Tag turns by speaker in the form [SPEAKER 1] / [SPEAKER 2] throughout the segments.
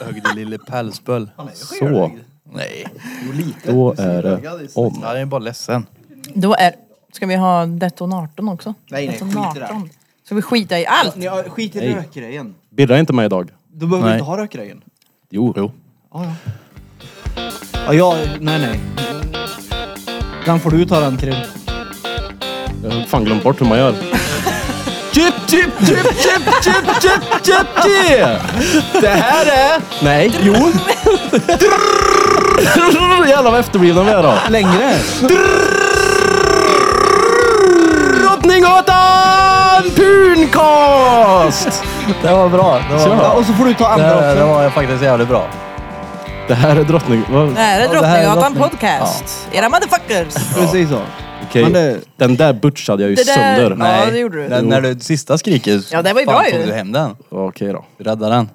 [SPEAKER 1] Högde lille pälsböll.
[SPEAKER 2] Han är ju
[SPEAKER 3] Så.
[SPEAKER 2] skelögd.
[SPEAKER 1] Nej.
[SPEAKER 2] Jo, lite.
[SPEAKER 3] Då
[SPEAKER 2] Du ser
[SPEAKER 3] är det
[SPEAKER 2] ögad ut.
[SPEAKER 3] om.
[SPEAKER 1] Han är bara ledsen.
[SPEAKER 4] Då är... Ska vi ha detonatorn också?
[SPEAKER 2] Nej, nej, skit i det här.
[SPEAKER 4] Detonatorn. Ska vi skita i allt?
[SPEAKER 2] Ni har, skit i
[SPEAKER 3] Nej.
[SPEAKER 2] rökgrejen.
[SPEAKER 3] Birra är inte med idag.
[SPEAKER 2] Då behöver vi
[SPEAKER 1] Nej.
[SPEAKER 2] inte ha rökgrejen.
[SPEAKER 3] Jo. jo.
[SPEAKER 2] Ja, ja. Ja, jag, nej, nej. Den får du ta den, Krim.
[SPEAKER 3] Jag har fan glömt bort hur man gör.
[SPEAKER 2] Chip, chip, chip, chip, chip, chip, chip, chip! Det här är
[SPEAKER 3] Nej, jo. Jävlar vad efterblivna vi är då.
[SPEAKER 2] längre.
[SPEAKER 3] Drottninggatan Puncast!
[SPEAKER 1] Det var bra. Det var,
[SPEAKER 3] Kör.
[SPEAKER 2] Ja, och så får du ta andra
[SPEAKER 1] det, det
[SPEAKER 2] också.
[SPEAKER 1] var faktiskt jävligt bra.
[SPEAKER 3] Det här är drottning...
[SPEAKER 4] Det
[SPEAKER 3] Vad?
[SPEAKER 4] här är
[SPEAKER 1] Ja, det här är
[SPEAKER 4] Drottninggatan
[SPEAKER 1] Drottning-
[SPEAKER 4] podcast. Era motherfuckers.
[SPEAKER 2] Precis så.
[SPEAKER 3] Okej.
[SPEAKER 2] Men det-
[SPEAKER 3] Den där butchade jag ju
[SPEAKER 4] Det där-
[SPEAKER 3] sönder.
[SPEAKER 4] Nej. Ja, det gjorde du.
[SPEAKER 1] Den,
[SPEAKER 3] Jo.
[SPEAKER 1] när du sista skriket.
[SPEAKER 4] Ja, det var ju bra ju.
[SPEAKER 1] tog du hem den.
[SPEAKER 3] Okej då.
[SPEAKER 1] Du räddade den.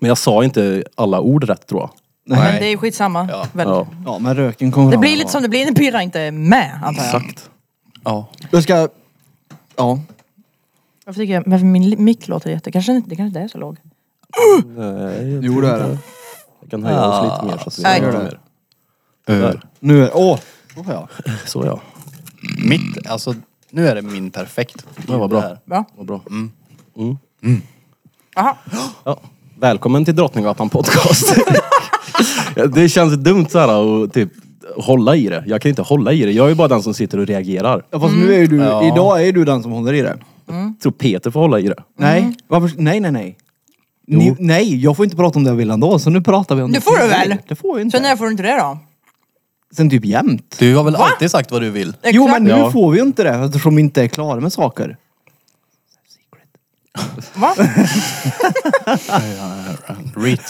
[SPEAKER 3] Men jag sa inte alla ord rätt tror jag.
[SPEAKER 4] Men det är ju skitsamma. Väl.
[SPEAKER 3] Ja,
[SPEAKER 2] Ja, men röken kommer
[SPEAKER 4] Det
[SPEAKER 2] fram.
[SPEAKER 4] blir lite som det blir när Pirra inte är med antar jag.
[SPEAKER 3] exakt.
[SPEAKER 1] Ja.
[SPEAKER 2] Jag ska... Ja.
[SPEAKER 4] Varför tycker jag, varför min mick låter jätte... Kanske inte, det kanske inte är så låg.
[SPEAKER 3] Nej,
[SPEAKER 2] Jo, det är det.
[SPEAKER 3] Jag kan höja oss lite mer så att vi
[SPEAKER 4] Nej.
[SPEAKER 3] hör lite mer.
[SPEAKER 1] Eh,
[SPEAKER 3] Där.
[SPEAKER 2] Nu är Åh! Oh, ja.
[SPEAKER 3] Så ja.
[SPEAKER 1] Mitt, alltså nu är det min perfekt.
[SPEAKER 3] Det var bra.
[SPEAKER 1] här.
[SPEAKER 4] Va?
[SPEAKER 3] Vad bra.
[SPEAKER 4] Jaha.
[SPEAKER 3] Ja. Välkommen till Drottninggatan podcast. det känns dumt så här att typ hålla i det. Jag kan inte hålla i det. Jag är ju bara den som sitter och reagerar.
[SPEAKER 2] Ja, fast nu är ju du...
[SPEAKER 1] Ja.
[SPEAKER 2] Idag är ju du den som håller i det.
[SPEAKER 3] Jag tror Peter får hålla i det.
[SPEAKER 2] Nej. Varför? Nej, nej, nej. Ni, nej, jag får inte prata om det jag vill ändå, så nu pratar vi om
[SPEAKER 4] Det får du väl?
[SPEAKER 2] Det får jag inte.
[SPEAKER 4] Så när får du inte det då?
[SPEAKER 2] Sen typ jämt.
[SPEAKER 1] Du har väl alltid sagt vad du vill?
[SPEAKER 2] Jo, men nu
[SPEAKER 3] Ja.
[SPEAKER 2] får vi ju inte det eftersom vi inte är klara med saker.
[SPEAKER 4] Va?
[SPEAKER 1] Reet.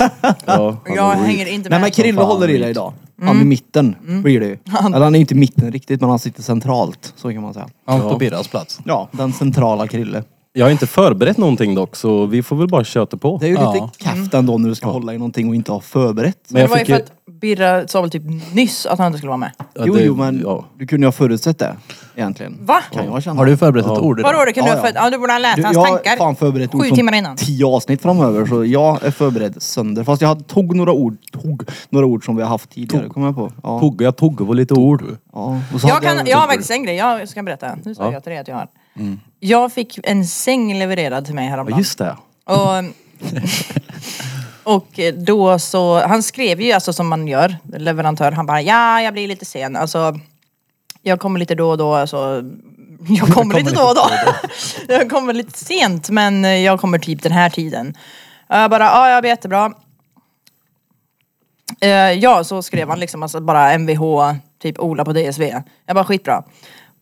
[SPEAKER 3] Ja,
[SPEAKER 4] Jag hänger inte
[SPEAKER 2] Nej,
[SPEAKER 4] med.
[SPEAKER 2] men Krille
[SPEAKER 1] fan,
[SPEAKER 2] håller i det
[SPEAKER 1] mitt.
[SPEAKER 2] idag.
[SPEAKER 4] Mm.
[SPEAKER 2] Han är i mitten, blir det ju. Eller han är ju inte i mitten riktigt, men han sitter centralt. Så kan man säga.
[SPEAKER 1] Han får Birras plats.
[SPEAKER 2] Ja, den centrala Krille.
[SPEAKER 3] Jag har inte förberett någonting dock så vi får väl bara köta på.
[SPEAKER 2] Det är ju
[SPEAKER 1] Ja.
[SPEAKER 2] lite kafft ändå när du ska hålla i någonting och inte ha förberett.
[SPEAKER 4] Men
[SPEAKER 3] Men
[SPEAKER 4] det
[SPEAKER 3] jag
[SPEAKER 4] var ju
[SPEAKER 3] fick
[SPEAKER 4] för
[SPEAKER 3] ju...
[SPEAKER 4] att Birra sa väl typ nyss att han inte skulle vara med.
[SPEAKER 3] Ja,
[SPEAKER 2] jo,
[SPEAKER 3] det-
[SPEAKER 2] jo, men
[SPEAKER 3] ja.
[SPEAKER 2] du kunde ju ha förutsett det egentligen.
[SPEAKER 4] Va?
[SPEAKER 2] Kan jag känna.
[SPEAKER 1] Har du förberett ett
[SPEAKER 3] Ja.
[SPEAKER 1] ord? idag?
[SPEAKER 4] Vadå, det kan
[SPEAKER 2] Ja,
[SPEAKER 4] du ha för...
[SPEAKER 2] ja.
[SPEAKER 4] Ja, du borde ha läst
[SPEAKER 2] Du,
[SPEAKER 4] hans
[SPEAKER 2] jag
[SPEAKER 4] tankar.
[SPEAKER 2] har fan förberett ord
[SPEAKER 4] Sju
[SPEAKER 2] från
[SPEAKER 4] timmar innan.
[SPEAKER 2] tio avsnitt framöver så jag är förberedd sönder. Fast jag hade- tog några ord, tog några ord som vi har haft tidigare, kommer jag på. Ja.
[SPEAKER 3] Tog, jag tog på lite ord.
[SPEAKER 2] Ja. Och så
[SPEAKER 4] Jag,
[SPEAKER 2] hade
[SPEAKER 4] kan, jag har faktiskt en grej, jag ska berätta. Nu sa jag till dig att jag har. Jag fick en säng levererad till mig
[SPEAKER 3] Ja,
[SPEAKER 4] häromdagen.
[SPEAKER 3] just det.
[SPEAKER 4] Och, och då så, han skrev ju alltså som man gör, leverantör, han bara ja, jag blir lite sen. Alltså, jag kommer lite då och då, alltså, jag kommer, lite då och då. jag kommer lite sent men jag kommer typ den här tiden. Och Jag bara, ja jag blir jättebra. Eh, ja, så skrev han liksom alltså bara MVH, typ Ola på DSV. Jag bara skitbra.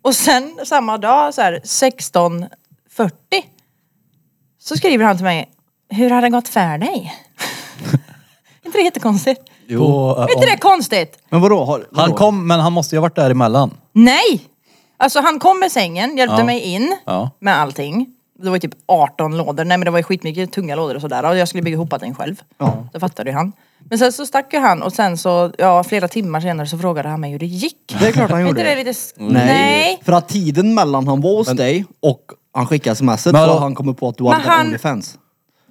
[SPEAKER 4] Och sen samma dag så här 16.40 så skriver han till mig, hur har det gått för dig? Är inte det jättekonstigt?
[SPEAKER 1] På,
[SPEAKER 4] Är inte det konstigt?
[SPEAKER 2] Men vadå? Har, vadå?
[SPEAKER 1] Han kom, men han måste ju ha varit däremellan.
[SPEAKER 4] Nej! Alltså han kom med sängen, hjälpte
[SPEAKER 1] Ja.
[SPEAKER 4] mig in
[SPEAKER 1] Ja.
[SPEAKER 4] med allting. Det var ju typ 18 lådor, nej men det var ju skitmycket tunga lådor och sådär. Och jag skulle bygga ihop allting själv.
[SPEAKER 2] Ja.
[SPEAKER 4] Då fattade ju han. Men sen så stack ju han och sen så, ja flera timmar senare så frågade han mig hur det gick.
[SPEAKER 2] Det är klart han
[SPEAKER 4] Är
[SPEAKER 2] gjorde.
[SPEAKER 4] inte det lite... s-
[SPEAKER 2] Nej.
[SPEAKER 4] nej.
[SPEAKER 2] För att tiden mellan han var hos dig och han skickade smset så
[SPEAKER 1] Men hallå?
[SPEAKER 2] har han kommit på att du hade
[SPEAKER 4] han-
[SPEAKER 2] Onlyfans.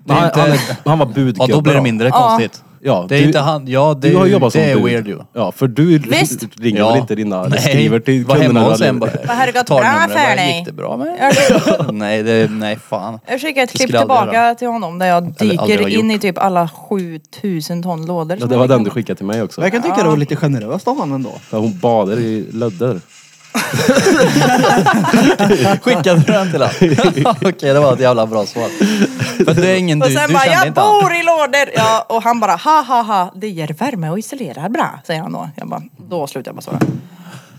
[SPEAKER 1] Det är
[SPEAKER 3] Han, han,
[SPEAKER 1] inte-
[SPEAKER 3] han var
[SPEAKER 1] Ja,
[SPEAKER 3] budgubbe.
[SPEAKER 1] då blir det mindre konstigt.
[SPEAKER 3] Ja,
[SPEAKER 1] det är
[SPEAKER 3] du-
[SPEAKER 1] inte han. Ja, det,
[SPEAKER 3] Du har jobbat som
[SPEAKER 1] det är
[SPEAKER 3] bud.
[SPEAKER 1] weird ju.
[SPEAKER 3] Ja, för du
[SPEAKER 4] Visst.
[SPEAKER 3] ringer
[SPEAKER 1] Ja.
[SPEAKER 3] väl inte dina... eller
[SPEAKER 1] Nej,
[SPEAKER 3] Skriver till
[SPEAKER 1] var
[SPEAKER 3] kunderna
[SPEAKER 1] hemma hos
[SPEAKER 3] eller-
[SPEAKER 1] en bara.
[SPEAKER 4] Vad har det gått
[SPEAKER 1] tar
[SPEAKER 4] bra
[SPEAKER 1] numret.
[SPEAKER 4] för
[SPEAKER 1] Vad
[SPEAKER 4] dig?
[SPEAKER 1] Gick det bra med dig? Nej, det, nej fan.
[SPEAKER 4] Jag skickade ett
[SPEAKER 1] Det
[SPEAKER 4] klipp
[SPEAKER 1] skulle jag aldrig
[SPEAKER 4] tillbaka till honom där jag
[SPEAKER 1] aldrig ha
[SPEAKER 4] dyker in
[SPEAKER 1] gjort.
[SPEAKER 4] i typ alla 7000 ton lådor.
[SPEAKER 3] Ja,
[SPEAKER 4] som
[SPEAKER 3] det
[SPEAKER 4] jag
[SPEAKER 3] var
[SPEAKER 4] fick.
[SPEAKER 3] den du skickade till mig också.
[SPEAKER 2] Jag kan tycka det var lite generöst av han ändå.
[SPEAKER 3] Ja, Hon badar i lödder.
[SPEAKER 1] Skickade du den till honom? Okej, det var ett jävla bra svar. Men det är ingen du,
[SPEAKER 4] Och
[SPEAKER 1] du
[SPEAKER 4] sen
[SPEAKER 1] kände
[SPEAKER 4] bara, jag
[SPEAKER 1] inte han.
[SPEAKER 4] bor i lådor! Ja, och han bara, ha ha ha, det ger värme och isolerar bra, säger han då. Jag bara, då slutar jag bara svara.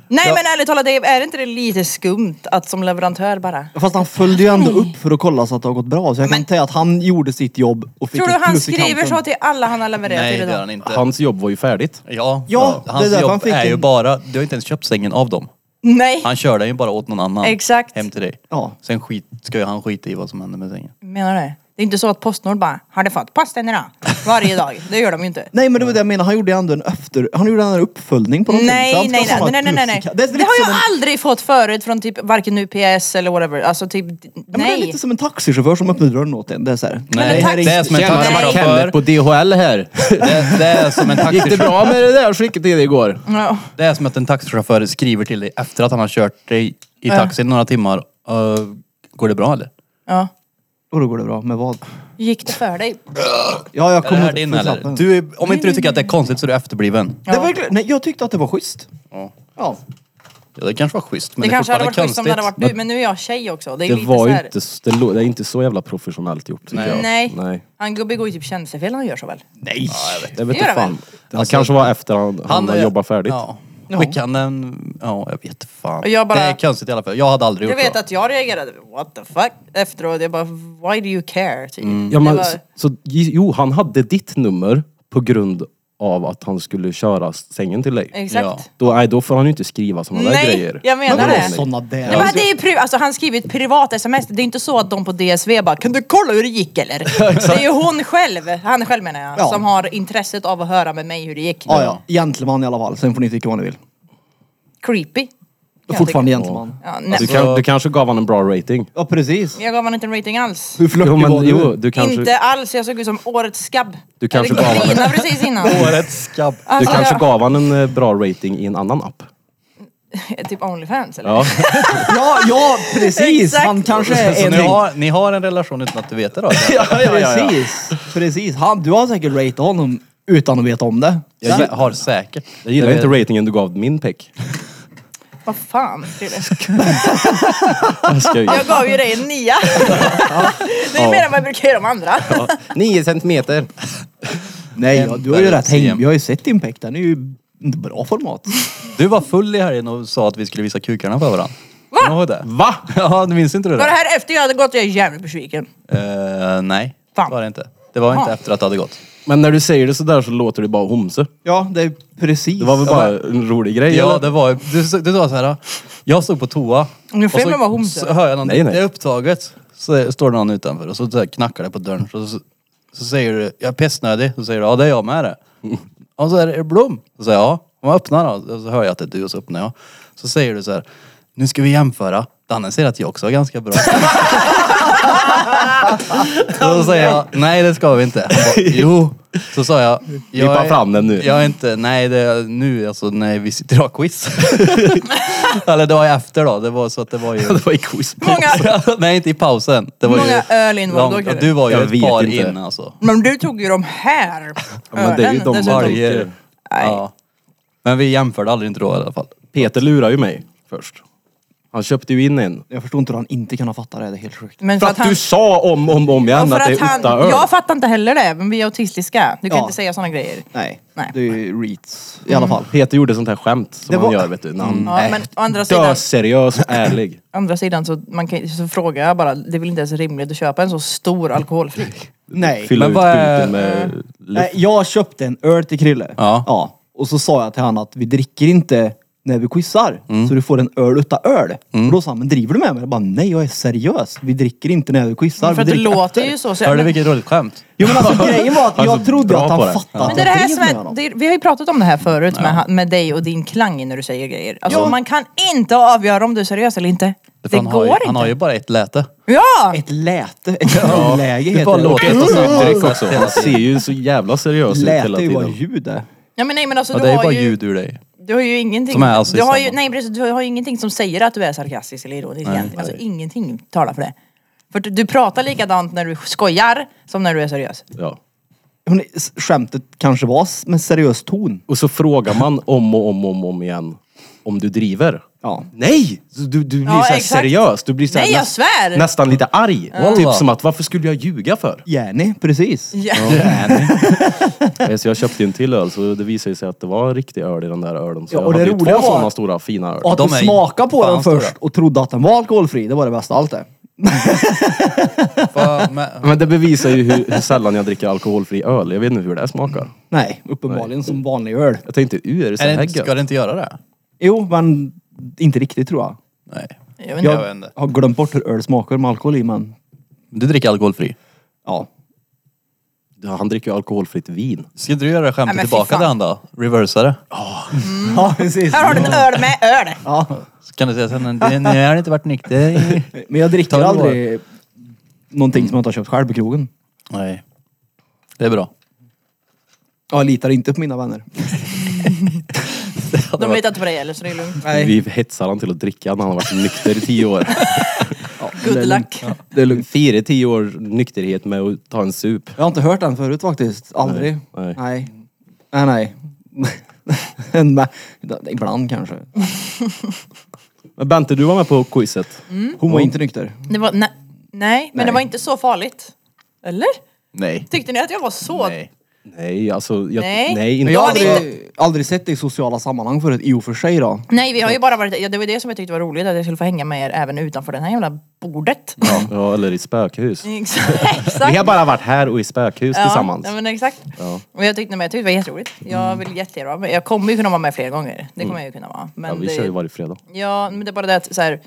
[SPEAKER 4] Nej men ärligt talat, det är är inte det lite skumt att som leverantör bara...
[SPEAKER 2] Fast han följde ju ändå upp för att kolla så att det har gått bra. Så jag kan
[SPEAKER 4] Men-
[SPEAKER 2] säga att han gjorde sitt jobb och fick
[SPEAKER 4] Tror du
[SPEAKER 2] ett
[SPEAKER 4] han
[SPEAKER 2] plus i
[SPEAKER 4] skriver
[SPEAKER 2] kanten.
[SPEAKER 4] så till alla han har levererat
[SPEAKER 1] Nej,
[SPEAKER 4] till
[SPEAKER 1] det gör han
[SPEAKER 4] idag?
[SPEAKER 1] inte.
[SPEAKER 3] Hans jobb var ju färdigt.
[SPEAKER 1] Ja,
[SPEAKER 2] Ja, det är
[SPEAKER 1] hans
[SPEAKER 2] därför
[SPEAKER 1] jobb
[SPEAKER 2] han fick
[SPEAKER 1] är ju
[SPEAKER 2] en-
[SPEAKER 1] bara... Du har inte ens köpt sängen av dem.
[SPEAKER 4] Nej,
[SPEAKER 1] Han kör den ju bara åt någon annan.
[SPEAKER 4] Exakt.
[SPEAKER 1] Hem till dig.
[SPEAKER 2] Ja.
[SPEAKER 1] Sen skit, ska ju han skita i vad som händer med sängen.
[SPEAKER 4] menar du? Det är inte så att Postnord bara, har du fått posten idag? varje dag. Det gör de ju inte.
[SPEAKER 2] Nej men det var det jag menade, han gjorde ju ändå en efter... Han gjorde en uppföljning på någonting. så han
[SPEAKER 4] Nej,
[SPEAKER 2] ska
[SPEAKER 4] nej,
[SPEAKER 2] ha samma
[SPEAKER 4] nej, nej, nej, nej, nej.
[SPEAKER 2] plus-
[SPEAKER 4] Det,
[SPEAKER 2] är lite
[SPEAKER 4] har jag
[SPEAKER 2] som en,
[SPEAKER 4] aldrig fått förut från typ varken UPS eller whatever. Alltså typ,
[SPEAKER 2] ja, men Det är
[SPEAKER 4] nej.
[SPEAKER 2] lite som en taxichaufför som öppnar dörren åt en. Det är så här.
[SPEAKER 1] Nej,
[SPEAKER 4] tack-
[SPEAKER 1] det är som en
[SPEAKER 4] Tjena, det var
[SPEAKER 1] taxichaufför.
[SPEAKER 3] Kenneth på DHL här.
[SPEAKER 1] Det, det är som en
[SPEAKER 3] Gick det
[SPEAKER 1] taxichaufför.
[SPEAKER 3] bra med det där skicket till dig igår?
[SPEAKER 4] Ja.
[SPEAKER 1] Det är som att en taxichaufför skriver till dig efter att han har kört dig i taxin några timmar. Eh, går det bra eller?
[SPEAKER 4] ja.
[SPEAKER 2] Och då går det bra. Med vad?
[SPEAKER 4] Gick det för dig?
[SPEAKER 2] Ja, jag
[SPEAKER 1] Är det
[SPEAKER 2] kommer
[SPEAKER 1] här
[SPEAKER 2] inte
[SPEAKER 1] din
[SPEAKER 2] få
[SPEAKER 1] eller?
[SPEAKER 2] slappen.
[SPEAKER 1] Du, om inte du tycker att det är konstigt så är du efterbliven.
[SPEAKER 2] Det var, verkligen- nej, jag tyckte att det var schysst.
[SPEAKER 1] Ja.
[SPEAKER 2] Ja.
[SPEAKER 1] Ja, det kanske var schysst men
[SPEAKER 4] Det
[SPEAKER 1] det,
[SPEAKER 4] kanske
[SPEAKER 1] är
[SPEAKER 4] hade
[SPEAKER 1] fortfarande
[SPEAKER 4] varit schysst om det hade
[SPEAKER 1] konstigt.
[SPEAKER 4] varit du, men nu är jag tjej också. Det är
[SPEAKER 3] Det
[SPEAKER 4] lite
[SPEAKER 3] var
[SPEAKER 4] så
[SPEAKER 3] ju
[SPEAKER 4] här.
[SPEAKER 3] inte, s- det, lå- det är inte så jävla professionellt gjort tycker jag.
[SPEAKER 4] Nej.
[SPEAKER 3] Nej.
[SPEAKER 4] Han gubbe går ju typ tjänstefel när han gör så väl.
[SPEAKER 2] Nej.
[SPEAKER 3] Jag vet
[SPEAKER 4] Det gör
[SPEAKER 3] inte
[SPEAKER 4] det väl?
[SPEAKER 3] fan. Det kanske var efter han, han, har
[SPEAKER 1] eh,
[SPEAKER 3] jobbat färdigt.
[SPEAKER 1] Ja. Skickade han en... Ja, jag vet fan.
[SPEAKER 4] Och jag bara-
[SPEAKER 1] Det är konstigt i alla fall. Jag hade aldrig
[SPEAKER 4] Jag
[SPEAKER 1] gjort
[SPEAKER 4] vet
[SPEAKER 1] så.
[SPEAKER 4] att jag reagerade, what the fuck, efteråt. Jag bara, why do you care? Typ.
[SPEAKER 3] Ja,
[SPEAKER 4] Det
[SPEAKER 3] men,
[SPEAKER 4] var,
[SPEAKER 3] s- så, jo, han hade ditt nummer på grund av att han skulle köra sängen till dig.
[SPEAKER 4] exakt.
[SPEAKER 1] ja.
[SPEAKER 3] Då, nej, då får han ju inte skriva sådana där
[SPEAKER 4] Nej,
[SPEAKER 3] grejer.
[SPEAKER 4] jag menar
[SPEAKER 3] Men
[SPEAKER 4] det.
[SPEAKER 3] vadå, såna-
[SPEAKER 2] Såna där.
[SPEAKER 4] Nej, men det är pri- alltså, han skriver ett privat sms, det är inte så att de på DSV bara kan du kolla hur det gick eller? det är ju hon själv, han själv menar jag,
[SPEAKER 2] Ja.
[SPEAKER 4] som har intresset av att höra med mig hur det gick.
[SPEAKER 2] Ja, ja. Gentleman i alla fall. Sen får ni tycka vad ni vill.
[SPEAKER 4] Creepy. kan jag
[SPEAKER 2] Fortfarande
[SPEAKER 4] tycka.
[SPEAKER 2] gentleman.
[SPEAKER 4] Ja, nej.
[SPEAKER 3] Du, kan, du kanske gav han en bra rating?
[SPEAKER 2] Ja, precis.
[SPEAKER 4] Jag gav honom inte en rating alls.
[SPEAKER 2] Hur flörtig
[SPEAKER 3] Jo,
[SPEAKER 2] var
[SPEAKER 3] men,
[SPEAKER 2] du?
[SPEAKER 3] jo, du kanske,
[SPEAKER 4] Inte alls, jag såg ut som årets skabb.
[SPEAKER 3] Du kanske
[SPEAKER 4] jag
[SPEAKER 3] bara var-
[SPEAKER 4] grinade precis innan.
[SPEAKER 1] Årets skabb.
[SPEAKER 3] du
[SPEAKER 4] Alltså,
[SPEAKER 3] kanske
[SPEAKER 4] jag-
[SPEAKER 3] gav han en eh, bra rating i en annan app?
[SPEAKER 4] Typ Onlyfans eller?
[SPEAKER 3] Ja.
[SPEAKER 2] Ja, ja precis!
[SPEAKER 4] Exakt.
[SPEAKER 2] Han kanske
[SPEAKER 1] Så
[SPEAKER 2] är en...
[SPEAKER 1] ni har, ni har en relation utan att du vet det då?
[SPEAKER 2] Precis, precis. Han, du har säkert ratat honom utan att veta om det.
[SPEAKER 1] Jag gil- har säkert.
[SPEAKER 3] Jag gillar inte ratingen du gav min peck.
[SPEAKER 4] Vad fan är det?
[SPEAKER 3] Jag skojar.
[SPEAKER 4] Jag gav ju dig en nia. det är
[SPEAKER 3] Ja.
[SPEAKER 4] mer än vad jag brukar göra de andra.
[SPEAKER 3] Ja. Nio centimeter.
[SPEAKER 2] Nej, ja, du har ju
[SPEAKER 1] Väldigt
[SPEAKER 2] rätt. Häng,
[SPEAKER 1] sen.
[SPEAKER 2] jag har ju sett din pek. Den är ju inte bra format.
[SPEAKER 1] Du var full i helgen och sa att vi skulle visa kukarna för varandra. Va? Kommer du ihåg det?
[SPEAKER 3] Va?
[SPEAKER 1] Ja, du minns inte du det?
[SPEAKER 4] Var det här efter jag hade gått? Jag är jävligt besviken.
[SPEAKER 1] Eh, nej,
[SPEAKER 4] Fan.
[SPEAKER 1] det var det inte. Det var inte
[SPEAKER 4] Fan.
[SPEAKER 1] efter att det hade gått.
[SPEAKER 3] Men när du säger det sådär så låter det bara homse.
[SPEAKER 2] Ja, det är precis.
[SPEAKER 3] Det var väl bara en rolig grej?
[SPEAKER 1] Ja,
[SPEAKER 3] eller?
[SPEAKER 1] det var ju- du, du sa så här. Jag stod på toa.
[SPEAKER 4] Nu
[SPEAKER 1] och
[SPEAKER 4] får jag
[SPEAKER 1] så,
[SPEAKER 4] vara homse.
[SPEAKER 1] så hör jag någon,
[SPEAKER 3] Nej, nej.
[SPEAKER 1] det är upptaget. Så står det någon utanför och så, så här knackar det på dörren. Så, så, så säger du, jag är pissnödig. Så säger du, ja det är jag med det. Och så är det, är det Blom? Så säger jag, ja. Och man öppnar då. Och så hör jag att det är du och så öppnar jag. Så säger du så här, nu ska vi jämföra. Danne säger att jag också är ganska bra. Och så säger jag, nej det ska vi inte. Han bara, jo. Så sa jag, jag
[SPEAKER 3] Klippa
[SPEAKER 1] är-
[SPEAKER 3] fram den nu.
[SPEAKER 1] Jag är inte, nej det, nu alltså, nej vi sitter och har quiz. Eller det var ju efter då, det var så att det var ju...
[SPEAKER 3] Det var i quiz.
[SPEAKER 4] Många,
[SPEAKER 1] nej inte i pausen. Det var
[SPEAKER 4] många
[SPEAKER 1] ju
[SPEAKER 4] öl involved
[SPEAKER 1] långt- ja,
[SPEAKER 4] då,
[SPEAKER 1] Du var ju
[SPEAKER 3] Jag
[SPEAKER 1] ett
[SPEAKER 3] vet
[SPEAKER 1] par
[SPEAKER 3] inte.
[SPEAKER 1] in alltså.
[SPEAKER 4] Men du tog ju de här
[SPEAKER 3] Ja, men det är ju
[SPEAKER 4] ölen
[SPEAKER 3] de
[SPEAKER 4] dessutom.
[SPEAKER 3] varje-
[SPEAKER 1] Varje, ja. Men vi jämförde aldrig inte då i alla fall.
[SPEAKER 3] Peter lurar ju mig först. Han köpte ju in en.
[SPEAKER 2] Jag förstår inte hur han inte kan ha fattat det. Det är helt sjukt.
[SPEAKER 4] Men
[SPEAKER 3] För att du sa om och om, om
[SPEAKER 4] Ja,
[SPEAKER 3] igen
[SPEAKER 4] för
[SPEAKER 3] att det
[SPEAKER 4] att
[SPEAKER 3] är
[SPEAKER 4] han,
[SPEAKER 3] åtta öl.
[SPEAKER 4] jag fattar inte heller det, men vi är autistiska. Du kan
[SPEAKER 2] Ja.
[SPEAKER 4] inte säga sådana grejer.
[SPEAKER 2] Nej,
[SPEAKER 4] Nej.
[SPEAKER 2] det är ju reats i alla fall.
[SPEAKER 3] Peter gjorde sånt här skämt som
[SPEAKER 2] Det
[SPEAKER 3] han
[SPEAKER 2] var-
[SPEAKER 3] gör vet du. När han
[SPEAKER 4] Mm. Ja,
[SPEAKER 3] är
[SPEAKER 4] men å andra sidan,
[SPEAKER 3] döseriös och ärlig.
[SPEAKER 4] å andra sidan så, man kan, så frågar jag bara, det är väl inte ens rimligt att köpa en så stor alkoholfri?
[SPEAKER 2] Nej.
[SPEAKER 3] Fyller
[SPEAKER 1] Men
[SPEAKER 3] ut
[SPEAKER 1] vad är-
[SPEAKER 3] punkten
[SPEAKER 4] Mm.
[SPEAKER 3] med luft.
[SPEAKER 2] Nej, jag köpte en öl till Krille.
[SPEAKER 1] Ja.
[SPEAKER 2] ja. Och så sa jag till han att vi dricker inte när vi quizar. Så du får en öl utan öl. Och då sa han, men driver du med mig? Jag bara, nej jag är seriös. Vi dricker inte när vi quizar.
[SPEAKER 4] Mm, För att
[SPEAKER 2] vi
[SPEAKER 4] det
[SPEAKER 2] dricker
[SPEAKER 4] låter
[SPEAKER 2] efter."
[SPEAKER 4] ju så. så
[SPEAKER 1] Hörde du
[SPEAKER 4] men,
[SPEAKER 1] vilket roligt skämt?
[SPEAKER 2] Jo men alltså grejen var att
[SPEAKER 3] Han är
[SPEAKER 2] jag
[SPEAKER 3] så
[SPEAKER 2] trodde
[SPEAKER 3] bra
[SPEAKER 2] att
[SPEAKER 3] på
[SPEAKER 2] han
[SPEAKER 3] det.
[SPEAKER 2] fattade
[SPEAKER 4] men
[SPEAKER 2] att
[SPEAKER 4] det är
[SPEAKER 2] jag
[SPEAKER 4] det här
[SPEAKER 2] drev med
[SPEAKER 4] Sven,
[SPEAKER 2] honom.
[SPEAKER 4] det, vi har ju pratat om det här förut med, med dig och din klang när du säger grejer. Alltså
[SPEAKER 2] Ja.
[SPEAKER 4] man kan inte avgöra om du är seriös eller inte. Det,
[SPEAKER 1] För han,
[SPEAKER 4] går
[SPEAKER 1] har ju,
[SPEAKER 4] inte.
[SPEAKER 1] han har ju bara ett läte.
[SPEAKER 4] Ja!
[SPEAKER 2] Ett läte, ett
[SPEAKER 1] det
[SPEAKER 2] läge heter
[SPEAKER 1] bara
[SPEAKER 2] det.
[SPEAKER 1] låter
[SPEAKER 2] Och
[SPEAKER 1] så.
[SPEAKER 2] ett
[SPEAKER 3] Dryck också.
[SPEAKER 4] Mm.
[SPEAKER 3] Han ser ju så jävla seriös ut
[SPEAKER 2] Läte
[SPEAKER 3] hela
[SPEAKER 2] är ju bara
[SPEAKER 3] tiden.
[SPEAKER 2] ljud det.
[SPEAKER 4] ja men nej men alltså
[SPEAKER 1] Ja,
[SPEAKER 4] du
[SPEAKER 1] det är ju
[SPEAKER 4] har
[SPEAKER 1] bara
[SPEAKER 4] ju...
[SPEAKER 1] ljud ur dig.
[SPEAKER 4] Du har ju ingenting.
[SPEAKER 1] Som är alltså i
[SPEAKER 4] du, har ju,
[SPEAKER 1] samma.
[SPEAKER 4] nej, precis, du har ju ingenting som säger att du är sarkastisk eller ironisk egentligen. Alltså ingenting talar för det. För du, du pratar likadant när du skojar som när du är seriös.
[SPEAKER 3] Ja.
[SPEAKER 2] Men s- Skämtet kanske var s- med seriös ton.
[SPEAKER 3] Och så frågar man om och om och om, om igen om du driver.
[SPEAKER 2] Ja.
[SPEAKER 3] Nej! Du, du blir
[SPEAKER 4] Ja,
[SPEAKER 3] såhär
[SPEAKER 4] exakt.
[SPEAKER 3] seriös. Du blir såhär
[SPEAKER 4] Nej, jag
[SPEAKER 3] näst-
[SPEAKER 4] svär!
[SPEAKER 3] nästan lite arg. Typ
[SPEAKER 1] Wallah.
[SPEAKER 3] som att varför skulle jag ljuga för?
[SPEAKER 2] Gärni, precis.
[SPEAKER 4] Ja.
[SPEAKER 3] Eh, Så jag köpte en till öl så det visade sig att det var en riktig öl i den där ölen. Så
[SPEAKER 2] Ja,
[SPEAKER 3] jag
[SPEAKER 2] och det
[SPEAKER 3] hade ju
[SPEAKER 2] roliga
[SPEAKER 3] två
[SPEAKER 2] var-
[SPEAKER 3] sådana stora fina öl.
[SPEAKER 2] Och att
[SPEAKER 1] De
[SPEAKER 2] du
[SPEAKER 1] är
[SPEAKER 2] smakade på
[SPEAKER 1] fan
[SPEAKER 2] den
[SPEAKER 1] stora.
[SPEAKER 2] först och trodde att den var alkoholfri, det var det bästa av allt det.
[SPEAKER 1] Fan, men-
[SPEAKER 3] Men det bevisar ju hur, hur sällan jag dricker alkoholfri öl. Jag vet inte hur det här smakar.
[SPEAKER 2] Nej, uppenbarligen som vanlig öl.
[SPEAKER 3] Jag tänkte, u är det så
[SPEAKER 1] är det,
[SPEAKER 3] här
[SPEAKER 1] inte- ska
[SPEAKER 3] gött?
[SPEAKER 1] det inte göra det?
[SPEAKER 2] Jo, men inte riktigt tror jag.
[SPEAKER 1] Nej.
[SPEAKER 4] Jag vet inte.
[SPEAKER 1] Jag vet inte.
[SPEAKER 2] har glömt bort hur öl smakar med alkohol i, men
[SPEAKER 1] Du dricker alkoholfri?
[SPEAKER 2] ja.
[SPEAKER 3] Han dricker ju alkoholfritt vin.
[SPEAKER 1] Ska du göra skämtet
[SPEAKER 4] Nej, men fy
[SPEAKER 1] tillbaka
[SPEAKER 4] fan.
[SPEAKER 1] till han då? Reversa det.
[SPEAKER 2] Mm. Ja, precis.
[SPEAKER 4] Här har du ett öl med öl!
[SPEAKER 2] Ja.
[SPEAKER 1] Så kan du säga sen, "Det- ni har inte varit nykter i-"
[SPEAKER 2] Men jag dricker
[SPEAKER 1] Tolv år.
[SPEAKER 2] aldrig någonting som jag inte har köpt själv på krogen.
[SPEAKER 1] Nej. Det är bra.
[SPEAKER 2] Jag litar inte på mina vänner.
[SPEAKER 4] De litar inte på dig heller så det är lugnt.
[SPEAKER 3] Vi hetsar han till att dricka när han har varit nykter i tio år.
[SPEAKER 4] Good
[SPEAKER 2] det är lugnt.
[SPEAKER 4] luck.
[SPEAKER 2] Det är lugnt.
[SPEAKER 3] Fira tio år nykterhet med att ta en sup.
[SPEAKER 2] Jag har inte hört den förut faktiskt. Aldrig.
[SPEAKER 3] Nej,
[SPEAKER 2] Nej. Nej, nej. Nej, Ibland kanske.
[SPEAKER 3] Men Bente, du var med på quizet.
[SPEAKER 2] Hon var inte nykter.
[SPEAKER 4] Det var, nej, nej, men det var inte så farligt. Eller?
[SPEAKER 1] Nej.
[SPEAKER 4] Tyckte ni att jag var så...
[SPEAKER 1] Nej.
[SPEAKER 3] Nej, alltså... Jag,
[SPEAKER 4] Nej.
[SPEAKER 3] inte.
[SPEAKER 2] Men jag har
[SPEAKER 4] Ja, det är
[SPEAKER 2] aldrig, aldrig sett dig i sociala sammanhang förut, i och för sig då.
[SPEAKER 4] Nej, vi har ju bara varit... Ja, det var det som jag tyckte var roligt, att jag skulle få hänga med er även utanför det här jävla bordet.
[SPEAKER 3] Ja, eller i spökhus.
[SPEAKER 4] Exakt.
[SPEAKER 3] Vi har bara varit här och i spökhus tillsammans. Mm.
[SPEAKER 4] Ja, men exakt. Och jag tyckte, men jag tyckte det var jätteroligt. Jag vill jättegärna vara med. Jag kommer ju kunna vara med fler gånger. Det kommer jag ju kunna vara. Men
[SPEAKER 3] Ja, vi
[SPEAKER 4] det,
[SPEAKER 3] kör ju varje fredag.
[SPEAKER 4] Ja, men det är bara det att så här,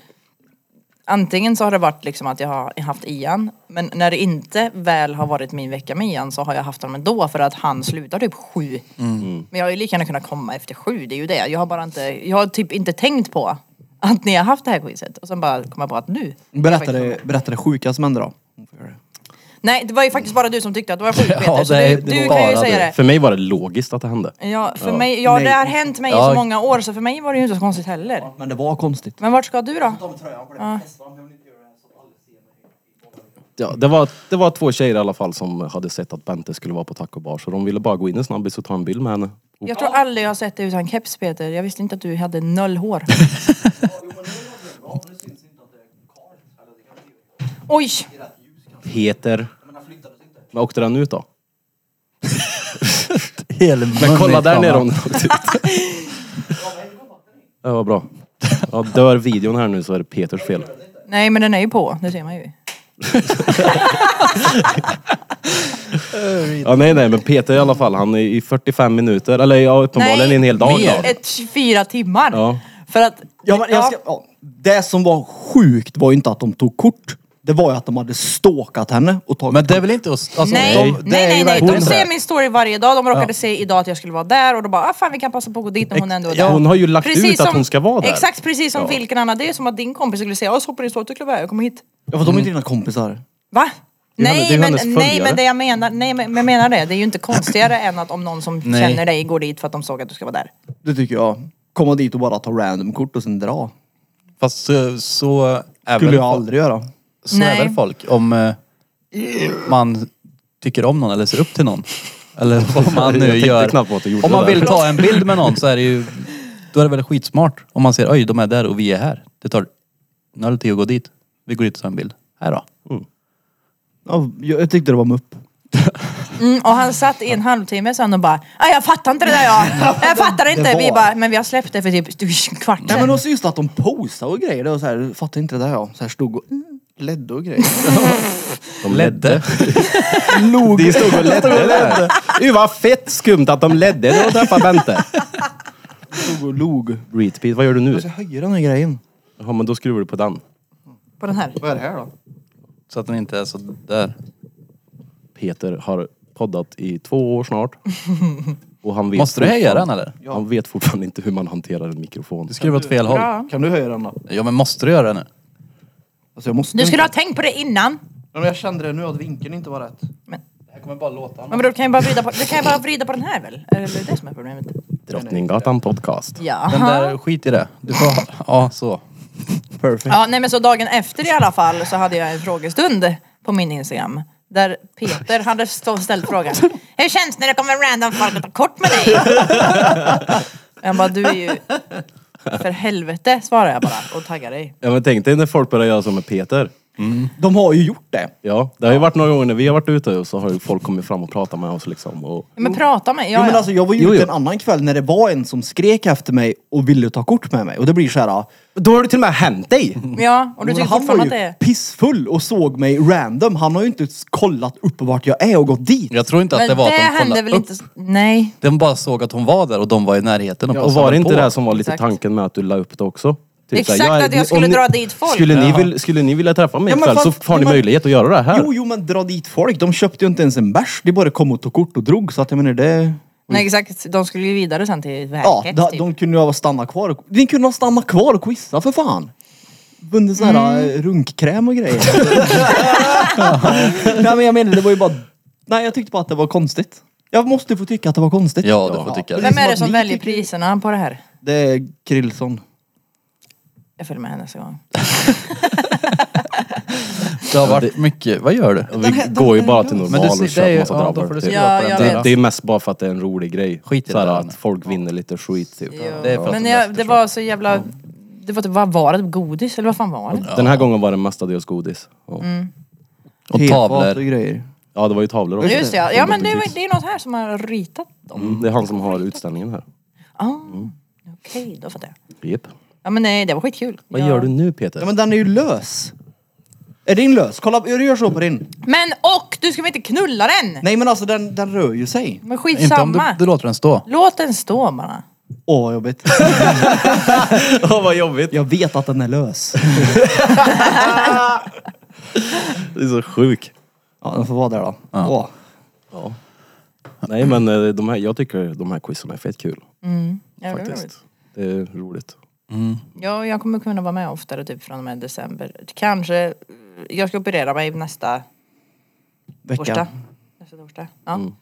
[SPEAKER 4] Antingen så har det varit liksom att jag har haft Ian, men när det inte väl har varit min vecka med Ian så har jag haft honom ändå för att han slutar typ sju. Men jag har ju lika gärna kunnat komma efter sju, det är ju det. Jag har bara inte, jag har typ inte tänkt på att ni har haft det här quizet och sen bara kom jag på att nu.
[SPEAKER 2] Berätta det, berätta det sjuka som hände då.
[SPEAKER 4] Nej, det var ju faktiskt bara du som tyckte att det var sjukt Peter,
[SPEAKER 1] Ja,
[SPEAKER 4] så
[SPEAKER 1] det
[SPEAKER 4] du,
[SPEAKER 1] är
[SPEAKER 4] du kan
[SPEAKER 1] bara
[SPEAKER 4] ju säga
[SPEAKER 1] du.
[SPEAKER 4] det.
[SPEAKER 3] För mig var det logiskt att det hände.
[SPEAKER 4] Ja, för mig, ja det
[SPEAKER 2] Nej.
[SPEAKER 4] har hänt mig i
[SPEAKER 1] Ja.
[SPEAKER 4] så många år så för mig var det ju inte så konstigt heller.
[SPEAKER 2] Men det var konstigt.
[SPEAKER 4] Men vart ska du då?
[SPEAKER 3] Ja, det, var, det var två tjejer i alla fall som hade sett att Bente skulle vara på taco bar så de ville bara gå in en snabbis och ta en bild med henne. Och,
[SPEAKER 4] Jag tror aldrig jag har sett dig utan keps Peter. Jag visste inte att du hade noll hår. Oj!
[SPEAKER 3] Peter. Men åkte den ut då?
[SPEAKER 1] Hel
[SPEAKER 3] Men kolla där nere om den åkte ut. Det var bra. Ja, dör videon här nu så är det Peters fel.
[SPEAKER 4] Nej men den är ju på, det ser man ju.
[SPEAKER 3] Ja, nej, nej, men Peter i alla fall, han är i 45 minuter, eller ja, uppenbarligen i en hel dag.
[SPEAKER 4] mer.
[SPEAKER 3] Då.
[SPEAKER 4] Ett, fyra timmar.
[SPEAKER 3] Ja.
[SPEAKER 4] För att...
[SPEAKER 2] Ja, men jag ska, ja, det som var sjukt var ju inte att de tog kort. Det var ju att de hade stalkat henne och tagit
[SPEAKER 1] Men det är väl inte oss? Alltså,
[SPEAKER 4] Nej,
[SPEAKER 1] de-
[SPEAKER 4] nej,
[SPEAKER 1] det är
[SPEAKER 4] nej,
[SPEAKER 1] ju
[SPEAKER 4] nej.
[SPEAKER 1] verkligen
[SPEAKER 4] De ser
[SPEAKER 1] det.
[SPEAKER 4] min story varje dag. De råkade se idag att jag skulle vara där och då bara, ah, fan vi kan passa på att gå dit när hon ändå är där.
[SPEAKER 3] hon har ju lagt ut att hon ska vara där.
[SPEAKER 4] Exakt, precis som
[SPEAKER 3] Ja.
[SPEAKER 4] vilken annan. Det är som att din kompis skulle säga, jag hoppar i stort och jag kommer hit.
[SPEAKER 2] Ja, för de är inte dina kompisar.
[SPEAKER 4] Va?
[SPEAKER 3] är ju henne- det är
[SPEAKER 4] Nej
[SPEAKER 3] ju
[SPEAKER 4] men,
[SPEAKER 3] hennes
[SPEAKER 4] nej
[SPEAKER 3] följare.
[SPEAKER 4] men det jag menar, nej men men jag menar det, det är ju inte konstigare än att om någon som
[SPEAKER 1] Nej.
[SPEAKER 4] känner dig går dit för att de såg att du ska vara där.
[SPEAKER 2] Det tycker jag. Komma dit och bara ta random kort och sen dra.
[SPEAKER 1] Fast så, så är
[SPEAKER 2] Skulle
[SPEAKER 1] väl,
[SPEAKER 2] jag aldrig göra.
[SPEAKER 1] så är
[SPEAKER 4] Nej.
[SPEAKER 1] väl folk om eh, man tycker om någon eller ser upp till någon. Eller vad man
[SPEAKER 3] Jag
[SPEAKER 1] nu
[SPEAKER 3] tänkte
[SPEAKER 1] gör.
[SPEAKER 3] knappt på att du gjorde
[SPEAKER 1] Om man
[SPEAKER 3] det
[SPEAKER 1] vill
[SPEAKER 3] där.
[SPEAKER 1] ta en bild med någon så är det ju, då är det väl skitsmart. Om man ser, oj de är där och vi är här. Det tar noll tid att gå dit. Vi går dit och tar en bild. Här då.
[SPEAKER 2] Ja, jag, jag tyckte det var mupp.
[SPEAKER 4] Mm, och han satt i en halvtimme sen och bara, "Ah, jag fattar inte det där jag. Jag fattar inte.
[SPEAKER 2] var-
[SPEAKER 4] Vi bara, men vi har släppt det för typ en kvart
[SPEAKER 2] Nej men
[SPEAKER 4] sedan.
[SPEAKER 2] också just att de posade och grejer. Det var så här, fattar inte det där jag. Så här stod och mm, ledde och grejer.
[SPEAKER 3] De
[SPEAKER 1] Ledde.
[SPEAKER 2] Log.
[SPEAKER 3] De stod och ledde. där. Uy, vad fett skumt att de ledde när de träffade Bente.
[SPEAKER 2] Stod och log.
[SPEAKER 3] Repeat, vad gör du nu?
[SPEAKER 2] Jag höjer den här grejen.
[SPEAKER 3] Ja, men då skruvar du på den.
[SPEAKER 4] På den här.
[SPEAKER 2] Vad är det här då?
[SPEAKER 1] Så att den inte är så där.
[SPEAKER 3] Peter har poddat i två år snart. Och han vet
[SPEAKER 1] Måste du höja
[SPEAKER 3] fortfarande-
[SPEAKER 1] den, eller?
[SPEAKER 3] Ja. Han vet fortfarande inte hur man hanterar en mikrofon.
[SPEAKER 1] Du skriver åt fel håll.
[SPEAKER 4] Bra.
[SPEAKER 2] Kan du höja den då?
[SPEAKER 1] Ja men måste du göra det nu?
[SPEAKER 2] Alltså jag måste.
[SPEAKER 4] Du skulle ha tänkt på det innan.
[SPEAKER 2] Ja, men jag kände det nu att vinkeln inte var rätt.
[SPEAKER 4] Men,
[SPEAKER 1] Det kommer bara låta.
[SPEAKER 4] men då kan jag bara vrida på, då kan jag bara vrida på den här väl? Är det det som är problemet?
[SPEAKER 3] Drottninggatan podcast.
[SPEAKER 4] Ja.
[SPEAKER 1] Den där, skit i det. Du får, ha- ja så.
[SPEAKER 2] Perfect.
[SPEAKER 4] Ja, nej men så dagen efter i alla fall så hade jag en frågestund på min Instagram. Där Peter hade stå, ställt frågan. Hur känns det när det kommer random folk och tar kort med dig? Jag bara, du är ju... För helvete svarar jag bara och taggar dig.
[SPEAKER 3] Ja, men tänk dig när folk börjar göra så med Peter.
[SPEAKER 2] De har ju gjort det.
[SPEAKER 3] Ja, det har ju varit några gånger när vi har varit ute och så har ju folk kommit fram och pratat med oss liksom. Och
[SPEAKER 4] Men prata med
[SPEAKER 2] Jo,
[SPEAKER 4] ja,
[SPEAKER 2] men
[SPEAKER 4] ja.
[SPEAKER 2] alltså, jag var ju
[SPEAKER 3] Jo,
[SPEAKER 2] ute
[SPEAKER 3] jo.
[SPEAKER 2] en annan kväll när det var en som skrek efter mig och ville ta kort med mig. Och det blir så här. ja,
[SPEAKER 3] då har det till och med hänt dig!
[SPEAKER 4] ja, och du
[SPEAKER 2] men
[SPEAKER 4] tycker
[SPEAKER 2] han var
[SPEAKER 4] fortfarande
[SPEAKER 2] ju
[SPEAKER 4] att det är...
[SPEAKER 2] pissfull och såg mig random. Han har ju inte ens kollat upp vart jag är och gått dit.
[SPEAKER 1] Jag tror inte att
[SPEAKER 4] Men
[SPEAKER 1] det var att de
[SPEAKER 4] hände
[SPEAKER 1] kollade
[SPEAKER 4] väl
[SPEAKER 1] upp.
[SPEAKER 4] inte... Nej.
[SPEAKER 1] De bara såg att hon var där och de var i närheten och
[SPEAKER 3] Ja, och
[SPEAKER 1] passade
[SPEAKER 3] var det inte
[SPEAKER 1] på.
[SPEAKER 3] det som var lite
[SPEAKER 4] Exakt.
[SPEAKER 3] tanken med att du la upp det också? Typ såhär,
[SPEAKER 4] Exakt, att jag
[SPEAKER 3] om
[SPEAKER 4] skulle
[SPEAKER 3] ni-
[SPEAKER 4] dra dit folk.
[SPEAKER 3] Skulle ni,
[SPEAKER 1] Jaha.
[SPEAKER 3] vill, skulle ni vilja träffa mig
[SPEAKER 2] Ja, men
[SPEAKER 3] ikväll så
[SPEAKER 2] fast-
[SPEAKER 3] har ni
[SPEAKER 2] men-
[SPEAKER 3] möjlighet att göra det här.
[SPEAKER 2] Jo, jo, men dra dit folk. De köpte ju inte ens en bärs. De bara kom och tog kort och drog. Så att jag menar det...
[SPEAKER 4] Nej exakt, de skulle ju vidare sen till
[SPEAKER 2] Ja,
[SPEAKER 4] verket.
[SPEAKER 2] de,
[SPEAKER 4] typ.
[SPEAKER 2] de kunde ju ha stannat kvar. och- De kunde ha stannat kvar och quizat för fan. Vunnit sån här
[SPEAKER 4] Mm.
[SPEAKER 2] eh, runkkräm och grejer. Nej men jag menar det var ju bara... Nej jag tyckte bara att det var konstigt. Jag måste få tycka att det var konstigt. Liksom
[SPEAKER 1] Ja, du får tycka det.
[SPEAKER 4] Vem är det
[SPEAKER 2] att
[SPEAKER 4] som
[SPEAKER 2] ni
[SPEAKER 4] väljer
[SPEAKER 2] tycker-
[SPEAKER 4] priserna på det här?
[SPEAKER 2] Det är Krillson.
[SPEAKER 4] Jag följer med henne nästa gång.
[SPEAKER 1] Det har varit mycket, vad gör du?
[SPEAKER 3] Och Vi går ju bara till normal
[SPEAKER 1] Men du ser-
[SPEAKER 3] och
[SPEAKER 1] det är
[SPEAKER 3] köper
[SPEAKER 1] ju-
[SPEAKER 3] massa
[SPEAKER 1] ja, då
[SPEAKER 3] drabbar.
[SPEAKER 1] får du
[SPEAKER 3] typ.
[SPEAKER 1] se
[SPEAKER 4] Ja,
[SPEAKER 1] på den
[SPEAKER 4] jag
[SPEAKER 1] där.
[SPEAKER 3] Det,
[SPEAKER 4] vet.
[SPEAKER 3] det är mest bara för att det är en rolig grej.
[SPEAKER 1] Skit i
[SPEAKER 3] Såhär
[SPEAKER 1] det där
[SPEAKER 3] att
[SPEAKER 1] nu.
[SPEAKER 3] folk vinner lite skit typ.
[SPEAKER 1] Det är för att
[SPEAKER 4] Men
[SPEAKER 1] de
[SPEAKER 4] jag,
[SPEAKER 1] läste
[SPEAKER 4] det
[SPEAKER 1] så.
[SPEAKER 4] var så jävla... Det var typ, vad var det? Godis? Eller vad fan var det?
[SPEAKER 3] Den här gången var det mestadels godis. Ja,
[SPEAKER 4] Mm.
[SPEAKER 1] Och
[SPEAKER 2] Tefat
[SPEAKER 1] tavlor.
[SPEAKER 2] och grejer.
[SPEAKER 3] ja det var ju tavlor också.
[SPEAKER 4] Just det, ja. ja men det,
[SPEAKER 3] Godis.
[SPEAKER 4] var- det är något här som har ritat dem.
[SPEAKER 3] Mm, det är han som har utställningen här.
[SPEAKER 4] Ah,
[SPEAKER 1] Mm.
[SPEAKER 4] Okej, då fattar jag.
[SPEAKER 3] Jep.
[SPEAKER 4] Ja men nej, det var skitkul.
[SPEAKER 3] Vad
[SPEAKER 4] Ja.
[SPEAKER 3] gör du nu Peter?
[SPEAKER 2] Ja men den är ju lös. Är din lös? Kolla, du gör så på din.
[SPEAKER 4] Men och! Du ska väl inte knulla den?
[SPEAKER 2] Nej men alltså den, den rör ju sig.
[SPEAKER 1] Inte om
[SPEAKER 4] Men
[SPEAKER 1] du,
[SPEAKER 4] skitsamma.
[SPEAKER 1] du låter den stå.
[SPEAKER 4] Låt den stå bara.
[SPEAKER 2] Åh vad jobbigt.
[SPEAKER 3] Åh, vad jobbigt.
[SPEAKER 2] Jag vet att den är lös.
[SPEAKER 3] Det är så sjuk.
[SPEAKER 2] Ja den får vara där då. Åh.
[SPEAKER 3] Ja. Nej men eh, de här, jag tycker de här quizen är fett kul.
[SPEAKER 4] Ja, det är roligt.
[SPEAKER 3] Faktiskt. Det är roligt.
[SPEAKER 4] Ja, jag kommer kunna vara med oftare typ från och med december. Kanske, jag ska operera mig nästa torsdag.
[SPEAKER 2] Vecka.
[SPEAKER 4] Nästa torsdag. Ja.
[SPEAKER 1] Mm.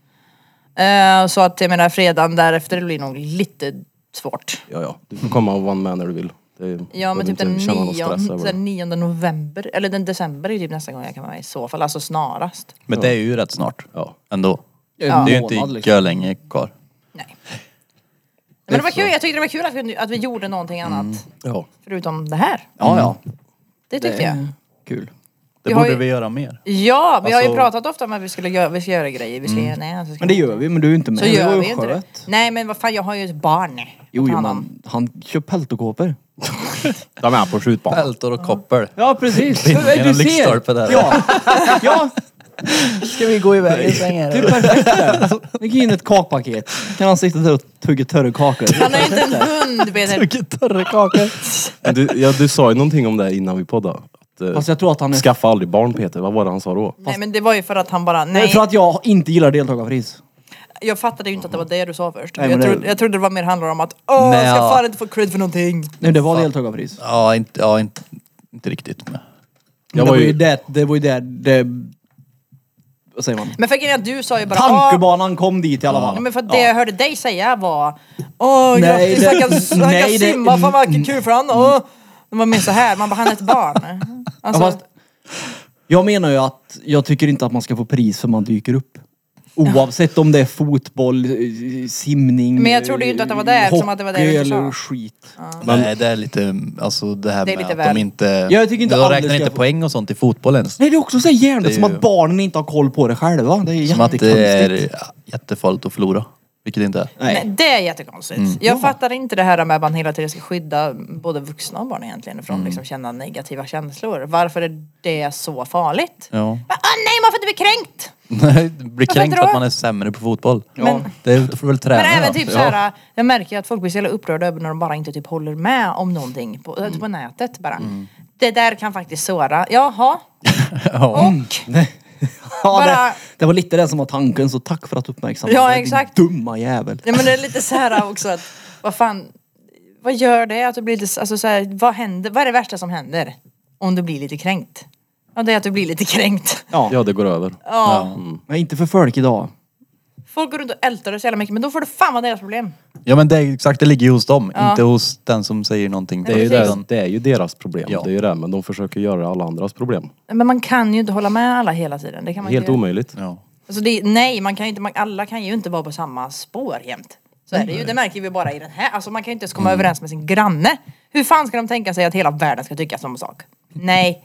[SPEAKER 4] Eh, så att jag menar fredagen därefter blir nog lite svårt.
[SPEAKER 3] Ja, ja. Du får komma och vara med när du vill. Det är-
[SPEAKER 4] Ja men
[SPEAKER 3] behöver
[SPEAKER 4] typ den,
[SPEAKER 3] inte känna någon
[SPEAKER 4] nion,
[SPEAKER 3] stress över
[SPEAKER 4] den
[SPEAKER 3] det.
[SPEAKER 4] 9 november, eller den december är typ nästa gång jag kan vara med i så fall, alltså snarast.
[SPEAKER 1] Men det är ju rätt snart.
[SPEAKER 3] Ja.
[SPEAKER 1] Ändå.
[SPEAKER 2] Ja.
[SPEAKER 1] Det är ju inte
[SPEAKER 2] Månad, liksom.
[SPEAKER 1] liksom. länge kvar.
[SPEAKER 4] Nej. Men det var kul, jag tyckte det var kul att vi, att vi gjorde någonting annat.
[SPEAKER 3] Ja.
[SPEAKER 4] Förutom det här.
[SPEAKER 2] Mm,
[SPEAKER 4] Mm.
[SPEAKER 2] Ja ja.
[SPEAKER 4] Det tyckte jag.
[SPEAKER 2] Kul.
[SPEAKER 1] Det
[SPEAKER 4] Vi har
[SPEAKER 1] borde
[SPEAKER 4] ju-
[SPEAKER 1] vi göra mer.
[SPEAKER 4] Ja, vi har ju
[SPEAKER 1] Alltså-
[SPEAKER 4] pratat ofta om att vi skulle göra, vi ska göra grejer, vi ska göra det. här, så
[SPEAKER 2] Mm.
[SPEAKER 4] ska
[SPEAKER 2] Men det
[SPEAKER 4] vi-
[SPEAKER 2] gör vi, men du är ju inte med.
[SPEAKER 4] Så
[SPEAKER 2] det var
[SPEAKER 4] gör
[SPEAKER 2] ju
[SPEAKER 4] vi inte det.
[SPEAKER 2] skönt.
[SPEAKER 4] Nej men vad fan, jag har ju ett barn.
[SPEAKER 2] Jo,
[SPEAKER 4] att ta
[SPEAKER 2] jo
[SPEAKER 4] hand om.
[SPEAKER 2] men han kör peltokåpor.
[SPEAKER 3] De är på skjutbanan.
[SPEAKER 1] Pältor och koppel.
[SPEAKER 2] Ja, precis.
[SPEAKER 1] Genom lyktstolpe där.
[SPEAKER 2] Ja. ja,
[SPEAKER 1] Ska vi gå iväg i sängen?
[SPEAKER 2] det är perfekt där. Lägg in ett kakpaket. Kan han sitta där och tugga törre kakor.
[SPEAKER 4] Han är ju inte en hund Peter.
[SPEAKER 1] Vilket torre kakor.
[SPEAKER 3] Men Du, ja, du sa ju någonting om det här innan vi poddade. Att, eh,
[SPEAKER 2] Fast jag tror att han är...
[SPEAKER 3] Skaffa aldrig barn Peter, vad var det han sa då?
[SPEAKER 4] Nej men det var ju för att han bara,
[SPEAKER 2] Nej.
[SPEAKER 4] nej.
[SPEAKER 2] För att jag inte gillar deltagarpris.
[SPEAKER 4] Jag fattade ju inte att det var det du sa först.
[SPEAKER 2] Mhm. Nej, men
[SPEAKER 4] jag,
[SPEAKER 2] det-
[SPEAKER 4] trodde, jag trodde det var mer handlar om att åh,
[SPEAKER 1] Nej,
[SPEAKER 4] ska
[SPEAKER 1] ja.
[SPEAKER 4] fan inte få cred för någonting.
[SPEAKER 2] Nej, det var deltagarpris.
[SPEAKER 1] Ja, inte, ja inte, inte riktigt. Men.
[SPEAKER 3] Jag
[SPEAKER 2] det, var
[SPEAKER 3] var
[SPEAKER 2] ju...
[SPEAKER 3] ju-
[SPEAKER 2] det, det var ju där det... Vad säger man?
[SPEAKER 4] Men för grejen är att du sa ju bara åh,
[SPEAKER 2] Tankebanan kom dit i alla
[SPEAKER 4] Ja,
[SPEAKER 2] fall.
[SPEAKER 4] men för att det jag hörde dig säga var Åh
[SPEAKER 2] Nej,
[SPEAKER 4] grattis,
[SPEAKER 2] det-
[SPEAKER 4] han kan, han kan
[SPEAKER 2] nej, det- mm.
[SPEAKER 4] simma, fan vad kul för han åh. Det var mer så här, man bara han är ett barn. Alltså,
[SPEAKER 2] Ja, fast- Jag menar ju att jag tycker inte att man ska få pris för man dyker upp. Oavsett om det är fotboll, eh, simning,
[SPEAKER 4] Men jag trodde ju inte att det var det,
[SPEAKER 2] eh,
[SPEAKER 4] eftersom att det var det du
[SPEAKER 2] hockey
[SPEAKER 4] inte sa.
[SPEAKER 2] eller skit.
[SPEAKER 1] Nej, det är lite, alltså det här
[SPEAKER 4] Det är
[SPEAKER 1] med
[SPEAKER 4] lite
[SPEAKER 1] att
[SPEAKER 4] väl.
[SPEAKER 1] de inte...
[SPEAKER 2] Jag tycker inte
[SPEAKER 1] de
[SPEAKER 2] Anders
[SPEAKER 1] räknar
[SPEAKER 2] ska
[SPEAKER 1] inte
[SPEAKER 2] få-
[SPEAKER 1] poäng och sånt i fotboll ens.
[SPEAKER 2] Nej det är också så jävligt
[SPEAKER 1] Det är
[SPEAKER 2] som
[SPEAKER 1] ju-
[SPEAKER 2] att barnen inte har koll på det själva. Det är
[SPEAKER 1] Som att
[SPEAKER 2] jättekonstigt.
[SPEAKER 1] det är jättefarligt att förlora. Vilket det inte är.
[SPEAKER 2] Nej. Mm.
[SPEAKER 4] Nej, det är jättekonstigt. Jag fattar inte det här med att man hela tiden ska skydda både vuxna och barn egentligen från
[SPEAKER 2] Mm.
[SPEAKER 4] att liksom känna negativa känslor. Varför är det så farligt?
[SPEAKER 1] Ja.
[SPEAKER 4] Men, åh nej, man får inte bli kränkt!
[SPEAKER 1] Nej, det blir kränkt
[SPEAKER 4] då?
[SPEAKER 1] att man är sämre på fotboll.
[SPEAKER 4] Men-
[SPEAKER 1] Det är, då får du väl träna
[SPEAKER 4] Men även
[SPEAKER 1] då.
[SPEAKER 4] typ så här, jag märker ju att folk blir så jävla upprörda över när de bara inte typ håller med om någonting på, på nätet bara. Det där kan faktiskt såra. Jaha,
[SPEAKER 1] Ja.
[SPEAKER 4] och?
[SPEAKER 2] Ja,
[SPEAKER 4] Bara-
[SPEAKER 2] det, det var lite det som var tanken, så tack för att du uppmärksammade
[SPEAKER 4] Ja,
[SPEAKER 2] det,
[SPEAKER 4] exakt.
[SPEAKER 2] Din dumma jävel.
[SPEAKER 4] Ja men det är lite så här också att, vad fan, vad gör det att du blir lite, alltså så här, vad händer, vad är det värsta som händer? Om du blir lite kränkt? Ja det är att du blir lite kränkt.
[SPEAKER 2] Ja.
[SPEAKER 3] Ja det går över.
[SPEAKER 4] Ja.
[SPEAKER 2] Men inte för folk idag.
[SPEAKER 4] Folk går runt och ältar det så jävla mycket men då får det fan vara deras problem.
[SPEAKER 1] ja men det är exakt, det ligger ju hos dem. Inte hos den som säger någonting.
[SPEAKER 3] Det är ju,
[SPEAKER 4] precis.
[SPEAKER 3] det, det är ju deras problem,
[SPEAKER 1] Ja.
[SPEAKER 3] det är ju det. Men de försöker göra alla andras problem.
[SPEAKER 4] Men man kan ju inte hålla med alla hela tiden. Det kan man
[SPEAKER 3] Helt
[SPEAKER 4] inte göra.
[SPEAKER 3] omöjligt.
[SPEAKER 1] Ja.
[SPEAKER 4] Alltså det, nej, man kan ju inte, man, alla kan ju inte vara på samma spår jämt. Så är det ju,
[SPEAKER 1] Mm.
[SPEAKER 4] det märker vi bara i den här. Alltså man kan ju inte ens komma överens med sin granne. Hur fan ska de tänka sig att hela världen ska tycka samma sak? Nej,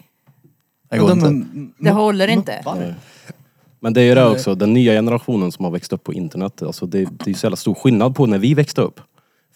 [SPEAKER 1] Det går
[SPEAKER 2] De-
[SPEAKER 1] inte.
[SPEAKER 4] det håller inte.
[SPEAKER 1] Mm.
[SPEAKER 3] Men det är ju det också, den nya generationen som har växt upp på internet. Alltså det, det är ju så jävla stor skillnad på när vi växte upp.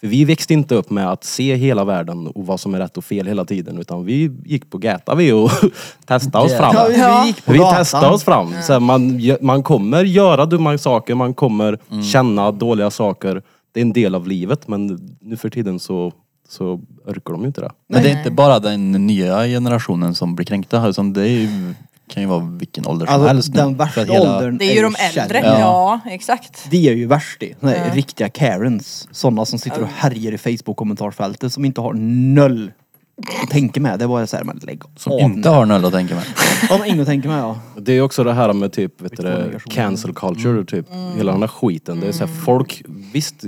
[SPEAKER 3] För vi växte inte upp med att se hela världen och vad som är rätt och fel hela tiden. Utan vi gick på gäta vi och testade oss
[SPEAKER 1] Ja.
[SPEAKER 3] fram.
[SPEAKER 2] Ja, vi,
[SPEAKER 4] Ja.
[SPEAKER 2] vi gick på
[SPEAKER 3] Vi
[SPEAKER 2] gatan.
[SPEAKER 3] testar oss fram. Så här, man, gö- man kommer göra dumma saker,
[SPEAKER 2] Mm.
[SPEAKER 3] man kommer känna dåliga saker. Det är en del av livet men nu för tiden så så orkar de ju inte det.
[SPEAKER 1] Men det är inte bara den nya generationen som blir kränkta. Utan det är ju, kan ju vara vilken ålder som
[SPEAKER 2] Alltså
[SPEAKER 1] helst. nu.
[SPEAKER 2] den
[SPEAKER 1] För
[SPEAKER 2] värsta
[SPEAKER 1] att hela-
[SPEAKER 2] åldern
[SPEAKER 4] Det är ju de
[SPEAKER 2] kärring.
[SPEAKER 4] äldre.
[SPEAKER 1] Ja.
[SPEAKER 4] Ja, exakt.
[SPEAKER 2] Det är ju värst det. Såna här Riktiga Karens. Sådana som sitter och härjer i Facebook-kommentarsfältet som inte har noll att tänka med. Det är bara såhär, men lägg
[SPEAKER 1] Som
[SPEAKER 2] av
[SPEAKER 1] inte
[SPEAKER 2] nu.
[SPEAKER 1] har noll att tänka med.
[SPEAKER 2] Ja, men ingen att tänka med ja.
[SPEAKER 3] Det är också det här med typ, vet du,
[SPEAKER 2] Vilken
[SPEAKER 3] det,
[SPEAKER 2] negation.
[SPEAKER 3] cancel culture, typ.
[SPEAKER 2] Mm.
[SPEAKER 3] Hela den här skiten. Det är så här, folk, visst,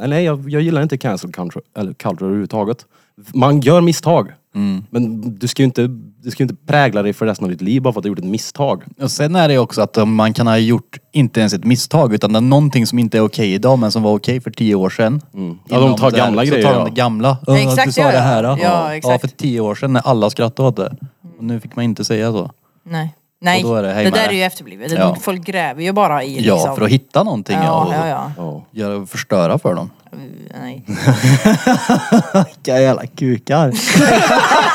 [SPEAKER 3] eller nej, jag, jag gillar inte cancel culture, eller culture överhuvudtaget. Man gör misstag.
[SPEAKER 2] Mm.
[SPEAKER 3] Men du ska ju inte, du ska ju inte prägla dig för resten av ditt liv bara för att du gjort ett misstag.
[SPEAKER 1] Och sen är det ju också att eh, man kan ha gjort, inte ens ett misstag, utan det är någonting som inte är okej idag men som var okej för tio år sedan.
[SPEAKER 3] Ja, de tar
[SPEAKER 1] Inom det här. liksom.
[SPEAKER 3] gamla
[SPEAKER 1] så
[SPEAKER 3] grejer,
[SPEAKER 1] tar de
[SPEAKER 3] ja.
[SPEAKER 1] det gamla.
[SPEAKER 4] Ja,
[SPEAKER 1] Ja,
[SPEAKER 4] exakt,
[SPEAKER 1] du sa
[SPEAKER 4] ja,
[SPEAKER 1] det
[SPEAKER 4] ja.
[SPEAKER 1] här.
[SPEAKER 4] Ja, exakt.
[SPEAKER 1] för tio år sedan när alla skrattade åt det. Och nu fick man inte säga så.
[SPEAKER 4] Nej. Nej.
[SPEAKER 1] Och då är det,
[SPEAKER 4] det,
[SPEAKER 1] hej med
[SPEAKER 4] där
[SPEAKER 1] det.
[SPEAKER 4] är ju efterblivet.
[SPEAKER 1] Ja.
[SPEAKER 4] Folk gräver ju bara i liksom.
[SPEAKER 1] Ja, för att hitta någonting ja, och
[SPEAKER 4] Ja, ja, ja.
[SPEAKER 3] Ja.
[SPEAKER 1] Göra, förstöra för dem.
[SPEAKER 4] Nej.
[SPEAKER 2] Vilka jävla kukar.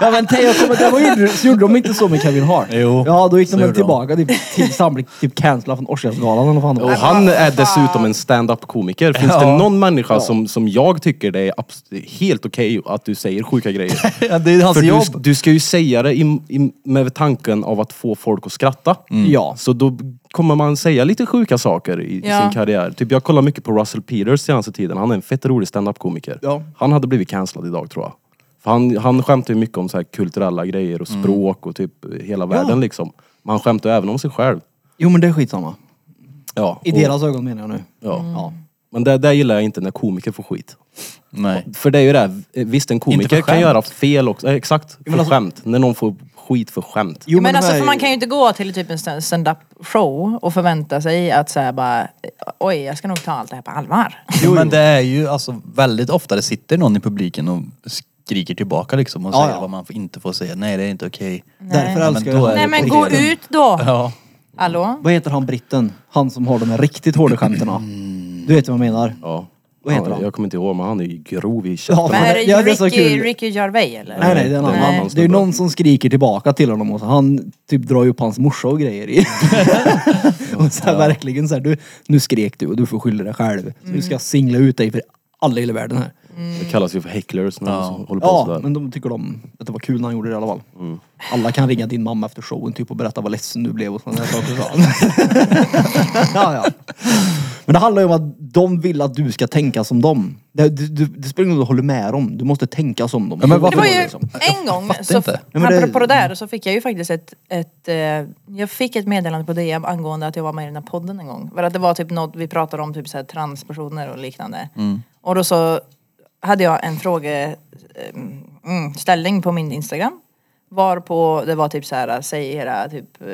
[SPEAKER 2] ja men Teo, kommer- det var ju, så gjorde de inte så med Kevin Hart.
[SPEAKER 1] Jo,
[SPEAKER 2] Ja, då gick
[SPEAKER 1] så
[SPEAKER 2] de väl
[SPEAKER 1] gjorde de.
[SPEAKER 2] tillbaka typ, tills han blev typ cancellad från Årsdagsgalan eller vad fan det
[SPEAKER 3] Och
[SPEAKER 2] var.
[SPEAKER 3] han är dessutom en stand-up komiker. Finns det någon människa som, som jag tycker det är abs- helt okej att du säger sjuka grejer?
[SPEAKER 1] Ja, det är hans
[SPEAKER 3] För du,
[SPEAKER 1] Alltså, jobb.
[SPEAKER 3] du ska ju säga det i, i, med tanken av att få folk att skratta.
[SPEAKER 2] Ja.
[SPEAKER 3] Så då kommer man säga lite sjuka saker i, i
[SPEAKER 4] Ja.
[SPEAKER 3] sin karriär. Typ jag kollar mycket på Russell Peters senaste tiden. Han är en fett rolig standup-komiker.
[SPEAKER 2] Ja.
[SPEAKER 3] Han hade blivit cancellad idag tror jag. För han, han skämtar ju mycket om så här kulturella grejer och språk och typ hela världen liksom. Men han skämtar även om sig själv.
[SPEAKER 2] Jo men det är skitsamma.
[SPEAKER 3] Ja.
[SPEAKER 2] I
[SPEAKER 3] och-
[SPEAKER 2] deras Mm. ögon menar jag nu.
[SPEAKER 3] Ja.
[SPEAKER 2] ja.
[SPEAKER 3] Men det, det gillar jag inte när komiker får skit.
[SPEAKER 1] Nej.
[SPEAKER 3] För det är ju det, här, eh, visst en
[SPEAKER 1] Inte
[SPEAKER 3] komiker
[SPEAKER 1] för
[SPEAKER 3] kan
[SPEAKER 1] skämt.
[SPEAKER 3] göra fel också. Eh, Exakt, för
[SPEAKER 2] alltså-
[SPEAKER 3] skämt. När någon får skit för skämt.
[SPEAKER 2] Jo,
[SPEAKER 4] men
[SPEAKER 2] de
[SPEAKER 4] alltså
[SPEAKER 2] här-
[SPEAKER 4] för man kan ju inte gå till typ en stand- stand-up show och förvänta sig att såhär bara oj jag ska nog ta allt det här på allvar.
[SPEAKER 1] Jo, men det är ju alltså väldigt ofta det sitter någon i publiken och skriker tillbaka liksom och
[SPEAKER 2] Ja,
[SPEAKER 1] säger
[SPEAKER 2] ja.
[SPEAKER 1] vad man får- inte får säga. Nej det är inte okej.
[SPEAKER 2] Därför
[SPEAKER 1] Nej,
[SPEAKER 2] älskar
[SPEAKER 1] men då
[SPEAKER 2] jag
[SPEAKER 1] är
[SPEAKER 4] Nej
[SPEAKER 1] det
[SPEAKER 2] honom.
[SPEAKER 4] men
[SPEAKER 1] på
[SPEAKER 4] gå
[SPEAKER 1] tiden.
[SPEAKER 4] ut då!
[SPEAKER 1] Ja.
[SPEAKER 4] Hallå?
[SPEAKER 2] Vad heter han britten? Han som har de här riktigt hårda skämten. ja.
[SPEAKER 1] Mm.
[SPEAKER 2] Du vet vad jag menar?
[SPEAKER 3] Ja.
[SPEAKER 2] Vad heter han?
[SPEAKER 3] Jag kommer inte ihåg men han är ju grov i käften.
[SPEAKER 2] Ja,
[SPEAKER 4] Men är det
[SPEAKER 2] Ja, det är så
[SPEAKER 4] Ricky,
[SPEAKER 2] kul.
[SPEAKER 4] Ricky Gervais eller?
[SPEAKER 2] Nej nej, det är en
[SPEAKER 3] Nej.
[SPEAKER 2] annan. Det är
[SPEAKER 3] snubbe.
[SPEAKER 2] någon som skriker tillbaka till honom och så han typ drar ju upp hans morsa och grejer i. och så här, verkligen så här, du, nu skrek du och du får skylla dig själv. Så du
[SPEAKER 3] Mm.
[SPEAKER 2] ska singla ut dig för alla i hela världen här.
[SPEAKER 3] Det kallas ju för hecklers när de håller på
[SPEAKER 2] Ja,
[SPEAKER 3] sådär. Mm.
[SPEAKER 2] men de tycker de att det var kul när han gjorde det i alla fall. Alla kan ringa din mamma efter showen typ och berätta vad ledsen du blev och sådana där saker. sa han. ja, ja. Men det handlar ju om att de vill att du ska tänka som dem. Det, du, du, det spelar ingen roll vad du håller med om. Du måste tänka som dem.
[SPEAKER 1] Ja, men
[SPEAKER 2] Så
[SPEAKER 1] varför-
[SPEAKER 4] Det var
[SPEAKER 2] går
[SPEAKER 4] ju
[SPEAKER 2] liksom.
[SPEAKER 4] en gång,
[SPEAKER 1] fattar
[SPEAKER 4] så,
[SPEAKER 1] inte.
[SPEAKER 2] Ja, men det-
[SPEAKER 4] apropå det där, så fick jag ju faktiskt ett, ett eh, jag fick ett meddelande på DM angående att jag var med i den här podden en gång. För att det var typ något, vi pratade om typ så här transpersoner och liknande.
[SPEAKER 2] Mm.
[SPEAKER 4] Och då så hade jag en frågeställning på min Instagram. Var på det var typ så här, säg era typ eh,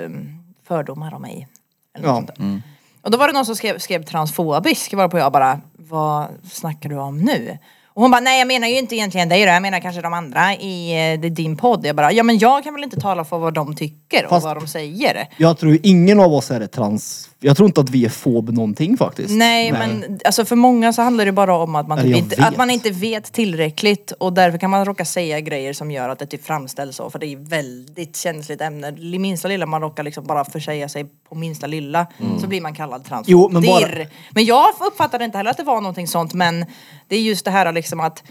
[SPEAKER 4] fördomar om mig. Eller något
[SPEAKER 2] Ja. mm.
[SPEAKER 4] sånt där. Och då var det någon som skrev, skrev transfobisk varpå jag bara, vad snackar du om nu? Och hon bara, nej jag menar ju inte egentligen dig då, jag menar kanske de andra i eh, det- din podd. Jag bara, ja men jag kan väl inte tala för vad de tycker
[SPEAKER 2] Fast-
[SPEAKER 4] och vad de säger.
[SPEAKER 2] Jag tror ingen av oss är ett trans... Jag tror inte att vi är fob någonting faktiskt.
[SPEAKER 4] Nej, men alltså för många så handlar det bara om att man,
[SPEAKER 2] Eller
[SPEAKER 4] typ
[SPEAKER 2] jag
[SPEAKER 4] inte, att
[SPEAKER 2] vet.
[SPEAKER 4] man inte vet tillräckligt och därför kan man råka säga grejer som gör att det typ framställs så för det är väldigt känsligt ämne. Det minsta lilla man råkar liksom bara försäga sig på minsta lilla så blir man kallad transfob.
[SPEAKER 2] Mm. Jo, men bara-
[SPEAKER 4] Dirr. men jag uppfattade inte heller att det var någonting sånt men det är just det här liksom att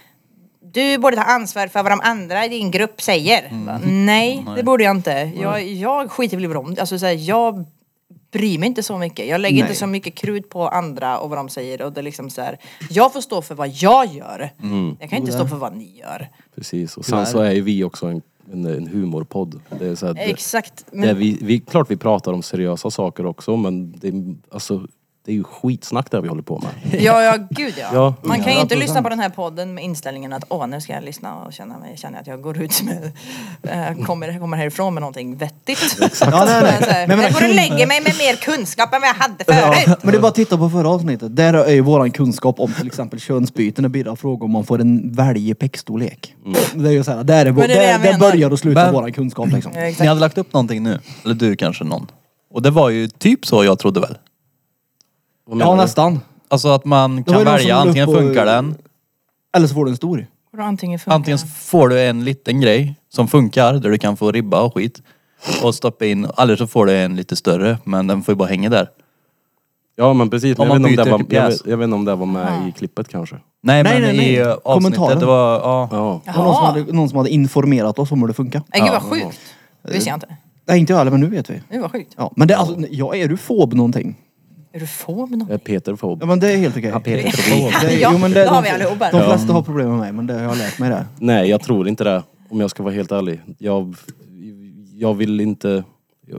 [SPEAKER 4] du borde ta ansvar för vad de andra i din grupp säger. Va? Nej, det borde jag inte. Jag, jag skiter väl i vad de... Alltså, så här, jag bryr mig inte så mycket. Jag lägger
[SPEAKER 2] Nej.
[SPEAKER 4] inte så mycket krut på andra och vad de säger. Och det är liksom så här, jag får stå för vad jag gör. Jag kan inte stå för vad ni gör.
[SPEAKER 3] Precis. Och sen så är ju vi också en, en, en humorpodd. Det är så här, det,
[SPEAKER 4] Exakt.
[SPEAKER 3] det är
[SPEAKER 4] Men,
[SPEAKER 3] vi, vi, klart vi pratar om seriösa saker också men det, är- alltså, det är ju skitsnack där vi håller på med.
[SPEAKER 4] ja, ja, gud ja.
[SPEAKER 3] Ja.
[SPEAKER 4] Man kan ju inte
[SPEAKER 2] 100%.
[SPEAKER 4] lyssna på den här podden med inställningen att åh, nu ska jag lyssna och känna mig, känna att jag går ut med, eh, kommer, kommer härifrån med någonting vettigt.
[SPEAKER 2] Ja, nej, nej.
[SPEAKER 4] Så här,
[SPEAKER 2] Men- men-
[SPEAKER 4] jag går och lägger mig med mer kunskap än vad jag hade förut.
[SPEAKER 2] Men det är bara att titta på förra avsnittet. Där är ju våran kunskap om till exempel könsbyten och Birra frågar om man får en välja peckstorlek. Det är ju såhär, där, är vår,
[SPEAKER 4] Mm. Men det är det
[SPEAKER 2] där, där
[SPEAKER 4] jag menar. Mm.
[SPEAKER 2] börjar och slutar
[SPEAKER 1] Men-
[SPEAKER 2] våran kunskap liksom.
[SPEAKER 4] Ja, exakt.
[SPEAKER 1] Ni hade lagt upp någonting nu. Eller du kanske någon. Och det var ju typ så jag trodde väl.
[SPEAKER 3] Vad menar
[SPEAKER 2] Ja
[SPEAKER 3] du?
[SPEAKER 2] nästan.
[SPEAKER 1] Alltså att man
[SPEAKER 2] var
[SPEAKER 1] kan
[SPEAKER 2] ju någon
[SPEAKER 1] välja,
[SPEAKER 2] som la upp
[SPEAKER 1] antingen
[SPEAKER 2] på-
[SPEAKER 1] funkar den,
[SPEAKER 2] Eller så får du en stor.
[SPEAKER 4] Och då Antingen, funkar
[SPEAKER 1] antingen
[SPEAKER 4] det.
[SPEAKER 1] får du en liten grej som funkar där du kan få ribba och skit och stoppa in, eller så får du en lite större men den får ju bara hänga där.
[SPEAKER 3] Ja men precis, men
[SPEAKER 1] Om
[SPEAKER 3] jag
[SPEAKER 1] man
[SPEAKER 3] vet, inte om
[SPEAKER 1] byter
[SPEAKER 3] det var,
[SPEAKER 1] till
[SPEAKER 3] jag,
[SPEAKER 1] pjäs.
[SPEAKER 3] vet, jag vet inte om det var med i klippet kanske.
[SPEAKER 1] Nej,
[SPEAKER 2] Nej,
[SPEAKER 1] men
[SPEAKER 2] nej, nej.
[SPEAKER 1] i eh,
[SPEAKER 2] Kommentaren.
[SPEAKER 1] avsnittet, det var... Ja.
[SPEAKER 3] Ja.
[SPEAKER 2] Det var någon som,
[SPEAKER 4] Jaha!
[SPEAKER 2] hade, någon som hade informerat oss om hur det funkar.
[SPEAKER 4] Nej gud vad sjukt. Det visste jag inte.
[SPEAKER 2] Nej inte jag heller, men nu vet vi.
[SPEAKER 4] Nu var sjukt.
[SPEAKER 2] Ja, men det, alltså, ja, är du fob någonting?
[SPEAKER 4] Är du fob
[SPEAKER 3] Det är
[SPEAKER 4] någon?
[SPEAKER 3] Peter Fob.
[SPEAKER 2] Ja men det är helt okej.
[SPEAKER 3] Peter Fob.
[SPEAKER 2] Det,
[SPEAKER 4] Ja,
[SPEAKER 2] jo, men det,
[SPEAKER 4] det har vi
[SPEAKER 2] de,
[SPEAKER 4] allihopa.
[SPEAKER 2] de flesta har problem med mig, men det har jag lärt mig det.
[SPEAKER 3] Nej jag tror inte det. Om jag ska vara helt ärlig. Jag, jag vill inte...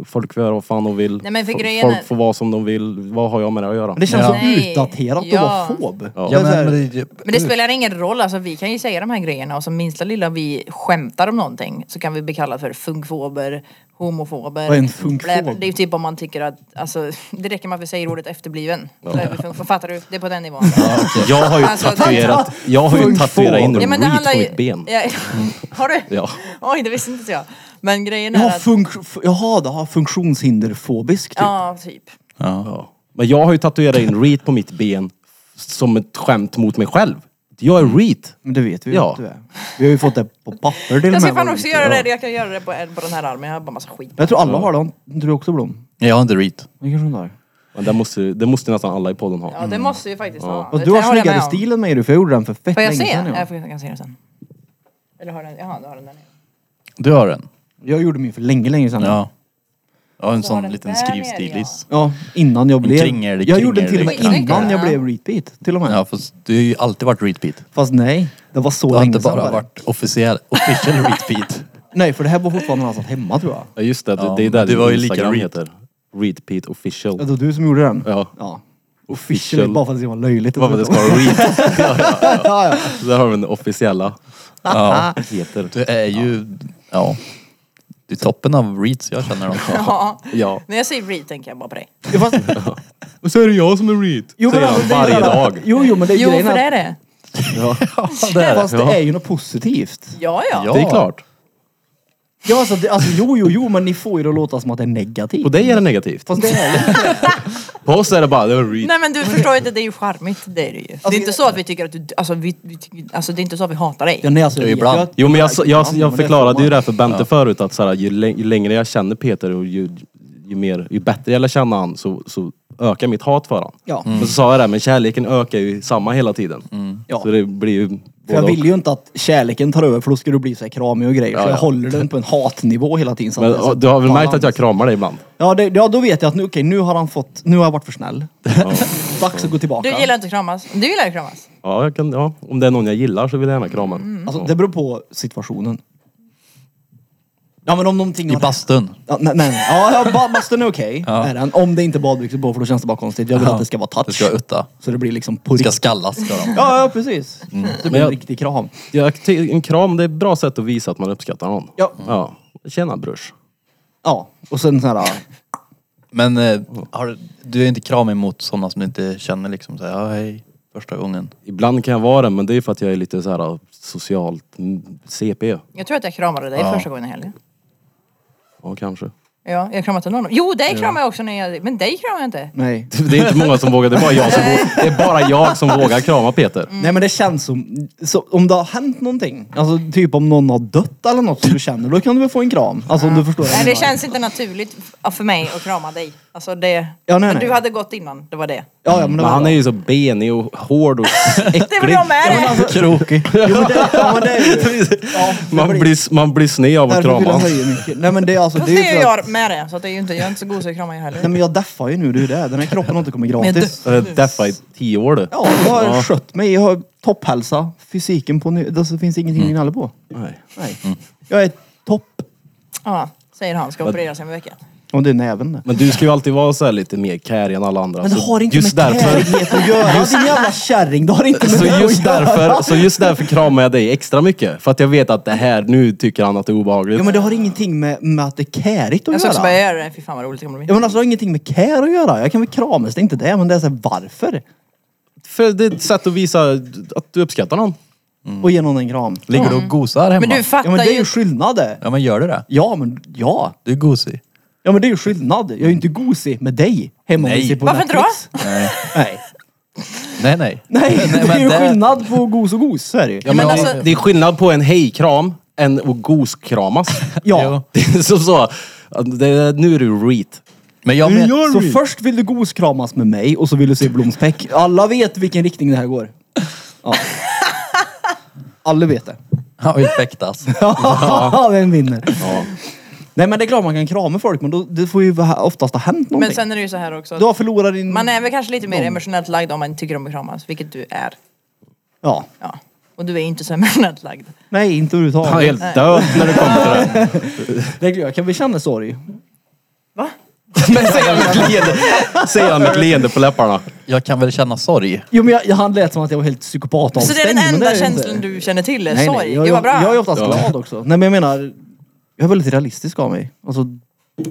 [SPEAKER 3] Folk får göra vad fan de vill.
[SPEAKER 4] Nej, men för
[SPEAKER 3] Fo-
[SPEAKER 4] grejen är-
[SPEAKER 3] Folk får vara som de vill. Vad har jag med det att göra?
[SPEAKER 2] Men det känns
[SPEAKER 1] Ja.
[SPEAKER 2] så
[SPEAKER 4] Nej.
[SPEAKER 2] utdaterat
[SPEAKER 4] Ja.
[SPEAKER 2] att vara fob.
[SPEAKER 3] Ja.
[SPEAKER 2] Det är
[SPEAKER 1] Ja,
[SPEAKER 2] så här-
[SPEAKER 1] men, men, det,
[SPEAKER 4] Men det
[SPEAKER 2] Mm.
[SPEAKER 4] spelar ingen roll, alltså, vi kan ju säga de här grejerna och som minsta lilla vi skämtar om någonting så kan vi bli kallade för funkfober, homofober.
[SPEAKER 2] Vad är en funkfob?
[SPEAKER 4] Blä- Det är ju typ om man tycker att, alltså, det räcker med att vi säger ordet efterbliven. Så är vi funkfob. Fattar du? Det är på den nivån.
[SPEAKER 3] Jag har ju
[SPEAKER 4] Alltså, det-
[SPEAKER 3] tatuerat, jag har ju
[SPEAKER 2] Funk
[SPEAKER 3] tatuerat in
[SPEAKER 2] Fob.
[SPEAKER 3] en reet på mitt ben.
[SPEAKER 4] Ja, har du?
[SPEAKER 3] Ja.
[SPEAKER 4] Oj, det visste inte jag. Men grejen är
[SPEAKER 2] Jaha,
[SPEAKER 4] att...
[SPEAKER 2] funk, f- jaha, det har funktionshinderfobisk typ.
[SPEAKER 4] Ja, typ.
[SPEAKER 3] Ja. Men jag har ju tatuerat in reet på mitt ben som ett skämt mot mig själv. Jag är reet.
[SPEAKER 2] Men det vet vi ju
[SPEAKER 3] Ja.
[SPEAKER 2] att du är. Vi har ju fått det på papper till och
[SPEAKER 4] Jag
[SPEAKER 2] med.
[SPEAKER 4] ska fan
[SPEAKER 2] vad
[SPEAKER 4] också
[SPEAKER 2] vi-
[SPEAKER 4] göra
[SPEAKER 2] ja.
[SPEAKER 4] det, jag kan göra det på, på den här armen, jag har bara massa skit.
[SPEAKER 2] Jag tror alla har det, har inte du också Blom?
[SPEAKER 1] Jag har inte reat.
[SPEAKER 2] Det kanske hon har.
[SPEAKER 3] Men det måste, det måste nästan alla i podden ha.
[SPEAKER 4] Ja, det måste vi faktiskt ha.
[SPEAKER 2] Och
[SPEAKER 4] Det
[SPEAKER 2] du har
[SPEAKER 4] kan jag hålla
[SPEAKER 2] snyggare
[SPEAKER 4] med om.
[SPEAKER 2] stil än mig du, för jag gjorde den för fett
[SPEAKER 4] Får jag
[SPEAKER 2] länge
[SPEAKER 4] se?
[SPEAKER 2] sedan.
[SPEAKER 4] Jag
[SPEAKER 2] Ja.
[SPEAKER 4] får- jag kan se den sen. Eller har den, jaha, du har den där nere.
[SPEAKER 1] Du har en?
[SPEAKER 2] Jag gjorde min för länge, länge sedan.
[SPEAKER 1] Ja. Jag har en sån
[SPEAKER 4] den
[SPEAKER 1] liten
[SPEAKER 4] där nere,
[SPEAKER 1] skrivstilis.
[SPEAKER 2] Ja, innan jag blev...
[SPEAKER 1] kringel,
[SPEAKER 2] jag gjorde den till och med
[SPEAKER 1] kringel.
[SPEAKER 2] innan jag
[SPEAKER 4] Ja.
[SPEAKER 2] blev repeat till och med.
[SPEAKER 1] Ja, fast du har ju alltid varit repeat.
[SPEAKER 2] Fast nej, det var så
[SPEAKER 1] Du har
[SPEAKER 2] länge
[SPEAKER 1] inte
[SPEAKER 2] sedan.
[SPEAKER 1] bara
[SPEAKER 2] det.
[SPEAKER 1] varit officiell, official repeat.
[SPEAKER 2] Nej, för det här var fortfarande när han satt hemma tror jag.
[SPEAKER 3] Ja just det, det-
[SPEAKER 1] Ja,
[SPEAKER 3] det är där
[SPEAKER 1] men du var ju lika
[SPEAKER 3] Instagram
[SPEAKER 1] reet.
[SPEAKER 3] heter. Reet Pete official.
[SPEAKER 2] Ja, det var du som gjorde den.
[SPEAKER 3] Ja.
[SPEAKER 2] ja.
[SPEAKER 3] Official.
[SPEAKER 2] Official. Bara för att det var löjligt.
[SPEAKER 3] Varför det ska vara reet.
[SPEAKER 2] ja,
[SPEAKER 3] Där har vi den officiella.
[SPEAKER 1] Ja.
[SPEAKER 3] Heter.
[SPEAKER 1] Du är ju... Ja. Du är toppen av reats jag känner dem.
[SPEAKER 4] Ja.
[SPEAKER 3] Ja.
[SPEAKER 4] När jag säger read tänker jag bara på dig.
[SPEAKER 2] ja. Fast,
[SPEAKER 3] Och så är det jag som är reet.
[SPEAKER 2] jo, men
[SPEAKER 3] Säger
[SPEAKER 2] alltså,
[SPEAKER 3] han
[SPEAKER 2] det är ju
[SPEAKER 3] varje
[SPEAKER 2] det här-
[SPEAKER 3] dag.
[SPEAKER 2] Jo, jo, men det är
[SPEAKER 4] Jo,
[SPEAKER 2] grejen
[SPEAKER 4] för
[SPEAKER 2] att-
[SPEAKER 4] det är det.
[SPEAKER 2] Fast det är ju något positivt.
[SPEAKER 4] Ja, ja.
[SPEAKER 1] Ja.
[SPEAKER 3] Det är klart.
[SPEAKER 2] Ja, alltså, det, alltså jo, jo, jo, men ni får ju det att låta som att det är
[SPEAKER 3] På
[SPEAKER 2] negativt.
[SPEAKER 3] dig är det negativt.
[SPEAKER 2] Fast det är ju...
[SPEAKER 3] På oss är det bara, det var reet.
[SPEAKER 4] Nej men du förstår ju inte, det är ju charmigt. Det är det
[SPEAKER 2] Alltså,
[SPEAKER 4] ju. Det är inte så att vi tycker att du, alltså, vi, vi, tycker- alltså det är inte så att vi hatar
[SPEAKER 2] Ja,
[SPEAKER 4] dig.
[SPEAKER 2] nej, alltså, jag vet
[SPEAKER 1] Ibland.
[SPEAKER 2] ju att-
[SPEAKER 3] Jo men jag, jag, jag,
[SPEAKER 2] men det är
[SPEAKER 3] förklarade
[SPEAKER 2] fan-
[SPEAKER 3] ju det här för Bente förut att så här, ju, läng- ju längre jag känner Peter och ju, ju, mer, ju bättre jag lär känna han så, så ökar mitt hat för han.
[SPEAKER 2] Ja.
[SPEAKER 3] Men så sa jag det, men kärleken ökar ju samma hela tiden.
[SPEAKER 2] Ja.
[SPEAKER 3] Så det blir ju
[SPEAKER 2] För jag
[SPEAKER 3] både
[SPEAKER 2] vill ju inte att kärleken tar över för då ska du bli så här kramig och grejer. så
[SPEAKER 3] Ja,
[SPEAKER 2] jag
[SPEAKER 3] ja.
[SPEAKER 2] håller den på en hatnivå hela tiden. så att
[SPEAKER 3] Men,
[SPEAKER 2] det är så
[SPEAKER 3] ja, du har väl
[SPEAKER 2] balans.
[SPEAKER 3] märkt att jag kramar dig ibland?
[SPEAKER 2] Ja, det, ja, då vet jag att nu, okej, nu har han fått... Nu har jag varit för snäll. Dags att gå tillbaka.
[SPEAKER 4] Du gillar inte att kramas. Du gillar att kramas.
[SPEAKER 3] Ja, jag kan, ja, om det är någon jag gillar så vill jag gärna krama den.
[SPEAKER 2] Alltså, det beror på situationen. Ja, men om någonting...
[SPEAKER 1] I
[SPEAKER 2] har-
[SPEAKER 1] bastun.
[SPEAKER 2] Ja, nej, nej. nej. Ja, ja, ba- bastun är okej. är den. Om det inte är badbyxor på för då känns det bara konstigt. Jag vill
[SPEAKER 1] Ja.
[SPEAKER 2] att det ska vara touch.
[SPEAKER 1] Det ska vara utta.
[SPEAKER 2] Så det blir liksom på
[SPEAKER 1] Ska
[SPEAKER 2] riktigt.
[SPEAKER 1] skallas ska de.
[SPEAKER 2] Ja, ja, precis. Det
[SPEAKER 3] Men
[SPEAKER 2] blir en
[SPEAKER 3] jag-
[SPEAKER 2] riktig kram.
[SPEAKER 3] Jag, ty- en kram, det är ett bra sätt att visa att man uppskattar någon.
[SPEAKER 2] Ja.
[SPEAKER 3] ja. Tjena brors.
[SPEAKER 2] Ja, och sen så här...
[SPEAKER 1] Men eh, har, du är inte kramig mot sådana som du inte känner liksom såhär, ja hej, första gången.
[SPEAKER 3] Ibland kan jag vara det, men det är för att jag är lite så här ah, socialt mm, CP.
[SPEAKER 4] Jag tror att jag kramade dig
[SPEAKER 1] Ja.
[SPEAKER 4] första gången i helgen.
[SPEAKER 3] Ja, kanske.
[SPEAKER 4] Ja, jag kramade inte någon. Jo, dig kramade jag också när jag... Men dig kramade jag inte.
[SPEAKER 2] Nej.
[SPEAKER 3] Det är inte många som vågar, det är bara jag som vågar, det är bara jag som vågar krama Peter.
[SPEAKER 2] Nej men det känns som, så, om det har hänt någonting, alltså typ om någon har dött eller något som du känner, då kan du väl få en kram? Alltså om du förstår. vad jag
[SPEAKER 4] Nej, det
[SPEAKER 2] menar.
[SPEAKER 4] känns inte naturligt f- för mig att krama dig. Alltså det...
[SPEAKER 2] Ja, nej,
[SPEAKER 4] Men
[SPEAKER 2] nej.
[SPEAKER 4] du hade gått innan, det var det.
[SPEAKER 2] Ja, ja men det
[SPEAKER 3] Men
[SPEAKER 2] var
[SPEAKER 3] han
[SPEAKER 2] bra.
[SPEAKER 3] är ju så benig och hård och
[SPEAKER 4] Det vill jag med dig!
[SPEAKER 2] alltså,
[SPEAKER 1] Krokig.
[SPEAKER 2] Jo, men det, ja, men det är ju... Ja, det
[SPEAKER 3] Man blir, man blir sned av att
[SPEAKER 2] Därför vill
[SPEAKER 3] krama
[SPEAKER 2] jag
[SPEAKER 3] honom.
[SPEAKER 2] höja mycket. Nej men det är alltså...
[SPEAKER 4] Fast
[SPEAKER 2] är ju
[SPEAKER 4] det
[SPEAKER 2] för
[SPEAKER 4] gör
[SPEAKER 2] att-
[SPEAKER 4] jag med det. Så att det är ju inte, jag är inte så god så jag kramar ju
[SPEAKER 2] Nej
[SPEAKER 4] heller.
[SPEAKER 2] men jag deffar ju nu, det är ju det. Den här kroppen har inte kommit
[SPEAKER 4] Men
[SPEAKER 2] gratis.
[SPEAKER 3] Jag har Deffat Eh, i tio år du.
[SPEAKER 2] Ja, jag har skött mig, jag har topphälsa, fysiken på nu, det finns ingenting att gnälla på.
[SPEAKER 3] Nej.
[SPEAKER 2] Nej. Jag är topp.
[SPEAKER 4] Ja, säger han. Ska opereras om en vecka.
[SPEAKER 2] Och det är näven det.
[SPEAKER 3] Men du ska ju alltid vara så här lite mer carry än alla andra.
[SPEAKER 2] Men det
[SPEAKER 3] Så
[SPEAKER 2] har inte
[SPEAKER 3] just
[SPEAKER 2] med
[SPEAKER 3] därför-
[SPEAKER 2] kärlighet att göra. Din jävla kärring, det har inte med
[SPEAKER 3] Så
[SPEAKER 2] det att
[SPEAKER 3] just,
[SPEAKER 2] göra.
[SPEAKER 3] därför, så just därför kramar jag dig extra mycket. För att jag vet att det här, nu tycker han att det är obehagligt.
[SPEAKER 2] Ja men det har ingenting med, med att det är kärigt att
[SPEAKER 4] Jag ska också
[SPEAKER 2] göra.
[SPEAKER 4] börja göra det. Fy fan vad roligt det kommer
[SPEAKER 2] Ja
[SPEAKER 4] bli.
[SPEAKER 2] men alltså det har ingenting med care att göra. Jag kan väl kramas, det är inte det. Men det är såhär varför?
[SPEAKER 3] För det är ett sätt att visa att du uppskattar någon. Mm.
[SPEAKER 2] Och ge någon en kram.
[SPEAKER 1] Ligger du och gosar hemma?
[SPEAKER 4] Mm. Men du
[SPEAKER 2] Ja
[SPEAKER 4] fattar
[SPEAKER 2] men det är
[SPEAKER 4] ju...
[SPEAKER 2] ju skillnad det.
[SPEAKER 1] Ja men gör du det?
[SPEAKER 2] Ja men ja.
[SPEAKER 1] Du är gosig.
[SPEAKER 2] Ja men det är ju skillnad. Jag är ju inte gosig med dig. Hemma om vi
[SPEAKER 1] Nej.
[SPEAKER 2] ser på
[SPEAKER 4] Varför inte då?
[SPEAKER 2] Netflix.
[SPEAKER 1] Nej.
[SPEAKER 2] Nej.
[SPEAKER 1] Nej nej.
[SPEAKER 2] Nej, det är
[SPEAKER 1] men
[SPEAKER 2] ju
[SPEAKER 1] det-
[SPEAKER 2] skillnad på gos och gos. Så är det ju.
[SPEAKER 3] Ja,
[SPEAKER 4] men
[SPEAKER 3] men
[SPEAKER 4] alltså-
[SPEAKER 3] det, det är skillnad på en hejkram än att goskramas.
[SPEAKER 2] Ja.
[SPEAKER 3] Det är som så. att Det, nu är du reet.
[SPEAKER 1] Men jag men,
[SPEAKER 2] så först vill du goskramas med mig och så vill du se Bloms peck. Alla vet vilken riktning det här går. Ja. Alla vet det.
[SPEAKER 1] Han vill fäktas.
[SPEAKER 2] Ja, vem vinner? Nej men det är klart man kan krama folk men då, det får ju ha- oftast ha hänt någonting.
[SPEAKER 4] Men sen är det ju så här också.
[SPEAKER 2] Du har förlorat din...
[SPEAKER 4] Man är väl kanske lite mer emotionellt lagd om man tycker om att kramas, vilket du är.
[SPEAKER 2] Ja.
[SPEAKER 4] Ja. Och du är inte så emotionellt lagd.
[SPEAKER 2] Nej, inte överhuvudtaget.
[SPEAKER 3] Han är helt död när det kommer till det.
[SPEAKER 2] Det är klart, jag kan vi känna sorg?
[SPEAKER 4] Va?
[SPEAKER 3] Men säger han med ett leende- säger han med ett leende på läpparna.
[SPEAKER 1] Jag kan väl känna sorg.
[SPEAKER 2] Jo men jag, jag, han lät som att jag var helt psykopat
[SPEAKER 4] Så det är den enda känslan du känner till är sorg?
[SPEAKER 2] jag,
[SPEAKER 4] det var bra.
[SPEAKER 2] jag, jag är oftast
[SPEAKER 3] Ja.
[SPEAKER 2] glad också. Nej men jag menar, jag är väldigt realistisk av mig. Alltså,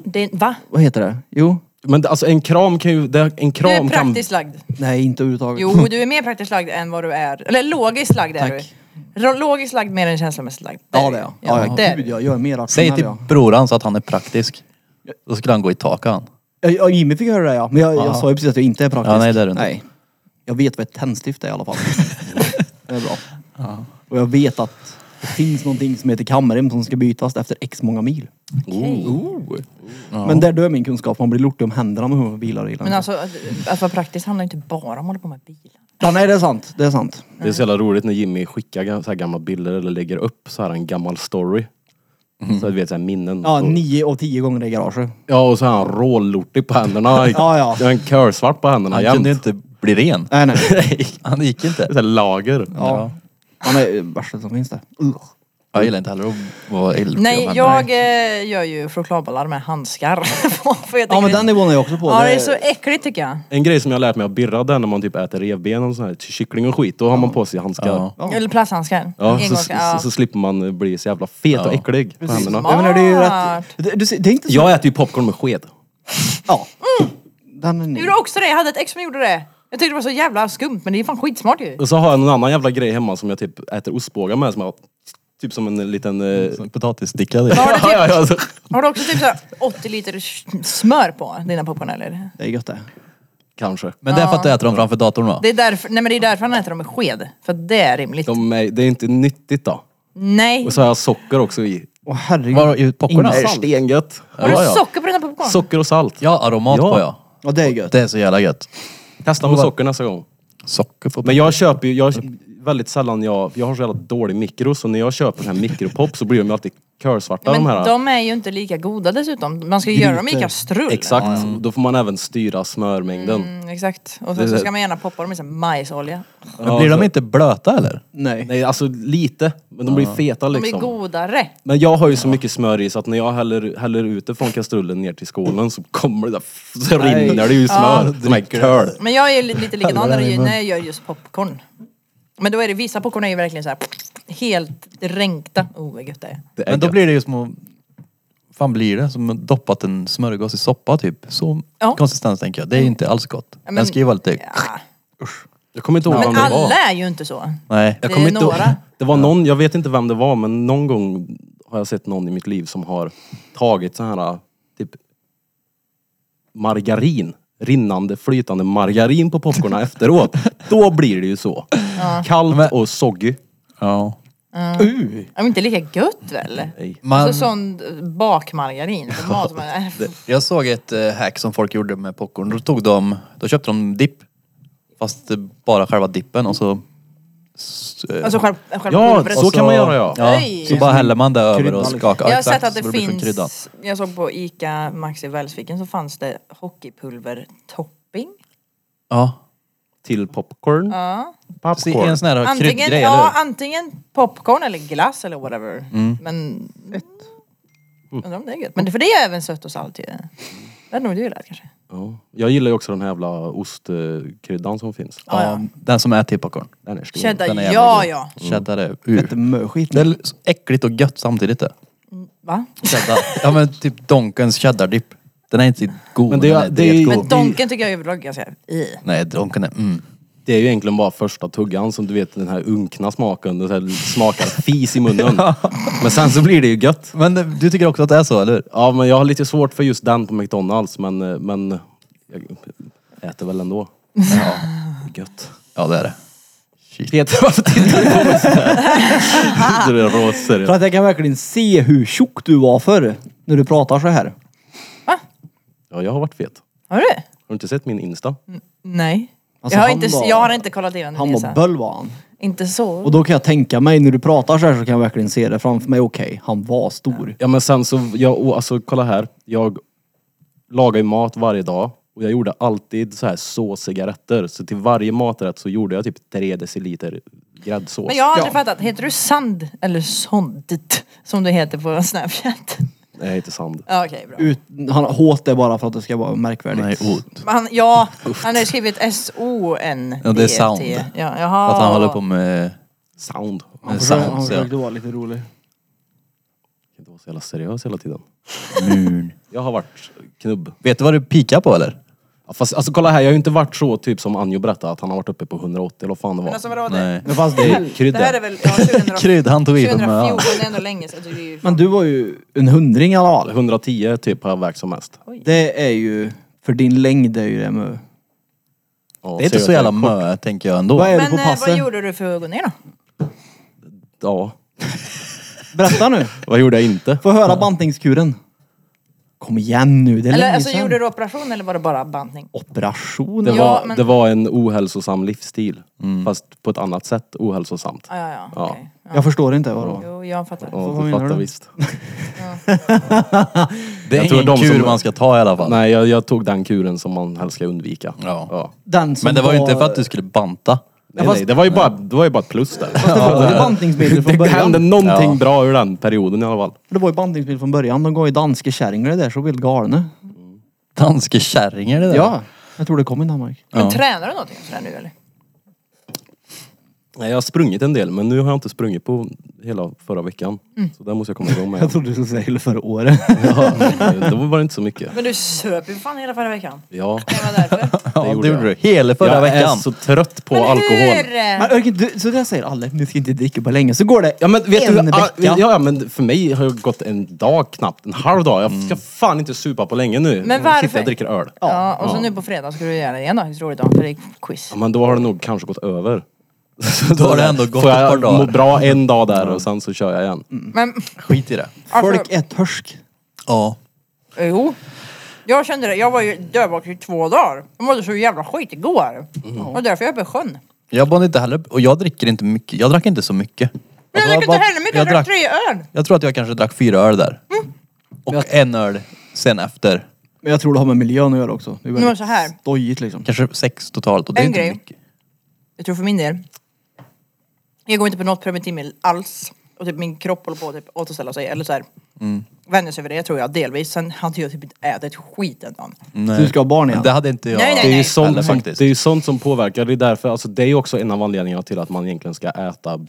[SPEAKER 4] det, va?
[SPEAKER 2] vad heter det? Jo?
[SPEAKER 3] Men det- alltså en kram kan ju... det- En
[SPEAKER 4] Du är
[SPEAKER 3] kram kan...
[SPEAKER 4] praktiskt lagd.
[SPEAKER 2] Nej, inte överhuvudtaget.
[SPEAKER 4] Jo, du är mer praktiskt lagd än vad du är. Eller logiskt lagd är
[SPEAKER 2] Tack.
[SPEAKER 4] du. Ro- Logiskt lagd mer än känslomässigt lagd.
[SPEAKER 2] Ja det är jag. Ja, ja,
[SPEAKER 4] det är
[SPEAKER 2] gud,
[SPEAKER 4] du.
[SPEAKER 2] jag, jag är mer rationell.
[SPEAKER 1] Säg till
[SPEAKER 2] ja.
[SPEAKER 1] broran så att han är praktisk. Då skulle han gå i taket han.
[SPEAKER 2] Ja, Ja, Jimmy fick höra det ja. Men jag, jag sa ju precis att jag inte är praktisk.
[SPEAKER 1] Ja, nej, det är du inte.
[SPEAKER 2] Nej. Jag vet vad ett tändstift är i alla fall. det är bra. Och jag vet att det finns någonting som heter kamrem som ska bytas efter x många mil.
[SPEAKER 4] Oh.
[SPEAKER 2] Men där dör min kunskap. Man blir lortig om händerna med hur man bilar i den.
[SPEAKER 4] Men alltså, att, att vara praktisk handlar ju inte bara om att hålla på med bilar.
[SPEAKER 2] ja, nej det är sant. Det är sant.
[SPEAKER 3] Det är så jävla roligt när Jimmy skickar gam- så här gamla bilder eller lägger upp så här en gammal story. Så du vet så här minnen.
[SPEAKER 2] Ja,
[SPEAKER 3] Och-
[SPEAKER 2] nio av tio gånger i garaget.
[SPEAKER 3] ja och så är han rålortig på händerna.
[SPEAKER 2] Ja, ja.
[SPEAKER 3] Det är en körsvart på händerna
[SPEAKER 1] Han
[SPEAKER 3] jämt.
[SPEAKER 1] kunde ju inte bli ren.
[SPEAKER 2] Nej, nej.
[SPEAKER 1] Han gick inte.
[SPEAKER 3] Det är så här lager.
[SPEAKER 2] Ja. Han är eh, värsta som finns det. Ugh.
[SPEAKER 1] Jag gillar inte heller att vara äldre.
[SPEAKER 4] Nej,
[SPEAKER 1] men-
[SPEAKER 4] jag eh, gör ju chokladbollar med handskar. För jag
[SPEAKER 2] Ja men
[SPEAKER 4] tycker-
[SPEAKER 2] den nivån är jag också på.
[SPEAKER 4] Ja, det är så äckligt tycker jag.
[SPEAKER 3] En grej som jag har lärt mig av Birra där när man typ äter revben och sån här kyckling och skit. Då har man på sig handskar. Ja.
[SPEAKER 1] Ja.
[SPEAKER 2] Ja.
[SPEAKER 4] Eller plasthandskar.
[SPEAKER 3] så,
[SPEAKER 4] Engångshandskar, ja.
[SPEAKER 3] så, så slipper man bli så jävla fet och äcklig på händerna.
[SPEAKER 2] Jag menar, det är ju
[SPEAKER 4] Smart.
[SPEAKER 2] rätt... Det, du, ser- det är inte så...
[SPEAKER 3] Jag äter ju popcorn med sked.
[SPEAKER 2] Ja.
[SPEAKER 4] Mm.
[SPEAKER 2] Den är ny.
[SPEAKER 4] Jag gjorde också det, jag hade ett ex som gjorde det. Jag tyckte det var så jävla skumt men det är fan skitsmart ju.
[SPEAKER 3] Och så har jag någon annan jävla grej hemma som jag typ äter ostbågar med. Som jag, typ som en liten... Eh,
[SPEAKER 1] Potatissticka det.
[SPEAKER 4] Mm. Har du,
[SPEAKER 3] ja,
[SPEAKER 4] typ,
[SPEAKER 3] ja, alltså, så-
[SPEAKER 4] har du också typ så här 80 liter sh- smör på dina popcorn eller?
[SPEAKER 2] Det är gött det.
[SPEAKER 3] Kanske.
[SPEAKER 1] Men det är för att du äter dem framför datorn va?
[SPEAKER 4] Det är därför, nej men det är därför han äter dem med sked. För att det är rimligt.
[SPEAKER 3] De är, det är inte nyttigt då.
[SPEAKER 4] Nej.
[SPEAKER 3] Och så har jag socker också i.
[SPEAKER 2] Åh herregud.
[SPEAKER 1] Var i popcorn?
[SPEAKER 2] Ingen
[SPEAKER 1] alltså?
[SPEAKER 2] salt.
[SPEAKER 3] stengött.
[SPEAKER 4] Har du
[SPEAKER 1] Ja, ja.
[SPEAKER 4] socker på dina popcorn?
[SPEAKER 3] Socker och salt.
[SPEAKER 1] Ja, aromat
[SPEAKER 3] Ja.
[SPEAKER 1] på ja.
[SPEAKER 2] Ja det är gött.
[SPEAKER 1] Det är så jävla gött.
[SPEAKER 3] Testa med socker nästa gång.
[SPEAKER 1] Socker får
[SPEAKER 3] Men jag köper ju, jag, väldigt sällan jag, jag har så jävla dålig mikro så när jag köper så här mikropop så blir de ju alltid körsvarta de
[SPEAKER 4] men
[SPEAKER 3] här.
[SPEAKER 4] de är ju inte lika goda dessutom. Man ska ju göra dem i
[SPEAKER 2] Grytor.
[SPEAKER 4] kastrull.
[SPEAKER 3] Exakt, då får man även styra smörmängden.
[SPEAKER 4] Mm, exakt. Och sen så ska man gärna poppa dem i sån här majsolja.
[SPEAKER 1] Men blir de inte blöta eller?
[SPEAKER 2] Nej.
[SPEAKER 3] Nej alltså lite, men de blir feta
[SPEAKER 4] De
[SPEAKER 3] liksom.
[SPEAKER 4] blir godare.
[SPEAKER 3] Men jag har ju så mycket smör i så att när jag häller, häller ut det från kastrullen ner till skålen så kommer det där, så rinner det ju smör. Som en curl.
[SPEAKER 4] Men jag är ju li- lite likadan när jag- när jag gör just popcorn. Men då är det vissa popcorn är ju verkligen så här helt dränkta. Oh vad gött det är.
[SPEAKER 3] Det är
[SPEAKER 1] Men då
[SPEAKER 3] gött.
[SPEAKER 1] blir det ju små... fan blir det? Som doppat en smörgås i soppa typ. Så
[SPEAKER 4] Ja.
[SPEAKER 1] konsistens tänker jag. Det är ju inte alls gott. Den ska ju vara lite...
[SPEAKER 4] Ja.
[SPEAKER 3] Jag kommer inte ihåg vem
[SPEAKER 4] Ah. Men
[SPEAKER 3] det var.
[SPEAKER 4] alla är ju inte så.
[SPEAKER 1] Nej.
[SPEAKER 4] Det
[SPEAKER 3] Jag kommer
[SPEAKER 4] är
[SPEAKER 3] inte ihåg-
[SPEAKER 4] några.
[SPEAKER 3] Det var någon, jag vet inte vem det var, men någon gång har jag sett någon i mitt liv som har tagit så här typ margarin, rinnande flytande margarin på popcornen efteråt. Då blir det ju så. Kallt och soggy.
[SPEAKER 1] Ja.
[SPEAKER 2] Uh.
[SPEAKER 4] Ja, men inte lika gött väl?
[SPEAKER 1] Man-
[SPEAKER 4] Alltså sån bakmargarin. Som mat som man, äh,
[SPEAKER 1] Jag såg ett eh, hack som folk gjorde med popcorn. Då tog de... Då köpte de dipp. Fast eh, bara själva dippen och så... s- eh,
[SPEAKER 4] alltså själv, själva
[SPEAKER 3] Ja,
[SPEAKER 4] pulvret.
[SPEAKER 3] så kan man göra ja.
[SPEAKER 1] Ja,
[SPEAKER 4] Oj.
[SPEAKER 1] så bara häller man det över
[SPEAKER 2] Krydda,
[SPEAKER 1] och
[SPEAKER 2] liksom.
[SPEAKER 1] skakar.
[SPEAKER 4] Jag har
[SPEAKER 1] Exakt,
[SPEAKER 4] sett att
[SPEAKER 1] så
[SPEAKER 4] det
[SPEAKER 1] blir som krydda.
[SPEAKER 4] finns, jag såg på Ica Maxi Välsviken så fanns det hockeypulvertopping.
[SPEAKER 1] Ja.
[SPEAKER 3] Till popcorn.
[SPEAKER 4] Ja.
[SPEAKER 1] Så i en
[SPEAKER 3] Popcorn.
[SPEAKER 1] sån här
[SPEAKER 4] Antingen,
[SPEAKER 1] kryddgrej,
[SPEAKER 4] ja,
[SPEAKER 1] eller
[SPEAKER 4] antingen popcorn eller glass eller whatever. Men... Undrar om det är gött. Men det- för det är även sött och salt ju. Det hade nog du gillat kanske.
[SPEAKER 3] Ja. Jag gillar ju också den här jävla ostkryddan som finns.
[SPEAKER 1] hur? Ja, den som är till popcorn.
[SPEAKER 3] Den är stor.
[SPEAKER 4] Cheddar,
[SPEAKER 1] Den är jävla
[SPEAKER 4] ja
[SPEAKER 1] god.
[SPEAKER 4] ja.
[SPEAKER 1] Cheddar är... Uh.
[SPEAKER 2] Lite möskit.
[SPEAKER 1] Det är så äckligt och gött samtidigt det.
[SPEAKER 4] Va?
[SPEAKER 1] Cheddar. Ja men typ Donkens cheddardipp. Den är inte god men,
[SPEAKER 3] Men det är-
[SPEAKER 1] den är
[SPEAKER 3] det är-
[SPEAKER 1] dretgod.
[SPEAKER 4] Men donken tycker jag överlag är ganska... I.
[SPEAKER 1] Nej Donken är mm.
[SPEAKER 3] Det är ju egentligen bara första tuggan som du vet den här unkna smaken. Den här smakar fis i munnen. Men sen så blir det ju gött.
[SPEAKER 1] Men eh, du tycker också att det är så eller hur?
[SPEAKER 3] Ja, men jag har lite svårt för just den på McDonalds, men, eh, men jag äter väl ändå. Ja, gött.
[SPEAKER 1] Ja det är det. Shit.
[SPEAKER 3] Peter, varför tittar du på mig sådär? Du är roser.
[SPEAKER 4] Mm,
[SPEAKER 2] För att jag kan verkligen se hur tjock du var förr. När du pratar så här.
[SPEAKER 3] Ja, jag har varit fet.
[SPEAKER 4] Har du?
[SPEAKER 3] Har du inte sett min Insta?
[SPEAKER 4] Nej.
[SPEAKER 2] Alltså,
[SPEAKER 4] jag, har
[SPEAKER 2] han
[SPEAKER 4] inte,
[SPEAKER 2] var-
[SPEAKER 4] jag har inte kollat igenom
[SPEAKER 2] Han
[SPEAKER 4] det,
[SPEAKER 2] var
[SPEAKER 4] så här.
[SPEAKER 2] böll var han.
[SPEAKER 4] Inte så.
[SPEAKER 2] Och då kan jag tänka mig, när du pratar så här så kan jag verkligen se det framför mig. Okej, han var stor.
[SPEAKER 3] Ja men sen så, jag, och alltså kolla här. Jag lagar ju mat varje dag och jag gjorde alltid så här såsiga rätter. Så till varje maträtt så gjorde jag typ tre deciliter gräddsås.
[SPEAKER 4] Men jag har aldrig
[SPEAKER 2] Ja.
[SPEAKER 4] fattat, heter du Sand eller Sondt? Som du heter på Snapchat.
[SPEAKER 3] Nej, inte sand.
[SPEAKER 4] Ja, Okej, bra.
[SPEAKER 2] Ut, han hårt det bara för att det ska vara märkvärdigt.
[SPEAKER 1] Nej, ot.
[SPEAKER 4] Men Han, ja, han har ju skrivit S-O-N.
[SPEAKER 1] Ja, det är sound.
[SPEAKER 4] Ja, jaha.
[SPEAKER 1] Att han håller på med...
[SPEAKER 3] Sound.
[SPEAKER 2] han
[SPEAKER 1] med
[SPEAKER 2] försökte, han
[SPEAKER 1] sound, ja.
[SPEAKER 2] försökte vara lite rolig.
[SPEAKER 3] Jag kan inte vara så jävla seriös hela tiden.
[SPEAKER 1] Murn.
[SPEAKER 3] Jag har varit knubb.
[SPEAKER 1] Vet du vad du pikar på eller?
[SPEAKER 3] Ja, Fast alltså kolla här, jag har ju inte varit så typ som Anjo berättade att han har varit uppe på 180 eller vad fan det var.
[SPEAKER 4] Men alltså vadå det?
[SPEAKER 1] Nej.
[SPEAKER 2] Men, fast
[SPEAKER 3] det
[SPEAKER 2] det,
[SPEAKER 3] är krydda.
[SPEAKER 4] Det här är väl ja, 2000
[SPEAKER 1] Krydd, han tog i för
[SPEAKER 4] 2014,
[SPEAKER 1] mig. ja.
[SPEAKER 4] det är ändå länge sedan. Alltså, det är ju
[SPEAKER 2] men du var ju en hundring i alla fall.
[SPEAKER 3] 110 typ har jag vägt som mest.
[SPEAKER 2] Det är ju, för din längd är ju det med...
[SPEAKER 3] Ja,
[SPEAKER 1] Det är inte
[SPEAKER 3] ser
[SPEAKER 1] så
[SPEAKER 3] jag att
[SPEAKER 1] jävla
[SPEAKER 3] jag-
[SPEAKER 1] mö, tänker jag
[SPEAKER 2] Vad
[SPEAKER 1] ändå.
[SPEAKER 2] är du
[SPEAKER 4] Men
[SPEAKER 2] på
[SPEAKER 4] eh, vad
[SPEAKER 2] passet?
[SPEAKER 4] gjorde du för att gå ner då?
[SPEAKER 3] Ja.
[SPEAKER 2] Berätta nu.
[SPEAKER 3] Vad gjorde jag inte?
[SPEAKER 2] Få höra bantningskuren. Kom igen nu, det är
[SPEAKER 4] Eller
[SPEAKER 2] länge
[SPEAKER 4] alltså
[SPEAKER 2] sedan.
[SPEAKER 4] gjorde du operation eller var det bara bantning?
[SPEAKER 2] Operation?
[SPEAKER 3] Det,
[SPEAKER 4] Ja,
[SPEAKER 3] var,
[SPEAKER 4] men-
[SPEAKER 3] det var en ohälsosam livsstil.
[SPEAKER 1] Mm.
[SPEAKER 3] Fast på ett annat sätt ohälsosamt.
[SPEAKER 4] Ja, ja, ja.
[SPEAKER 3] Ja.
[SPEAKER 4] okej. ja.
[SPEAKER 2] Jag förstår inte vadå?
[SPEAKER 4] Jo, jag fattar.
[SPEAKER 3] Ja,
[SPEAKER 2] vad
[SPEAKER 3] du
[SPEAKER 2] menar
[SPEAKER 3] fattar
[SPEAKER 2] du?
[SPEAKER 3] visst.
[SPEAKER 1] Det är
[SPEAKER 3] Jag tror
[SPEAKER 1] ingen
[SPEAKER 3] de som-
[SPEAKER 1] kur man ska ta i alla fall.
[SPEAKER 3] Nej, jag, jag tog den kuren som man helst ska undvika.
[SPEAKER 1] Ja.
[SPEAKER 2] Den som
[SPEAKER 1] Men det var ju inte för att du skulle banta.
[SPEAKER 3] Nej,
[SPEAKER 2] fast-
[SPEAKER 3] nej, det var ju bara, det var ju bara ett plus där.
[SPEAKER 2] Fast det var ju bantningsmedel
[SPEAKER 3] Det,
[SPEAKER 2] från
[SPEAKER 3] det hände
[SPEAKER 2] början.
[SPEAKER 3] någonting
[SPEAKER 1] Ja.
[SPEAKER 3] bra ur den perioden i alla fall.
[SPEAKER 2] Det var ju bantningsmedel från början. De gav ju danske kärringar det där så vilt galna.
[SPEAKER 1] Danske kärringar det där.
[SPEAKER 2] Ja, jag tror det kom i Danmark.
[SPEAKER 4] Men tränar du någonting sådär nu eller?
[SPEAKER 3] Nej, jag har sprungit en del, men nu har jag inte sprungit på hela förra veckan.
[SPEAKER 4] Mm.
[SPEAKER 3] Så där måste jag komma igång med.
[SPEAKER 2] Jag trodde du skulle säga hela förra året.
[SPEAKER 3] ja, då var det inte så mycket.
[SPEAKER 4] Men du söp ju fan hela förra veckan.
[SPEAKER 3] Ja,
[SPEAKER 4] Det var därför.
[SPEAKER 1] Ja, det gjorde du.
[SPEAKER 3] jag.
[SPEAKER 1] Hela förra
[SPEAKER 3] jag är
[SPEAKER 1] veckan.
[SPEAKER 3] så trött på
[SPEAKER 4] Men
[SPEAKER 3] alkohol.
[SPEAKER 4] hur?
[SPEAKER 2] Men Örken, du, så det säger alla, nu ska inte dricka på länge. Så går det
[SPEAKER 3] Ja men vet
[SPEAKER 2] en
[SPEAKER 3] du,
[SPEAKER 2] vecka.
[SPEAKER 3] ah, ja, ja men för mig har det gått en dag knappt, en halv dag. Jag ska fan inte supa på länge nu.
[SPEAKER 4] Men
[SPEAKER 3] Jag
[SPEAKER 4] varför?
[SPEAKER 3] Sitter och dricker öl.
[SPEAKER 4] Ja, och så nu på fredag ska du göra det igen då. Det är roligt då, för det är quiz.
[SPEAKER 3] Ja, men då har det nog kanske gått över.
[SPEAKER 1] Då har det ändå gått
[SPEAKER 3] Får
[SPEAKER 1] ett par
[SPEAKER 3] jag må
[SPEAKER 1] dagar.
[SPEAKER 3] bra en dag där och sen så kör jag igen.
[SPEAKER 4] Men,
[SPEAKER 1] Skit i det.
[SPEAKER 4] alltså,
[SPEAKER 2] Folk är törsk.
[SPEAKER 1] Ja.
[SPEAKER 4] jo. Jag kände det, jag var ju dövvaken i två dagar. Jag mådde så jävla skit igår.
[SPEAKER 3] Mm.
[SPEAKER 4] Och därför är jag uppe i sjön.
[SPEAKER 1] Jag bodde inte heller, och jag dricker inte mycket. Jag drack inte så mycket.
[SPEAKER 4] Men jag
[SPEAKER 1] Alltså,
[SPEAKER 4] drack inte
[SPEAKER 1] bara-
[SPEAKER 4] heller mycket, jag drack Mm. tre öl.
[SPEAKER 1] Jag tror att jag kanske drack fyra öl där. Och en öl sen efter.
[SPEAKER 2] Men jag tror det har med miljön att göra också. Det är väldigt
[SPEAKER 4] så här.
[SPEAKER 2] stojigt liksom.
[SPEAKER 1] Kanske sex totalt och det är
[SPEAKER 4] En
[SPEAKER 1] inte
[SPEAKER 4] grej.
[SPEAKER 1] mycket.
[SPEAKER 4] Jag tror för min del. Jag går inte på något preventivmedel alls. Och typ min kropp håller på att typ återställa sig. Eller så här. Vänjer sig över det tror jag delvis. Sen hade jag typ inte ätit skit en dag.
[SPEAKER 1] Nej.
[SPEAKER 2] Du ska ha barn igen.
[SPEAKER 1] Men Det hade inte jag.
[SPEAKER 4] Nej,
[SPEAKER 3] Det
[SPEAKER 4] nej,
[SPEAKER 3] är, ju
[SPEAKER 4] nej.
[SPEAKER 1] Eller
[SPEAKER 3] sånt som,
[SPEAKER 1] faktiskt.
[SPEAKER 3] det är ju sånt som påverkar. Det är, därför, alltså, det är ju också en av anledningarna till att man egentligen ska äta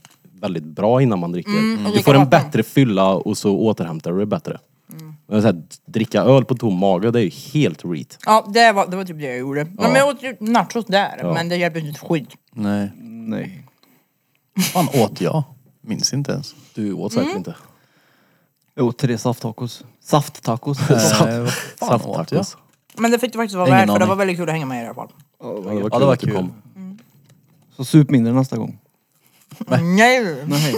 [SPEAKER 3] väldigt bra innan man dricker.
[SPEAKER 2] Mm,
[SPEAKER 4] och
[SPEAKER 3] Du
[SPEAKER 4] dricka
[SPEAKER 3] får en
[SPEAKER 4] vatten.
[SPEAKER 3] bättre fylla och så återhämtar du dig bättre.
[SPEAKER 2] Mm.
[SPEAKER 3] Men så här, dricka öl på tom mage, det är ju helt reet.
[SPEAKER 4] Ja det var, det var typ det jag gjorde. Ja. Men jag åt ju nachos där. Men det hjälpte inte ett skit.
[SPEAKER 1] Nej.
[SPEAKER 2] Mm, Nej.
[SPEAKER 1] fan åt jag? Minns inte ens.
[SPEAKER 3] Du åt
[SPEAKER 2] Mm.
[SPEAKER 3] säkert inte.
[SPEAKER 2] Jo, tre safttacos.
[SPEAKER 1] Eh,
[SPEAKER 2] Safttacos.
[SPEAKER 1] vad fan åt jag?
[SPEAKER 3] Safttacos.
[SPEAKER 4] Men det fick det faktiskt vara
[SPEAKER 1] Ingen
[SPEAKER 4] värt för det
[SPEAKER 1] aning.
[SPEAKER 4] var väldigt kul att hänga med i alla fall.
[SPEAKER 3] Ja, det var
[SPEAKER 1] Ja,
[SPEAKER 3] kul
[SPEAKER 1] det var
[SPEAKER 3] att du
[SPEAKER 1] kul.
[SPEAKER 3] kom.
[SPEAKER 2] Så sup mindre nästa gång.
[SPEAKER 4] Nej!
[SPEAKER 2] Nej.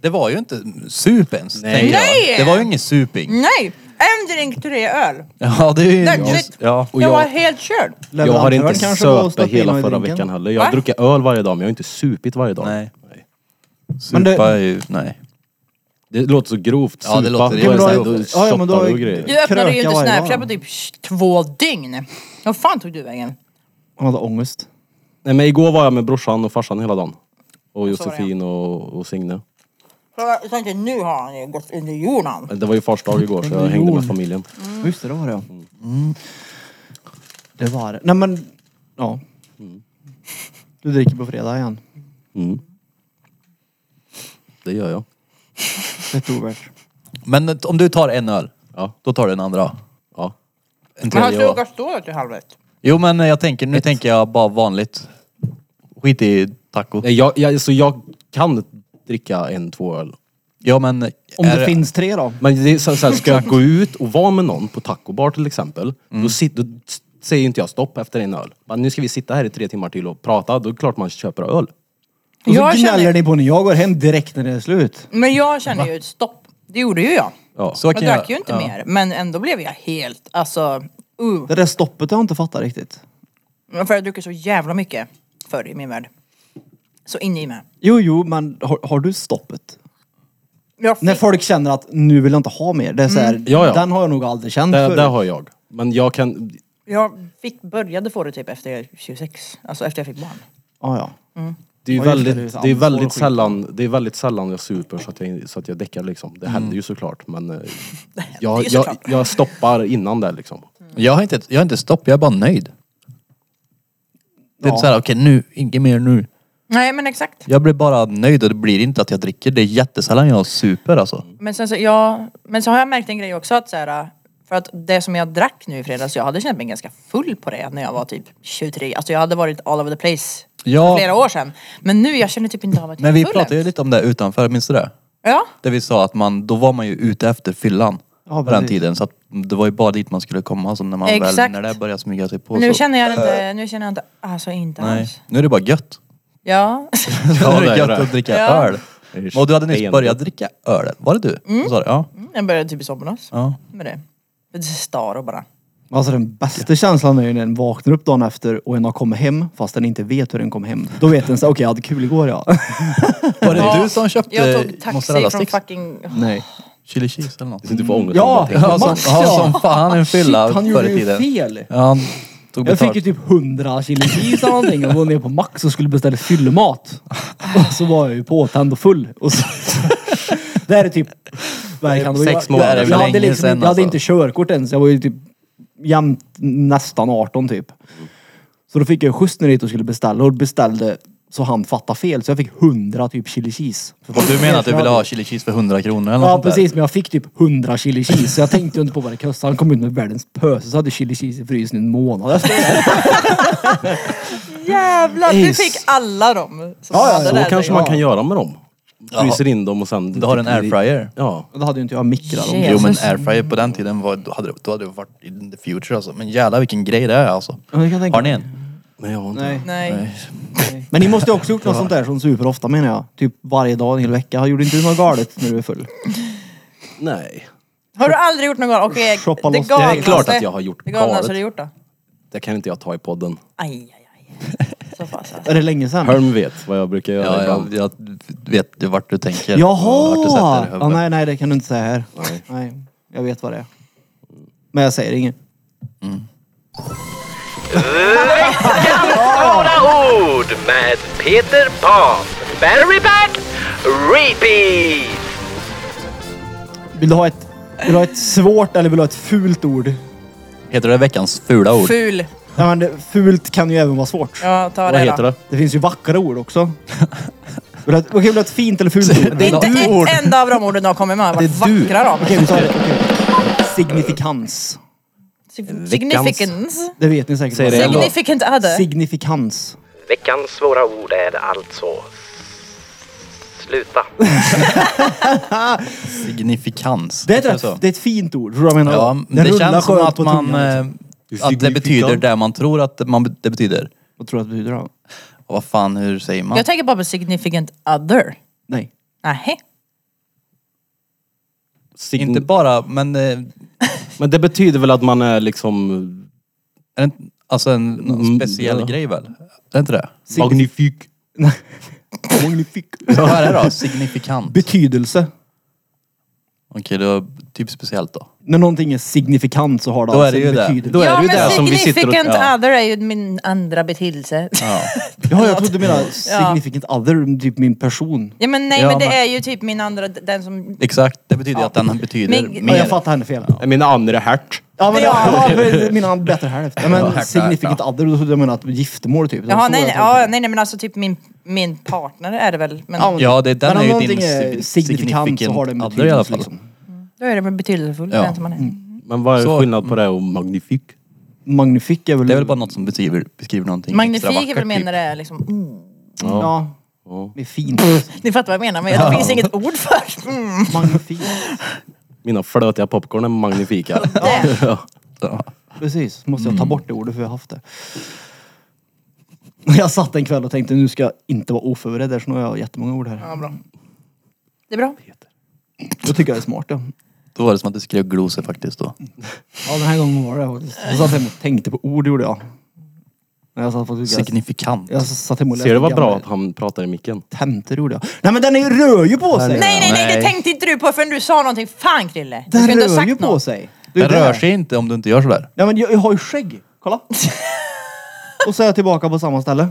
[SPEAKER 1] Det var ju inte sup ens.
[SPEAKER 3] Nej.
[SPEAKER 1] tänker jag.
[SPEAKER 4] Nej!
[SPEAKER 1] Det var ju ingen suping.
[SPEAKER 4] Nej! En drink, tre öl.
[SPEAKER 1] Mm. Ja, det är ju...
[SPEAKER 4] That's it.
[SPEAKER 1] Ja.
[SPEAKER 3] Och
[SPEAKER 4] jag,
[SPEAKER 3] jag-
[SPEAKER 4] var helt körd.
[SPEAKER 3] Jag har inte
[SPEAKER 2] Leverantör kanske var och
[SPEAKER 3] söpt
[SPEAKER 2] stoppa in
[SPEAKER 3] hela
[SPEAKER 2] något i
[SPEAKER 3] förra
[SPEAKER 2] drinken.
[SPEAKER 3] veckan heller. Jag
[SPEAKER 4] Va?
[SPEAKER 3] har druckit öl varje dag men jag har inte supit varje dag.
[SPEAKER 1] Nej.
[SPEAKER 2] Men det-
[SPEAKER 1] Supa är ju... Nej.
[SPEAKER 3] Det låter så grovt.
[SPEAKER 1] Ja, det
[SPEAKER 3] Supa,
[SPEAKER 1] låter
[SPEAKER 3] då
[SPEAKER 1] jävligt
[SPEAKER 3] är det så här,
[SPEAKER 1] grovt.
[SPEAKER 3] då
[SPEAKER 2] Ja, ja, men då
[SPEAKER 3] shottar du
[SPEAKER 2] är-
[SPEAKER 3] och grejer.
[SPEAKER 4] Du öppnade ju
[SPEAKER 2] Kröka
[SPEAKER 4] inte
[SPEAKER 2] varje dag.
[SPEAKER 4] Snapchat på typ två dygn. Vad fan tog du vägen?
[SPEAKER 2] Han hade ångest.
[SPEAKER 3] Nej men igår var jag med brorsan och farsan hela dagen. Och
[SPEAKER 4] så var det, ja.
[SPEAKER 3] Josefin och, och Signe.
[SPEAKER 4] Så jag tänkte nu har han ju gått under jorden.
[SPEAKER 3] Det var ju fars dag igår så jag hängde med familjen.
[SPEAKER 4] Mm.
[SPEAKER 2] Just det, det var det ja. Mm. Det var det. Nej men, ja. Du dricker på fredag igen.
[SPEAKER 3] Mm. Det gör jag.
[SPEAKER 2] Fett ovärt.
[SPEAKER 1] Men om du tar en öl,
[SPEAKER 3] Ja.
[SPEAKER 1] då tar du en andra.
[SPEAKER 3] Ja.
[SPEAKER 1] En
[SPEAKER 4] Men han
[SPEAKER 1] tredje
[SPEAKER 4] slog
[SPEAKER 1] och...
[SPEAKER 4] stå till halv ett.
[SPEAKER 1] Jo men jag tänker, nu tänker jag bara vanligt. Skit i taco.
[SPEAKER 3] Nej, Jag, jag, så jag kan dricka en, två öl.
[SPEAKER 1] Ja men...
[SPEAKER 2] Om
[SPEAKER 1] är-
[SPEAKER 2] det finns tre då.
[SPEAKER 3] Men det är så, så här, ska jag gå ut och vara med någon på tacobar till exempel,
[SPEAKER 1] Mm.
[SPEAKER 3] då, sit, då s- säger inte jag stopp efter en öl. Men nu ska vi sitta här i tre timmar till och prata, då är det klart man köper
[SPEAKER 1] Mm.
[SPEAKER 3] öl.
[SPEAKER 2] Och så
[SPEAKER 4] Jag
[SPEAKER 2] gnäller
[SPEAKER 4] känner,
[SPEAKER 2] ni på när jag går hem direkt när det är slut.
[SPEAKER 4] men jag känner ju ett stopp. Det gjorde ju jag.
[SPEAKER 3] Ja.
[SPEAKER 1] Så
[SPEAKER 4] Jag
[SPEAKER 1] kan
[SPEAKER 4] drack ju inte
[SPEAKER 1] ja.
[SPEAKER 4] mer. Men ändå blev jag helt, alltså, uh.
[SPEAKER 2] Det där stoppet har jag inte fattat riktigt.
[SPEAKER 4] För jag har druckit så jävla mycket förr i min värld. Så in i mig.
[SPEAKER 2] Jo, jo, men har, har du stoppet?
[SPEAKER 4] Jag
[SPEAKER 2] När
[SPEAKER 4] fick-
[SPEAKER 2] folk känner att nu vill jag inte ha mer. Det är så här,
[SPEAKER 3] Mm. Ja, ja.
[SPEAKER 2] Den har jag nog aldrig känt
[SPEAKER 3] Där,
[SPEAKER 2] förut.
[SPEAKER 3] där har jag. Men jag kan...
[SPEAKER 4] Jag fick, började få det typ efter 26, alltså efter jag fick barn.
[SPEAKER 2] Ah, Ja, ja.
[SPEAKER 3] Det är ju
[SPEAKER 2] Ja, just det, det är
[SPEAKER 3] väldigt,
[SPEAKER 2] så
[SPEAKER 3] det är
[SPEAKER 2] ansvar och
[SPEAKER 3] väldigt
[SPEAKER 2] skit.
[SPEAKER 3] sällan, det är väldigt sällan jag super så att jag, så att jag däckar liksom. Det
[SPEAKER 1] Mm.
[SPEAKER 3] händer ju såklart men eh, jag,
[SPEAKER 4] ju
[SPEAKER 3] jag,
[SPEAKER 4] såklart.
[SPEAKER 3] jag stoppar innan det liksom.
[SPEAKER 1] Jag har inte, jag har inte stopp, jag är bara nöjd. Det är
[SPEAKER 2] Ja.
[SPEAKER 1] så här, okej nu, inget mer nu.
[SPEAKER 4] Nej men exakt.
[SPEAKER 1] Jag blir bara nöjd och det blir inte att jag dricker. Det är jättesällan jag super alltså.
[SPEAKER 4] Men sen så, ja, men så har jag märkt en grej också att så här, för att det som jag drack nu i fredags, jag hade känt mig ganska full på det när jag var typ 23. Alltså jag hade varit all over the place
[SPEAKER 1] Ja.
[SPEAKER 4] för flera år sedan. Men nu, jag känner typ inte av att jag
[SPEAKER 1] Men
[SPEAKER 4] är
[SPEAKER 1] vi
[SPEAKER 4] full
[SPEAKER 1] pratade ju
[SPEAKER 4] än.
[SPEAKER 1] lite om det utanför, minns du det?
[SPEAKER 4] Ja,
[SPEAKER 1] Där vi sa att man, då var man ju ute efter fyllan.
[SPEAKER 2] Ja,
[SPEAKER 1] på den
[SPEAKER 2] precis.
[SPEAKER 1] tiden. Så att det var ju bara dit man skulle komma. Så när man väl,
[SPEAKER 4] Exakt.
[SPEAKER 1] när det började smyga sig på
[SPEAKER 4] nu
[SPEAKER 1] så... Äh.
[SPEAKER 4] känner jag inte, nu känner jag inte, alltså inte
[SPEAKER 1] Nej,
[SPEAKER 4] alls.
[SPEAKER 1] nu är det bara gött.
[SPEAKER 4] Ja.
[SPEAKER 1] nu är
[SPEAKER 3] det
[SPEAKER 1] det
[SPEAKER 3] är
[SPEAKER 1] gött
[SPEAKER 3] det.
[SPEAKER 1] att dricka
[SPEAKER 4] Ja.
[SPEAKER 1] öl. Och du hade nyss börjat dricka öl. Var det du? Mm. Sa det? Ja.
[SPEAKER 4] Mm, jag började typ i somras
[SPEAKER 1] ja.
[SPEAKER 4] med det. Det är Star och bara.
[SPEAKER 2] Alltså den bästa känslan är ju när en vaknar upp dagen efter och en har kommit hem fast den inte vet hur den kom hem. Då vet en så här, okej jag hade kul igår ja.
[SPEAKER 1] Var det
[SPEAKER 4] Ja,
[SPEAKER 1] du som köpte
[SPEAKER 4] Jag tog taxi
[SPEAKER 1] mozzarella
[SPEAKER 4] från
[SPEAKER 1] sticks?
[SPEAKER 4] fucking...
[SPEAKER 2] Nej.
[SPEAKER 1] Chili cheese eller något?
[SPEAKER 3] Du får ångest om
[SPEAKER 2] Ja,
[SPEAKER 3] du tänker
[SPEAKER 1] Mm. Ja,
[SPEAKER 3] på
[SPEAKER 1] som,
[SPEAKER 3] det.
[SPEAKER 1] ja, som fan en fylla
[SPEAKER 2] Shit, han
[SPEAKER 1] förr
[SPEAKER 2] gjorde
[SPEAKER 1] i
[SPEAKER 2] ju
[SPEAKER 1] tiden.
[SPEAKER 2] fel.
[SPEAKER 1] Ja, han tog
[SPEAKER 2] Jag fick
[SPEAKER 1] betalt.
[SPEAKER 2] ju typ 100 kilo cheese eller någonting och var ner på Max och skulle beställa fyllemat. Och så var jag ju påtänd och full. Och så, det här är typ... Vad är det, kan det vara?
[SPEAKER 3] Sex
[SPEAKER 2] Jag-
[SPEAKER 3] månader,
[SPEAKER 1] det är väl
[SPEAKER 2] Jag
[SPEAKER 1] länge
[SPEAKER 2] hade, liksom,
[SPEAKER 1] sedan,
[SPEAKER 2] jag hade
[SPEAKER 1] alltså.
[SPEAKER 2] inte körkort ens. Jag var ju typ jämt nästan 18 typ. Så då fick jag skjuts ner dit och skulle beställa och beställde så han fattade fel. Så jag fick 100 typ chili cheese.
[SPEAKER 1] Och du menar att du ville ha chili cheese för 100 kronor eller något
[SPEAKER 2] Ja
[SPEAKER 1] sånt där?
[SPEAKER 2] precis, men jag fick typ 100 chili cheese. Så jag tänkte ju inte på vad det kostade. Han kom ut med världens pöse så hade chili cheese i frysen i en månad efter.
[SPEAKER 4] Jävlar, du
[SPEAKER 2] Ace.
[SPEAKER 4] fick alla dem. som
[SPEAKER 2] Ja, ja,
[SPEAKER 4] hade
[SPEAKER 2] så
[SPEAKER 4] det
[SPEAKER 3] Så
[SPEAKER 4] där
[SPEAKER 3] kanske
[SPEAKER 4] där.
[SPEAKER 3] man kan göra med dem. Fryser in dem och sen... typ
[SPEAKER 1] Du har
[SPEAKER 2] Typ
[SPEAKER 1] en airfryer?
[SPEAKER 3] Ja.
[SPEAKER 2] Och Då hade ju inte jag mikrat dem.
[SPEAKER 4] Shit.
[SPEAKER 1] Jo men
[SPEAKER 4] Jesus.
[SPEAKER 1] airfryer på den tiden var, då, hade, det- då hade det varit in the future alltså. Men jävlar vilken grej det är alltså.
[SPEAKER 2] Ja, det kan jag tänka
[SPEAKER 1] Har ni
[SPEAKER 2] mig.
[SPEAKER 1] en?
[SPEAKER 3] Nej, jag har inte.
[SPEAKER 2] Nej.
[SPEAKER 4] Nej.
[SPEAKER 2] Men ni måste ju också gjort något sånt där som super ofta menar jag. Typ varje dag, en hel vecka. Gjorde inte du något galet när du är full?
[SPEAKER 3] Nej.
[SPEAKER 4] Har du aldrig gjort något galet? Okej,
[SPEAKER 2] Shoppa
[SPEAKER 4] det
[SPEAKER 2] loss det.
[SPEAKER 4] galnaste.
[SPEAKER 3] Det är klart att jag har gjort
[SPEAKER 4] Det galnaste
[SPEAKER 3] galet.
[SPEAKER 4] du gjort då?
[SPEAKER 3] Det kan inte jag ta i podden.
[SPEAKER 4] Aj, aj, aj. Så fasen.
[SPEAKER 2] Är det länge sedan?
[SPEAKER 3] Herm vet vad jag brukar göra
[SPEAKER 1] Ja,
[SPEAKER 3] ibland.
[SPEAKER 1] jag, jag vet ju vart du tänker. och Vart du sätter
[SPEAKER 2] Jaha!
[SPEAKER 1] huvudet.
[SPEAKER 2] Ja, nej, nej det kan du inte säga här.
[SPEAKER 3] Nej.
[SPEAKER 2] Nej. jag vet vad det är. Men jag säger inget.
[SPEAKER 1] Mm.
[SPEAKER 5] Svåra ord med Peter Pan. Battery back, repeat.
[SPEAKER 2] Vill du ha ett, vill du ha ett svårt eller vill du ha ett fult ord?
[SPEAKER 1] Heter det veckans fula ord?
[SPEAKER 4] Ful.
[SPEAKER 2] Nej, men det- fult kan ju även vara svårt.
[SPEAKER 4] Ja, ta
[SPEAKER 3] Vad
[SPEAKER 4] det
[SPEAKER 3] heter
[SPEAKER 4] då.
[SPEAKER 3] det?
[SPEAKER 2] Det finns ju vackra ord också. Vill du ha ett, okej, vill du ha ett fint eller fult ord?
[SPEAKER 1] Det är
[SPEAKER 4] Inte ett
[SPEAKER 1] ord.
[SPEAKER 4] enda av de orden du har kommit med har varit
[SPEAKER 1] Det är du.
[SPEAKER 4] vackra de.
[SPEAKER 2] Okej, vi tar det. Okej. Signifikans.
[SPEAKER 4] Significance.
[SPEAKER 2] Det vet ni säkert.
[SPEAKER 3] Säg
[SPEAKER 2] vad
[SPEAKER 3] det
[SPEAKER 2] är.
[SPEAKER 3] igen då.
[SPEAKER 4] Significant other.
[SPEAKER 2] Signifikans.
[SPEAKER 5] Veckans svåra ord är alltså... Sluta.
[SPEAKER 1] Signifikans.
[SPEAKER 2] Det är, ett,
[SPEAKER 1] så?
[SPEAKER 2] rätt- det är ett fint ord. Tror du vad jag menar?
[SPEAKER 1] Ja,
[SPEAKER 2] Den
[SPEAKER 1] men det
[SPEAKER 2] rullar
[SPEAKER 1] känns som
[SPEAKER 2] skönt
[SPEAKER 1] att
[SPEAKER 2] på
[SPEAKER 1] man...
[SPEAKER 2] tungan, liksom.
[SPEAKER 1] eh, Att det betyder det man tror att man, det betyder.
[SPEAKER 2] Vad tror du att det betyder då?
[SPEAKER 1] Och vad fan, hur säger man?
[SPEAKER 4] Jag tänker bara på significant other.
[SPEAKER 2] Nej.
[SPEAKER 4] Nähä.
[SPEAKER 3] Sign-
[SPEAKER 1] Inte bara, men... eh,
[SPEAKER 3] Men det betyder väl att man är liksom...
[SPEAKER 1] Är det inte, alltså en någon
[SPEAKER 3] Mm,
[SPEAKER 1] speciell
[SPEAKER 3] ja.
[SPEAKER 1] grej väl? Är det inte det?
[SPEAKER 3] Magnifik.
[SPEAKER 2] Magnifik.
[SPEAKER 1] Vad är det då? Signifikant?
[SPEAKER 2] Betydelse.
[SPEAKER 1] Okej, då typ speciellt då.
[SPEAKER 2] När någonting är signifikant så har det
[SPEAKER 1] Då är
[SPEAKER 2] alltså
[SPEAKER 1] det ju
[SPEAKER 2] en
[SPEAKER 1] det.
[SPEAKER 2] betydelse.
[SPEAKER 3] Då är
[SPEAKER 4] ja
[SPEAKER 3] det ju
[SPEAKER 4] men
[SPEAKER 3] det som vi sitter och...
[SPEAKER 4] significant
[SPEAKER 3] Ja.
[SPEAKER 4] other är ju min andra betydelse. Ja,
[SPEAKER 2] Ja, jag trodde du menade significant other, typ min person.
[SPEAKER 4] men nej
[SPEAKER 1] Ja,
[SPEAKER 4] men det
[SPEAKER 1] men-
[SPEAKER 4] är ju typ min andra, den som...
[SPEAKER 1] Exakt, det betyder ju att den betyder
[SPEAKER 4] Men-
[SPEAKER 2] Ja,
[SPEAKER 1] mer.
[SPEAKER 2] jag fattar henne fel. Ja,
[SPEAKER 3] Min andra härt.
[SPEAKER 2] men ja. Ja, mina bättre hälft. Ja, men
[SPEAKER 1] Ja, hälft,
[SPEAKER 2] significant other, då trodde jag menade att giftermål typ. Det var
[SPEAKER 4] Jaha,
[SPEAKER 2] så
[SPEAKER 4] nej,
[SPEAKER 2] jag
[SPEAKER 4] nej,
[SPEAKER 2] trodde.
[SPEAKER 4] ja, nej, nej men alltså typ min, min partner är det väl. Men
[SPEAKER 2] Ja,
[SPEAKER 1] Ja, det, den
[SPEAKER 2] men
[SPEAKER 1] är
[SPEAKER 2] om
[SPEAKER 1] ju din
[SPEAKER 2] någonting är
[SPEAKER 1] sig-
[SPEAKER 2] signifikant så har det en
[SPEAKER 1] other i alla
[SPEAKER 2] betydelse
[SPEAKER 1] fall.
[SPEAKER 2] liksom.
[SPEAKER 4] då är det väl betydelsefull
[SPEAKER 1] Ja.
[SPEAKER 4] den som man
[SPEAKER 3] Mm.
[SPEAKER 4] är.
[SPEAKER 3] Men vad är
[SPEAKER 1] Så- Mm.
[SPEAKER 3] skillnad på det och magnifik?
[SPEAKER 2] Magnifik är väl...
[SPEAKER 1] Det är väl bara något som beskriver, beskriver någonting extra
[SPEAKER 4] Magnifik är
[SPEAKER 1] vackert,
[SPEAKER 4] väl mer
[SPEAKER 1] typ.
[SPEAKER 4] när det är liksom... Mm.
[SPEAKER 2] Ja. Det är fint.
[SPEAKER 4] Ni fattar vad jag menar men det finns inget ord för mm.
[SPEAKER 2] Magnifik.
[SPEAKER 3] Mina flötiga popcorn är magnifika.
[SPEAKER 4] det.
[SPEAKER 1] typ. Ja.
[SPEAKER 2] Precis, måste
[SPEAKER 1] Mm.
[SPEAKER 2] jag ta bort det ordet för jag har haft det. Jag satt en kväll och tänkte nu ska jag inte vara oförberedd här, så nu har jag jättemånga ord här.
[SPEAKER 4] Ja, bra. Det är bra.
[SPEAKER 2] Då tycker jag det är smart ja.
[SPEAKER 1] Då var det som att du skrev glosor faktiskt då.
[SPEAKER 2] Ja, den här gången var det faktiskt. Jag satt hemma och tänkte på ord, gjorde jag. Men Jag satt, faktiskt-
[SPEAKER 1] Signifikant.
[SPEAKER 2] jag satt hemma och läste
[SPEAKER 3] Ser du vad bra
[SPEAKER 2] gamla
[SPEAKER 3] att han pratar i micken?
[SPEAKER 2] Tentor gjorde jag. Nej men den är, rör ju på sig!
[SPEAKER 4] Nej, nej, nej, det
[SPEAKER 1] Nej.
[SPEAKER 4] tänkte inte du på förrän du sa någonting. Fan Krille. Du
[SPEAKER 2] Den
[SPEAKER 4] skulle inte ha
[SPEAKER 2] rör
[SPEAKER 4] sagt
[SPEAKER 2] ju på
[SPEAKER 4] något.
[SPEAKER 2] sig. Det är
[SPEAKER 1] Den
[SPEAKER 2] ju det.
[SPEAKER 1] rör sig inte om du inte gör sådär.
[SPEAKER 2] Ja men jag, jag har ju skägg. Kolla. och så är jag tillbaka på samma ställe.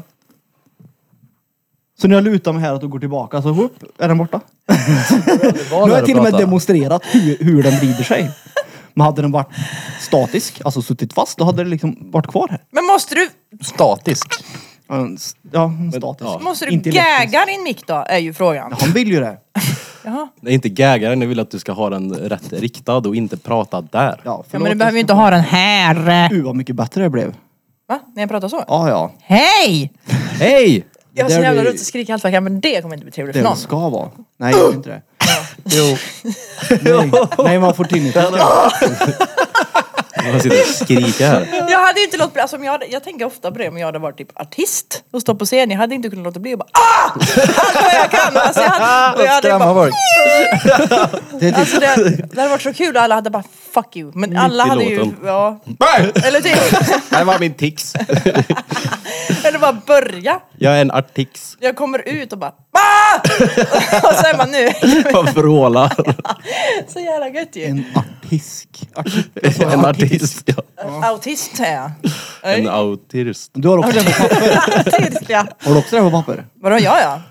[SPEAKER 2] Så när jag lutar mig här och går tillbaka så whoop, är den borta. Nu har jag till och med demonstrerat hur, hur den vrider sig. Men hade den varit statisk, alltså suttit fast, då hade det liksom varit kvar här.
[SPEAKER 4] Men måste du,
[SPEAKER 1] Statisk.
[SPEAKER 2] Ja, en s- Ja, en statisk.
[SPEAKER 3] ja.
[SPEAKER 4] måste du
[SPEAKER 2] Inte elektrisk.
[SPEAKER 4] gagga din mick då? Är ju frågan.
[SPEAKER 2] Han vill ju det.
[SPEAKER 4] Jaha.
[SPEAKER 3] Det är inte gaggaren, jag vill att du ska ha den rätt riktad och inte prata där.
[SPEAKER 2] Ja,
[SPEAKER 4] Ja, men du behöver ju inte ha den här.
[SPEAKER 2] Uh, vad mycket bättre det blev.
[SPEAKER 4] Va? När jag pratar så?
[SPEAKER 2] Ja, ja.
[SPEAKER 4] Hej!
[SPEAKER 3] Hej!
[SPEAKER 4] Jag har
[SPEAKER 2] Det
[SPEAKER 4] så
[SPEAKER 2] där
[SPEAKER 4] jävla
[SPEAKER 2] blir-
[SPEAKER 4] lust att skrika allt vad jag kan men det kommer inte bli trevligt
[SPEAKER 2] Det
[SPEAKER 4] för
[SPEAKER 2] det
[SPEAKER 4] någon.
[SPEAKER 2] ska vara. Nej, det är inte det. Jo. Nej, nej man får tinnitus.
[SPEAKER 3] Jag sitter och skriker här.
[SPEAKER 4] Jag hade ju inte låtit bli, alltså, om jag, hade, jag tänker ofta på det om jag hade varit typ artist och stått på scen. Jag hade inte kunnat låta bli att bara ah! Allt vad jag kan! Alltså, jag hade, och jag hade
[SPEAKER 1] Skrämma
[SPEAKER 4] bara,
[SPEAKER 1] folk.
[SPEAKER 2] Det är typ
[SPEAKER 4] alltså, det, det hade varit så kul och alla hade bara fuck you. Men alla
[SPEAKER 3] i
[SPEAKER 4] hade ju,
[SPEAKER 3] låten.
[SPEAKER 4] ja. Eller typ,
[SPEAKER 3] Det var min tics.
[SPEAKER 4] eller bara börja.
[SPEAKER 3] Jag är en artix.
[SPEAKER 4] Jag kommer ut och bara ah! Och så är man nu.
[SPEAKER 3] Jag vrålar.
[SPEAKER 4] Så jävla gött ju.
[SPEAKER 2] en artisk.
[SPEAKER 3] En artist. Ja.
[SPEAKER 4] Autist är jag.
[SPEAKER 3] En
[SPEAKER 4] Oj,
[SPEAKER 3] autist.
[SPEAKER 2] Du har också det på papper.
[SPEAKER 4] Autist ja.
[SPEAKER 2] Har du också det på papper?
[SPEAKER 4] Vadå jag ja?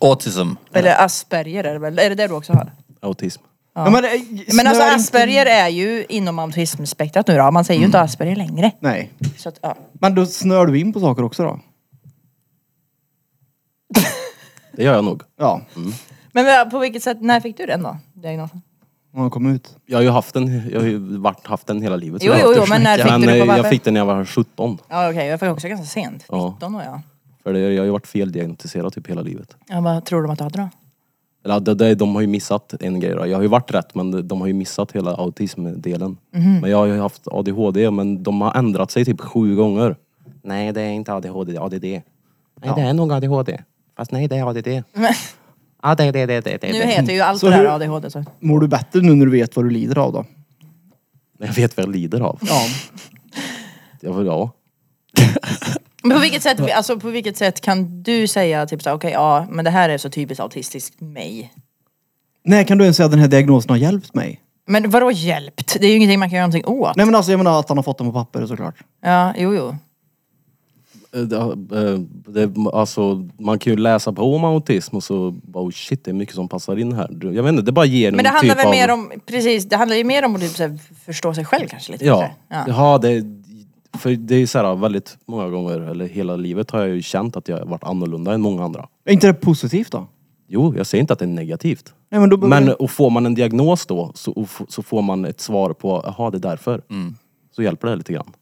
[SPEAKER 1] Autism.
[SPEAKER 4] Eller Asperger är det väl? Är det det du också har?
[SPEAKER 3] Autism.
[SPEAKER 2] Ja. men, eh,
[SPEAKER 4] Men alltså
[SPEAKER 2] snör inte-
[SPEAKER 4] Asperger är ju inom autismspektrat nu då. Man säger ju inte Asperger längre.
[SPEAKER 2] Nej.
[SPEAKER 4] Så att, ja.
[SPEAKER 2] Men då snör du in på saker också då?
[SPEAKER 3] Det gör jag nog.
[SPEAKER 2] Ja.
[SPEAKER 4] Men vad- på vilket sätt, när fick du den då? Diagnosen?
[SPEAKER 2] När de kom ut.
[SPEAKER 3] Jag har ju haft den, jag har ju varit, haft den hela livet. så
[SPEAKER 4] Jo,
[SPEAKER 3] jag har
[SPEAKER 4] jo,
[SPEAKER 3] haft
[SPEAKER 4] jo,
[SPEAKER 3] den.
[SPEAKER 4] men när fick du det
[SPEAKER 3] eh,
[SPEAKER 4] på papper?
[SPEAKER 3] Jag fick den när jag var 17.
[SPEAKER 4] Ja okej, jag fick också ganska sent.
[SPEAKER 3] Ja.
[SPEAKER 4] 19 år ja.
[SPEAKER 3] För det, jag har ju varit feldiagnostiserad typ hela livet.
[SPEAKER 4] ja. Vad tror de att du hade då?
[SPEAKER 3] Eller, det, det, de har ju missat en grej då. Jag har ju varit rätt men de- de har ju missat hela autismdelen.
[SPEAKER 4] Mhm.
[SPEAKER 3] Men jag har ju haft ADHD men de har ändrat sig typ sju gånger. Nej det är inte ADHD, det är ADD. Nej det är nog ADHD. Fast nej det är ADD. Ja det, det, det, det, det.
[SPEAKER 4] Nu heter ju allt
[SPEAKER 2] Så
[SPEAKER 4] det där
[SPEAKER 2] hur-
[SPEAKER 4] ADHD så.
[SPEAKER 2] Mår du bättre nu när du vet vad du lider av då?
[SPEAKER 3] Jag vet vad jag lider av.
[SPEAKER 2] Ja.
[SPEAKER 3] Jag, får- ja.
[SPEAKER 4] Men på vilket sätt, alltså, på vilket sätt kan du säga typ såhär, okej ja men det här är så typiskt autistiskt mig.
[SPEAKER 2] Nej, kan du ens säga att den här diagnosen har hjälpt mig?
[SPEAKER 4] Men vadå hjälpt? Det är ju ingenting man kan göra någonting åt.
[SPEAKER 2] Nej men alltså jag menar att han har fått dem på papper såklart.
[SPEAKER 4] Ja, jo jo.
[SPEAKER 3] Eh, det- eh, Det, alltså, man kan ju läsa på om autism och så bara oh shit det är mycket som passar in här. Du- Jag vet inte, det bara ger
[SPEAKER 4] Men det
[SPEAKER 3] en
[SPEAKER 4] handlar
[SPEAKER 3] typ
[SPEAKER 4] väl
[SPEAKER 3] av...
[SPEAKER 4] mer om, precis, det handlar ju mer om att typ, så här, förstå sig själv kanske lite. så
[SPEAKER 3] Ja.
[SPEAKER 4] här.
[SPEAKER 3] ja.
[SPEAKER 4] ja.
[SPEAKER 3] det, för det är ju så här väldigt många gånger, eller hela livet har jag ju känt att jag har varit annorlunda än många andra.
[SPEAKER 2] Är inte det positivt då?
[SPEAKER 3] Jo, jag säger inte att det är negativt.
[SPEAKER 2] Nej men då behöver-
[SPEAKER 3] Men och får man en diagnos då så, och f- så får man ett svar på, jaha det är därför. Så hjälper det lite grann.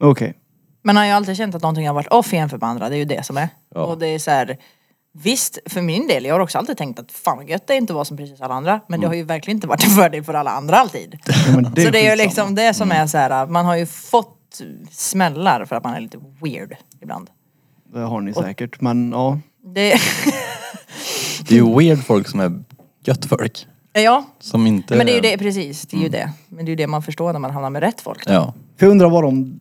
[SPEAKER 2] Okej.
[SPEAKER 4] Man har ju alltid känt att någonting har varit off jämfört med andra, det är ju det som är.
[SPEAKER 3] Ja.
[SPEAKER 4] Och det är så här, visst för min del, jag har också alltid tänkt att fan vad gött det är inte att vara som precis alla andra. Men det har ju verkligen inte varit en fördel för alla andra alltid.
[SPEAKER 2] Ja, men
[SPEAKER 4] så det är ju
[SPEAKER 2] skitsamma.
[SPEAKER 4] liksom det som är så här, man har ju fått smällar för att man är lite weird ibland.
[SPEAKER 2] Det har ni säkert men ja.
[SPEAKER 4] Det,
[SPEAKER 1] Det är ju weird folk som är gött folk.
[SPEAKER 4] ja,
[SPEAKER 1] Som inte...
[SPEAKER 4] men det är ju det, precis, det är ju det. Men det är ju det man förstår när man hamnar med rätt folk.
[SPEAKER 1] Ja.
[SPEAKER 2] För jag undrar vad de,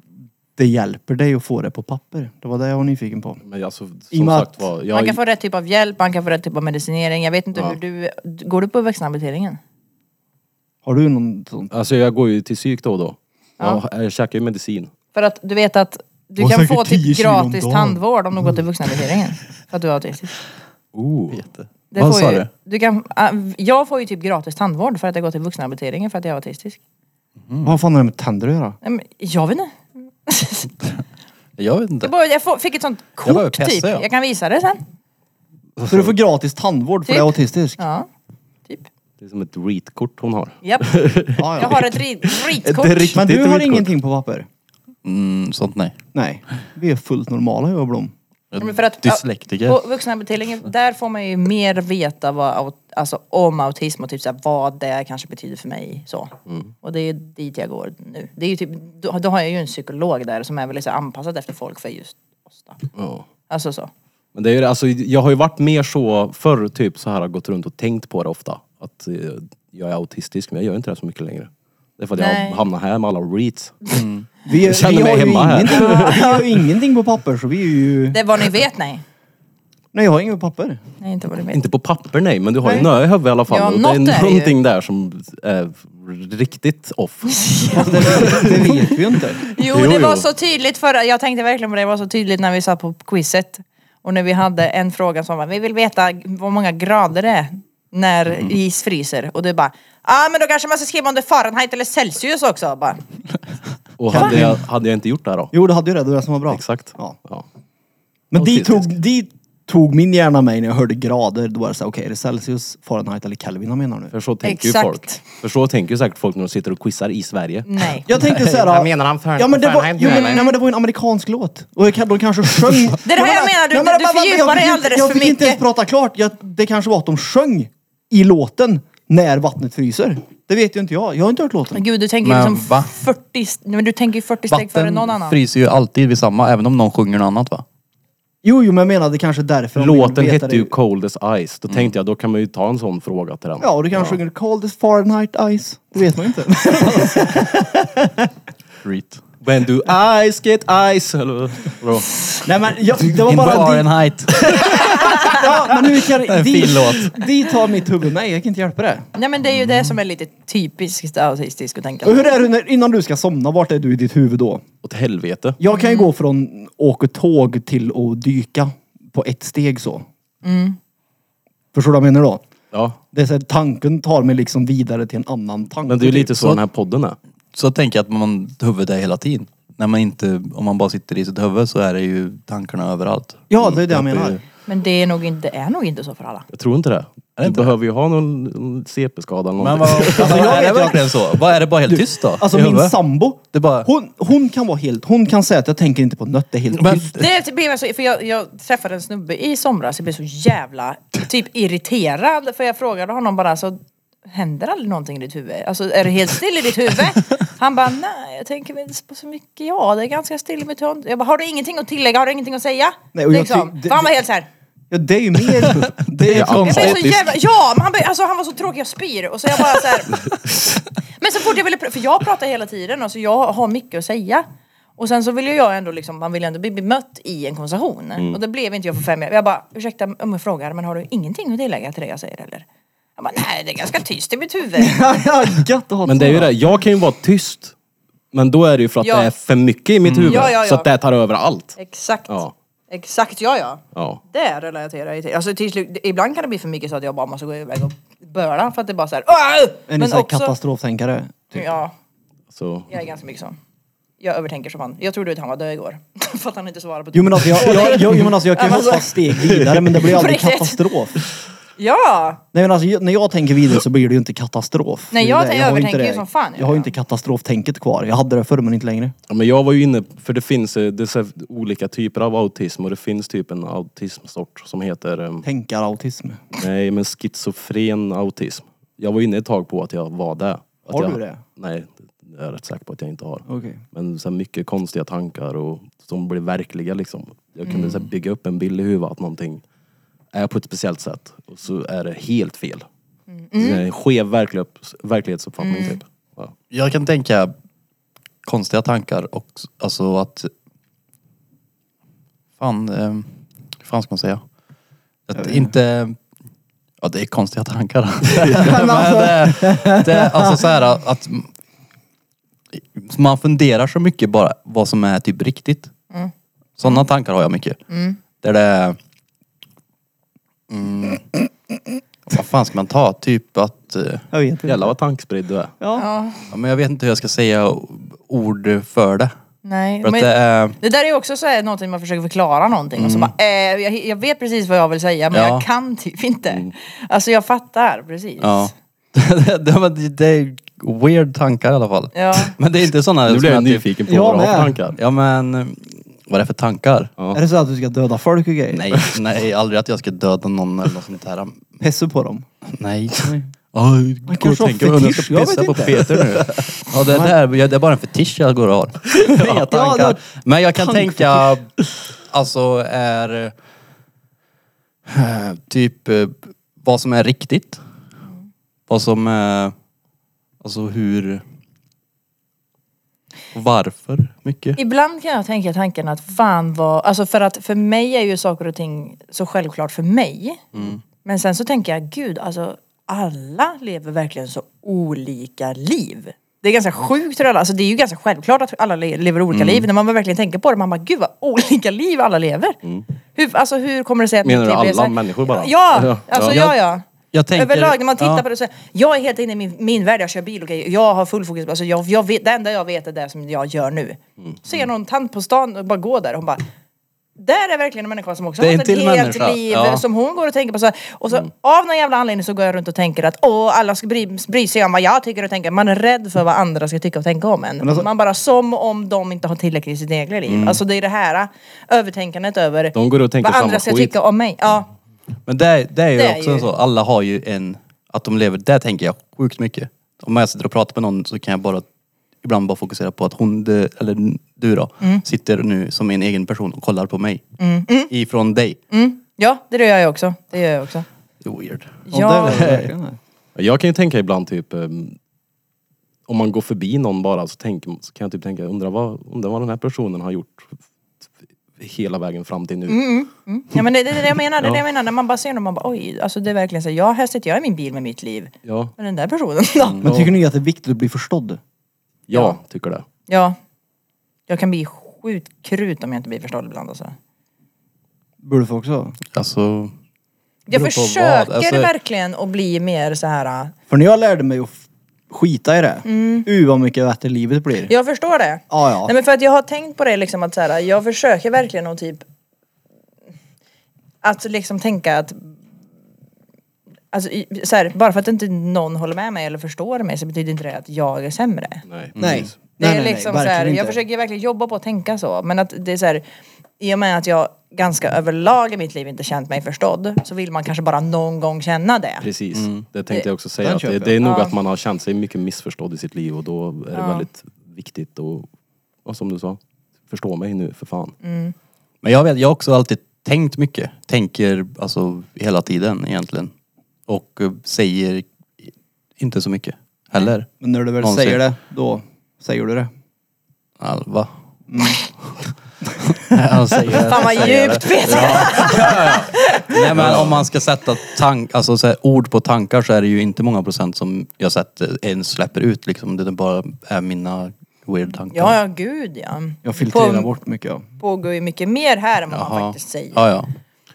[SPEAKER 2] det hjälper dig att få det på papper. Det var det jag var nyfiken på.
[SPEAKER 3] Men alltså, som
[SPEAKER 2] I och med
[SPEAKER 3] sagt
[SPEAKER 2] att-
[SPEAKER 3] var, jag,
[SPEAKER 4] Man kan få rätt typ av hjälp, man kan få rätt typ av medicinering. Jag vet inte hur du... Går du på vuxenhabiliteringen?
[SPEAKER 2] Har du någon sån?
[SPEAKER 3] alltså jag går ju till psyk då och då. Jag, jag käkar ju medicin.
[SPEAKER 4] För att du vet att du
[SPEAKER 2] Och
[SPEAKER 4] kan
[SPEAKER 2] säkert
[SPEAKER 4] få
[SPEAKER 2] 10
[SPEAKER 4] typ
[SPEAKER 2] kilo om
[SPEAKER 4] gratis
[SPEAKER 2] dagen. Mm.
[SPEAKER 4] tandvård om du går till vuxenhabiliteringen. För att du är autistisk.
[SPEAKER 3] Oh.
[SPEAKER 1] Jätte.
[SPEAKER 4] Det
[SPEAKER 1] Vad
[SPEAKER 4] får
[SPEAKER 1] sa
[SPEAKER 4] ju,
[SPEAKER 1] du?
[SPEAKER 4] du? kan, ah, jag får ju typ gratis tandvård för att jag går till vuxenhabiliteringen för att jag är autistisk.
[SPEAKER 3] Mm.
[SPEAKER 2] Vad fan har det med tänder att göra?
[SPEAKER 4] Nej, men Jag vet inte.
[SPEAKER 1] Jag vet
[SPEAKER 4] Jag,
[SPEAKER 1] inte.
[SPEAKER 4] bara, jag får, fick ett sånt
[SPEAKER 1] Jag bara
[SPEAKER 4] kort
[SPEAKER 1] pessar,
[SPEAKER 4] typ.
[SPEAKER 1] ja.
[SPEAKER 4] Jag kan visa det sen.
[SPEAKER 3] Alltså,
[SPEAKER 2] Så du får gratis tandvård för
[SPEAKER 4] Typ.
[SPEAKER 2] du är autistisk?
[SPEAKER 4] Ja, typ.
[SPEAKER 3] Det är som ett reat-kort hon har.
[SPEAKER 4] Japp.
[SPEAKER 2] Ja,
[SPEAKER 4] Jag
[SPEAKER 2] ja.
[SPEAKER 4] har ett rit- ritkort.
[SPEAKER 3] Ett rit-
[SPEAKER 2] Men
[SPEAKER 3] Det är
[SPEAKER 2] du
[SPEAKER 3] inte
[SPEAKER 2] har
[SPEAKER 3] mitt
[SPEAKER 2] ingenting på papper?
[SPEAKER 1] Mm, sånt nej.
[SPEAKER 2] Nej. Vi är fullt normala jag och Blom.
[SPEAKER 4] Men för att-
[SPEAKER 1] Dyslektiker.
[SPEAKER 4] På vuxenhabiliteringen, där får man ju mer veta vad, aut- alltså, om autism och typ så här, vad det kanske betyder för mig. Så. Och det är dit jag går nu. Det är ju typ, då, då har jag ju en psykolog där som är väldigt så här, anpassad efter folk för just oss då.
[SPEAKER 3] Ja.
[SPEAKER 4] Alltså så.
[SPEAKER 3] Men det är ju det, alltså, jag har ju varit mer så förr, typ så här, gått runt och tänkt på det ofta. att eh, jag är autistisk, men jag gör inte det så mycket längre. Det är för att
[SPEAKER 4] Nej.
[SPEAKER 3] jag hamnar här med alla reads.
[SPEAKER 2] Vi,
[SPEAKER 3] Jag känner
[SPEAKER 2] vi,
[SPEAKER 3] mig
[SPEAKER 2] har ju
[SPEAKER 3] hemma här.
[SPEAKER 2] ingenting, vi har ju ingenting på papper så vi är ju...
[SPEAKER 4] Det är vad ni vet, nej.
[SPEAKER 2] Nej jag har inget på papper.
[SPEAKER 4] Nej, inte vad ni vet.
[SPEAKER 3] Inte på papper nej, men du har ju
[SPEAKER 4] Nej.
[SPEAKER 3] nöje i huvudet i alla fall.
[SPEAKER 4] Ja,
[SPEAKER 3] och
[SPEAKER 4] något är
[SPEAKER 3] det
[SPEAKER 4] det
[SPEAKER 3] är
[SPEAKER 4] ju.
[SPEAKER 3] någonting där som är riktigt off.
[SPEAKER 2] Fast det, det vet vi ju inte.
[SPEAKER 4] Jo,
[SPEAKER 3] Jo,
[SPEAKER 4] det var
[SPEAKER 3] jo.
[SPEAKER 4] så tydligt förra, jag tänkte verkligen på det, det var så tydligt när vi satt på quizet. Och när vi hade en fråga som var, vi vill veta hur många grader det är när is fryser. Och du bara, ja ah, men då kanske man ska skriva om det är Fahrenheit eller Celsius också. Bara,
[SPEAKER 3] Och hade jag, hade jag inte gjort det här då?
[SPEAKER 2] Jo du hade ju det, det var det som var bra.
[SPEAKER 3] Exakt.
[SPEAKER 2] Ja.
[SPEAKER 3] Ja.
[SPEAKER 2] Men dit
[SPEAKER 3] Autistisk.
[SPEAKER 2] tog, dit tog min hjärna mig när jag hörde grader. Då var det såhär, okej är det Celsius, Fahrenheit eller Kelvin han menar nu?
[SPEAKER 3] För så tänker
[SPEAKER 4] Exakt.
[SPEAKER 3] ju
[SPEAKER 4] Mm.
[SPEAKER 3] folk. För så tänker ju säkert folk när de sitter och quizar i Sverige.
[SPEAKER 4] nej.
[SPEAKER 2] Jag tänkte såhär...
[SPEAKER 6] Vad menar han för-
[SPEAKER 2] ja, men det var,
[SPEAKER 6] Fahrenheit
[SPEAKER 2] jo, men,
[SPEAKER 6] menar?
[SPEAKER 2] nej, men det var ju en amerikansk låt. Och jag, kan- de kanske sjöng...
[SPEAKER 4] det här jag menar, du-
[SPEAKER 2] Nej, men
[SPEAKER 4] du
[SPEAKER 2] jag bara- jag
[SPEAKER 4] fördjupar
[SPEAKER 2] fick inte-
[SPEAKER 4] dig alldeles
[SPEAKER 2] Jag
[SPEAKER 4] för
[SPEAKER 2] fick inte ens
[SPEAKER 4] mycket.
[SPEAKER 2] prata klart. Jag, det kanske var att de sjöng i låten när vattnet fryser. Det vet ju inte jag. Jag har inte hört låten.
[SPEAKER 4] Gud, du tänker
[SPEAKER 1] Men
[SPEAKER 4] liksom
[SPEAKER 1] va?
[SPEAKER 4] 40, st- nej, men du tänker ju 40 steg före någon
[SPEAKER 1] Vatten
[SPEAKER 4] annan.
[SPEAKER 1] fryser ju alltid vid samma, även om någon sjunger något annat va?
[SPEAKER 2] Jo, jo, men jag menade kanske därför. de
[SPEAKER 3] Låten
[SPEAKER 2] vill veta
[SPEAKER 3] hette
[SPEAKER 2] det.
[SPEAKER 3] ju Cold as Ice. Då
[SPEAKER 4] Mm.
[SPEAKER 3] tänkte jag, då kan man ju ta en sån fråga till den.
[SPEAKER 2] Ja, och du kanske sjunger Cold as Fahrenheit Ice. Det vet man ju inte.
[SPEAKER 1] Reet.
[SPEAKER 3] When do ice get ice? Eller, vadå?
[SPEAKER 2] Nej, men jag, det var
[SPEAKER 1] In
[SPEAKER 2] bara... Dit,
[SPEAKER 1] Fahrenheit.
[SPEAKER 2] ja, men nu kan,
[SPEAKER 1] en fin
[SPEAKER 2] dit,
[SPEAKER 1] låt.
[SPEAKER 2] dit tar mitt huvud mig. Jag kan inte hjälpa det.
[SPEAKER 4] Nej men det är ju det som är lite typiskt autistiskt att tänka.
[SPEAKER 2] Och hur är du när, innan du ska somna? Vart är du i ditt huvud då?
[SPEAKER 3] Åt helvete.
[SPEAKER 2] Jag kan ju
[SPEAKER 4] Mm.
[SPEAKER 2] gå från åka tåg till att dyka på ett steg så.
[SPEAKER 4] Mm.
[SPEAKER 2] Förstår du vad jag menar då?
[SPEAKER 3] Ja.
[SPEAKER 2] Det är så här, tanken tar mig liksom vidare till en annan tanke.
[SPEAKER 3] Men det är ju
[SPEAKER 2] typ.
[SPEAKER 3] lite så, den här podden är.
[SPEAKER 1] Så tänker jag att man, huvudet är hela tiden. När man inte, om man bara sitter i sitt huvud så är det ju tankarna överallt.
[SPEAKER 2] Ja, det är det jag
[SPEAKER 1] Mm,
[SPEAKER 2] menar.
[SPEAKER 4] Men det är, nog inte, det är nog inte så för alla.
[SPEAKER 3] Jag tror inte det. du behöver ju ha någon någon CP-skada eller
[SPEAKER 1] Men
[SPEAKER 3] någonting.
[SPEAKER 1] vad, alltså,
[SPEAKER 2] jag
[SPEAKER 1] är
[SPEAKER 2] vet
[SPEAKER 1] det
[SPEAKER 2] ju
[SPEAKER 1] verkligen så? Vad är det bara helt tyst då?
[SPEAKER 2] Alltså
[SPEAKER 1] i
[SPEAKER 2] min
[SPEAKER 1] huvudet?
[SPEAKER 2] sambo,
[SPEAKER 1] Det är bara-
[SPEAKER 2] hon, hon kan vara helt, hon kan säga att jag tänker inte på nött, det är helt
[SPEAKER 1] Men-
[SPEAKER 2] tyst.
[SPEAKER 4] Det blev jag så, för jag, jag träffade en snubbe i somras, jag blev så jävla typ irriterad för jag frågade honom bara så Händer aldrig någonting i ditt huvud? Alltså är det helt still i ditt huvud? Han bara, nej jag tänker väl inte på så mycket, ja det är ganska still i mitt huvud. Jag bara, har du ingenting att tillägga? Har du ingenting att säga? Liksom.
[SPEAKER 2] Nej, och jag ty- det-
[SPEAKER 4] för han var helt såhär,
[SPEAKER 2] Ja, det är ju mer... det är
[SPEAKER 4] jag blev så
[SPEAKER 3] Autistisk.
[SPEAKER 4] jävla, ja men han, blev- alltså, han var så tråkig, jag spyr. Och så jag bara såhär, men så fort jag ville, pr- för jag pratar hela tiden och så jag har mycket att säga. Och sen så vill ju jag ändå liksom, man vill ändå bli bemött i en konversation.
[SPEAKER 2] Mm.
[SPEAKER 4] Och det blev inte jag för fem år. Jag bara, ursäkta om jag frågar, men har du ingenting att tillägga till det jag säger eller? Han bara, nej det är ganska tyst i mitt huvud.
[SPEAKER 2] Ja, ja, gött att ha
[SPEAKER 3] Men det är ju
[SPEAKER 2] sådana.
[SPEAKER 3] det, jag kan ju vara tyst. Men då är det ju för att
[SPEAKER 4] Ja.
[SPEAKER 3] det är för mycket i mitt huvud.
[SPEAKER 4] Ja, ja,
[SPEAKER 3] Så
[SPEAKER 4] ja.
[SPEAKER 3] att det tar över allt.
[SPEAKER 4] Exakt.
[SPEAKER 3] Ja.
[SPEAKER 4] Exakt, ja ja.
[SPEAKER 3] Ja.
[SPEAKER 4] Det relaterar jag till. Alltså till slut, ibland kan det bli för mycket så att jag bara måste gå iväg och böla för att det bara såhär, "Åh!"
[SPEAKER 2] Är ni så här katastroftänkare?
[SPEAKER 4] ja.
[SPEAKER 3] Så.
[SPEAKER 4] Jag är ganska mycket sån. Jag övertänker som fan. Jag trodde att han var död igår. För att han inte svarade på
[SPEAKER 2] Jo men alltså jag, jag, jag, jo, men alltså, jag kan ju
[SPEAKER 4] Alltså-
[SPEAKER 2] hoppa steg vidare men det blir aldrig
[SPEAKER 4] På riktigt.
[SPEAKER 2] katastrof.
[SPEAKER 4] Ja!
[SPEAKER 2] Nej men alltså jag- när jag tänker vidare så blir det ju inte katastrof.
[SPEAKER 4] Nej,
[SPEAKER 2] Det är
[SPEAKER 4] jag
[SPEAKER 2] det.
[SPEAKER 4] tänker-
[SPEAKER 2] har
[SPEAKER 4] övertänker
[SPEAKER 2] inte det-
[SPEAKER 4] ju som fan,
[SPEAKER 2] Jag har
[SPEAKER 4] ja.
[SPEAKER 2] ju inte katastroftänket kvar. Jag hade det förr men inte längre.
[SPEAKER 3] Ja, men jag var ju inne, för det finns eh, det är så här olika typer av autism och det finns typ en autismsort som heter, eh,
[SPEAKER 2] Tänkarautism.
[SPEAKER 3] nej men schizofren autism. Jag var inne ett tag på att jag var det. Att
[SPEAKER 2] Har
[SPEAKER 3] jag,
[SPEAKER 2] du det?
[SPEAKER 3] Nej, det är jag rätt säker på att jag inte har.
[SPEAKER 2] Okej.
[SPEAKER 3] Men så här mycket konstiga tankar och, som blir verkliga liksom. Jag kunde så här, bygga upp en bild i huvudet att någonting är på ett speciellt sätt och så är det helt fel. Det är en skev verklig, verklighetsuppfattning typ. Ja.
[SPEAKER 1] Jag kan tänka konstiga tankar och alltså att... Fan, eh, hur fan ska man säga? Att inte... Ja det är konstiga tankar. Men det, det, är alltså så här att man funderar så mycket bara vad som är typ riktigt. Sådana tankar har jag mycket. Där det är... Mm, vad fan ska man ta? Typ att... eh,
[SPEAKER 2] Jag vet inte.
[SPEAKER 3] Jävlar vad tankspridd du är.
[SPEAKER 2] Ja.
[SPEAKER 1] Ja, men jag vet inte hur jag ska säga ord för det.
[SPEAKER 4] Nej.
[SPEAKER 1] För att
[SPEAKER 4] Men,
[SPEAKER 1] det är...
[SPEAKER 4] det där är ju också så här, någonting man försöker förklara någonting och så bara, eh, jag, jag vet precis vad jag vill säga men
[SPEAKER 1] Ja. Mm.
[SPEAKER 4] jag kan typ inte. Alltså jag fattar precis.
[SPEAKER 1] Ja. det, det, det är weird tankar i alla fall.
[SPEAKER 4] Ja.
[SPEAKER 1] Men det är inte sådana...
[SPEAKER 3] Nu
[SPEAKER 1] som
[SPEAKER 3] blir jag
[SPEAKER 1] att typ-
[SPEAKER 3] nyfiken på
[SPEAKER 2] Jag
[SPEAKER 3] vad du har för
[SPEAKER 2] med.
[SPEAKER 3] tankar.
[SPEAKER 1] Ja men, vad är det för tankar?
[SPEAKER 3] Ja.
[SPEAKER 2] Är det så att du ska döda folk och grejer?
[SPEAKER 1] Nej, nej, aldrig att jag ska döda någon eller något sånt här.
[SPEAKER 2] Pessa på dem?
[SPEAKER 1] Nej. Oh, jag
[SPEAKER 2] kanske har
[SPEAKER 1] tänker om jag
[SPEAKER 2] fetisch, jag
[SPEAKER 1] ska pissa
[SPEAKER 2] vet
[SPEAKER 1] på
[SPEAKER 2] inte.
[SPEAKER 1] Peter nu. Ja, det, där, jag- det är bara en fetisch jag går och har. Inga
[SPEAKER 2] det var
[SPEAKER 1] tankar. Men jag kan tänka, alltså är eh, typ eh, vad som är riktigt. Vad som är... Alltså hur... Varför mycket?
[SPEAKER 4] Ibland kan jag tänka tanken att fan vad, alltså för att för mig är ju saker och ting så självklart för mig.
[SPEAKER 3] Mm.
[SPEAKER 4] Men sen så tänker jag, gud alltså alla lever verkligen så olika liv. Det är ganska
[SPEAKER 3] Mm.
[SPEAKER 4] sjukt hur alla, alltså det är ju ganska självklart att alla le- lever olika liv. När man väl verkligen tänker på det, man bara gud vad olika liv alla lever. Hur, alltså hur kommer det sig att
[SPEAKER 3] Mm. Menar
[SPEAKER 4] mitt
[SPEAKER 3] du alla
[SPEAKER 4] liv blev så här-
[SPEAKER 3] människor bara?
[SPEAKER 4] Ja, alltså
[SPEAKER 1] Ja.
[SPEAKER 4] ja ja.
[SPEAKER 1] Jag tänker-
[SPEAKER 4] Överlag när man tittar
[SPEAKER 1] ja.
[SPEAKER 4] på det så, jag är helt inne i min, min värld, jag kör bil, okej, jag har full fokus, alltså jag, jag vet, det enda jag vet är det som jag gör nu.
[SPEAKER 1] Mm.
[SPEAKER 4] Ser någon tant på stan och bara går där, hon bara där är verkligen en människa som också
[SPEAKER 1] Det är
[SPEAKER 4] har
[SPEAKER 1] en
[SPEAKER 4] haft ett
[SPEAKER 1] till
[SPEAKER 4] helt
[SPEAKER 1] människa,
[SPEAKER 4] liv
[SPEAKER 1] ja. Mm.
[SPEAKER 4] som hon går och tänker på så här. Och så av någon jävla anledning så går jag runt och tänker att åh alla ska bry, bry sig om vad jag tycker och tänker. Man är rädd för vad andra ska tycka och tänka om en. Man bara som om de inte har tillräckligt i sitt egna liv.
[SPEAKER 1] Mm.
[SPEAKER 4] Alltså det är det här äh, övertänkandet över
[SPEAKER 3] De går och tänker
[SPEAKER 4] vad andra
[SPEAKER 3] samma
[SPEAKER 4] ska
[SPEAKER 3] skit.
[SPEAKER 4] tycka om mig. Ja.
[SPEAKER 1] Men det, är- det är ju
[SPEAKER 4] Det är
[SPEAKER 1] också
[SPEAKER 4] ju-
[SPEAKER 1] så, alla har ju en, att de lever, det tänker jag sjukt mycket. Om jag sitter och pratar med någon så kan jag bara ibland bara fokusera på att hon, det- eller du då,
[SPEAKER 4] Mm.
[SPEAKER 1] sitter nu som en egen person och kollar på mig. Ifrån dig.
[SPEAKER 4] Mm. ja, det gör jag också. Det gör jag också.
[SPEAKER 1] Det är weird.
[SPEAKER 4] Ja.
[SPEAKER 2] Det är verkligen det.
[SPEAKER 3] Jag kan ju tänka ibland typ ehm, om man går förbi någon bara så, tänker, så kan jag typ tänka, undrar vad, undrar vad den här personen har gjort hela vägen fram till nu.
[SPEAKER 4] Ja men det det är det jag menar, det är det jag
[SPEAKER 3] Ja.
[SPEAKER 4] menar. När man bara ser dem, man bara oj, alltså det är verkligen så, här, ja här sitter jag i min bil med mitt liv.
[SPEAKER 3] Ja,
[SPEAKER 4] Men den där personen då?
[SPEAKER 2] Men tycker ni att det är viktigt att bli förstådd?
[SPEAKER 3] jag tycker det.
[SPEAKER 4] Ja. Jag kan bli sjukt krut om jag inte blir förstådd ibland alltså.
[SPEAKER 2] Borde folk också?
[SPEAKER 1] Alltså,
[SPEAKER 4] Jag
[SPEAKER 1] Beror på vad,
[SPEAKER 4] försöker
[SPEAKER 1] alltså-
[SPEAKER 4] verkligen att bli mer så här.
[SPEAKER 2] För när jag lärde mig att f- skita i det,
[SPEAKER 4] Mm.
[SPEAKER 2] uh vad mycket bättre livet blir.
[SPEAKER 4] jag förstår det.
[SPEAKER 2] Ja, ja.
[SPEAKER 4] Nej men för att jag har tänkt på det liksom att så här, jag försöker verkligen att typ att liksom tänka att Alltså i- så här, bara för att inte någon håller med mig eller förstår mig så betyder inte det att jag är sämre.
[SPEAKER 3] Nej.
[SPEAKER 2] Nej.
[SPEAKER 4] Det
[SPEAKER 2] nej,
[SPEAKER 4] är
[SPEAKER 2] nej, nej,
[SPEAKER 4] liksom så
[SPEAKER 2] verkligen
[SPEAKER 4] här,
[SPEAKER 2] inte.
[SPEAKER 4] jag försöker verkligen jobba på att tänka så. Men att det är så här, i och med att jag ganska överlag i mitt liv inte känt mig förstådd så vill man kanske bara någon gång känna det.
[SPEAKER 3] Precis, det tänkte jag också säga.
[SPEAKER 2] Mm. Den
[SPEAKER 3] Att det,
[SPEAKER 2] köper
[SPEAKER 3] det är nog
[SPEAKER 4] jag. Ja.
[SPEAKER 3] att man har känt sig mycket missförstådd i sitt liv och då är det väldigt viktigt och, och som du sa, förstå mig nu för fan.
[SPEAKER 4] Mm.
[SPEAKER 1] men jag vet, jag har också alltid tänkt mycket. Tänker alltså hela tiden egentligen. Och eh, säger inte så mycket heller.
[SPEAKER 2] Men när du väl
[SPEAKER 1] Någonsin.
[SPEAKER 2] säger det, då säger du det.
[SPEAKER 1] Alva. Han säger
[SPEAKER 4] Mm. Fan vad
[SPEAKER 1] säger det.
[SPEAKER 4] djupt Peter!
[SPEAKER 1] Nej men om man ska sätta tank, alltså, så här, ord på tankar så är det ju inte många procent som jag sätter, ens släpper ut liksom. Det är bara är mina weird tankar.
[SPEAKER 4] Ja, ja gud ja.
[SPEAKER 2] Jag filtrerar
[SPEAKER 4] På-
[SPEAKER 2] bort mycket. Ja.
[SPEAKER 4] pågår ju mycket mer här än vad man
[SPEAKER 1] Jaha.
[SPEAKER 4] faktiskt säger.
[SPEAKER 1] Ja, ja.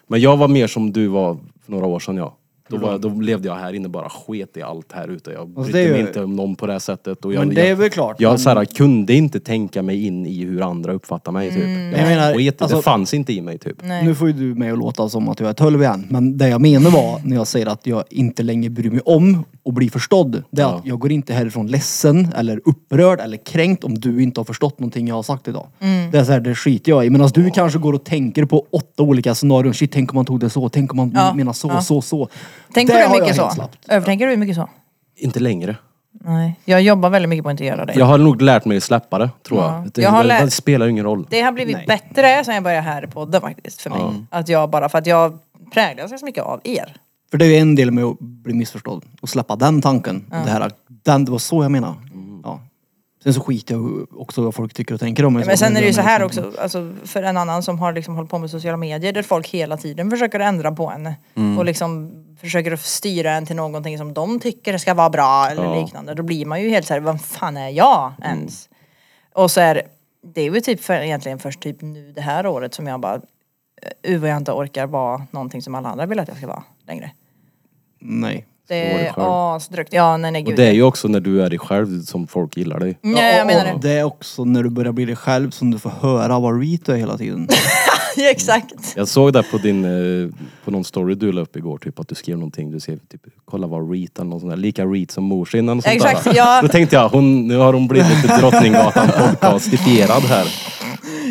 [SPEAKER 3] Men jag var mer som du var för några år sedan ja. Då, var, jag- då levde jag här inne bara sket i allt här ute. Jag
[SPEAKER 2] Alltså,
[SPEAKER 3] brydde
[SPEAKER 2] det är
[SPEAKER 3] mig
[SPEAKER 2] ju-
[SPEAKER 3] inte om någon på det här sättet. Och jag,
[SPEAKER 2] Men det är
[SPEAKER 3] jag,
[SPEAKER 2] väl klart.
[SPEAKER 3] jag
[SPEAKER 2] men-
[SPEAKER 3] så här, kunde inte tänka mig in i hur andra uppfattar mig typ. Jag,
[SPEAKER 2] Jag menar,
[SPEAKER 3] sket i det.
[SPEAKER 2] alltså-
[SPEAKER 3] det fanns inte i mig typ.
[SPEAKER 4] Mm. Nej.
[SPEAKER 2] Nu får ju du mig att låta som att jag är tölv igen. Men det jag menar var när jag säger att jag inte längre bryr mig om och blir förstådd. Det är att jag går inte härifrån ledsen eller upprörd eller kränkt om du inte har förstått någonting jag har sagt idag.
[SPEAKER 4] Mm.
[SPEAKER 2] Det är så här, det skiter jag i. Medan du kanske går och tänker på åtta olika scenarion. Shit, tänk om man tog det så. Tänk om man
[SPEAKER 4] Ja,
[SPEAKER 2] menar så,
[SPEAKER 4] ja.
[SPEAKER 2] så, så.
[SPEAKER 4] Tänker
[SPEAKER 2] Det
[SPEAKER 4] du
[SPEAKER 2] har jag
[SPEAKER 4] mycket
[SPEAKER 2] helt
[SPEAKER 4] så?
[SPEAKER 2] slappt.
[SPEAKER 4] Övertänker du mycket så?
[SPEAKER 3] Inte längre.
[SPEAKER 4] Nej. Jag jobbar väldigt mycket på att inte göra det.
[SPEAKER 3] Jag har nog lärt mig att släppa det tror
[SPEAKER 4] Ja.
[SPEAKER 3] jag. Det,
[SPEAKER 4] Jag har
[SPEAKER 3] det,
[SPEAKER 4] lärt-
[SPEAKER 3] det spelar ju ingen roll.
[SPEAKER 4] Det har blivit bättre sen jag började här i podden faktiskt för mig. Att jag bara, för att jag präglas ganska mycket av er.
[SPEAKER 2] För det är ju en del med att bli missförstådd. Och släppa den tanken. Det, här, den, det var så jag menade. Ja. Sen så skiter jag också vad folk tycker och tänker om mig.
[SPEAKER 4] Ja, men
[SPEAKER 2] Så
[SPEAKER 4] sen är det ju så här
[SPEAKER 2] liksom-
[SPEAKER 4] också, alltså, för en annan som har liksom hållit på med sociala medier där folk hela tiden försöker ändra på en
[SPEAKER 3] Mm.
[SPEAKER 4] och liksom försöker att styra en till någonting som de tycker ska vara bra eller liknande. Då blir man ju helt så här, vad fan är jag
[SPEAKER 3] Mm.
[SPEAKER 4] ens? Och så är det är ju typ för, egentligen först typ nu det här året som jag bara, uh vad jag inte orkar vara någonting som alla andra vill att jag ska vara längre.
[SPEAKER 2] Nej.
[SPEAKER 4] Det
[SPEAKER 3] Svår
[SPEAKER 4] är
[SPEAKER 3] skärm.
[SPEAKER 4] asdrygt. Ja, nej nej
[SPEAKER 3] Och
[SPEAKER 4] gud.
[SPEAKER 3] det är ju också när du är dig själv som folk gillar dig.
[SPEAKER 4] Nej, jag menar det.
[SPEAKER 2] Det är också när du börjar bli dig själv som du får höra vad reet du är hela tiden.
[SPEAKER 4] Ja, Exakt.
[SPEAKER 3] Jag såg det på din, eh, på någon story du la upp igår, typ att du skrev någonting, du skrev typ kolla vad reet eller någon sån där, lika reet som morsinnan och sånt
[SPEAKER 4] Exakt,
[SPEAKER 3] där.
[SPEAKER 4] ja.
[SPEAKER 3] Då tänkte jag, hon, nu har hon blivit lite Drottninggatan podcastifierad här.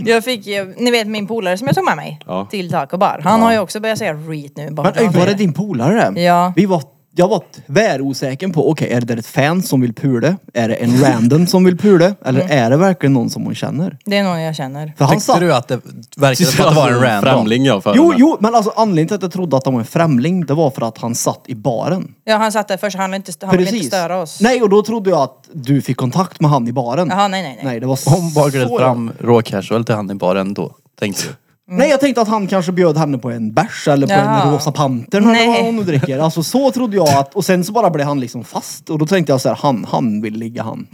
[SPEAKER 4] Jag fick ju, ni vet min polare som jag tog med mig
[SPEAKER 3] Ja.
[SPEAKER 4] till Taco Bar. Han har ju också börjat säga reet nu. Bara
[SPEAKER 2] Men
[SPEAKER 4] för att
[SPEAKER 2] oj,
[SPEAKER 4] han
[SPEAKER 2] var det
[SPEAKER 4] säger
[SPEAKER 2] din polare det?
[SPEAKER 4] Ja.
[SPEAKER 2] Vi var, jag var tvärosäker på, okej är det där ett fan som vill pule? Är det en random som vill pule? Eller
[SPEAKER 4] Mm.
[SPEAKER 2] är det verkligen någon som hon känner?
[SPEAKER 4] Det är någon jag känner.
[SPEAKER 2] För han
[SPEAKER 1] Tyckte
[SPEAKER 2] sa,
[SPEAKER 1] du att det verkade som att det var en random?
[SPEAKER 3] alltså Främling jag för
[SPEAKER 2] jo,
[SPEAKER 3] mig.
[SPEAKER 2] jo, men alltså anledningen till att jag trodde att han var en främling, det var för att han satt i baren.
[SPEAKER 4] Ja han satt där först, han ville inte, han ville inte störa oss.
[SPEAKER 2] Nej, och då trodde jag att du fick kontakt med han i baren.
[SPEAKER 4] Jaha, nej, nej, nej.
[SPEAKER 2] Nej, det var
[SPEAKER 1] Hon bakade
[SPEAKER 2] så-
[SPEAKER 1] fram rå casual till han i baren då, tänkte du.
[SPEAKER 4] Mm.
[SPEAKER 2] Nej, jag tänkte att han kanske bjöd henne på en bärs eller på en
[SPEAKER 4] Jaha.
[SPEAKER 2] rosa panter eller
[SPEAKER 4] Nej.
[SPEAKER 2] vad hon nu dricker. Alltså så trodde jag att, och sen så bara blev han liksom fast. Och då tänkte jag så här, han, han vill ligga han.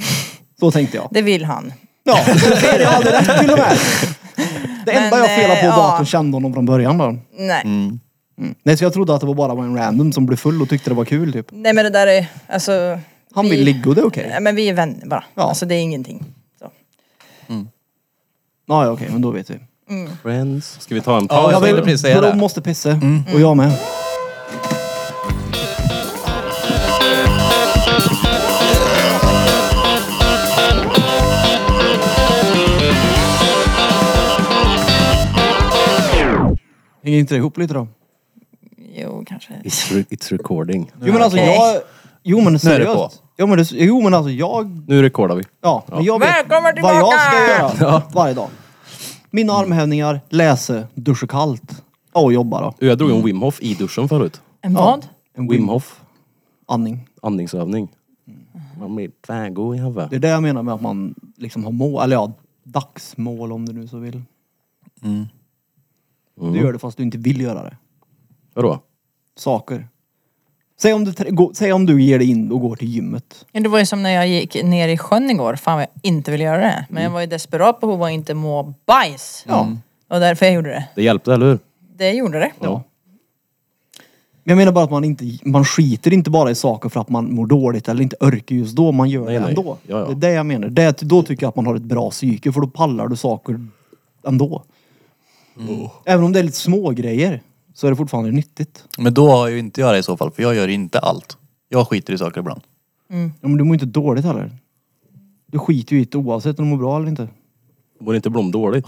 [SPEAKER 2] Så tänkte jag.
[SPEAKER 4] Det vill han.
[SPEAKER 2] Ja, så ser jag hade rätt till och med. Det enda
[SPEAKER 4] Men,
[SPEAKER 2] jag felade på
[SPEAKER 4] eh,
[SPEAKER 2] var
[SPEAKER 4] ja.
[SPEAKER 2] att hon kände honom från början då.
[SPEAKER 4] Nej.
[SPEAKER 2] Mm. Nej, så jag trodde att det var bara en random som blev full och tyckte det var kul typ.
[SPEAKER 4] Nej men det där är, alltså.
[SPEAKER 2] Han vill ligga och det är okej.
[SPEAKER 4] Nej, men vi är vänner bara.
[SPEAKER 2] Ja.
[SPEAKER 4] Alltså det är ingenting. Så.
[SPEAKER 2] Ja, ja, okej, men då vet vi.
[SPEAKER 3] Friends. Ska vi ta en
[SPEAKER 1] Ja,
[SPEAKER 3] paus?
[SPEAKER 1] jag ville precis säga
[SPEAKER 2] Bro
[SPEAKER 1] det.
[SPEAKER 2] måste pissa. Och jag med. Hänger inte det ihop lite då?
[SPEAKER 4] Jo kanske.
[SPEAKER 3] It's, re- it's recording.
[SPEAKER 2] Jo men alltså
[SPEAKER 4] Okej.
[SPEAKER 2] jag... Jo men
[SPEAKER 1] Nu är det på.
[SPEAKER 2] seriöst. Jo men, det, jo men alltså jag...
[SPEAKER 3] Nu rekordar vi.
[SPEAKER 2] Ja, men jag vet
[SPEAKER 4] Välkommen
[SPEAKER 2] vad jag ska
[SPEAKER 4] tillbaka!
[SPEAKER 2] göra varje dag. Mina armhävningar, läse, duscha kallt. Och jobba då.
[SPEAKER 3] Jag drog
[SPEAKER 4] Mm.
[SPEAKER 3] en Wim Hof i duschen förut.
[SPEAKER 4] En vad?
[SPEAKER 2] En
[SPEAKER 3] Wim
[SPEAKER 2] Wim
[SPEAKER 3] Hof.
[SPEAKER 2] andning.
[SPEAKER 3] Andningsövning.
[SPEAKER 4] Mm.
[SPEAKER 3] Man blir tvärgo i huvudet.
[SPEAKER 2] Det är det jag menar med att man liksom har mål, eller ja, dagsmål om du nu så vill.
[SPEAKER 3] Mm.
[SPEAKER 2] Du gör det fast du inte vill göra det.
[SPEAKER 3] Vadå?
[SPEAKER 2] Saker. Säg om du, trä- gå- säg om du ger dig in och går till gymmet.
[SPEAKER 4] Det var ju som när jag gick ner i sjön igår. Fan vad jag inte ville göra det. Men jag var ju desperat behov av att inte må bajs.
[SPEAKER 2] Mm. Ja.
[SPEAKER 4] Och därför jag gjorde det.
[SPEAKER 3] Det hjälpte, eller hur?
[SPEAKER 4] Det gjorde det.
[SPEAKER 3] Ja.
[SPEAKER 2] Men jag menar bara att man inte, man skiter inte bara i saker för att man mår dåligt eller inte orkar just då. Man gör
[SPEAKER 3] Nej,
[SPEAKER 2] det
[SPEAKER 3] nej.
[SPEAKER 2] ändå.
[SPEAKER 3] Ja, ja.
[SPEAKER 2] Det är det jag menar. Det, då tycker jag att man har ett bra psyke för då pallar du saker ändå.
[SPEAKER 3] Mm.
[SPEAKER 2] Även om det är lite små grejer så är det fortfarande nyttigt.
[SPEAKER 1] Men då har ju inte jag det i så fall, för jag gör inte allt. Jag skiter i saker ibland.
[SPEAKER 2] Ja, men du mår inte dåligt heller. Du skiter ju i det oavsett om du mår bra eller inte.
[SPEAKER 3] Mår inte Blom dåligt?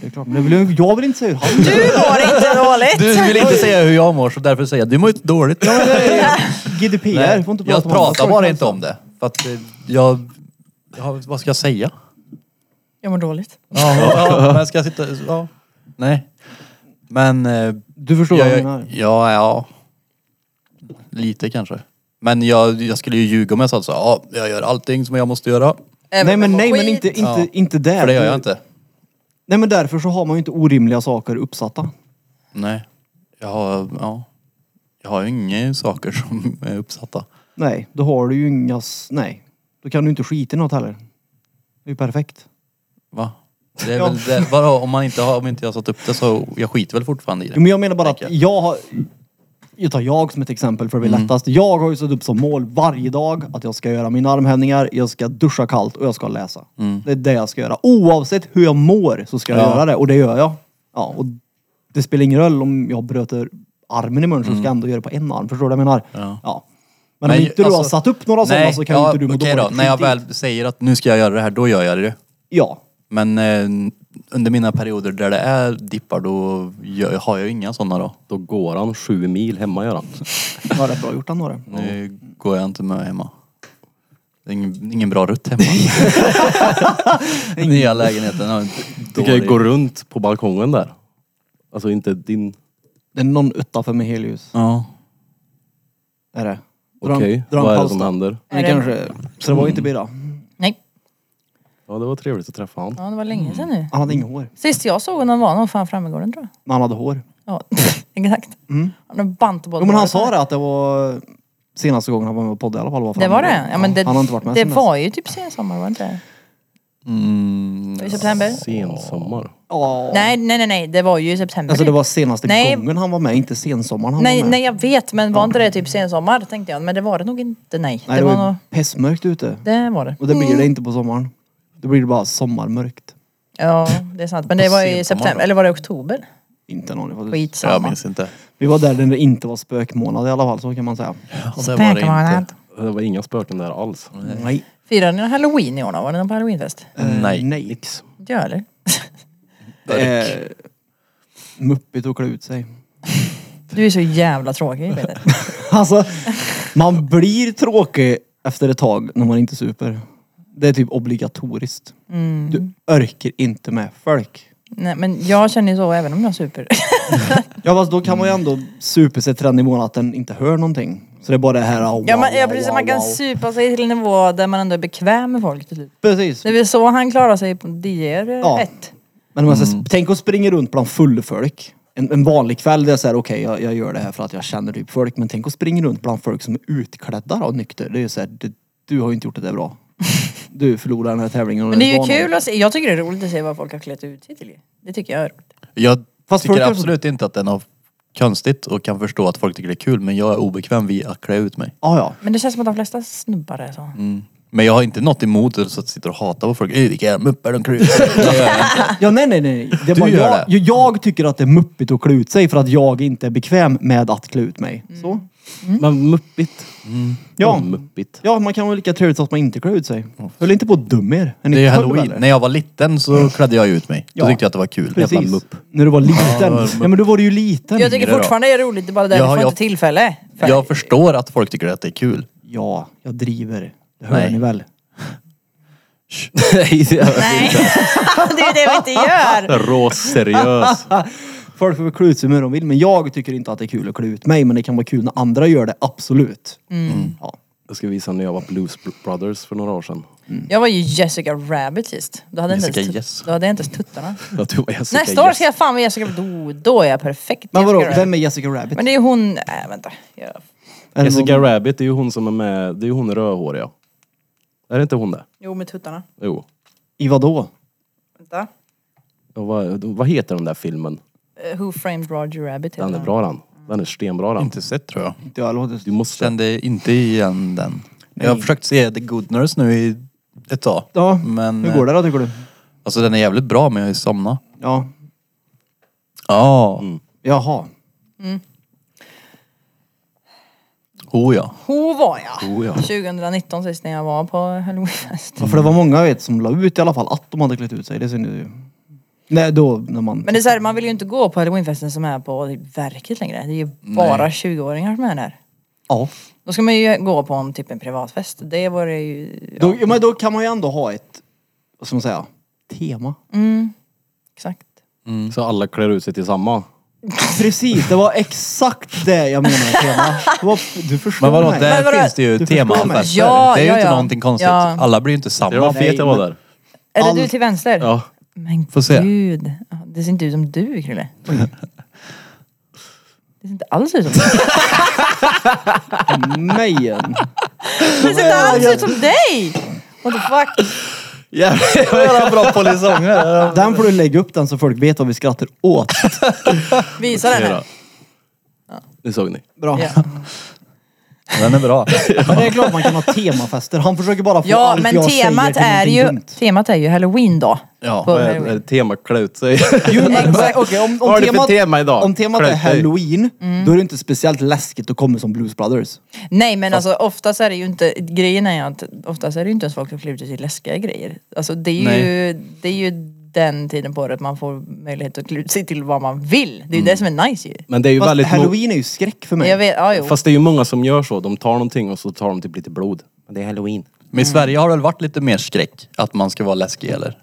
[SPEAKER 2] Det är klart. Men det vill jag, jag vill inte säga hur han
[SPEAKER 4] Du mår inte dåligt!
[SPEAKER 1] Du vill inte säga hur jag mår, så därför säger jag du mår inte dåligt.
[SPEAKER 2] GDPR,
[SPEAKER 1] Nej,
[SPEAKER 2] får
[SPEAKER 1] jag
[SPEAKER 2] inte prata om andra
[SPEAKER 1] pratar
[SPEAKER 2] saker.
[SPEAKER 1] bara inte om det. För att eh, jag... Ja, vad ska jag säga?
[SPEAKER 4] Jag mår dåligt.
[SPEAKER 1] Ja, ja, men ska jag sitta... Ja. Nej. Men... eh,
[SPEAKER 2] Du förstår vad jag menar.
[SPEAKER 1] Ja, ja. Lite kanske. Men jag, jag skulle ju ljuga om jag sa så här, ja, jag gör allting som jag måste göra.
[SPEAKER 4] Även
[SPEAKER 2] Nej men
[SPEAKER 4] om jag
[SPEAKER 2] nej
[SPEAKER 4] mår
[SPEAKER 2] men
[SPEAKER 4] skit.
[SPEAKER 2] inte, inte,
[SPEAKER 1] Ja.
[SPEAKER 2] inte där.
[SPEAKER 1] För det gör jag inte.
[SPEAKER 2] Nej men därför så har man ju inte orimliga saker uppsatta.
[SPEAKER 1] Nej. Jag har, ja. Jag har ju inga saker som är uppsatta.
[SPEAKER 2] Nej, då har du ju inga... s- Nej. Då kan du inte skita i något heller. Det är ju perfekt.
[SPEAKER 1] Va? Det är
[SPEAKER 2] Ja.
[SPEAKER 1] väl det, vadå, om man inte har, om inte jag har satt upp det så, jag skiter väl fortfarande i
[SPEAKER 2] Jo,
[SPEAKER 1] det.
[SPEAKER 2] Men jag menar bara att
[SPEAKER 1] Tänker Mm.
[SPEAKER 2] jag har... Jag tar jag som ett exempel för det blir lättast. Jag har ju satt upp som mål varje dag att jag ska göra mina armhävningar, jag ska duscha kallt och jag ska läsa. Det är det jag ska göra. Oavsett hur jag mår så ska jag
[SPEAKER 1] Mm. Ja.
[SPEAKER 2] göra det och det gör jag. Ja, och det spelar ingen roll om jag bröter armen imorgon så ska jag ändå göra det på en arm. Förstår du vad jag menar?
[SPEAKER 1] Mm. Ja.
[SPEAKER 2] Men, om inte du har
[SPEAKER 1] alltså-
[SPEAKER 2] satt upp några sådana
[SPEAKER 1] nej,
[SPEAKER 2] så kan ju
[SPEAKER 1] ja,
[SPEAKER 2] inte du må
[SPEAKER 1] okej då.
[SPEAKER 2] dåligt.
[SPEAKER 1] När jag
[SPEAKER 2] Skit i det.
[SPEAKER 1] väl säger att nu ska jag göra det här, då gör jag det.
[SPEAKER 2] Ja.
[SPEAKER 1] Men eh, under mina perioder där det är dippar, då gör, har jag ju inga sådana då.
[SPEAKER 3] Då går han sju mil hemma gör han.
[SPEAKER 2] Det var rätt bra gjort ändå det.
[SPEAKER 1] Nu går jag inte med hemma. Det är ingen, ingen bra rutt hemma. Nya lägenheten har en
[SPEAKER 3] Du kan ju
[SPEAKER 1] dålig...
[SPEAKER 3] gå runt på balkongen där. Alltså inte din...
[SPEAKER 2] Det är någon utanför med helljus.
[SPEAKER 1] Ja.
[SPEAKER 2] Är det? Dra en-
[SPEAKER 3] Okej,
[SPEAKER 2] dra en
[SPEAKER 3] vad är det
[SPEAKER 2] paus
[SPEAKER 3] som
[SPEAKER 2] då.
[SPEAKER 3] händer?
[SPEAKER 2] Men det
[SPEAKER 4] Är det-
[SPEAKER 2] kanske... Mm. Så det var ju inte Birra.
[SPEAKER 4] Nej.
[SPEAKER 3] Ja, det var trevligt att träffa han.
[SPEAKER 4] Ja det var länge sedan nu.
[SPEAKER 2] Han hade inget hår.
[SPEAKER 4] Sist jag såg honom var nog fan Frammegården tror jag.
[SPEAKER 2] Men han hade hår.
[SPEAKER 4] Ja exakt. Han har bant på
[SPEAKER 2] Mm. Jo men han sa det att det var senaste gången han var med och poddade i alla fall. Var
[SPEAKER 4] Det
[SPEAKER 2] fan.
[SPEAKER 4] var det. Ja, men det
[SPEAKER 2] han har inte varit med
[SPEAKER 4] det
[SPEAKER 2] sen dess.
[SPEAKER 4] var ju typ sen sommar var det inte det?
[SPEAKER 1] Mm,
[SPEAKER 4] I september?
[SPEAKER 3] Sensommar.
[SPEAKER 2] Ja.
[SPEAKER 4] Nej nej nej nej det var ju i september.
[SPEAKER 2] Alltså det
[SPEAKER 4] typ.
[SPEAKER 2] var senaste
[SPEAKER 4] Nej.
[SPEAKER 2] gången han var med, inte sensommaren han
[SPEAKER 4] Nej,
[SPEAKER 2] var med.
[SPEAKER 4] nej jag vet men var inte det typ sensommar tänkte jag. Men det var det nog inte nej.
[SPEAKER 2] Nej,
[SPEAKER 4] det, var nog... Mm.
[SPEAKER 2] ju pessmörkt ute.
[SPEAKER 4] Det var det.
[SPEAKER 2] Och det blir det inte på sommaren. Då blir det bara sommarmörkt.
[SPEAKER 4] Ja det är sant. Men det
[SPEAKER 1] På
[SPEAKER 4] var ju
[SPEAKER 1] sensommaren
[SPEAKER 4] i september.
[SPEAKER 1] då?
[SPEAKER 4] Eller var det oktober?
[SPEAKER 2] Inte någon faktiskt.
[SPEAKER 4] Skitsamma.
[SPEAKER 1] jag minns inte.
[SPEAKER 2] Vi var där när det inte var spökmånad i alla fall, så kan man säga.
[SPEAKER 1] Och det var det inte.
[SPEAKER 3] Det var inga spöken där alls.
[SPEAKER 2] Nej.
[SPEAKER 4] Firade ni halloween i år då? Var det någon på halloweenfest?
[SPEAKER 2] Eh,
[SPEAKER 1] Nej.
[SPEAKER 2] nej.
[SPEAKER 4] Inte jag heller.
[SPEAKER 2] Eh, muppigt att klä ut sig.
[SPEAKER 4] Du är så jävla tråkig Peter.
[SPEAKER 2] Alltså, man blir tråkig efter ett tag när man inte super. Det är typ obligatoriskt.
[SPEAKER 4] Mm.
[SPEAKER 2] Du örker inte med folk.
[SPEAKER 4] Nej men jag känner ju så även om jag super.
[SPEAKER 2] Ja fast då kan man ju ändå supa sig till den nivån att den inte hör någonting. Så det är bara det här wow,
[SPEAKER 4] ja, man, ja
[SPEAKER 2] wow,
[SPEAKER 4] precis,
[SPEAKER 2] wow,
[SPEAKER 4] man kan
[SPEAKER 2] wow.
[SPEAKER 4] supa sig till en nivå där man ändå är bekväm med folk till slut.
[SPEAKER 2] Precis.
[SPEAKER 4] Det är väl så han klarar sig på eh, DR 1.
[SPEAKER 2] Ja. Men om jag ska, tänk att springa runt bland fullfolk. En, en vanlig kväll det är såhär, okej jag, jag gör det här för att jag känner typ folk. Men tänk att springa runt bland folk som är utklädda då, nykter. Det är ju såhär, du, du har ju inte gjort det där bra. Du förlorar den här tävlingen. och
[SPEAKER 4] Men det är ju
[SPEAKER 2] van av
[SPEAKER 4] kul att se, jag tycker det är roligt att se vad folk har klätt ut sig till. ju. Det tycker jag är roligt.
[SPEAKER 1] Jag
[SPEAKER 2] Fast folk
[SPEAKER 1] tycker
[SPEAKER 2] är-
[SPEAKER 1] absolut inte att det är något konstigt och kan förstå att folk tycker det är kul men jag är obekväm vid att klä ut mig.
[SPEAKER 2] Ja, ja.
[SPEAKER 4] Men det känns som att de flesta snubbar är så.
[SPEAKER 1] Men jag har inte något emot det så att jag sitter och hatar på folk. "Eh, Vilka jävla muppar de klär ut sig." Det gör jag inte.
[SPEAKER 2] Ja, nej, nej, nej. Det är
[SPEAKER 1] Du
[SPEAKER 2] bara
[SPEAKER 1] gör
[SPEAKER 2] jag,
[SPEAKER 1] det.
[SPEAKER 2] ju- jag tycker att det är muppigt att klä ut sig för att jag inte är bekväm med att klä ut mig. Så.
[SPEAKER 4] Mm.
[SPEAKER 3] Men muppigt.
[SPEAKER 2] Ja.
[SPEAKER 1] Mm.
[SPEAKER 3] Muppigt.
[SPEAKER 2] ja, man kan vara lika trevligt att man inte klär ut sig. Höll inte på att dumma er. Är ni
[SPEAKER 1] Det är ju
[SPEAKER 2] fulla,
[SPEAKER 1] halloween.
[SPEAKER 2] eller? Mm.
[SPEAKER 1] När jag var liten så klädde jag ut mig. Då
[SPEAKER 2] Ja.
[SPEAKER 1] tyckte jag att det var kul.
[SPEAKER 2] Precis.
[SPEAKER 1] Jävla mupp.
[SPEAKER 2] Mupp. När du var
[SPEAKER 1] det
[SPEAKER 2] liten.
[SPEAKER 1] var
[SPEAKER 2] Ja,
[SPEAKER 1] mupp.
[SPEAKER 2] men då var du ju liten.
[SPEAKER 4] Jag tycker
[SPEAKER 1] Yngre då.
[SPEAKER 4] fortfarande det är roligt, det är bara det
[SPEAKER 1] Ja,
[SPEAKER 4] att vi får
[SPEAKER 1] jag-
[SPEAKER 4] inte tillfälle. För-
[SPEAKER 1] Jag förstår att folk tycker att det är kul.
[SPEAKER 2] Ja, jag driver. Det hör
[SPEAKER 1] Nej.
[SPEAKER 2] ni väl?
[SPEAKER 3] Nej, det är
[SPEAKER 4] Nej, det är det vi inte gör.
[SPEAKER 3] råseriös.
[SPEAKER 2] Folk får väl klä ut sig hur de vill, men jag tycker inte att det är kul att klä ut mig. Men det kan vara kul när andra gör det, absolut.
[SPEAKER 4] Mm.
[SPEAKER 2] Ja.
[SPEAKER 3] Jag ska visa när jag var Blues Brothers för några år sedan.
[SPEAKER 4] Jag var ju Jessica Rabbit sist. Då hade jag inte ens,
[SPEAKER 1] Jessica
[SPEAKER 4] yes.
[SPEAKER 1] Yes.
[SPEAKER 4] då hade jag inte ens tuttarna.
[SPEAKER 3] Att du var Jessica
[SPEAKER 4] Nästa år
[SPEAKER 3] Yes.
[SPEAKER 4] ska jag fan vara Jessica Rabbit. Oh, då är jag perfekt.
[SPEAKER 2] Men vadå,
[SPEAKER 4] Jessica Rabbit.
[SPEAKER 2] vem är Jessica Rabbit?
[SPEAKER 4] Men det är ju hon... Nej vänta. Jag...
[SPEAKER 2] Är det
[SPEAKER 3] Jessica
[SPEAKER 2] någon-
[SPEAKER 3] Rabbit, det är ju hon som är med, det är ju hon rödhåriga. Är det inte hon det?
[SPEAKER 4] Jo med tuttarna.
[SPEAKER 3] Jo.
[SPEAKER 2] I vadå?
[SPEAKER 4] Vänta.
[SPEAKER 3] Och vad, vad heter den där filmen?
[SPEAKER 4] Eh, Who framed Roger Rabbit? heter
[SPEAKER 3] Den är bra den. Den är stenbra den.
[SPEAKER 1] Inte sett tror jag.
[SPEAKER 2] Inte jag, låter-
[SPEAKER 3] Du måste...
[SPEAKER 1] Kände inte igen den. Jag har försökt se The Good Nurse nu i ett tag.
[SPEAKER 2] Ja,
[SPEAKER 1] Men,
[SPEAKER 2] hur går det då tycker du?
[SPEAKER 1] Alltså den är jävligt bra men jag har ju somnat.
[SPEAKER 2] Ja,
[SPEAKER 1] Ja.
[SPEAKER 2] Mm. jaha.
[SPEAKER 1] Oh ja.
[SPEAKER 4] Ho var jag.
[SPEAKER 3] Oh, ja.
[SPEAKER 4] 2019 sist när jag var på halloweenfest.
[SPEAKER 2] Ja, för det var många jag vet som la ut i alla fall att de hade klätt ut sig. Det syns ju. Nej, då när man...
[SPEAKER 4] Men det är så här, man vill ju inte gå på halloweenfesten som är på typ verket längre. Det är ju bara 20-åringar som är där.
[SPEAKER 2] ja.
[SPEAKER 4] Då ska man ju gå på en, typ en privatfest. Det var det ju... Ja,
[SPEAKER 2] Då, ja, men då kan man ju ändå ha ett, vad ska man säga, tema.
[SPEAKER 4] exakt.
[SPEAKER 3] Så alla klär ut sig till samma.
[SPEAKER 2] Precis, det var exakt det jag menade med tema. Det var, du förstår
[SPEAKER 1] Men vadå,
[SPEAKER 2] mig.
[SPEAKER 1] där
[SPEAKER 4] Men vadå-
[SPEAKER 1] finns det ju
[SPEAKER 2] Du förstår mig.
[SPEAKER 1] temafester.
[SPEAKER 4] Ja,
[SPEAKER 1] det är ju
[SPEAKER 4] ja,
[SPEAKER 1] inte
[SPEAKER 4] ja.
[SPEAKER 1] någonting konstigt.
[SPEAKER 4] Ja.
[SPEAKER 1] Alla blir ju inte samma.
[SPEAKER 3] Det var fet jag var där.
[SPEAKER 4] Är det
[SPEAKER 2] All-
[SPEAKER 4] du till vänster?
[SPEAKER 3] Ja.
[SPEAKER 4] Men
[SPEAKER 1] Får se.
[SPEAKER 4] gud. Ja, Det ser inte ut som du Krille. Det ser inte alls ut som dig.
[SPEAKER 2] Mejen.
[SPEAKER 4] Det ser inte alls ut som dig! What the fuck?
[SPEAKER 1] Jävlar bra polisonger.
[SPEAKER 2] Den får du lägga upp den så folk vet vad vi skrattar åt.
[SPEAKER 4] Visa den här.
[SPEAKER 3] Det såg ni.
[SPEAKER 2] Bra.
[SPEAKER 4] Ja.
[SPEAKER 1] Den är bra.
[SPEAKER 2] Men det är klart man kan ha temafester. Han försöker bara få
[SPEAKER 4] Ja
[SPEAKER 2] allt
[SPEAKER 4] men
[SPEAKER 2] jag
[SPEAKER 4] temat
[SPEAKER 2] säger
[SPEAKER 4] är
[SPEAKER 2] till någonting
[SPEAKER 4] ju,
[SPEAKER 2] dumt.
[SPEAKER 4] temat är ju halloween då.
[SPEAKER 1] Ja,
[SPEAKER 4] På
[SPEAKER 3] Vad är,
[SPEAKER 4] halloween.
[SPEAKER 3] är det tema klä ut sig?
[SPEAKER 2] Jo, men,
[SPEAKER 4] Exakt.
[SPEAKER 2] okej, om, om
[SPEAKER 3] Vad har du för tema idag?
[SPEAKER 2] Om temat
[SPEAKER 3] Klä
[SPEAKER 2] är
[SPEAKER 3] ut dig. Mm.
[SPEAKER 2] halloween, då är det inte speciellt läskigt att komma som Blues Brothers.
[SPEAKER 4] Nej men alltså oftast är det ju inte, grejen är ju att oftast är det ju inte ens folk som klär ut sig till läskiga grejer. Alltså det är ju, det är ju den tiden på året att man får möjlighet att klä ut sig till vad man vill. Det är ju det som är nice ju.
[SPEAKER 3] Mm. Men det är ju
[SPEAKER 2] Fast
[SPEAKER 3] väldigt... mo-
[SPEAKER 2] halloween är ju skräck för mig.
[SPEAKER 4] Jag vet, ja jo.
[SPEAKER 3] Fast det är ju många som gör så. De tar någonting och så tar de typ lite blod. Men det är halloween.
[SPEAKER 1] Men i Sverige har det väl varit lite mer skräck? Att man ska vara läskig eller?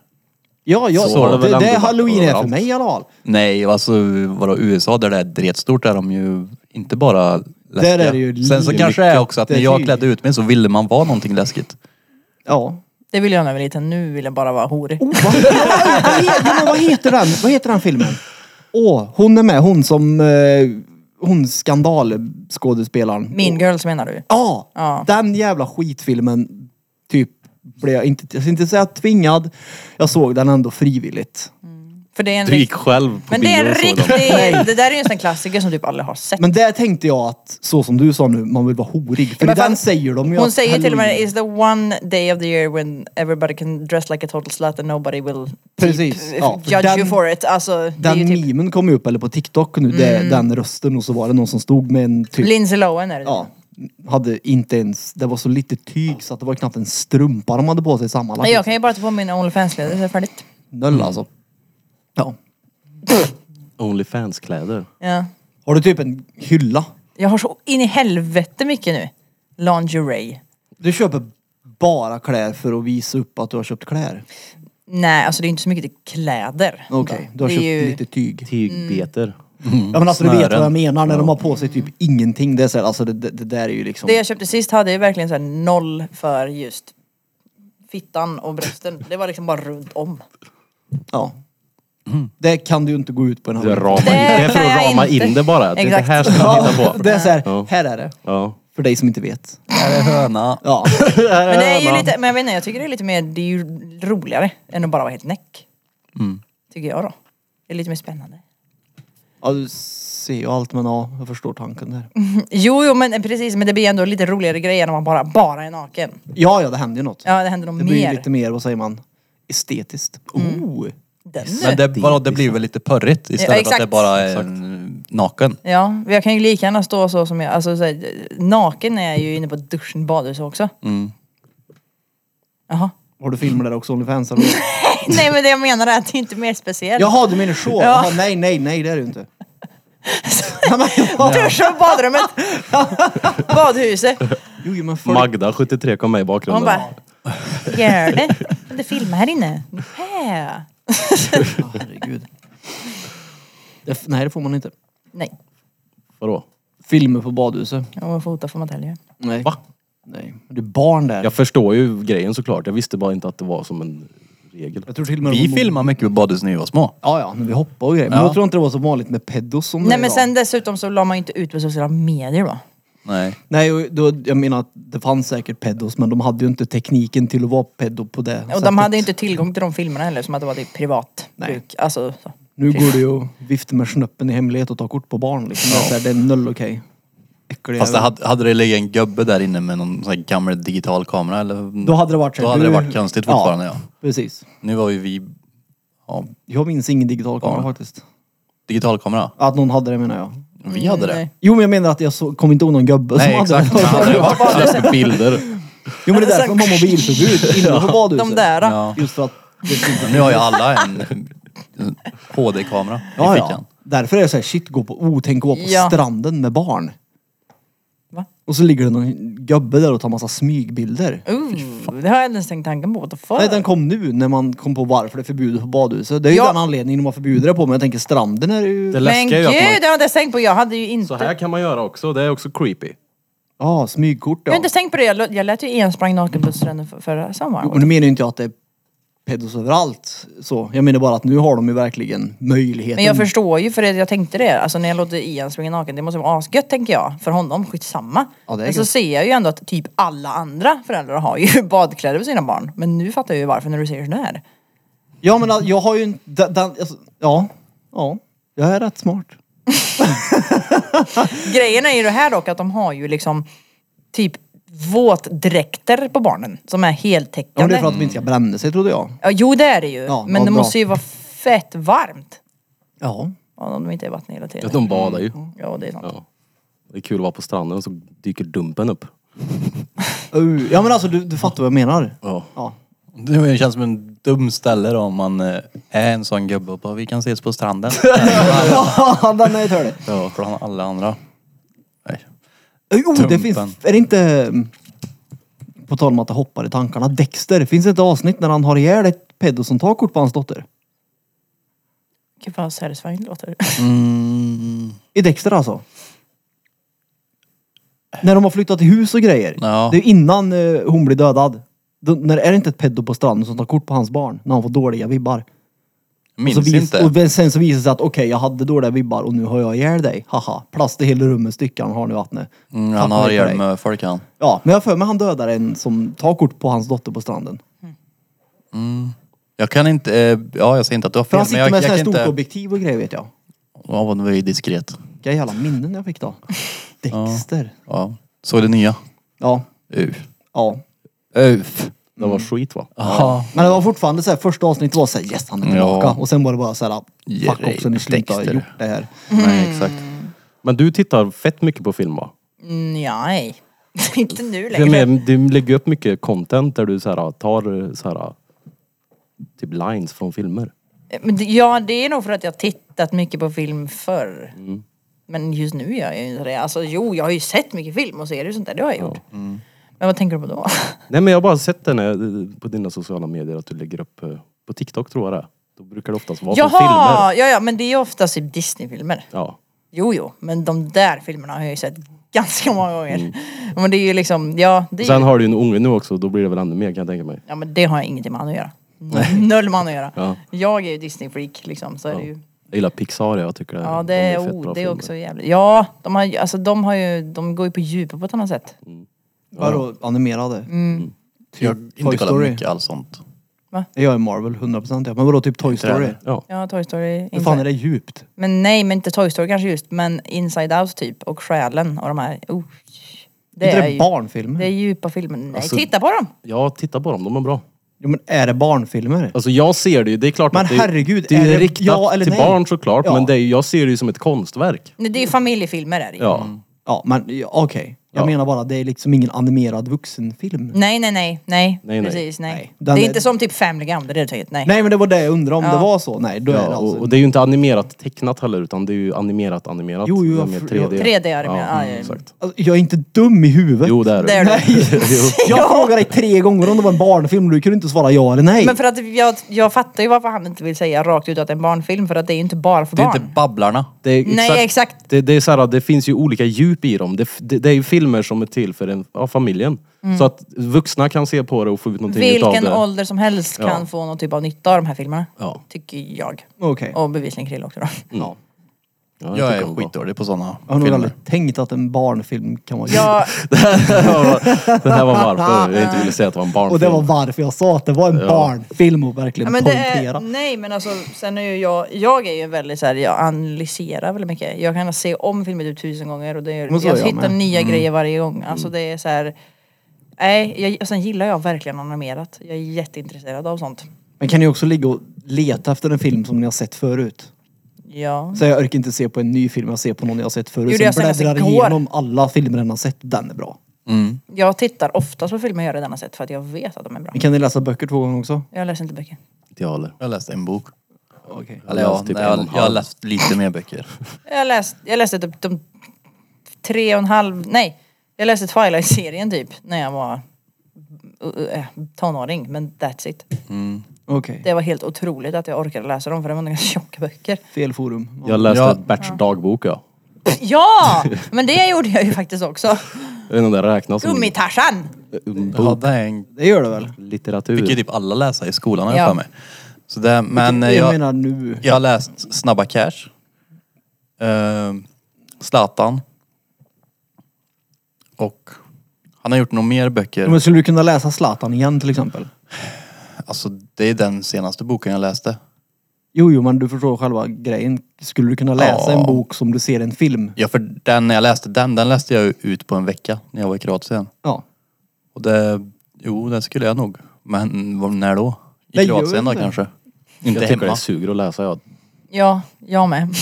[SPEAKER 2] Ja, ja
[SPEAKER 3] Så har det
[SPEAKER 2] det,
[SPEAKER 3] väl
[SPEAKER 2] det,
[SPEAKER 3] ändå
[SPEAKER 2] är
[SPEAKER 3] varit
[SPEAKER 2] halloween är för
[SPEAKER 3] överallt.
[SPEAKER 2] mig i alla fall.
[SPEAKER 1] Nej, alltså vadå USA där det är dretstort är de ju inte bara läskiga.
[SPEAKER 2] Där är det ju
[SPEAKER 1] Sen så
[SPEAKER 2] lika
[SPEAKER 1] kanske det är också att när jag
[SPEAKER 2] tyg.
[SPEAKER 1] klädde ut mig så ville man vara någonting läskigt.
[SPEAKER 2] Ja.
[SPEAKER 4] Det ville jag när jag var liten, nu vill jag bara vara horig.
[SPEAKER 2] Oh, vad, vad, vad, he- ja, men vad heter den? Vad heter den filmen? Åh, hon är med. Hon som... Eh, hon skandalskådespelaren.
[SPEAKER 4] Mean girls menar du?
[SPEAKER 2] Ja,
[SPEAKER 4] Ja.
[SPEAKER 2] den jävla skitfilmen typ blev jag inte, jag ska inte säga tvingad. Jag såg den ändå frivilligt.
[SPEAKER 4] För det är en
[SPEAKER 3] Du gick
[SPEAKER 4] rikt-
[SPEAKER 3] själv på
[SPEAKER 4] Men det
[SPEAKER 3] bio
[SPEAKER 4] är en
[SPEAKER 3] och såg dem.
[SPEAKER 4] riktig, det där är ju en sån här klassiker som typ aldrig har sett.
[SPEAKER 2] Men där tänkte jag att, så som du sa nu, man vill vara horig. För
[SPEAKER 4] Men fan,
[SPEAKER 2] den säger de ju
[SPEAKER 4] Hon
[SPEAKER 2] att
[SPEAKER 4] säger till och med typ
[SPEAKER 2] halloween-
[SPEAKER 4] is the one day of the year when everybody can dress like a total slut and nobody will eh,
[SPEAKER 2] Precis, ja, för
[SPEAKER 4] judge
[SPEAKER 2] den-
[SPEAKER 4] you for it. Alltså, det är
[SPEAKER 2] Den
[SPEAKER 4] ju typ Mm.
[SPEAKER 2] memen kom ju upp, eller på TikTok nu, det, den rösten och så var det någon som stod med en typ...
[SPEAKER 4] Lindsay Lohan är det.
[SPEAKER 2] ja, hade inte ens, det var så lite tyg så att det var knappt en strumpa de hade på sig sammanlagt.
[SPEAKER 4] Men jag kan ju bara ta på min Onlyfans-kläder så är det färdigt.
[SPEAKER 2] Nöll alltså. Mm. Ja.
[SPEAKER 3] Onlyfans-kläder.
[SPEAKER 4] Ja.
[SPEAKER 2] Har du typ en hylla?
[SPEAKER 4] Jag har så in i helvete mycket nu. Lingerie.
[SPEAKER 2] Du köper bara kläder för att visa upp att du har köpt kläder?
[SPEAKER 4] Nej, alltså det är inte så mycket till kläder.
[SPEAKER 2] Okej, du har
[SPEAKER 4] Det är
[SPEAKER 2] köpt
[SPEAKER 4] ju-
[SPEAKER 2] lite tyg.
[SPEAKER 3] Tygbeter.
[SPEAKER 2] Ja men alltså du vet
[SPEAKER 1] snören.
[SPEAKER 2] vad jag menar när de har på sig typ ingenting. Det är så här, alltså det, det, det där är ju liksom...
[SPEAKER 4] Det jag köpte sist hade ju verkligen så här noll för just fittan och brösten. Det var liksom bara runt om.
[SPEAKER 2] Ja. Det kan du ju inte gå ut på en
[SPEAKER 3] Det är,
[SPEAKER 2] halv.
[SPEAKER 3] rama in. det är för
[SPEAKER 4] kan jag
[SPEAKER 3] att rama
[SPEAKER 4] inte.
[SPEAKER 3] in det bara. Det är det
[SPEAKER 4] Exakt.
[SPEAKER 3] här ska man titta på.
[SPEAKER 2] Det är så här,
[SPEAKER 3] Ja.
[SPEAKER 2] här är det.
[SPEAKER 3] Ja.
[SPEAKER 2] För dig som inte vet.
[SPEAKER 1] Här är höna.
[SPEAKER 2] Ja.
[SPEAKER 4] Men det är ju lite, men jag vet inte, jag tycker det är lite mer, det är ju roligare än att bara vara helt näck.
[SPEAKER 2] Mm.
[SPEAKER 4] Tycker jag då. Det är lite mer spännande.
[SPEAKER 2] ja du ser ju allt men ja, jag förstår tanken där.
[SPEAKER 4] Jo, jo men precis, men det blir ändå lite roligare grejer när man bara, bara är naken.
[SPEAKER 2] Ja ja, det händer ju något.
[SPEAKER 4] Ja, det händer nog
[SPEAKER 2] det
[SPEAKER 4] mer. Mm.
[SPEAKER 2] blir ju lite mer, vad säger man, estetiskt. Oh!
[SPEAKER 4] Den
[SPEAKER 1] Men
[SPEAKER 4] nu.
[SPEAKER 1] det, vadå, det
[SPEAKER 2] liksom-
[SPEAKER 1] blir väl lite pörrigt istället för att
[SPEAKER 4] exakt.
[SPEAKER 1] det bara är en, naken.
[SPEAKER 4] Ja, jag kan ju lika gärna stå så som jag, alltså så här, naken är jag ju inne på duschen, badhuset också.
[SPEAKER 2] Mm.
[SPEAKER 4] Jaha.
[SPEAKER 2] Har du filmer där också, Onlyfans? eller?
[SPEAKER 4] Nej men det jag menar är att det är inte mer speciellt.
[SPEAKER 2] Jaha, du menar så?
[SPEAKER 4] Ja.
[SPEAKER 2] Jaha, nej, nej, nej, det är det ju inte. Ja, men, ja.
[SPEAKER 4] Duschen och badrummet! Badhuset.
[SPEAKER 2] Jo, jo, men folk...
[SPEAKER 3] Magda 73 kom med i bakgrunden.
[SPEAKER 4] Hon bara, gör det? Kan du filma här inne? Hä?
[SPEAKER 2] Ja, herregud. Det, nej, det får man inte.
[SPEAKER 4] Nej,
[SPEAKER 3] Vadå?
[SPEAKER 2] Filmer på badhuset.
[SPEAKER 4] om man fotar får man tälja.
[SPEAKER 2] Nej.
[SPEAKER 3] Va?
[SPEAKER 2] Nej. Du är barn där.
[SPEAKER 3] Jag förstår ju grejen såklart. Jag visste bara inte att det var som en regel.
[SPEAKER 2] Jag tror till och med
[SPEAKER 1] Vi
[SPEAKER 2] de-
[SPEAKER 1] filmade mycket på badhus när vi var små.
[SPEAKER 2] Ja, ja, men vi hoppar och grejer. Men jag tror inte det var så vanligt med pedos som det
[SPEAKER 4] Nej
[SPEAKER 2] är
[SPEAKER 4] men
[SPEAKER 2] idag.
[SPEAKER 4] sen dessutom så la man ju inte ut på sociala medier då.
[SPEAKER 1] Nej.
[SPEAKER 2] Nej, och då, jag menar att det fanns säkert pedos, men de hade ju inte tekniken till att vara pedo på det
[SPEAKER 4] Och
[SPEAKER 2] sättet.
[SPEAKER 4] de hade ju inte tillgång till de filmerna heller som att det var typ privat
[SPEAKER 2] Nej.
[SPEAKER 4] bruk. Alltså, så.
[SPEAKER 2] Nu går det ju att vifta med snöppen i hemlighet och ta kort på barn liksom. Det är så här, Det är noll okej. Okay.
[SPEAKER 1] Fast det hade, hade det legat en gubbe där inne med någon sån här gammal digital kamera eller?
[SPEAKER 2] Då hade det varit så
[SPEAKER 1] Då
[SPEAKER 2] här,
[SPEAKER 1] hade det
[SPEAKER 2] du-
[SPEAKER 1] varit konstigt fortfarande ja.
[SPEAKER 2] Precis.
[SPEAKER 1] Nu var ju vi... Ja,
[SPEAKER 2] Jag minns ingen digital kamera
[SPEAKER 1] Ja.
[SPEAKER 2] faktiskt.
[SPEAKER 1] digital kamera.
[SPEAKER 2] Att någon hade det menar jag.
[SPEAKER 1] Vi hade det.
[SPEAKER 4] Nej.
[SPEAKER 2] Jo men jag menar att jag så, kom inte ihåg någon gubbe
[SPEAKER 1] Nej
[SPEAKER 2] som
[SPEAKER 1] exakt, men
[SPEAKER 2] hade det.
[SPEAKER 1] hade det varit så- bilder.
[SPEAKER 2] Jo men det är därför man har mobilförbud inne på badhuset.
[SPEAKER 4] De där. då.
[SPEAKER 1] Ja.
[SPEAKER 2] Just för att det finns
[SPEAKER 1] Nu har ju alla en en HD-kamera i
[SPEAKER 2] Ja, ja.
[SPEAKER 1] fickan.
[SPEAKER 2] Därför är det så här, shit, gå på, oh, tänk att vara på
[SPEAKER 4] Ja.
[SPEAKER 2] stranden med barn.
[SPEAKER 4] Va?
[SPEAKER 2] Och så ligger det någon gubbe där och tar massa smygbilder.
[SPEAKER 4] Ooh, det har jag inte ens tänkt tanken på. What the fuck?
[SPEAKER 2] Nej, den kom nu när man kom på varför det är förbjudet på badhuset. Det är ju
[SPEAKER 4] Ja.
[SPEAKER 2] den anledningen man förbjuder det på, men jag tänker stranden är ju...
[SPEAKER 3] Det
[SPEAKER 2] Ja,
[SPEAKER 4] men
[SPEAKER 3] läskiga är
[SPEAKER 4] gud,
[SPEAKER 3] ju att
[SPEAKER 4] det har
[SPEAKER 3] man...
[SPEAKER 4] jag inte ens tänkt på. Jag hade ju inte...
[SPEAKER 3] Så här kan man göra också. Det är också creepy.
[SPEAKER 2] ah, smygkort
[SPEAKER 4] Jag
[SPEAKER 2] ja.
[SPEAKER 4] har inte ens tänkt på det. Jag lå- Jag lät ju ensprang naken på stranden för- förra sommaren.
[SPEAKER 2] Jo, men nu menar ju inte jag att det är pedos överallt. Så, jag menar bara att nu har de ju verkligen möjligheten.
[SPEAKER 4] Men jag förstår ju för det, jag tänkte det. Alltså när jag låter Ian springa naken, det måste vara asgött tänker jag. För honom, skitsamma.
[SPEAKER 2] Ja, det är
[SPEAKER 4] men så
[SPEAKER 2] gött.
[SPEAKER 4] ser jag ju ändå att typ alla andra föräldrar har ju badkläder på sina barn. Men nu fattar jag ju varför när du säger sådär.
[SPEAKER 2] Ja, men jag har ju en- den, den, alltså, ja, ja, jag är rätt smart.
[SPEAKER 4] Grejen är ju det här dock att de har ju liksom typ våtdräkter på barnen som är
[SPEAKER 2] Ja, men det
[SPEAKER 4] heltäckande.
[SPEAKER 2] är för att de inte ska bränna sig trodde jag.
[SPEAKER 4] Ja, jo det är det ju.
[SPEAKER 2] Ja,
[SPEAKER 4] men
[SPEAKER 2] vad
[SPEAKER 4] det
[SPEAKER 2] bra.
[SPEAKER 4] måste ju vara fett varmt.
[SPEAKER 2] Ja.
[SPEAKER 4] Ja, Om de inte är i vattnet hela
[SPEAKER 3] Ja,
[SPEAKER 4] tiden. Mm,
[SPEAKER 3] de badar ju.
[SPEAKER 4] Ja, det är sant.
[SPEAKER 3] Ja. Det är kul att vara på stranden så dyker dumpen upp.
[SPEAKER 2] Uh, Ja men alltså du, du fattar vad jag menar.
[SPEAKER 3] Ja.
[SPEAKER 2] Ja.
[SPEAKER 1] Det känns som en dum ställe då, om man eh, är en sån gubbe och bara, vi kan ses på stranden.
[SPEAKER 2] Den är törlig.
[SPEAKER 1] ja. Bland alla andra. Nej.
[SPEAKER 2] Jo, oh, det
[SPEAKER 1] Tumpen.
[SPEAKER 2] finns, är det inte, mm, på tal om att det hoppar i tankarna, Dexter. Finns det ett avsnitt när han har ihjäl ett pedo som tar kort på hans dotter?
[SPEAKER 4] Gud vad satisfying det låter.
[SPEAKER 2] I Dexter alltså? När de har flyttat till hus och grejer.
[SPEAKER 1] Ja.
[SPEAKER 2] Det är innan eh, hon blir dödad. Då, när, är det inte ett pedo på stranden som tar kort på hans barn när han får dåliga vibbar?
[SPEAKER 1] Minns
[SPEAKER 2] och så vis-
[SPEAKER 1] inte.
[SPEAKER 2] Och sen så visar det sig att okej, jag hade dåliga vibbar och nu har jag ihjäl dig. Haha. Plast i hela rummet, styckan har nu vattnet.
[SPEAKER 1] Mm,
[SPEAKER 2] Tack
[SPEAKER 1] han har
[SPEAKER 2] för
[SPEAKER 1] ihjäl
[SPEAKER 2] dig.
[SPEAKER 1] med folk han.
[SPEAKER 2] Ja, men jag har för mig han dödar en som tar kort på hans dotter på stranden.
[SPEAKER 1] Jag kan inte, eh, ja jag säger inte att du har
[SPEAKER 2] För
[SPEAKER 1] fel
[SPEAKER 2] han
[SPEAKER 1] men
[SPEAKER 2] sitter
[SPEAKER 1] jag,
[SPEAKER 2] med
[SPEAKER 1] jag
[SPEAKER 2] så här
[SPEAKER 1] kan
[SPEAKER 2] stort
[SPEAKER 1] inte...
[SPEAKER 2] objektiv och grejer vet jag.
[SPEAKER 1] Ja, vad nu är ju diskret.
[SPEAKER 2] Vilka jävla minnen jag fick då. Dexter.
[SPEAKER 1] Ja. Såg det nya?
[SPEAKER 2] Ja.
[SPEAKER 1] Uf.
[SPEAKER 2] ja.
[SPEAKER 1] Uf.
[SPEAKER 3] Det var skit va?
[SPEAKER 1] Ja.
[SPEAKER 2] Men det var fortfarande så här, första avsnittet var såhär yes han är tillbaka. Och sen var det bara såhär fuck
[SPEAKER 1] Jerry
[SPEAKER 2] också ni slutar ha
[SPEAKER 1] Dexter.
[SPEAKER 2] gjort det här.
[SPEAKER 1] Nej exakt.
[SPEAKER 2] Mm.
[SPEAKER 3] Men du tittar fett mycket på film va?
[SPEAKER 4] Mm, Nej. inte nu
[SPEAKER 3] Det, är
[SPEAKER 4] längre.
[SPEAKER 3] med, du lägger upp mycket content där du så här, tar så här, typ lines från filmer. Mm.
[SPEAKER 4] Men det- ja, det är nog för att jag tittat mycket på film förr. Men just nu gör jag ju inte det. Alltså jo, jag har ju sett mycket film och serier och sånt där. Det har jag gjort. Men vad tänker du på då?
[SPEAKER 3] Nej men jag har bara sett den eh, på dina sociala medier att du lägger upp eh, på TikTok tror jag det är. Då brukar det oftast vara på filmer.
[SPEAKER 4] Jaha! Ja, ja, men det är ju oftast typ Disney-filmer.
[SPEAKER 3] Ja.
[SPEAKER 4] Jo, jo, men de där filmerna har jag ju sett ganska många gånger. Men det är ju liksom, ja, det
[SPEAKER 3] Mm.
[SPEAKER 4] är
[SPEAKER 3] Sen
[SPEAKER 4] ju,
[SPEAKER 3] har du ju en unge nu också, då blir det väl ännu mer kan jag tänka mig.
[SPEAKER 4] ja men det har jag ingenting med han att göra. Noll med han att göra.
[SPEAKER 3] Ja.
[SPEAKER 4] Jag är ju Disney-freak liksom, så är det ju.
[SPEAKER 3] Jag gillar Pixar, jag tycker det
[SPEAKER 4] Ja,
[SPEAKER 3] de
[SPEAKER 4] det
[SPEAKER 3] är
[SPEAKER 4] är,
[SPEAKER 3] fett bra
[SPEAKER 4] oh, det är
[SPEAKER 3] filmer.
[SPEAKER 4] också jävligt. Ja, de har ju, alltså de har ju, de går ju på djupet på ett annat sätt.
[SPEAKER 2] Vadå animerade?
[SPEAKER 1] Jag har inte
[SPEAKER 2] Toy
[SPEAKER 1] kollat
[SPEAKER 2] Typ Story.
[SPEAKER 1] mycket alls sånt.
[SPEAKER 2] Jag är Marvel 100% ja. Men vadå typ Toy Story?
[SPEAKER 1] heller.
[SPEAKER 3] Ja.
[SPEAKER 4] Ja, Toy Story.
[SPEAKER 2] Hur fan är
[SPEAKER 4] Inside.
[SPEAKER 2] det djupt?
[SPEAKER 4] Men nej, men inte Toy Story kanske just, men Inside Out typ och Själen och de här. Oh, det,
[SPEAKER 2] inte
[SPEAKER 4] är
[SPEAKER 2] det
[SPEAKER 4] ju,
[SPEAKER 2] barnfilmer?
[SPEAKER 4] det är djupa filmer. Nej,
[SPEAKER 3] Alltså-
[SPEAKER 4] titta på dem!
[SPEAKER 3] ja, titta på dem, de är bra.
[SPEAKER 2] Jo men är det barnfilmer?
[SPEAKER 3] Alltså jag ser det ju, det är klart
[SPEAKER 2] Men
[SPEAKER 3] att det,
[SPEAKER 2] herregud,
[SPEAKER 3] det är,
[SPEAKER 2] är det
[SPEAKER 3] riktat
[SPEAKER 2] ja eller
[SPEAKER 3] till
[SPEAKER 2] nej?
[SPEAKER 3] barn såklart
[SPEAKER 2] Ja.
[SPEAKER 3] men det är, ju- jag ser det ju som ett konstverk.
[SPEAKER 4] Nej, Det är ju familjefilmer är det ju.
[SPEAKER 3] Ja.
[SPEAKER 2] Ja men ja, okej. Jag
[SPEAKER 3] Ja.
[SPEAKER 2] menar bara det är liksom ingen animerad vuxenfilm.
[SPEAKER 4] Nej, nej, nej, nej,
[SPEAKER 3] Nej, nej.
[SPEAKER 4] precis, nej.
[SPEAKER 2] Nej.
[SPEAKER 4] Det är
[SPEAKER 2] Den är-
[SPEAKER 4] inte som typ Family Guy, det är det du tänker, nej.
[SPEAKER 2] Nej men det var det jag undrade om
[SPEAKER 4] Ja.
[SPEAKER 2] det var så. Nej då är det
[SPEAKER 3] Ja,
[SPEAKER 2] alltså...
[SPEAKER 3] och, och det är ju inte animerat tecknat heller utan det är ju animerat animerat.
[SPEAKER 2] Jo, jo,
[SPEAKER 3] Det är
[SPEAKER 2] jag
[SPEAKER 3] mer
[SPEAKER 2] fr-
[SPEAKER 3] 3D.
[SPEAKER 4] 3D är det mer, ja, ja, ja.
[SPEAKER 3] mm, exakt.
[SPEAKER 2] alltså, jag är inte dum i huvudet.
[SPEAKER 3] Jo det är det.
[SPEAKER 4] Det är det.
[SPEAKER 2] Jag frågade dig tre gånger om det var en barnfilm och du kunde inte svara ja eller nej.
[SPEAKER 4] Men för att jag, jag fattar ju varför han inte vill säga rakt ut att det är en barnfilm, för att det är ju inte bara för
[SPEAKER 1] Det är
[SPEAKER 4] barn.
[SPEAKER 1] inte Babblarna.
[SPEAKER 3] Det är
[SPEAKER 4] Nej, exakt.
[SPEAKER 3] Det, det, är så här, det finns ju olika djup i dem. Det, f- det, det är ju filmer som är till för en, ja, familjen. Så att vuxna kan se på det och få ut någonting utav det.
[SPEAKER 4] Mm. Vilken ålder som helst kan
[SPEAKER 3] Ja.
[SPEAKER 4] få någon typ av nytta av de här filmerna.
[SPEAKER 3] Ja.
[SPEAKER 4] Tycker jag.
[SPEAKER 2] Okej.
[SPEAKER 4] Och bevisligen Krille också då.
[SPEAKER 3] Ja. Ja,
[SPEAKER 1] Jag
[SPEAKER 3] tycker om
[SPEAKER 1] är
[SPEAKER 3] det.
[SPEAKER 1] skitdålig på sådana
[SPEAKER 2] Jag har nog
[SPEAKER 1] filmer.
[SPEAKER 2] aldrig tänkt att en barnfilm kan vara djup.
[SPEAKER 4] Jag,
[SPEAKER 3] Det här var varför jag inte ville säga att det var en barnfilm.
[SPEAKER 2] Och det var varför jag sa att det var en barnfilm och
[SPEAKER 4] ja,
[SPEAKER 2] verkligen
[SPEAKER 4] men det är,
[SPEAKER 2] poängtera.
[SPEAKER 4] nej men alltså sen är ju jag, jag är ju väldigt såhär, jag analyserar väldigt mycket. Jag kan se om filmer typ tusen gånger och det är,
[SPEAKER 2] Men
[SPEAKER 4] jag,
[SPEAKER 2] så är jag
[SPEAKER 4] hittar
[SPEAKER 2] med. Mm.
[SPEAKER 4] nya grejer varje gång. Alltså det är såhär, nej, jag, och sen gillar jag verkligen animerat. Jag är jätteintresserad av sånt.
[SPEAKER 2] Men kan ni också ligga och leta efter en film som ni har sett förut?
[SPEAKER 4] Ja.
[SPEAKER 2] Så jag orkar inte se på en ny film, jag ser på någon jag har sett förut.
[SPEAKER 4] Gjorde
[SPEAKER 2] Sen
[SPEAKER 4] jag senast
[SPEAKER 2] bläddrar
[SPEAKER 4] igår.
[SPEAKER 2] igenom alla filmer den har sett. Den är bra.
[SPEAKER 4] Jag tittar oftast på filmer jag redan har sett för att jag vet att de är bra.
[SPEAKER 2] Men kan ni läsa böcker två gånger också?
[SPEAKER 4] Jag läser inte böcker.
[SPEAKER 3] Inte jag heller.
[SPEAKER 1] Jag läste en bok.
[SPEAKER 2] Okej.
[SPEAKER 1] Eller
[SPEAKER 3] Jag
[SPEAKER 1] ja,
[SPEAKER 3] läste typ
[SPEAKER 1] jag,
[SPEAKER 3] en och en
[SPEAKER 1] jag,
[SPEAKER 3] halv.
[SPEAKER 1] har läst lite mer böcker.
[SPEAKER 4] Jag, läst, jag läste typ de tre och en halv, nej. Jag läste Twilight-serien typ när jag var eh, tonåring. Men that's it.
[SPEAKER 2] Okej.
[SPEAKER 4] Det var helt otroligt att jag orkade läsa dem för det var några tjocka böcker.
[SPEAKER 2] Fel forum. Ja.
[SPEAKER 3] Jag läste
[SPEAKER 1] Ja.
[SPEAKER 3] Berts dagbok ja.
[SPEAKER 4] Ja! Men det gjorde jag ju faktiskt också.
[SPEAKER 3] Jag vet inte om det räknas som
[SPEAKER 4] Gummitarsan!
[SPEAKER 3] en bok.
[SPEAKER 1] Ja, det är en,
[SPEAKER 2] Det gör det väl?
[SPEAKER 3] Litteratur.
[SPEAKER 1] fick ju typ alla läsa i skolan har jag
[SPEAKER 4] Ja.
[SPEAKER 1] för mig. Så det, men
[SPEAKER 2] jag,
[SPEAKER 1] eh, jag,
[SPEAKER 2] menar nu.
[SPEAKER 1] jag har läst Snabba Cash. Ehm, Zlatan. Och han har gjort några mer böcker.
[SPEAKER 2] Men skulle du kunna läsa Zlatan igen till exempel?
[SPEAKER 1] Alltså det är den senaste boken jag läste.
[SPEAKER 2] Jo, jo, men du förstår själva grejen. Skulle du kunna läsa
[SPEAKER 1] Ja.
[SPEAKER 2] en bok som du ser en film?
[SPEAKER 1] Ja för den, när jag läste den, den läste jag ju ut på en vecka när jag var i Kroatien.
[SPEAKER 2] Ja.
[SPEAKER 1] Och det, jo det skulle jag nog. Men vad- när då? I
[SPEAKER 2] Nej,
[SPEAKER 1] Kroatien då
[SPEAKER 2] gör det.
[SPEAKER 1] kanske?
[SPEAKER 3] jag
[SPEAKER 1] Inte
[SPEAKER 3] tycker det
[SPEAKER 1] hemma.
[SPEAKER 3] suger att läsa ja.
[SPEAKER 4] Ja, jag med.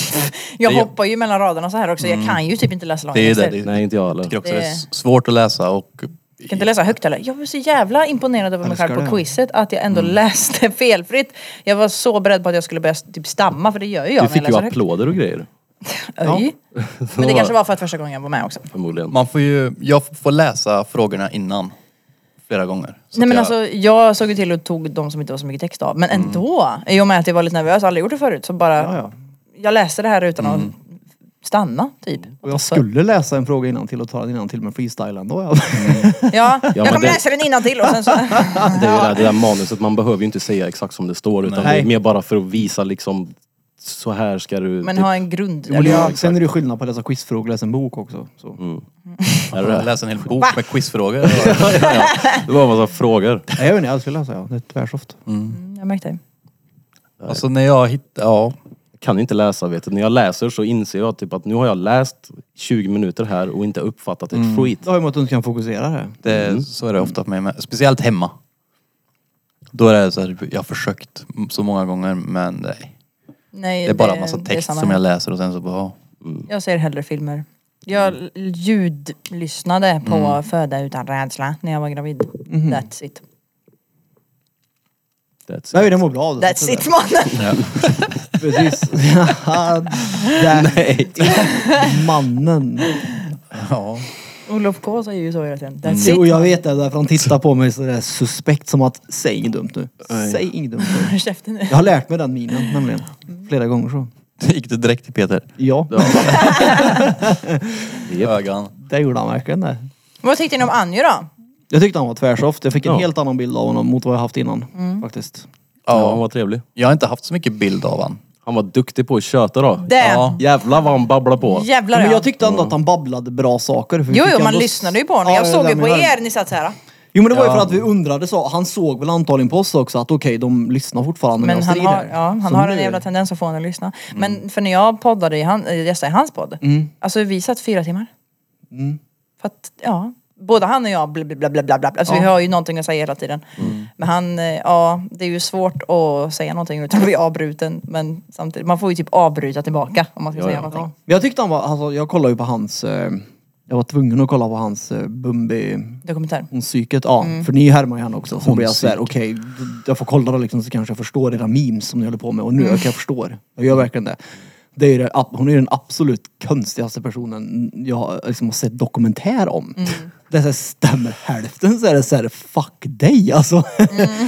[SPEAKER 4] Jag
[SPEAKER 1] Det är-
[SPEAKER 4] hoppar ju mellan raderna så här också. Jag kan ju typ inte läsa långa
[SPEAKER 1] Det är det.
[SPEAKER 4] texter.
[SPEAKER 1] det är-
[SPEAKER 3] Nej inte jag
[SPEAKER 1] tycker
[SPEAKER 3] heller.
[SPEAKER 1] också det är
[SPEAKER 4] Det-
[SPEAKER 1] s- svårt att läsa och...
[SPEAKER 4] Jag kan inte läsa högt heller. Jag var så jävla imponerad över mig
[SPEAKER 2] Älskar
[SPEAKER 4] själv på
[SPEAKER 2] det.
[SPEAKER 4] quizet att jag ändå läste felfritt. Jag var så beredd på att jag skulle börja typ stamma för det gör ju jag
[SPEAKER 3] Du
[SPEAKER 4] när jag
[SPEAKER 3] fick ju
[SPEAKER 4] läser högt.
[SPEAKER 3] applåder och grejer.
[SPEAKER 4] Öj. Men det kanske var för att första gången jag var med också.
[SPEAKER 3] Förmodligen.
[SPEAKER 1] Man får ju... Jag får läsa frågorna innan. Flera gånger. Så
[SPEAKER 4] Nej
[SPEAKER 1] att
[SPEAKER 4] men
[SPEAKER 1] jag,
[SPEAKER 4] alltså jag såg ju till och tog de som inte var så mycket text av. Men ändå, i och med att jag var lite nervös, aldrig gjort det förut, så bara
[SPEAKER 2] Ja, ja.
[SPEAKER 4] Jag läste det här utan att
[SPEAKER 2] Mm.
[SPEAKER 4] stanna typ.
[SPEAKER 2] Och jag skulle läsa en fråga innan till och ta den innan till med freestyle ändå. Ja.
[SPEAKER 4] Ja, jag
[SPEAKER 3] men
[SPEAKER 4] kommer
[SPEAKER 3] det-
[SPEAKER 4] läsa den innan till och sen så... Ah.
[SPEAKER 3] Det är ju det, här- det där manuset, man behöver ju inte säga exakt som det står utan
[SPEAKER 2] Nej.
[SPEAKER 3] det är mer bara för att visa liksom så här ska du...
[SPEAKER 4] Men
[SPEAKER 3] typ,
[SPEAKER 4] ha en grund.
[SPEAKER 2] Jo, men
[SPEAKER 4] eller-
[SPEAKER 2] jag- Sen är det ju skillnad på att läsa quizfrågor och läsa en bok också. Så.
[SPEAKER 3] är det,
[SPEAKER 1] läsa en hel bok med quizfrågor.
[SPEAKER 3] det var en massa frågor.
[SPEAKER 2] Nej, jag vet inte, jag skulle läsa ja. Det är tvärsoft.
[SPEAKER 4] Mm, Jag märkte det.
[SPEAKER 1] alltså när jag hittar... Ja.
[SPEAKER 3] kan inte läsa vet du. När jag läser så inser jag typ att nu har jag läst 20 minuter här och inte uppfattat ett skit.
[SPEAKER 2] Det har ju med att du inte kan fokusera det.
[SPEAKER 1] Det, Så är det ofta för mig med. Speciellt hemma. Då är det så här, jag har försökt så många gånger men nej.
[SPEAKER 4] Nej,
[SPEAKER 1] Det är bara en massa
[SPEAKER 4] det är
[SPEAKER 1] text
[SPEAKER 4] samma
[SPEAKER 1] som
[SPEAKER 4] här.
[SPEAKER 1] jag läser och sen så bara... ja.
[SPEAKER 4] Jag ser hellre filmer. Jag
[SPEAKER 2] Mm.
[SPEAKER 4] l- ljudlyssnade på
[SPEAKER 2] Mm-hmm.
[SPEAKER 4] Föda utan rädsla när jag var gravid. That's it.
[SPEAKER 3] That's
[SPEAKER 2] Nej, den mår bra av det.
[SPEAKER 4] That's it mannen!
[SPEAKER 2] Precis. Haha, that's it, mannen.
[SPEAKER 1] Ja.
[SPEAKER 4] Olof K säger ju så hela tiden. That's
[SPEAKER 2] Mm. Jo,
[SPEAKER 4] it.
[SPEAKER 2] jag vet det. Därför han tittar på mig sådär suspekt som att, säg inget dumt nu. Säg inget dumt nu.
[SPEAKER 4] Håll käften nu.
[SPEAKER 2] Jag har lärt mig den minen nämligen. Flera gånger så.
[SPEAKER 1] Gick du direkt till Peter?
[SPEAKER 2] Ja,
[SPEAKER 1] Ögon.
[SPEAKER 2] det gjorde han verkligen det.
[SPEAKER 4] Vad tyckte ni om Anjo då?
[SPEAKER 2] Jag tyckte han var tvärsoft. Jag fick en
[SPEAKER 3] Ja.
[SPEAKER 2] helt annan bild av honom mot vad jag haft innan.
[SPEAKER 4] Mm.
[SPEAKER 2] Faktiskt.
[SPEAKER 3] Ja, han
[SPEAKER 1] Ja.
[SPEAKER 3] var trevlig.
[SPEAKER 1] Jag har inte haft så mycket bild av han.
[SPEAKER 3] Han var duktig på att köta då.
[SPEAKER 4] Det.
[SPEAKER 1] Ja.
[SPEAKER 3] Jävlar vad han babblar på.
[SPEAKER 4] Jävlar
[SPEAKER 2] Men
[SPEAKER 4] ja.
[SPEAKER 2] jag tyckte ändå att han babblade bra saker. för vi
[SPEAKER 4] Jo,
[SPEAKER 2] fick
[SPEAKER 4] jo, man
[SPEAKER 2] ändå-
[SPEAKER 4] lyssnade ju på honom.
[SPEAKER 2] Ja,
[SPEAKER 4] Jag
[SPEAKER 2] det
[SPEAKER 4] såg
[SPEAKER 2] där
[SPEAKER 4] ju på
[SPEAKER 2] menar jag.
[SPEAKER 4] er, ni satt så här.
[SPEAKER 2] Jo men det var ju
[SPEAKER 1] Ja.
[SPEAKER 2] för att vi undrade så. Han såg väl antagligen på oss också att okej, de lyssnar fortfarande
[SPEAKER 4] Men
[SPEAKER 2] medan
[SPEAKER 4] han
[SPEAKER 2] vi är Mm.
[SPEAKER 4] har,
[SPEAKER 2] där.
[SPEAKER 4] ja, han
[SPEAKER 2] Så
[SPEAKER 4] har
[SPEAKER 2] nu-
[SPEAKER 4] en jävla tendens att få en att lyssna. Men för när jag poddade i, han, eh, gästade i hans podd,
[SPEAKER 2] Mm.
[SPEAKER 4] alltså vi satt fyra timmar. För att, ja, både han och jag bla bla bla bla bla. bla. Alltså vi har ju någonting att säga hela tiden.
[SPEAKER 2] Mm.
[SPEAKER 4] Men han, eh, ja, det är ju svårt att säga någonting utan att bli avbruten. Men samtidigt, man får ju typ avbryta tillbaka om man ska säga någonting.
[SPEAKER 2] Men jag tyckte han var, alltså jag kollade ju på hans, eh, jag var tvungen att kolla på hans eh, Bumbi
[SPEAKER 4] Dokumentär.
[SPEAKER 2] Honpsyket, ja. För ni härmar ju henne också. Så blir jag
[SPEAKER 3] Honpsyk.
[SPEAKER 2] såhär, okej, d- jag får kolla då liksom så kanske jag förstår era memes som ni håller på med. Och nu ökar jag förstår. Jag gör verkligen det. det är ju det, ab- hon är ju den absolut konstigaste personen jag har liksom har sett dokumentär om. Det så här, stämmer hälften så är det såhär, fuck dig alltså.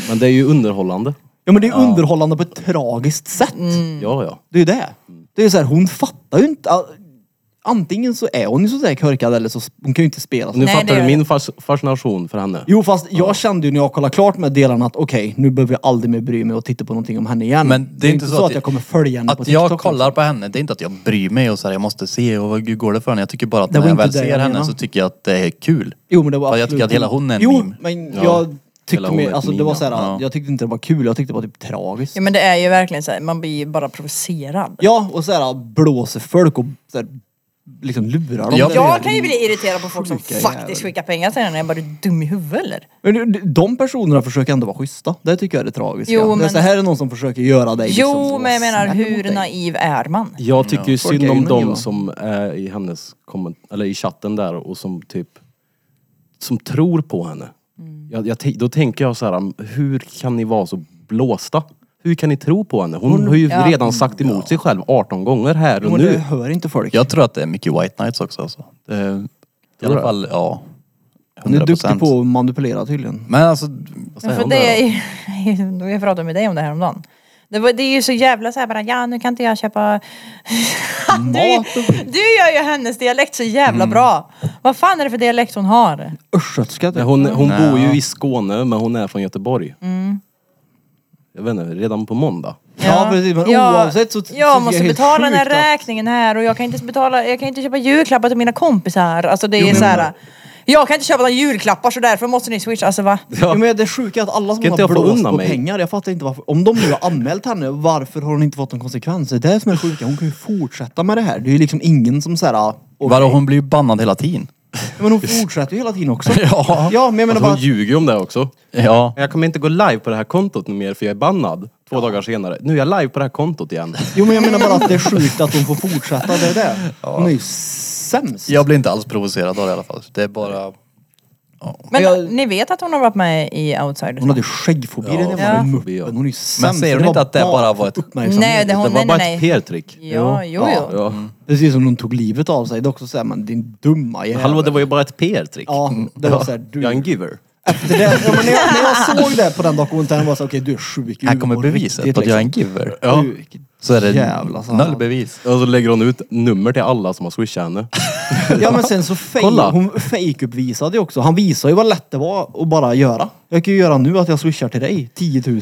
[SPEAKER 3] Men det är ju underhållande.
[SPEAKER 2] ja men det är ju underhållande på ett tragiskt sätt.
[SPEAKER 4] Mm.
[SPEAKER 3] Ja, ja.
[SPEAKER 2] Det är ju det. Det är ju såhär, hon fattar ju inte. all- Antingen så är hon ju sådär körkad eller så hon kan ju inte spela så.
[SPEAKER 3] Nu
[SPEAKER 4] Nej, det
[SPEAKER 3] fattar
[SPEAKER 4] gör
[SPEAKER 3] du
[SPEAKER 4] jag.
[SPEAKER 3] min fas fascination för henne.
[SPEAKER 2] Jo fast jag kände ju när jag kollade klart med delarna att okej, nu behöver jag aldrig mer bry mig och titta på någonting om henne igen.
[SPEAKER 1] Men det är inte så
[SPEAKER 2] att,
[SPEAKER 1] att-
[SPEAKER 2] jag kommer följa henne på
[SPEAKER 1] Att
[SPEAKER 2] TikTok.
[SPEAKER 1] jag kollar på henne, det är inte att jag bryr mig och så här, jag måste se och hur går det för henne. Jag tycker bara att
[SPEAKER 2] Det var
[SPEAKER 1] när jag
[SPEAKER 2] inte
[SPEAKER 1] väl
[SPEAKER 2] det
[SPEAKER 1] ser
[SPEAKER 2] jag
[SPEAKER 1] henne
[SPEAKER 2] menar.
[SPEAKER 1] så tycker jag att det är kul.
[SPEAKER 2] Jo men det var
[SPEAKER 1] Ja, jag
[SPEAKER 2] absolut-
[SPEAKER 1] tycker att hela hon är en
[SPEAKER 2] Jo,
[SPEAKER 1] meme.
[SPEAKER 2] men
[SPEAKER 3] Ja.
[SPEAKER 2] jag
[SPEAKER 3] Hela
[SPEAKER 2] tyckte
[SPEAKER 3] hon är
[SPEAKER 2] mer,
[SPEAKER 3] ett
[SPEAKER 2] alltså det
[SPEAKER 3] meme,
[SPEAKER 2] var såhär,
[SPEAKER 1] ja.
[SPEAKER 2] jag tyckte inte det var kul, jag tyckte det var typ tragiskt.
[SPEAKER 4] Ja men det är ju verkligen så här, man blir ju bara provocerad.
[SPEAKER 2] Ja och såhär blåser folk och såhär, liksom lurar dem.
[SPEAKER 1] Ja,
[SPEAKER 2] Det är-
[SPEAKER 4] Jag kan ju bli irriterad på folk som
[SPEAKER 2] Sjuka
[SPEAKER 4] faktiskt
[SPEAKER 2] jävel.
[SPEAKER 4] skickar pengar till henne. Jag bara, du är dum i huvudet eller?
[SPEAKER 2] Men de personerna försöker ändå vara schyssta. Det tycker jag är det tragiska.
[SPEAKER 4] Jo,
[SPEAKER 2] det är
[SPEAKER 4] men-
[SPEAKER 2] så här är någon som försöker göra dig
[SPEAKER 4] Jo,
[SPEAKER 2] liksom,
[SPEAKER 4] men jag menar
[SPEAKER 2] snäll mot
[SPEAKER 4] hur
[SPEAKER 2] dig.
[SPEAKER 4] naiv är man?
[SPEAKER 3] Jag tycker ju
[SPEAKER 2] folk är
[SPEAKER 3] synd om
[SPEAKER 2] ju naiva.
[SPEAKER 3] de som är i hennes komment eller i chatten där och som typ som tror på henne.
[SPEAKER 4] Mm.
[SPEAKER 3] Jag, jag, te- då tänker jag så här, hur kan ni vara så blåsta? Hur kan ni tro på henne? Hon har ju
[SPEAKER 4] Ja.
[SPEAKER 3] redan sagt emot sig själv 18 gånger här och
[SPEAKER 2] Men det
[SPEAKER 3] nu.
[SPEAKER 2] hör inte folk.
[SPEAKER 1] Jag tror att det är mycket White Nights också alltså. det, är- I alla fall, ja. 100%.
[SPEAKER 2] Hon är duktig på att manipulera tydligen.
[SPEAKER 1] Men alltså,
[SPEAKER 4] Ja, för det är ju, jag pratade med dig om det här om dagen. Det, var, det är ju så jävla såhär bara, ja nu kan inte jag köpa... du, du gör ju hennes dialekt så jävla
[SPEAKER 2] Mm.
[SPEAKER 4] bra. Vad fan är det för dialekt hon har?
[SPEAKER 2] Östgötska
[SPEAKER 3] Nej,
[SPEAKER 2] typ.
[SPEAKER 3] hon hon bor ju i Skåne men hon är från Göteborg.
[SPEAKER 4] Mm.
[SPEAKER 3] Jag vet inte, redan på måndag.
[SPEAKER 2] Ja, precis, men oavsett så- så tycker
[SPEAKER 4] Jag
[SPEAKER 2] jag
[SPEAKER 4] måste
[SPEAKER 2] helt
[SPEAKER 4] betala den här
[SPEAKER 2] sjukt att-
[SPEAKER 4] räkningen här och jag kan inte betala, jag kan inte köpa julklappar till mina kompisar. Alltså det är
[SPEAKER 2] men-
[SPEAKER 4] så här. Jag kan inte köpa några julklappar så därför måste ni swisha. Alltså va?
[SPEAKER 2] Ja. men det är sjuka är att alla som
[SPEAKER 3] Ska inte
[SPEAKER 2] har
[SPEAKER 3] jag få
[SPEAKER 2] blåst
[SPEAKER 3] unna
[SPEAKER 2] på
[SPEAKER 3] mig?
[SPEAKER 2] pengar, jag fattar inte varför. Om de nu har anmält henne, varför har hon inte fått någon konsekvens? Det är det som är sjuka. Hon kan ju fortsätta med det här. Det är ju liksom ingen som såhär...
[SPEAKER 1] Vadå, hon blir ju bannad hela tiden.
[SPEAKER 2] Men hon fortsätter ju hela tiden också.
[SPEAKER 1] Ja.
[SPEAKER 2] ja men jag menar
[SPEAKER 3] Alltså,
[SPEAKER 2] bara...
[SPEAKER 3] hon
[SPEAKER 2] att-
[SPEAKER 3] ljuger ju om det också.
[SPEAKER 1] Ja.
[SPEAKER 3] Jag kommer inte gå live på det här kontot nu mer för jag är bannad. Två dagar senare. Nu är jag live på det här kontot igen.
[SPEAKER 2] Jo men jag menar bara att det är sjukt att hon får fortsätta. Det är det. Hon är ju sämst.
[SPEAKER 1] Jag blir inte alls provocerad av det i alla fall. Det är bara...
[SPEAKER 4] Men
[SPEAKER 2] Jag-
[SPEAKER 4] ni vet att hon har varit med i Outsiders?
[SPEAKER 2] Hon hade ju skäggfobi. Ja, det
[SPEAKER 4] Ja.
[SPEAKER 2] var muppen. Hon är ju sämst.
[SPEAKER 1] Men säger hon inte att det bara var ett-
[SPEAKER 2] uppmärksamhet?
[SPEAKER 4] Nej, det
[SPEAKER 3] Det
[SPEAKER 4] hon,
[SPEAKER 3] var
[SPEAKER 4] nej,
[SPEAKER 3] bara
[SPEAKER 4] nej,
[SPEAKER 3] ett
[SPEAKER 4] nej.
[SPEAKER 3] PR-trick.
[SPEAKER 4] Ja, jo,
[SPEAKER 2] Ja.
[SPEAKER 4] jo.
[SPEAKER 3] Ja.
[SPEAKER 2] Precis som de tog livet av sig. Det är också såhär, men din dumma jävel.
[SPEAKER 3] Hallå, det var ju bara ett PR-trick.
[SPEAKER 2] Ja, det var såhär, du...
[SPEAKER 3] Jag är en giver.
[SPEAKER 2] Efter det, ja, men när, jag, när jag såg det på den dokumentären var jag såhär, okej du är sjuk i
[SPEAKER 1] Här kommer
[SPEAKER 2] huvudet
[SPEAKER 1] beviset
[SPEAKER 2] riktigt,
[SPEAKER 1] på att jag är en
[SPEAKER 2] liksom.
[SPEAKER 1] giver.
[SPEAKER 2] Du, vilket
[SPEAKER 1] Så är det
[SPEAKER 2] jävla sanna.
[SPEAKER 1] noll bevis.
[SPEAKER 3] Och så lägger hon ut nummer till alla som har swishat henne.
[SPEAKER 2] Ja men sen så fake,
[SPEAKER 3] Kolla.
[SPEAKER 2] hon fake-uppvisade ju också. Han visade ju vad lätt det var att bara göra. Jag kan ju göra nu att jag swishar till dig, 10 000.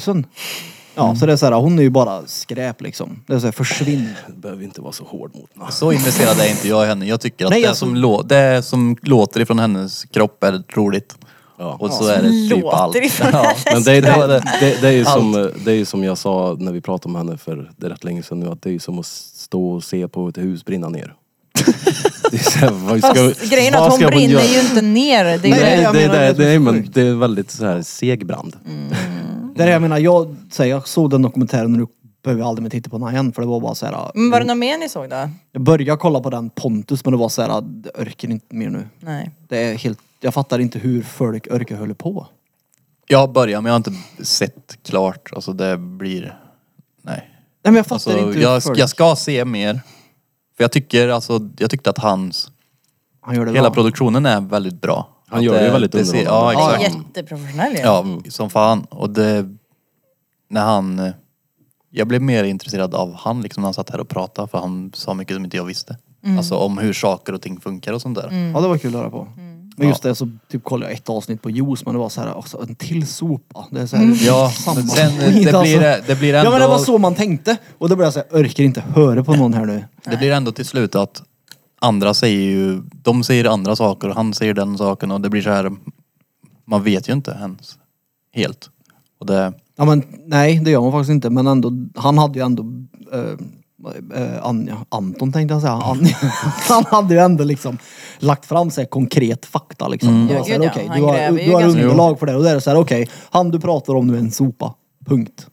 [SPEAKER 2] Ja,
[SPEAKER 1] Mm.
[SPEAKER 2] så det är såhär, hon är ju bara skräp liksom. Det är såhär, försvinn.
[SPEAKER 3] Du behöver inte vara så hård mot henne.
[SPEAKER 1] Så intresserad är inte jag i henne. Jag tycker att
[SPEAKER 2] Nej,
[SPEAKER 1] det,
[SPEAKER 2] alltså-
[SPEAKER 1] som lå- det som låter ifrån hennes kropp är roligt.
[SPEAKER 3] Ja.
[SPEAKER 1] Och så är det typ
[SPEAKER 4] Låter
[SPEAKER 1] allt.
[SPEAKER 4] ifrån
[SPEAKER 1] Ja.
[SPEAKER 3] Men det,
[SPEAKER 1] Ja,
[SPEAKER 3] det,
[SPEAKER 1] det-
[SPEAKER 3] det, det, är ju som, det är ju som jag sa när vi pratade om henne för det är rätt länge sedan nu, att det är ju som att stå och se på ett hus brinna ner. Det är så här, vad ska,
[SPEAKER 4] Fast grejen är
[SPEAKER 3] vad
[SPEAKER 4] att hon
[SPEAKER 3] ska
[SPEAKER 4] brinner
[SPEAKER 3] göra?
[SPEAKER 4] ju inte ner. Det är ju
[SPEAKER 2] Nej,
[SPEAKER 4] det.
[SPEAKER 3] Nej,
[SPEAKER 2] jag
[SPEAKER 3] det, är
[SPEAKER 2] menar
[SPEAKER 3] det,
[SPEAKER 2] det som är
[SPEAKER 3] nej men
[SPEAKER 2] sjukt.
[SPEAKER 3] det är väldigt så här seg brand.
[SPEAKER 2] Det är det jag menar, jag, så här, jag såg den dokumentären och nu behöver jag aldrig mer titta på den här igen. För det var bara såhär,
[SPEAKER 4] Men Mm, var det något mer ni såg då?
[SPEAKER 2] jag började kolla på den Pontus men det var såhär, jag orkar inte mer nu.
[SPEAKER 4] Nej.
[SPEAKER 2] Det är helt, jag fattar inte hur folk orkar hålla på.
[SPEAKER 1] Jag har börjat men jag har inte sett klart. Alltså det blir... Nej.
[SPEAKER 2] Nej men jag fattar
[SPEAKER 1] Alltså,
[SPEAKER 2] inte hur
[SPEAKER 1] jag,
[SPEAKER 2] folk-
[SPEAKER 1] jag ska se mer. För jag tycker alltså, jag tyckte att hans...
[SPEAKER 2] Han gör det
[SPEAKER 1] Hela
[SPEAKER 2] bra.
[SPEAKER 1] produktionen är väldigt bra.
[SPEAKER 3] Han
[SPEAKER 1] Att
[SPEAKER 3] gör det ju väldigt
[SPEAKER 1] ser-
[SPEAKER 3] underhållande.
[SPEAKER 1] Ja,
[SPEAKER 4] Ja,
[SPEAKER 1] exakt.
[SPEAKER 4] jätteprofessionell ju.
[SPEAKER 1] Ja, som fan. Och det... När han... eh, Jag blev mer intresserad av han liksom när han satt här och pratade för han sa mycket som inte jag visste. Alltså om hur saker och ting funkar och sånt där.
[SPEAKER 2] Ja det var kul att höra på. Men just det så typ kollade jag ett avsnitt på juice men det var så här, alltså, en till sopa. Det är så här,
[SPEAKER 1] Ja,
[SPEAKER 2] samma
[SPEAKER 1] men sen,
[SPEAKER 2] skit,
[SPEAKER 1] det blir det- det blir
[SPEAKER 2] Ja men det var
[SPEAKER 1] ändå-
[SPEAKER 2] så man tänkte. Och då blev jag såhär, orkar inte höra på någon här nu.
[SPEAKER 1] Det blir ändå till slut att andra säger ju, de säger andra saker och han säger den saken och det blir så här, man vet ju inte ens helt. Och det,
[SPEAKER 2] Ja men nej det gör man faktiskt inte men ändå, han hade ju ändå eh, eh, Anja, Anton tänkte jag säga. Anja. Han hade ju ändå liksom lagt fram sig konkret fakta liksom. Det var så här,
[SPEAKER 4] Ja,
[SPEAKER 2] okej,
[SPEAKER 4] gud, ja. Han
[SPEAKER 2] du
[SPEAKER 4] gräver
[SPEAKER 2] har,
[SPEAKER 4] ju
[SPEAKER 2] du har
[SPEAKER 4] ganska
[SPEAKER 2] underlag för det och det är så här, okej, han du pratar om nu är en sopa. Punkt.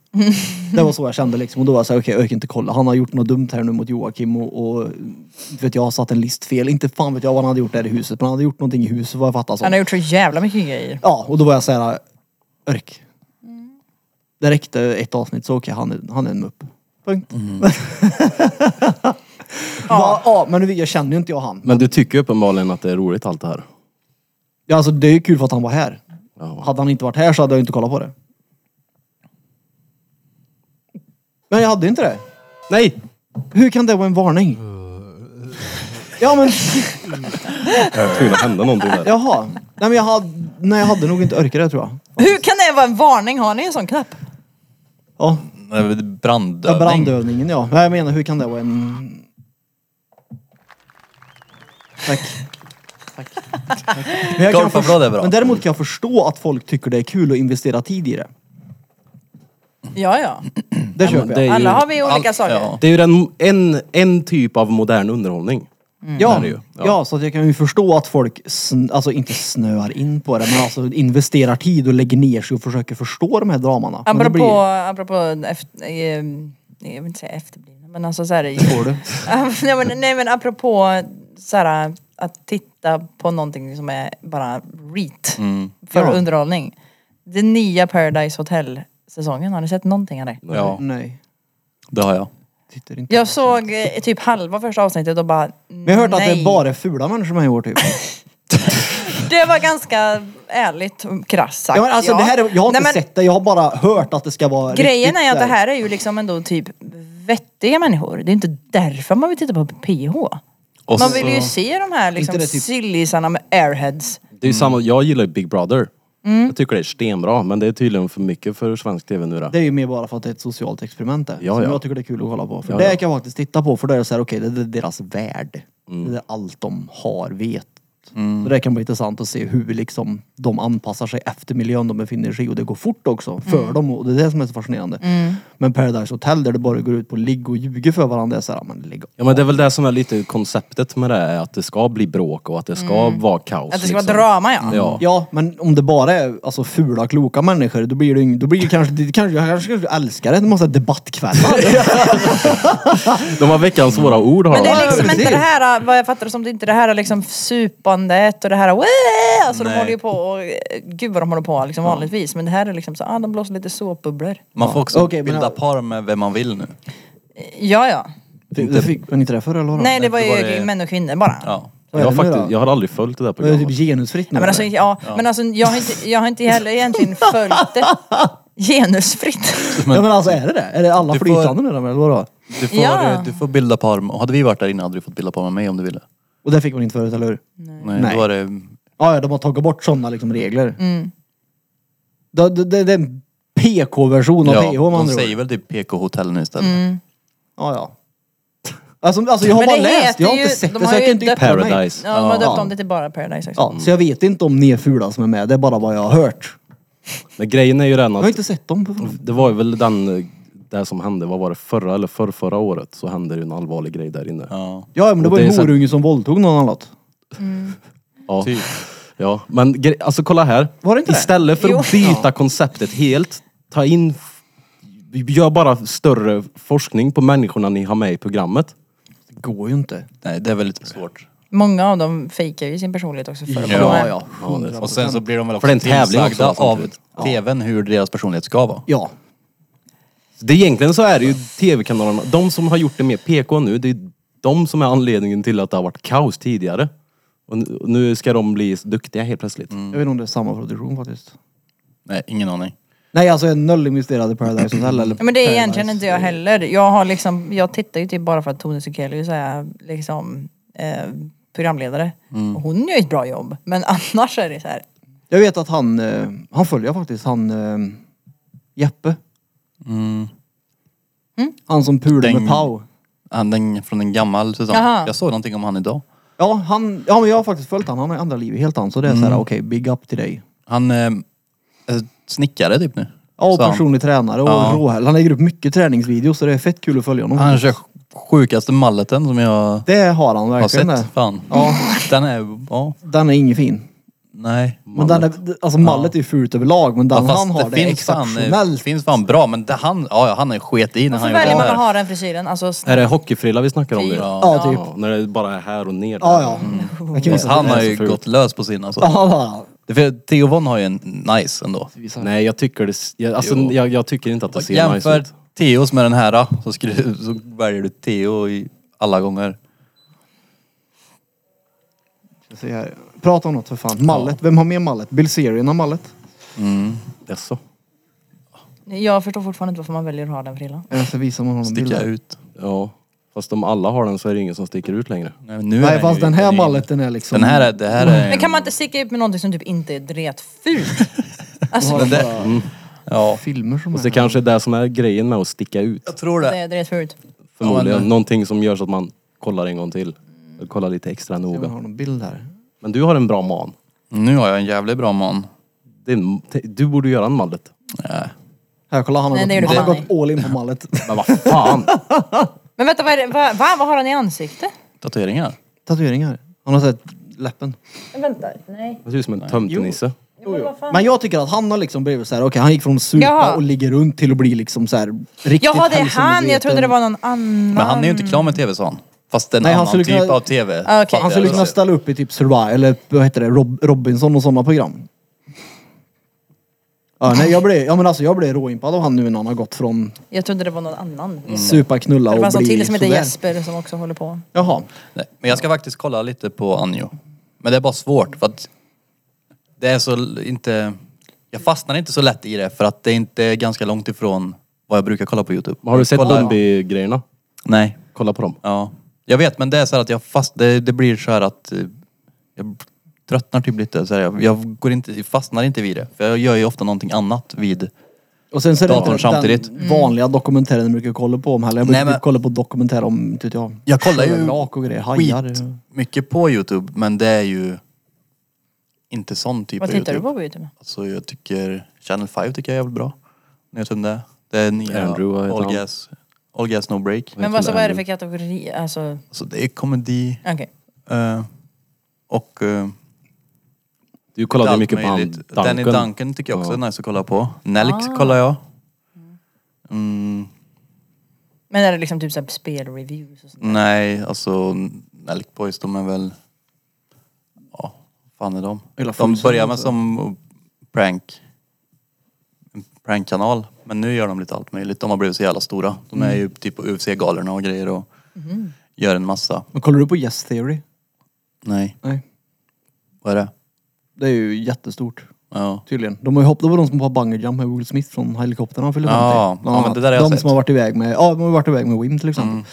[SPEAKER 2] Det var så jag kände liksom och då var jag såhär, okej jag orkar inte kolla. Han har gjort något dumt här nu mot Joakim och, och vet jag har satt en list fel. Inte fan vet jag vad han hade gjort där i huset men han hade gjort någonting i huset vad jag fattar som.
[SPEAKER 4] Han har gjort så jävla mycket grejer.
[SPEAKER 2] Ja, och då var jag såhär, örk. Det räckte ett avsnitt, så okej, han, är- han är en mupp. Punkt. ja. ja, men nu- jag känner ju inte jag han.
[SPEAKER 3] Men du tycker uppenbarligen att det är roligt allt det här.
[SPEAKER 2] Ja, alltså, det är ju kul för att han var här.
[SPEAKER 3] Ja.
[SPEAKER 2] Hade han inte varit här så hade jag inte kollat på det. Men jag hade inte det.
[SPEAKER 3] Nej!
[SPEAKER 2] Hur kan det vara en varning? Ja men,
[SPEAKER 3] Det skulle hända någonting där.
[SPEAKER 2] jaha. Nej men jag hade, nej, jag hade nog inte orkat det tror jag.
[SPEAKER 4] Hur kan det vara en varning? Har ni en sån knapp?
[SPEAKER 2] Ja, ja,
[SPEAKER 1] brandövning.
[SPEAKER 2] brandövningen ja. Nej, Jag menar, hur kan det vara en... Tack. Men, jag kan
[SPEAKER 1] Golfapplåd är
[SPEAKER 2] förstå,
[SPEAKER 1] bra.
[SPEAKER 2] men däremot kan jag förstå att folk tycker det är kul att investera tid i det.
[SPEAKER 4] Ja, ja.
[SPEAKER 2] Det köper
[SPEAKER 3] Mm. men det
[SPEAKER 2] jag.
[SPEAKER 3] är ju,
[SPEAKER 4] Alla har vi olika
[SPEAKER 1] Allt-
[SPEAKER 4] saker.
[SPEAKER 1] ja.
[SPEAKER 3] det är ju den, en, en typ av modern underhållning.
[SPEAKER 2] Ja,
[SPEAKER 3] det är det ju.
[SPEAKER 2] ja.
[SPEAKER 3] Ja.
[SPEAKER 2] så att jag kan ju förstå att folk, sn- alltså inte snöar in på det, men alltså investerar tid och lägger ner sig och försöker förstå de här dramarna. Men det
[SPEAKER 4] Apropå,
[SPEAKER 2] blir-
[SPEAKER 4] apropå efter, eh, jag vill inte säga efterblivna men alltså såhär. nej, men, nej men apropå såhär att titta på någonting som är bara reet
[SPEAKER 1] Mm.
[SPEAKER 4] för
[SPEAKER 2] Ja.
[SPEAKER 4] underhållning. Den nya Paradise Hotel säsongen, har ni sett någonting av det?
[SPEAKER 1] Ja,
[SPEAKER 2] Nej,
[SPEAKER 1] det har jag.
[SPEAKER 2] tittar inte.
[SPEAKER 4] Jag såg eh, typ halva första avsnittet och bara
[SPEAKER 2] Men jag har hört att det
[SPEAKER 4] nej.
[SPEAKER 2] är bara fula människor med i år typ.
[SPEAKER 4] Det var ganska ärligt och krasst sagt.
[SPEAKER 2] Ja, men alltså, det här är, jag har inte
[SPEAKER 4] Nej, men-
[SPEAKER 2] sett det, jag har bara hört att det ska vara
[SPEAKER 4] Grejen
[SPEAKER 2] riktigt
[SPEAKER 4] är att det
[SPEAKER 2] där.
[SPEAKER 4] här är ju liksom ändå typ vettiga människor. Det är inte därför man vill titta på PH.
[SPEAKER 1] Och
[SPEAKER 4] man
[SPEAKER 1] så-
[SPEAKER 4] vill ju se de här liksom
[SPEAKER 2] Inte det typ-
[SPEAKER 4] sillisarna med airheads.
[SPEAKER 3] Det är ju samma, jag gillar ju Big Brother. Jag tycker det är stenbra men det är tydligen för mycket för svensk tv nu då.
[SPEAKER 2] Det är ju mer bara för att det är ett socialt experiment där.
[SPEAKER 3] Ja,
[SPEAKER 2] som
[SPEAKER 3] ja.
[SPEAKER 2] jag tycker det är kul att kolla på. För
[SPEAKER 3] Ja,
[SPEAKER 2] det
[SPEAKER 3] ja.
[SPEAKER 2] kan jag faktiskt titta på för då är det såhär, okej det är deras värld. Det är allt de har, vet. Så det kan bli intressant att se hur liksom de anpassar sig efter miljön de befinner sig i och det går fort också för dem och det är det som är så fascinerande. Men Paradise Hotel där det bara går ut på ligg och ljuga för varandra, det är såhär, men lägg av.
[SPEAKER 3] Ja men det är väl det som är lite konceptet med det är att det ska bli bråk och Mm. att det ska vara kaos. liksom.
[SPEAKER 4] Att det ska
[SPEAKER 2] liksom-
[SPEAKER 4] vara drama ja.
[SPEAKER 3] Ja.
[SPEAKER 2] Ja, men om det bara är alltså, fula, kloka människor, då blir det, ing- då blir det kanske, det, kanske, jag kanske skulle älska det, det måste ha debattkvällar.
[SPEAKER 3] De har veckans svåra ord har
[SPEAKER 4] Men det
[SPEAKER 3] de.
[SPEAKER 4] är liksom
[SPEAKER 2] precis.
[SPEAKER 4] inte det här, vad jag fattar det som, det är inte det här liksom supandet och det här "Wah!" Alltså de
[SPEAKER 1] Nej.
[SPEAKER 4] håller ju på och, gud vad de håller på liksom vanligtvis. Men det här är liksom så, ah, de blåser lite såpbubblor.
[SPEAKER 1] Man får också
[SPEAKER 2] Ja, okej, men-
[SPEAKER 1] bilda par med vem man vill nu.
[SPEAKER 4] Ja ja.
[SPEAKER 2] Fick- det fick man inte det förr eller? vadå?
[SPEAKER 4] Nej det var ju
[SPEAKER 1] var det-
[SPEAKER 4] män och kvinnor bara.
[SPEAKER 1] Ja.
[SPEAKER 2] Vad är
[SPEAKER 3] Jag, har
[SPEAKER 2] det nu då?
[SPEAKER 3] faktiskt, jag har aldrig följt liksom- det där
[SPEAKER 2] Det är
[SPEAKER 3] programmet.
[SPEAKER 2] typ genusfritt nu.
[SPEAKER 4] Ja, men, alltså,
[SPEAKER 2] eller?
[SPEAKER 4] ja, men alltså jag har, inte, jag har inte heller egentligen följt det genusfritt.
[SPEAKER 2] men, ja, men alltså är det det? Är det alla
[SPEAKER 1] Du får-
[SPEAKER 2] flytande nu då eller vadå?
[SPEAKER 1] Du, får,
[SPEAKER 4] Ja.
[SPEAKER 1] du får bilda par, med- hade vi varit där inne hade du fått bilda par med mig om du ville.
[SPEAKER 2] Och det fick man inte förut, eller hur?
[SPEAKER 1] Nej,
[SPEAKER 2] Nej.
[SPEAKER 1] Då var det,
[SPEAKER 2] Ja, ja, de har tagit bort sådana liksom regler.
[SPEAKER 4] Mm.
[SPEAKER 2] Det, det, det, det är en PK-version av
[SPEAKER 1] ja,
[SPEAKER 2] PH man
[SPEAKER 1] de
[SPEAKER 2] andra ord.
[SPEAKER 1] säger väl typ PK-hotell nu istället.
[SPEAKER 2] Ja, ja. Alltså, alltså jag har
[SPEAKER 4] Men
[SPEAKER 2] bara
[SPEAKER 4] det
[SPEAKER 2] läst,
[SPEAKER 4] heter
[SPEAKER 2] jag har
[SPEAKER 4] ju-
[SPEAKER 2] inte sett
[SPEAKER 4] de
[SPEAKER 2] det
[SPEAKER 4] har
[SPEAKER 2] så jag
[SPEAKER 4] ju
[SPEAKER 2] kan inte
[SPEAKER 4] döpt-
[SPEAKER 2] yttra mig.
[SPEAKER 3] Paradise.
[SPEAKER 4] Ja, de har döpt
[SPEAKER 2] Ja.
[SPEAKER 4] om det till bara Paradise också.
[SPEAKER 2] Ja, så jag vet inte om ni är fula som är med, det är bara vad jag har hört.
[SPEAKER 3] Men grejen är ju den
[SPEAKER 2] Jag har
[SPEAKER 3] att
[SPEAKER 2] inte sett dem på fan.
[SPEAKER 3] det var ju väl den, eh, det som hände, vad var det, förra eller förrförra året så hände det ju en allvarlig grej där inne.
[SPEAKER 1] Ja,
[SPEAKER 2] Ja, men det
[SPEAKER 3] Och
[SPEAKER 2] var
[SPEAKER 3] det
[SPEAKER 2] ju
[SPEAKER 3] är
[SPEAKER 2] en
[SPEAKER 3] så-
[SPEAKER 2] horunge som våldtog någon annat.
[SPEAKER 3] Ja.
[SPEAKER 1] typ.
[SPEAKER 3] Ja, men gre- alltså kolla här.
[SPEAKER 2] Var det inte det?
[SPEAKER 3] Istället för att
[SPEAKER 4] Jo.
[SPEAKER 3] byta konceptet helt, ta in... f- Gör bara större forskning på människorna ni har med i programmet.
[SPEAKER 2] Det går ju inte.
[SPEAKER 1] Nej, det är väldigt svårt.
[SPEAKER 4] Många av dem fejkar ju sin personlighet också för att
[SPEAKER 1] Ja,
[SPEAKER 4] vara med.
[SPEAKER 2] ja.
[SPEAKER 1] Och sen så blir de väl
[SPEAKER 3] För det är
[SPEAKER 1] också
[SPEAKER 3] en tävling också,
[SPEAKER 1] tillsagda av
[SPEAKER 3] samtidigt.
[SPEAKER 1] tvn hur deras personlighet ska vara.
[SPEAKER 2] Ja.
[SPEAKER 3] Det är egentligen så är det ju tv-kanalerna, de som har gjort det mer PK nu, det är de som är anledningen till att det har varit kaos tidigare. Och nu- nu ska de bli duktiga helt plötsligt.
[SPEAKER 1] Mm.
[SPEAKER 2] Jag vet inte om det är samma produktion faktiskt.
[SPEAKER 1] Nej, ingen aning.
[SPEAKER 2] Nej, alltså jag är noll investerad i Paradise Hotel eller
[SPEAKER 4] Ja, men det är
[SPEAKER 2] Paradise.
[SPEAKER 4] egentligen inte jag heller. Jag, har liksom, jag tittar ju typ bara för att Tone Sekelius är liksom, eh, programledare. Och hon gör ju ett bra jobb. Men annars är det så här.
[SPEAKER 2] Jag vet att han, eh, han följer jag faktiskt, han eh, Jeppe.
[SPEAKER 1] Mm.
[SPEAKER 2] Mm. Han som pulade
[SPEAKER 1] Den-
[SPEAKER 2] med Pau.
[SPEAKER 1] Han den, från en gammal säsong.
[SPEAKER 4] Jaha.
[SPEAKER 1] Jag såg någonting om han idag.
[SPEAKER 2] Ja, han, ja, men jag har faktiskt följt han. Han har ju andra liv helt han. Så det är så
[SPEAKER 1] Mm.
[SPEAKER 2] såhär, okej, big up till dig.
[SPEAKER 1] Han eh, är snickare typ nu.
[SPEAKER 2] Ja, och
[SPEAKER 1] Så han-
[SPEAKER 2] personlig tränare och
[SPEAKER 1] Ja.
[SPEAKER 2] råhäll. Han lägger upp mycket träningsvideos så det är fett kul att följa honom.
[SPEAKER 1] Han kör sjukaste malleten som jag
[SPEAKER 2] det har han
[SPEAKER 1] har
[SPEAKER 2] verkligen.
[SPEAKER 1] sett.
[SPEAKER 2] det.
[SPEAKER 1] Fan.
[SPEAKER 2] Ja.
[SPEAKER 1] Den är, ja,
[SPEAKER 2] Den är ingen fin.
[SPEAKER 1] nej.
[SPEAKER 2] Men den är, alltså mallet är ju fult överlag men den
[SPEAKER 1] Ja,
[SPEAKER 2] han har det, är
[SPEAKER 1] fan, eh,
[SPEAKER 2] exceptionellt.
[SPEAKER 1] finns fan bra men det han, ja, ja, han är sket i när
[SPEAKER 4] Varför
[SPEAKER 1] han
[SPEAKER 4] väljer man
[SPEAKER 1] det
[SPEAKER 4] att
[SPEAKER 1] här.
[SPEAKER 4] ha den frisyren? Alltså,
[SPEAKER 3] Är det hockeyfrilla vi snackar om nu?
[SPEAKER 4] Ja.
[SPEAKER 2] Ja, typ.
[SPEAKER 3] Ja, när det bara är här och ner.
[SPEAKER 2] Ja, ja. Jag kan visa
[SPEAKER 1] Mm. Han
[SPEAKER 2] det.
[SPEAKER 1] har
[SPEAKER 3] så
[SPEAKER 1] ju
[SPEAKER 3] fult.
[SPEAKER 1] gått lös på sin alltså.
[SPEAKER 2] Ja, ja.
[SPEAKER 1] Det är för Theo Von har ju en nice ändå.
[SPEAKER 3] Nej, jag tycker det... Jag, alltså,
[SPEAKER 1] Jo.
[SPEAKER 3] jag, jag tycker inte att det ser nice
[SPEAKER 1] Jämför
[SPEAKER 3] ut.
[SPEAKER 1] Theos med den här så, skulle, du- så väljer du Theo i alla gånger.
[SPEAKER 2] Jag ser här. Prata om något för fan. Mallet. Vem har mer mallet? Bilzerian har mallet.
[SPEAKER 3] Jaså?
[SPEAKER 4] jag förstår fortfarande inte varför man väljer att ha den frillan.
[SPEAKER 2] Jag ska visa man honom
[SPEAKER 1] Sticka
[SPEAKER 2] bilden.
[SPEAKER 1] ut.
[SPEAKER 3] Ja. Fast om alla har den så är det ingen som sticker ut längre.
[SPEAKER 1] Nej, nu är
[SPEAKER 2] Nej
[SPEAKER 1] ju-
[SPEAKER 2] fast den här
[SPEAKER 1] ju-
[SPEAKER 2] mallet den är liksom...
[SPEAKER 1] Den här är, det här är...
[SPEAKER 4] Men kan man inte sticka ut med någonting som typ inte är dretfult? Alltså,
[SPEAKER 2] har
[SPEAKER 4] det
[SPEAKER 2] de bara
[SPEAKER 1] Mm. Ja.
[SPEAKER 2] filmer som
[SPEAKER 3] Och det kanske är det som är grejen med att sticka ut.
[SPEAKER 1] Jag tror det.
[SPEAKER 4] är dretfult.
[SPEAKER 3] Förmodligen.
[SPEAKER 1] Ja, men-
[SPEAKER 3] Någonting som gör så att man kollar en gång till. Kollar lite extra
[SPEAKER 2] Jag
[SPEAKER 3] noga.
[SPEAKER 2] har någon bild här.
[SPEAKER 3] Men du har en bra man.
[SPEAKER 1] Nu har jag en jävligt bra man. eh,
[SPEAKER 3] Det är, en- te- du borde göra en mallet.
[SPEAKER 2] Här kolla han har,
[SPEAKER 4] Nej, det
[SPEAKER 2] gått,
[SPEAKER 4] gjorde
[SPEAKER 2] han har
[SPEAKER 4] fan
[SPEAKER 2] gått all in på mallet.
[SPEAKER 3] Men vad fan!
[SPEAKER 4] Men vänta, vad, är det, vad, vad, vad har han i ansiktet?
[SPEAKER 1] Tatueringar.
[SPEAKER 2] Tatueringar. Han har sett läppen.
[SPEAKER 4] Vänta, nej.
[SPEAKER 3] Det ser ut som en tömtenisse.
[SPEAKER 4] Men vad fan?
[SPEAKER 2] Men jag tycker att han har liksom blivit såhär, okej han gick från supa
[SPEAKER 4] Jaha.
[SPEAKER 2] och ligger runt till att bli liksom såhär riktigt
[SPEAKER 4] Jaha, det är han! Jag trodde det
[SPEAKER 2] hälsomedveten.
[SPEAKER 4] var någon annan.
[SPEAKER 1] Men han är ju inte klar med tv sa han. Fast en
[SPEAKER 2] Nej, han
[SPEAKER 1] annan
[SPEAKER 2] skulle
[SPEAKER 1] typ
[SPEAKER 2] kunna-
[SPEAKER 1] av tv.
[SPEAKER 4] Ah, okej.
[SPEAKER 2] Han skulle
[SPEAKER 1] Alltså-
[SPEAKER 2] kunna ställa upp i typ Survivor, eller vad heter det, Rob Robinson och sådana program. Ja, nej, jag blev, ja men alltså jag blev råimpad av han nu när han har gått
[SPEAKER 1] Mm.
[SPEAKER 2] från
[SPEAKER 4] Jag trodde det var någon annan.
[SPEAKER 2] supa, knulla och
[SPEAKER 4] Det
[SPEAKER 2] bli
[SPEAKER 4] fanns någon till som heter
[SPEAKER 2] sådär.
[SPEAKER 4] Jesper som också håller på.
[SPEAKER 2] Jaha.
[SPEAKER 1] Nej, men jag ska faktiskt kolla lite på Anjo. Men det är bara svårt för att det är så l- inte... Jag fastnar inte så lätt i det för att det är inte ganska långt ifrån vad jag brukar kolla på Youtube.
[SPEAKER 3] Har du sett
[SPEAKER 1] Kolla-
[SPEAKER 3] Bambi-grejerna?
[SPEAKER 1] Nej.
[SPEAKER 3] Kolla på dem.
[SPEAKER 1] Ja. Jag vet men det är så här att jag fast... Det, det blir så här att eh, jag tröttnar typ lite. Så här, jag, jag går inte, jag fastnar inte vid det. För jag gör ju ofta någonting annat vid...
[SPEAKER 2] Och sen så är det
[SPEAKER 1] Datorn
[SPEAKER 2] inte
[SPEAKER 1] samtidigt.
[SPEAKER 2] den vanliga dokumentären jag brukar kolla på om heller. Jag brukar
[SPEAKER 1] Nej, men-
[SPEAKER 2] typ kolla på dokumentärer om, inte vet jag.
[SPEAKER 1] Jag kollar ju
[SPEAKER 2] Vrak och grejer, hajar.
[SPEAKER 1] skit mycket på Youtube men det är ju inte sån typ
[SPEAKER 4] Vad
[SPEAKER 1] av
[SPEAKER 4] tittar
[SPEAKER 1] Youtube.
[SPEAKER 4] du på på Youtube?
[SPEAKER 1] Alltså jag tycker Channel 5 tycker jag är jävligt bra. Ni vet vem det är? Det är nya
[SPEAKER 3] Andrew, vad heter
[SPEAKER 1] All
[SPEAKER 3] han?
[SPEAKER 1] Gas, All Gas No Break.
[SPEAKER 4] Men vad, så, vad är det för kategori? Alltså,
[SPEAKER 1] Alltså det är komedi
[SPEAKER 4] okej.
[SPEAKER 1] eh, och eh,
[SPEAKER 3] Du kollade ju
[SPEAKER 1] allt
[SPEAKER 3] mycket på han
[SPEAKER 1] möjligt. Danny Duncan tycker jag också är nice att kolla på. Nelk
[SPEAKER 4] Ah.
[SPEAKER 1] kollar jag. Mm,
[SPEAKER 4] Men är det liksom typ så här spelreviews och sånt?
[SPEAKER 1] nej, alltså Nelk Boys de är väl... Ja, vad fan är de?
[SPEAKER 2] Eller
[SPEAKER 1] De
[SPEAKER 2] Folksam
[SPEAKER 1] börjar med
[SPEAKER 2] också.
[SPEAKER 1] som prank. En prankkanal. Men nu gör de lite allt möjligt. De har blivit så jävla stora. De är ju typ på UFC-galorna och grejer och gör en massa.
[SPEAKER 2] Men kollar du på Yes Theory?
[SPEAKER 1] Nej,
[SPEAKER 2] Nej.
[SPEAKER 1] vad är det?
[SPEAKER 2] Det är ju jättestort.
[SPEAKER 1] Ja.
[SPEAKER 2] Tydligen. De har ju hoppat på de som har bungee jump med Will Smith från helikoptern han fyllde
[SPEAKER 1] Ja,
[SPEAKER 2] 50. Bland
[SPEAKER 1] ja, men
[SPEAKER 2] annat.
[SPEAKER 1] det där har jag
[SPEAKER 2] De
[SPEAKER 1] sett. Mm.
[SPEAKER 2] som har varit iväg med, ja de har varit iväg med Wim till exempel.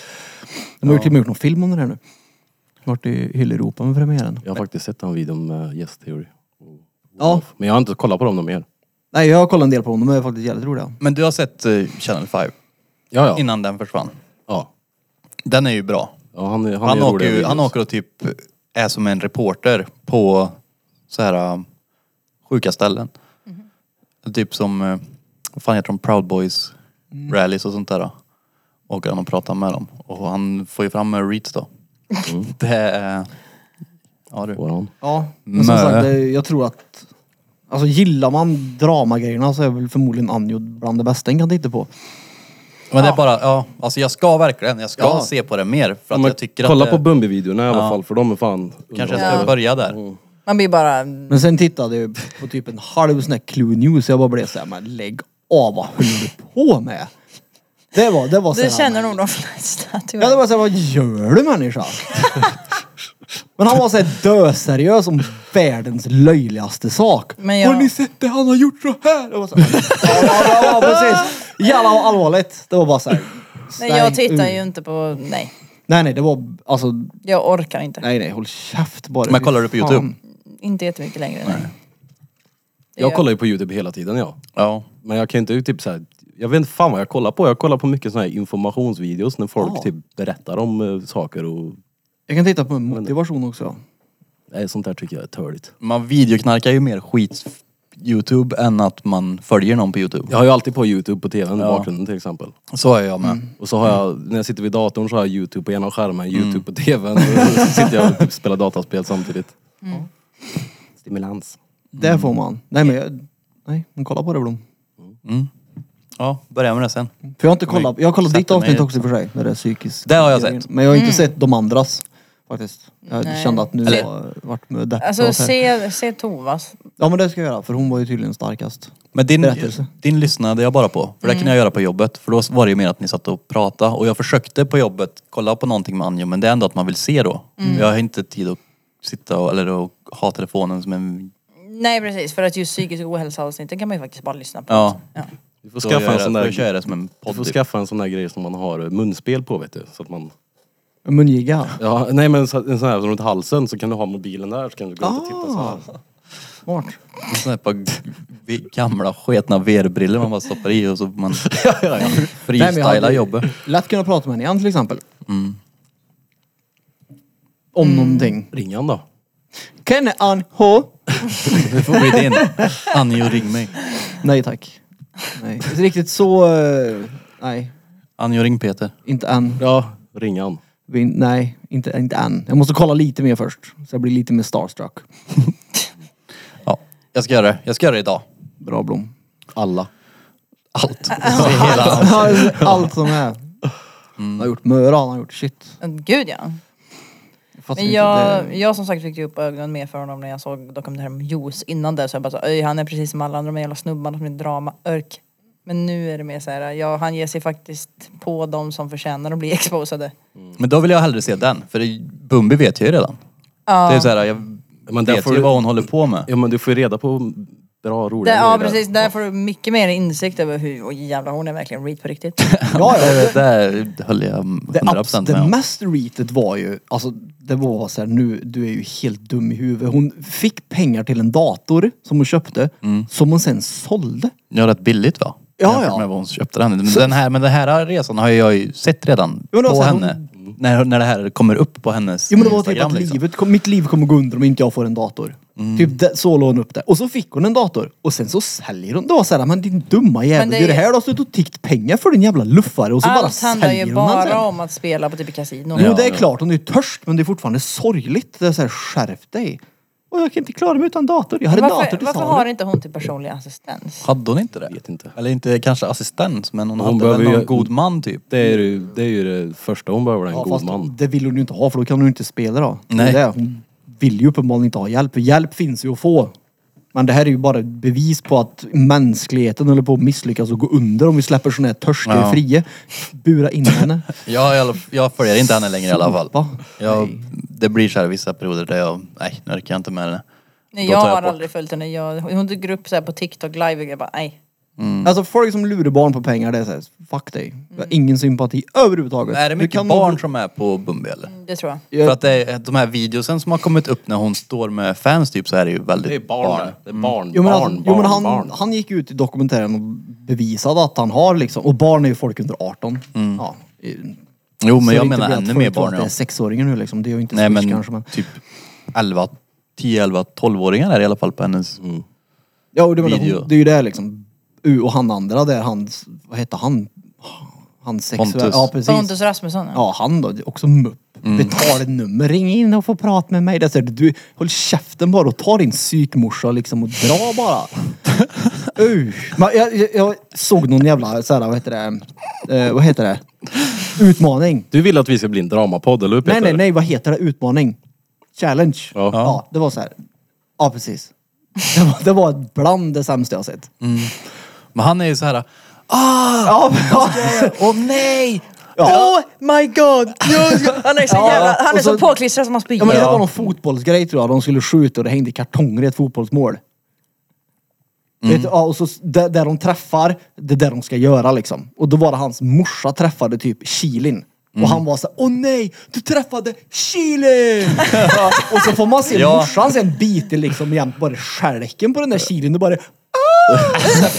[SPEAKER 2] De har ju till och med gjort någon film om det här nu. De har varit i Hylleuropa med premiären.
[SPEAKER 3] Jag har faktiskt sett den videon med Yes Theory.
[SPEAKER 2] Ja.
[SPEAKER 3] Men jag har inte kollat på dem någon mer.
[SPEAKER 2] Nej jag har kollat en del på dem, de är faktiskt jävligt roliga.
[SPEAKER 1] Men du har sett eh, Channel 5
[SPEAKER 3] Ja, ja.
[SPEAKER 1] innan den försvann.
[SPEAKER 3] ja.
[SPEAKER 1] Den är ju bra.
[SPEAKER 3] ja han, han,
[SPEAKER 1] Han,
[SPEAKER 3] gör
[SPEAKER 1] åker,
[SPEAKER 3] roliga
[SPEAKER 1] ju, han
[SPEAKER 3] videos.
[SPEAKER 1] åker och typ är som en reporter på så här um, sjuka ställen. Typ som, eh, vad fan heter de, Proud Boys
[SPEAKER 3] Mm.
[SPEAKER 1] rallys och sånt där. Åker han och pratar med dem. Och han får ju fram eh, reads då.
[SPEAKER 3] Mm.
[SPEAKER 1] Det är... Ja du.
[SPEAKER 3] Får han.
[SPEAKER 2] Ja. Men som
[SPEAKER 1] Mö.
[SPEAKER 2] sagt, det, jag tror att... Alltså gillar man dramagrejerna så är väl förmodligen Anjo bland det bästa en kan titta på.
[SPEAKER 1] Men det är bara, ja, alltså jag ska verkligen, jag ska
[SPEAKER 3] Ja.
[SPEAKER 1] se på det mer. För att
[SPEAKER 3] men
[SPEAKER 1] jag tycker
[SPEAKER 3] kolla
[SPEAKER 1] att
[SPEAKER 3] på
[SPEAKER 1] det,
[SPEAKER 3] Bumbi-videorna i alla fall, för de är fan...
[SPEAKER 1] kanske jag
[SPEAKER 4] Ja.
[SPEAKER 1] ska börja där.
[SPEAKER 3] Mm.
[SPEAKER 4] Man blir bara...
[SPEAKER 2] Men sen tittade jag på typ en halv sån här Clue News. Jag bara blev såhär, men lägg av, vad håller du på med? Det var, det var
[SPEAKER 4] Det
[SPEAKER 2] såhär-
[SPEAKER 4] känner nog de flesta tyvärr.
[SPEAKER 2] Ja det var såhär, vad gör du människa? Men han var såhär döseriös om världens löjligaste sak.
[SPEAKER 4] Men jag-
[SPEAKER 2] Har ni sett det han har gjort så här? Jag var såhär, ja, ja, ja, precis. Jävlar vad allvarligt. Det var bara såhär.
[SPEAKER 4] Nej, jag
[SPEAKER 2] stäng
[SPEAKER 4] tittar
[SPEAKER 2] ur.
[SPEAKER 4] ju inte på... Nej.
[SPEAKER 2] Nej nej det var alltså,
[SPEAKER 4] Jag orkar inte.
[SPEAKER 2] nej nej håll käft bara.
[SPEAKER 1] Men kollar du på
[SPEAKER 2] Fan.
[SPEAKER 1] YouTube?
[SPEAKER 4] Inte jättemycket längre. Nej. Det
[SPEAKER 3] Jag
[SPEAKER 4] gör-
[SPEAKER 3] kollar ju på YouTube hela tiden ja.
[SPEAKER 1] Ja.
[SPEAKER 3] Men jag kan ju inte typ såhär, jag vet inte fan vad jag kollar på. Jag kollar på mycket såna här informationsvideos när folk
[SPEAKER 2] Ja.
[SPEAKER 3] typ berättar om eh, saker och
[SPEAKER 2] Jag kan titta på motivation också.
[SPEAKER 3] nej, sånt där tycker jag är törligt.
[SPEAKER 1] Man videoknarkar ju mer skit YouTube än att man följer någon på YouTube.
[SPEAKER 3] Jag har ju alltid på YouTube på tvn i bakgrunden till exempel.
[SPEAKER 1] Så är jag med.
[SPEAKER 3] Och så har jag, när jag sitter vid datorn så har jag YouTube på ena skärmen, YouTube på tvn. Och så sitter jag och typ spelar dataspel samtidigt. Stimulans.
[SPEAKER 2] Det får man. Nej men jag, nej men kolla på det Blom.
[SPEAKER 1] Ja, börja med det sen.
[SPEAKER 2] För jag har inte kollat, jag har kollat ditt
[SPEAKER 1] Sätter mig
[SPEAKER 2] avsnitt
[SPEAKER 1] i-
[SPEAKER 2] också i och för sig. När det är psykiskt.
[SPEAKER 1] Det har jag sett.
[SPEAKER 2] Men jag har inte sett de andras. Faktiskt. Jag
[SPEAKER 4] Mm. Nej.
[SPEAKER 2] kände att nu har
[SPEAKER 4] Eller-
[SPEAKER 2] jag varit med depp
[SPEAKER 4] Alltså
[SPEAKER 2] och så här.
[SPEAKER 4] se, se Tovas.
[SPEAKER 2] Ja men det ska jag göra för hon var ju tydligen starkast.
[SPEAKER 1] Men din,
[SPEAKER 2] Berättelse. Mm.
[SPEAKER 1] din lyssnade jag bara på. För det kunde jag göra på jobbet. För då var det ju mer att ni satt och pratade. Och jag försökte på jobbet kolla på någonting med Anjo. Men det är ändå att man vill se då.
[SPEAKER 2] Mm.
[SPEAKER 1] Jag har inte tid att sitta och, eller att ha telefonen som en...
[SPEAKER 4] Nej precis, för att just psykisk ohälsa avsnitten kan man ju faktiskt bara lyssna på.
[SPEAKER 1] Ja.
[SPEAKER 4] Ja.
[SPEAKER 3] Du får
[SPEAKER 1] Då gör
[SPEAKER 3] skaffa en
[SPEAKER 1] jag-
[SPEAKER 3] sån
[SPEAKER 1] Då kör jag
[SPEAKER 3] där,
[SPEAKER 1] det som en
[SPEAKER 3] du
[SPEAKER 1] podd.
[SPEAKER 3] får
[SPEAKER 1] typ.
[SPEAKER 3] skaffa en sån där grej som man har eh, munspel på vet du. Så att man
[SPEAKER 2] Mungiga.
[SPEAKER 3] Ja, nej men så, en sån här runt halsen så kan du ha mobilen där så kan du gå runt och titta så här.
[SPEAKER 2] Smart.
[SPEAKER 1] Sådana här par g- vi- gamla sketna VR-brillor man bara stoppar i och så man
[SPEAKER 2] Nej, men jag
[SPEAKER 1] freestylar
[SPEAKER 2] hade
[SPEAKER 1] jobbet.
[SPEAKER 2] Lätt kunna prata med henne igen till exempel.
[SPEAKER 1] Mm.
[SPEAKER 2] Om
[SPEAKER 4] Mm.
[SPEAKER 2] någonting.
[SPEAKER 3] Ring han då.
[SPEAKER 2] Kenne an H?
[SPEAKER 1] Det får bli din. Anjo ring mig.
[SPEAKER 2] Nej tack. Nej. Inte riktigt så... eh, nej.
[SPEAKER 1] Anjo ring Peter.
[SPEAKER 2] Inte än.
[SPEAKER 3] Ja, ring han.
[SPEAKER 2] Vi, nej, inte, inte än. Jag måste kolla lite mer först. Så jag blir lite mer starstruck.
[SPEAKER 1] Ja, jag ska göra det. Jag ska göra det idag.
[SPEAKER 2] Bra Blom.
[SPEAKER 3] Alla.
[SPEAKER 1] Allt. Mm. Se hela.
[SPEAKER 2] Allt som är. Han har gjort möra, han har gjort shit.
[SPEAKER 4] Men Gud ja.
[SPEAKER 2] Jag fattar
[SPEAKER 4] Men
[SPEAKER 2] inte
[SPEAKER 4] jag,
[SPEAKER 2] det.
[SPEAKER 4] jag som sagt fick ju upp ögonen mer för honom när jag såg dokumentären om Juice innan det. Så jag bara så, öj han är precis som alla andra de jävla snubbarna som är drama, örk. Men nu är det mer så här, ja han ger sig faktiskt på de som förtjänar att bli exposade.
[SPEAKER 1] Men då vill jag hellre se den. För det- Bumbi vet jag ju redan. Det är så här, jag
[SPEAKER 3] Men där
[SPEAKER 1] vet
[SPEAKER 3] får
[SPEAKER 1] ju
[SPEAKER 3] du-
[SPEAKER 1] vad hon håller på med.
[SPEAKER 3] Ja men du får ju reda på bra roliga
[SPEAKER 4] Där, ja
[SPEAKER 3] grejer där.
[SPEAKER 4] precis, där får du mycket mer insikt över hur, oj jävlar hon är verkligen read på riktigt.
[SPEAKER 2] Ja, ja.
[SPEAKER 1] Det, det höll jag
[SPEAKER 2] Det,
[SPEAKER 1] 100%
[SPEAKER 2] abs-
[SPEAKER 1] procent
[SPEAKER 2] det
[SPEAKER 1] med om.
[SPEAKER 2] mest reatet var ju, alltså det var så här, nu, du är ju helt dum i huvudet. Hon fick pengar till en dator som hon köpte,
[SPEAKER 1] Mm.
[SPEAKER 2] som hon sen sålde.
[SPEAKER 1] Det var rätt billigt va?
[SPEAKER 2] Ja,
[SPEAKER 1] Jämfört
[SPEAKER 2] ja.
[SPEAKER 1] med vad hon köpte den. Men den, här, men den här resan har jag ju sett redan
[SPEAKER 2] Jo, men det var
[SPEAKER 1] på
[SPEAKER 2] så här, hon-
[SPEAKER 1] henne.
[SPEAKER 3] Mm.
[SPEAKER 1] När, när det här kommer upp på hennes
[SPEAKER 2] Jo men det var typ
[SPEAKER 1] Instagram
[SPEAKER 2] att
[SPEAKER 1] liksom. Mm.
[SPEAKER 2] livet, kom- mitt liv kommer gå under om inte jag får en dator. Typ det, så låg hon upp det. Och så fick hon en dator. Och sen så säljer hon. Det var såhär, men din dumma jävel,
[SPEAKER 4] Men det
[SPEAKER 2] det är det
[SPEAKER 4] är-
[SPEAKER 2] här du har suttit och tiggt pengar för din jävla luffare och så bara
[SPEAKER 4] Allt handlar
[SPEAKER 2] säljer
[SPEAKER 4] ju
[SPEAKER 2] hon den sen.
[SPEAKER 4] bara om att spela på typ kasino.
[SPEAKER 2] Jo det är klart, hon är ju törst men det är fortfarande sorgligt. Det är såhär, skärp dig. Och jag kan inte klara mig utan dator. Jag har en dator
[SPEAKER 4] Varför,
[SPEAKER 2] till
[SPEAKER 4] varför
[SPEAKER 2] salu.
[SPEAKER 4] har inte hon till personlig assistens?
[SPEAKER 1] Hade hon inte det?
[SPEAKER 3] Vet inte.
[SPEAKER 1] Eller inte kanske assistent men hon,
[SPEAKER 3] Hon
[SPEAKER 1] hade
[SPEAKER 3] behöver
[SPEAKER 1] väl någon
[SPEAKER 3] ju-
[SPEAKER 1] god man typ.
[SPEAKER 3] Det är, ju, det är ju det första hon behöver, en
[SPEAKER 2] Ja,
[SPEAKER 3] god
[SPEAKER 2] fast
[SPEAKER 3] man.
[SPEAKER 2] det vill hon ju inte ha för då kan hon ju inte spela då. Det är
[SPEAKER 1] Nej.
[SPEAKER 2] Det. Hon vill ju uppenbarligen inte ha hjälp. För hjälp finns ju att få. Men det här är ju bara ett bevis på att mänskligheten håller på att misslyckas och gå under om vi släpper sådana här törstiga
[SPEAKER 1] Ja.
[SPEAKER 2] fria. Bura in henne.
[SPEAKER 1] Jag, jag, jag följer inte henne längre i alla fall.
[SPEAKER 2] Sopa.
[SPEAKER 1] Jag, det blir så här vissa perioder där jag, nej nu orkar jag inte med henne.
[SPEAKER 4] Nej,
[SPEAKER 1] Då
[SPEAKER 4] jag
[SPEAKER 1] tar jag
[SPEAKER 4] har
[SPEAKER 1] bort.
[SPEAKER 4] aldrig följt henne. Jag, hon dyker upp så här på TikTok live och jag bara nej.
[SPEAKER 1] Mm.
[SPEAKER 2] Alltså folk som lurar barn på pengar det är såhär, fuck dig. Jag har ingen sympati överhuvudtaget.
[SPEAKER 1] Är det
[SPEAKER 2] Du
[SPEAKER 1] mycket
[SPEAKER 2] kan-
[SPEAKER 1] barn som är på Bumbi eller?
[SPEAKER 4] Det tror jag.
[SPEAKER 2] Jag-
[SPEAKER 1] För att det är, de här videosen som har kommit upp när hon står med fans typ så är det ju väldigt
[SPEAKER 3] Det är barn. Det är barn,
[SPEAKER 2] Jo men,
[SPEAKER 3] barn,
[SPEAKER 2] alltså,
[SPEAKER 3] barn,
[SPEAKER 2] jo, men han,
[SPEAKER 3] barn.
[SPEAKER 2] han gick ut i dokumentären och bevisade att han har liksom, och barn är ju folk under 18. Ja. i-
[SPEAKER 1] Mm. Jo men
[SPEAKER 2] Så
[SPEAKER 1] jag
[SPEAKER 2] det är inte
[SPEAKER 1] menar
[SPEAKER 2] bra att
[SPEAKER 1] ännu
[SPEAKER 2] folk
[SPEAKER 1] mer
[SPEAKER 2] tror att
[SPEAKER 1] barn
[SPEAKER 2] Det
[SPEAKER 1] ja.
[SPEAKER 2] är sexåringar nu liksom. Det är ju inte
[SPEAKER 1] Nej
[SPEAKER 2] Switch
[SPEAKER 1] men
[SPEAKER 2] kanske men.
[SPEAKER 1] typ 11, 10, 11, 12-åringar är det i alla fall på hennes.
[SPEAKER 2] Ja och det, menar,
[SPEAKER 1] video.
[SPEAKER 2] hon, det är ju det liksom. U och han andra där, han, vad hette han? Han sexuell...
[SPEAKER 1] Pontus.
[SPEAKER 2] Ja precis.
[SPEAKER 4] Pontus Rasmusson. Ja.
[SPEAKER 2] Ja han då, också mupp. Betala ett nummer, ring in och få prata med mig. Det är så här, du, håll käften bara och ta din psykmorsa liksom och dra bara. Usch. Men jag, jag, jag såg någon jävla, så här, vad heter det, eh, vad heter det, utmaning.
[SPEAKER 3] Du vill att vi ska bli en dramapodd, eller hur Peter?
[SPEAKER 2] Nej, nej, nej, vad heter det, utmaning? Challenge.
[SPEAKER 3] Ja.
[SPEAKER 2] det var så här. Ja, precis. Det var, det var bland det sämsta jag sett.
[SPEAKER 1] Men han är ju så här.
[SPEAKER 2] Ja, ja.
[SPEAKER 1] Åh nej!
[SPEAKER 2] ja.
[SPEAKER 4] Oh my god! Jag ska- Han är så,
[SPEAKER 2] Ja,
[SPEAKER 4] jävla, han är
[SPEAKER 2] och
[SPEAKER 4] så,
[SPEAKER 2] så-
[SPEAKER 4] påklistrad som man spyr.
[SPEAKER 2] Ja, men det var någon fotbollsgrej tror jag. De skulle skjuta och det hängde kartonger i ett fotbollsmål.
[SPEAKER 1] Mm.
[SPEAKER 2] Vet du, ja, och så s- där, där de träffar, det är där de ska göra liksom. Och då var det hans morsa träffade typ kilin.
[SPEAKER 1] Mm.
[SPEAKER 2] Och han var såhär, åh nej, du träffade kilin! Ja, och så får man se
[SPEAKER 1] Ja.
[SPEAKER 2] morsan sen biter liksom jämt bara stjälken på den där kilin och bara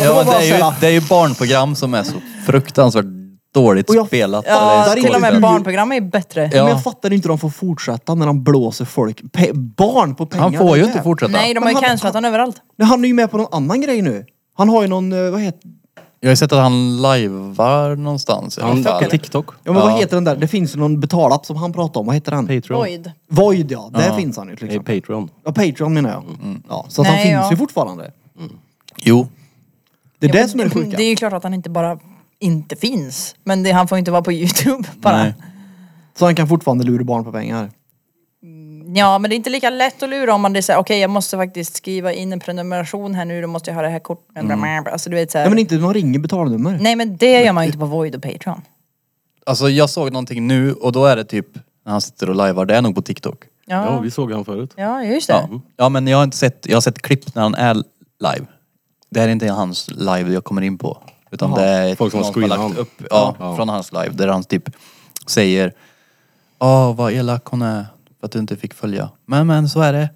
[SPEAKER 1] Ja, men det, är
[SPEAKER 2] så
[SPEAKER 1] ju,
[SPEAKER 2] här-
[SPEAKER 1] det är ju barnprogram som är så fruktansvärt dåligt
[SPEAKER 2] Och jag-
[SPEAKER 1] spelat.
[SPEAKER 4] ja,
[SPEAKER 1] eller
[SPEAKER 4] till och med
[SPEAKER 1] skådespelat.
[SPEAKER 4] barnprogram är bättre.
[SPEAKER 1] Ja.
[SPEAKER 2] Men jag fattar inte hur de får fortsätta när de blåser folk, pe- barn på pengar.
[SPEAKER 1] Han får ju
[SPEAKER 2] Det är
[SPEAKER 1] inte
[SPEAKER 2] det.
[SPEAKER 1] fortsätta.
[SPEAKER 4] Nej, de har ju
[SPEAKER 2] Men han-
[SPEAKER 4] cancelat honom överallt.
[SPEAKER 2] Nej, Han är ju med på någon annan grej nu. Han har ju någon, eh, vad heter
[SPEAKER 1] Jag har ju sett att han lajvar någonstans i alla
[SPEAKER 3] Han
[SPEAKER 1] fall.
[SPEAKER 3] fuckar TikTok.
[SPEAKER 2] Ja men vad heter den där? Det finns ju någon betalapp som han pratar om. Vad heter han?
[SPEAKER 3] Patreon.
[SPEAKER 4] Void.
[SPEAKER 2] Void ja, där finns han ju till
[SPEAKER 3] Nej,
[SPEAKER 2] exempel.
[SPEAKER 3] Patreon.
[SPEAKER 2] Ja, Patreon menar jag. Ja, så att han
[SPEAKER 4] Nej,
[SPEAKER 2] finns
[SPEAKER 4] ja.
[SPEAKER 2] ju fortfarande.
[SPEAKER 1] Jo.
[SPEAKER 2] Det är
[SPEAKER 4] Ja,
[SPEAKER 2] det
[SPEAKER 4] men
[SPEAKER 2] som är det sjuka.
[SPEAKER 4] Det är ju klart att han inte bara inte finns. Men det, han får ju inte vara på youtube bara.
[SPEAKER 1] Nej.
[SPEAKER 2] Så han kan fortfarande lura barn på pengar.
[SPEAKER 4] Ja men det är inte lika lätt att lura om man det är såhär, okej jag måste faktiskt skriva in en prenumeration här nu, då måste jag ha det här kortnumret. Alltså du vet såhär.
[SPEAKER 2] Ja men inte man ringer betalnummer.
[SPEAKER 4] Nej men det gör man ju inte på Void och Patreon.
[SPEAKER 1] Alltså jag såg någonting nu och då är det typ när han sitter och lajvar, det är nog på TikTok.
[SPEAKER 4] Ja,
[SPEAKER 3] Ja,
[SPEAKER 4] ja,
[SPEAKER 3] vi såg han förut.
[SPEAKER 4] just det.
[SPEAKER 1] Ja. ja men jag har inte sett, jag har sett klipp när han är live. Det här är inte hans live jag kommer in på. Utan det är
[SPEAKER 3] Folk som har
[SPEAKER 1] någon
[SPEAKER 3] screenat
[SPEAKER 1] lagt
[SPEAKER 3] honom.
[SPEAKER 1] upp ja, från hans live där han typ säger Ja vad elak hon är för att du inte fick följa. Men men så är det.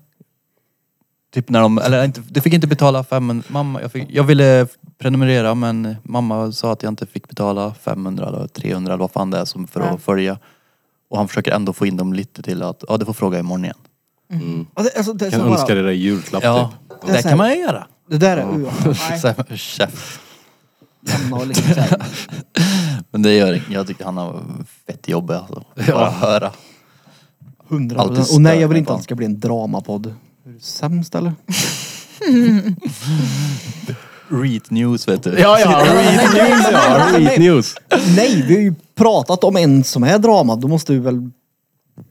[SPEAKER 1] Typ när de, eller inte, du fick inte betala 500, mamma, jag, fick, jag ville prenumerera men mamma sa att jag inte fick betala 500 eller 300 eller vad fan det är som för att följa. Och han försöker ändå få in dem lite till att, ja du får fråga imorgon igen.
[SPEAKER 2] Alltså, alltså, det, är
[SPEAKER 3] Kan
[SPEAKER 2] så
[SPEAKER 3] önska
[SPEAKER 2] bara,
[SPEAKER 3] dig det i julklapp
[SPEAKER 1] Ja,
[SPEAKER 3] typ.
[SPEAKER 1] det kan man ju göra.
[SPEAKER 2] det där är... Uh,
[SPEAKER 1] Så här, chef.
[SPEAKER 2] lämna och liksom, så här.
[SPEAKER 1] Men det gör inget. Jag tycker han har fett jobb alltså. Bara höra.
[SPEAKER 2] 100
[SPEAKER 1] Alltid
[SPEAKER 2] procent. Och nej jag
[SPEAKER 1] stör
[SPEAKER 2] vill
[SPEAKER 1] mig
[SPEAKER 2] inte
[SPEAKER 1] på
[SPEAKER 2] att det ska bli en dramapodd. Är du sämst eller?
[SPEAKER 1] Read news vet du.
[SPEAKER 3] Ja, ja, read news ja, read news.
[SPEAKER 2] nej, vi har ju pratat om en som är drama. Då måste vi väl...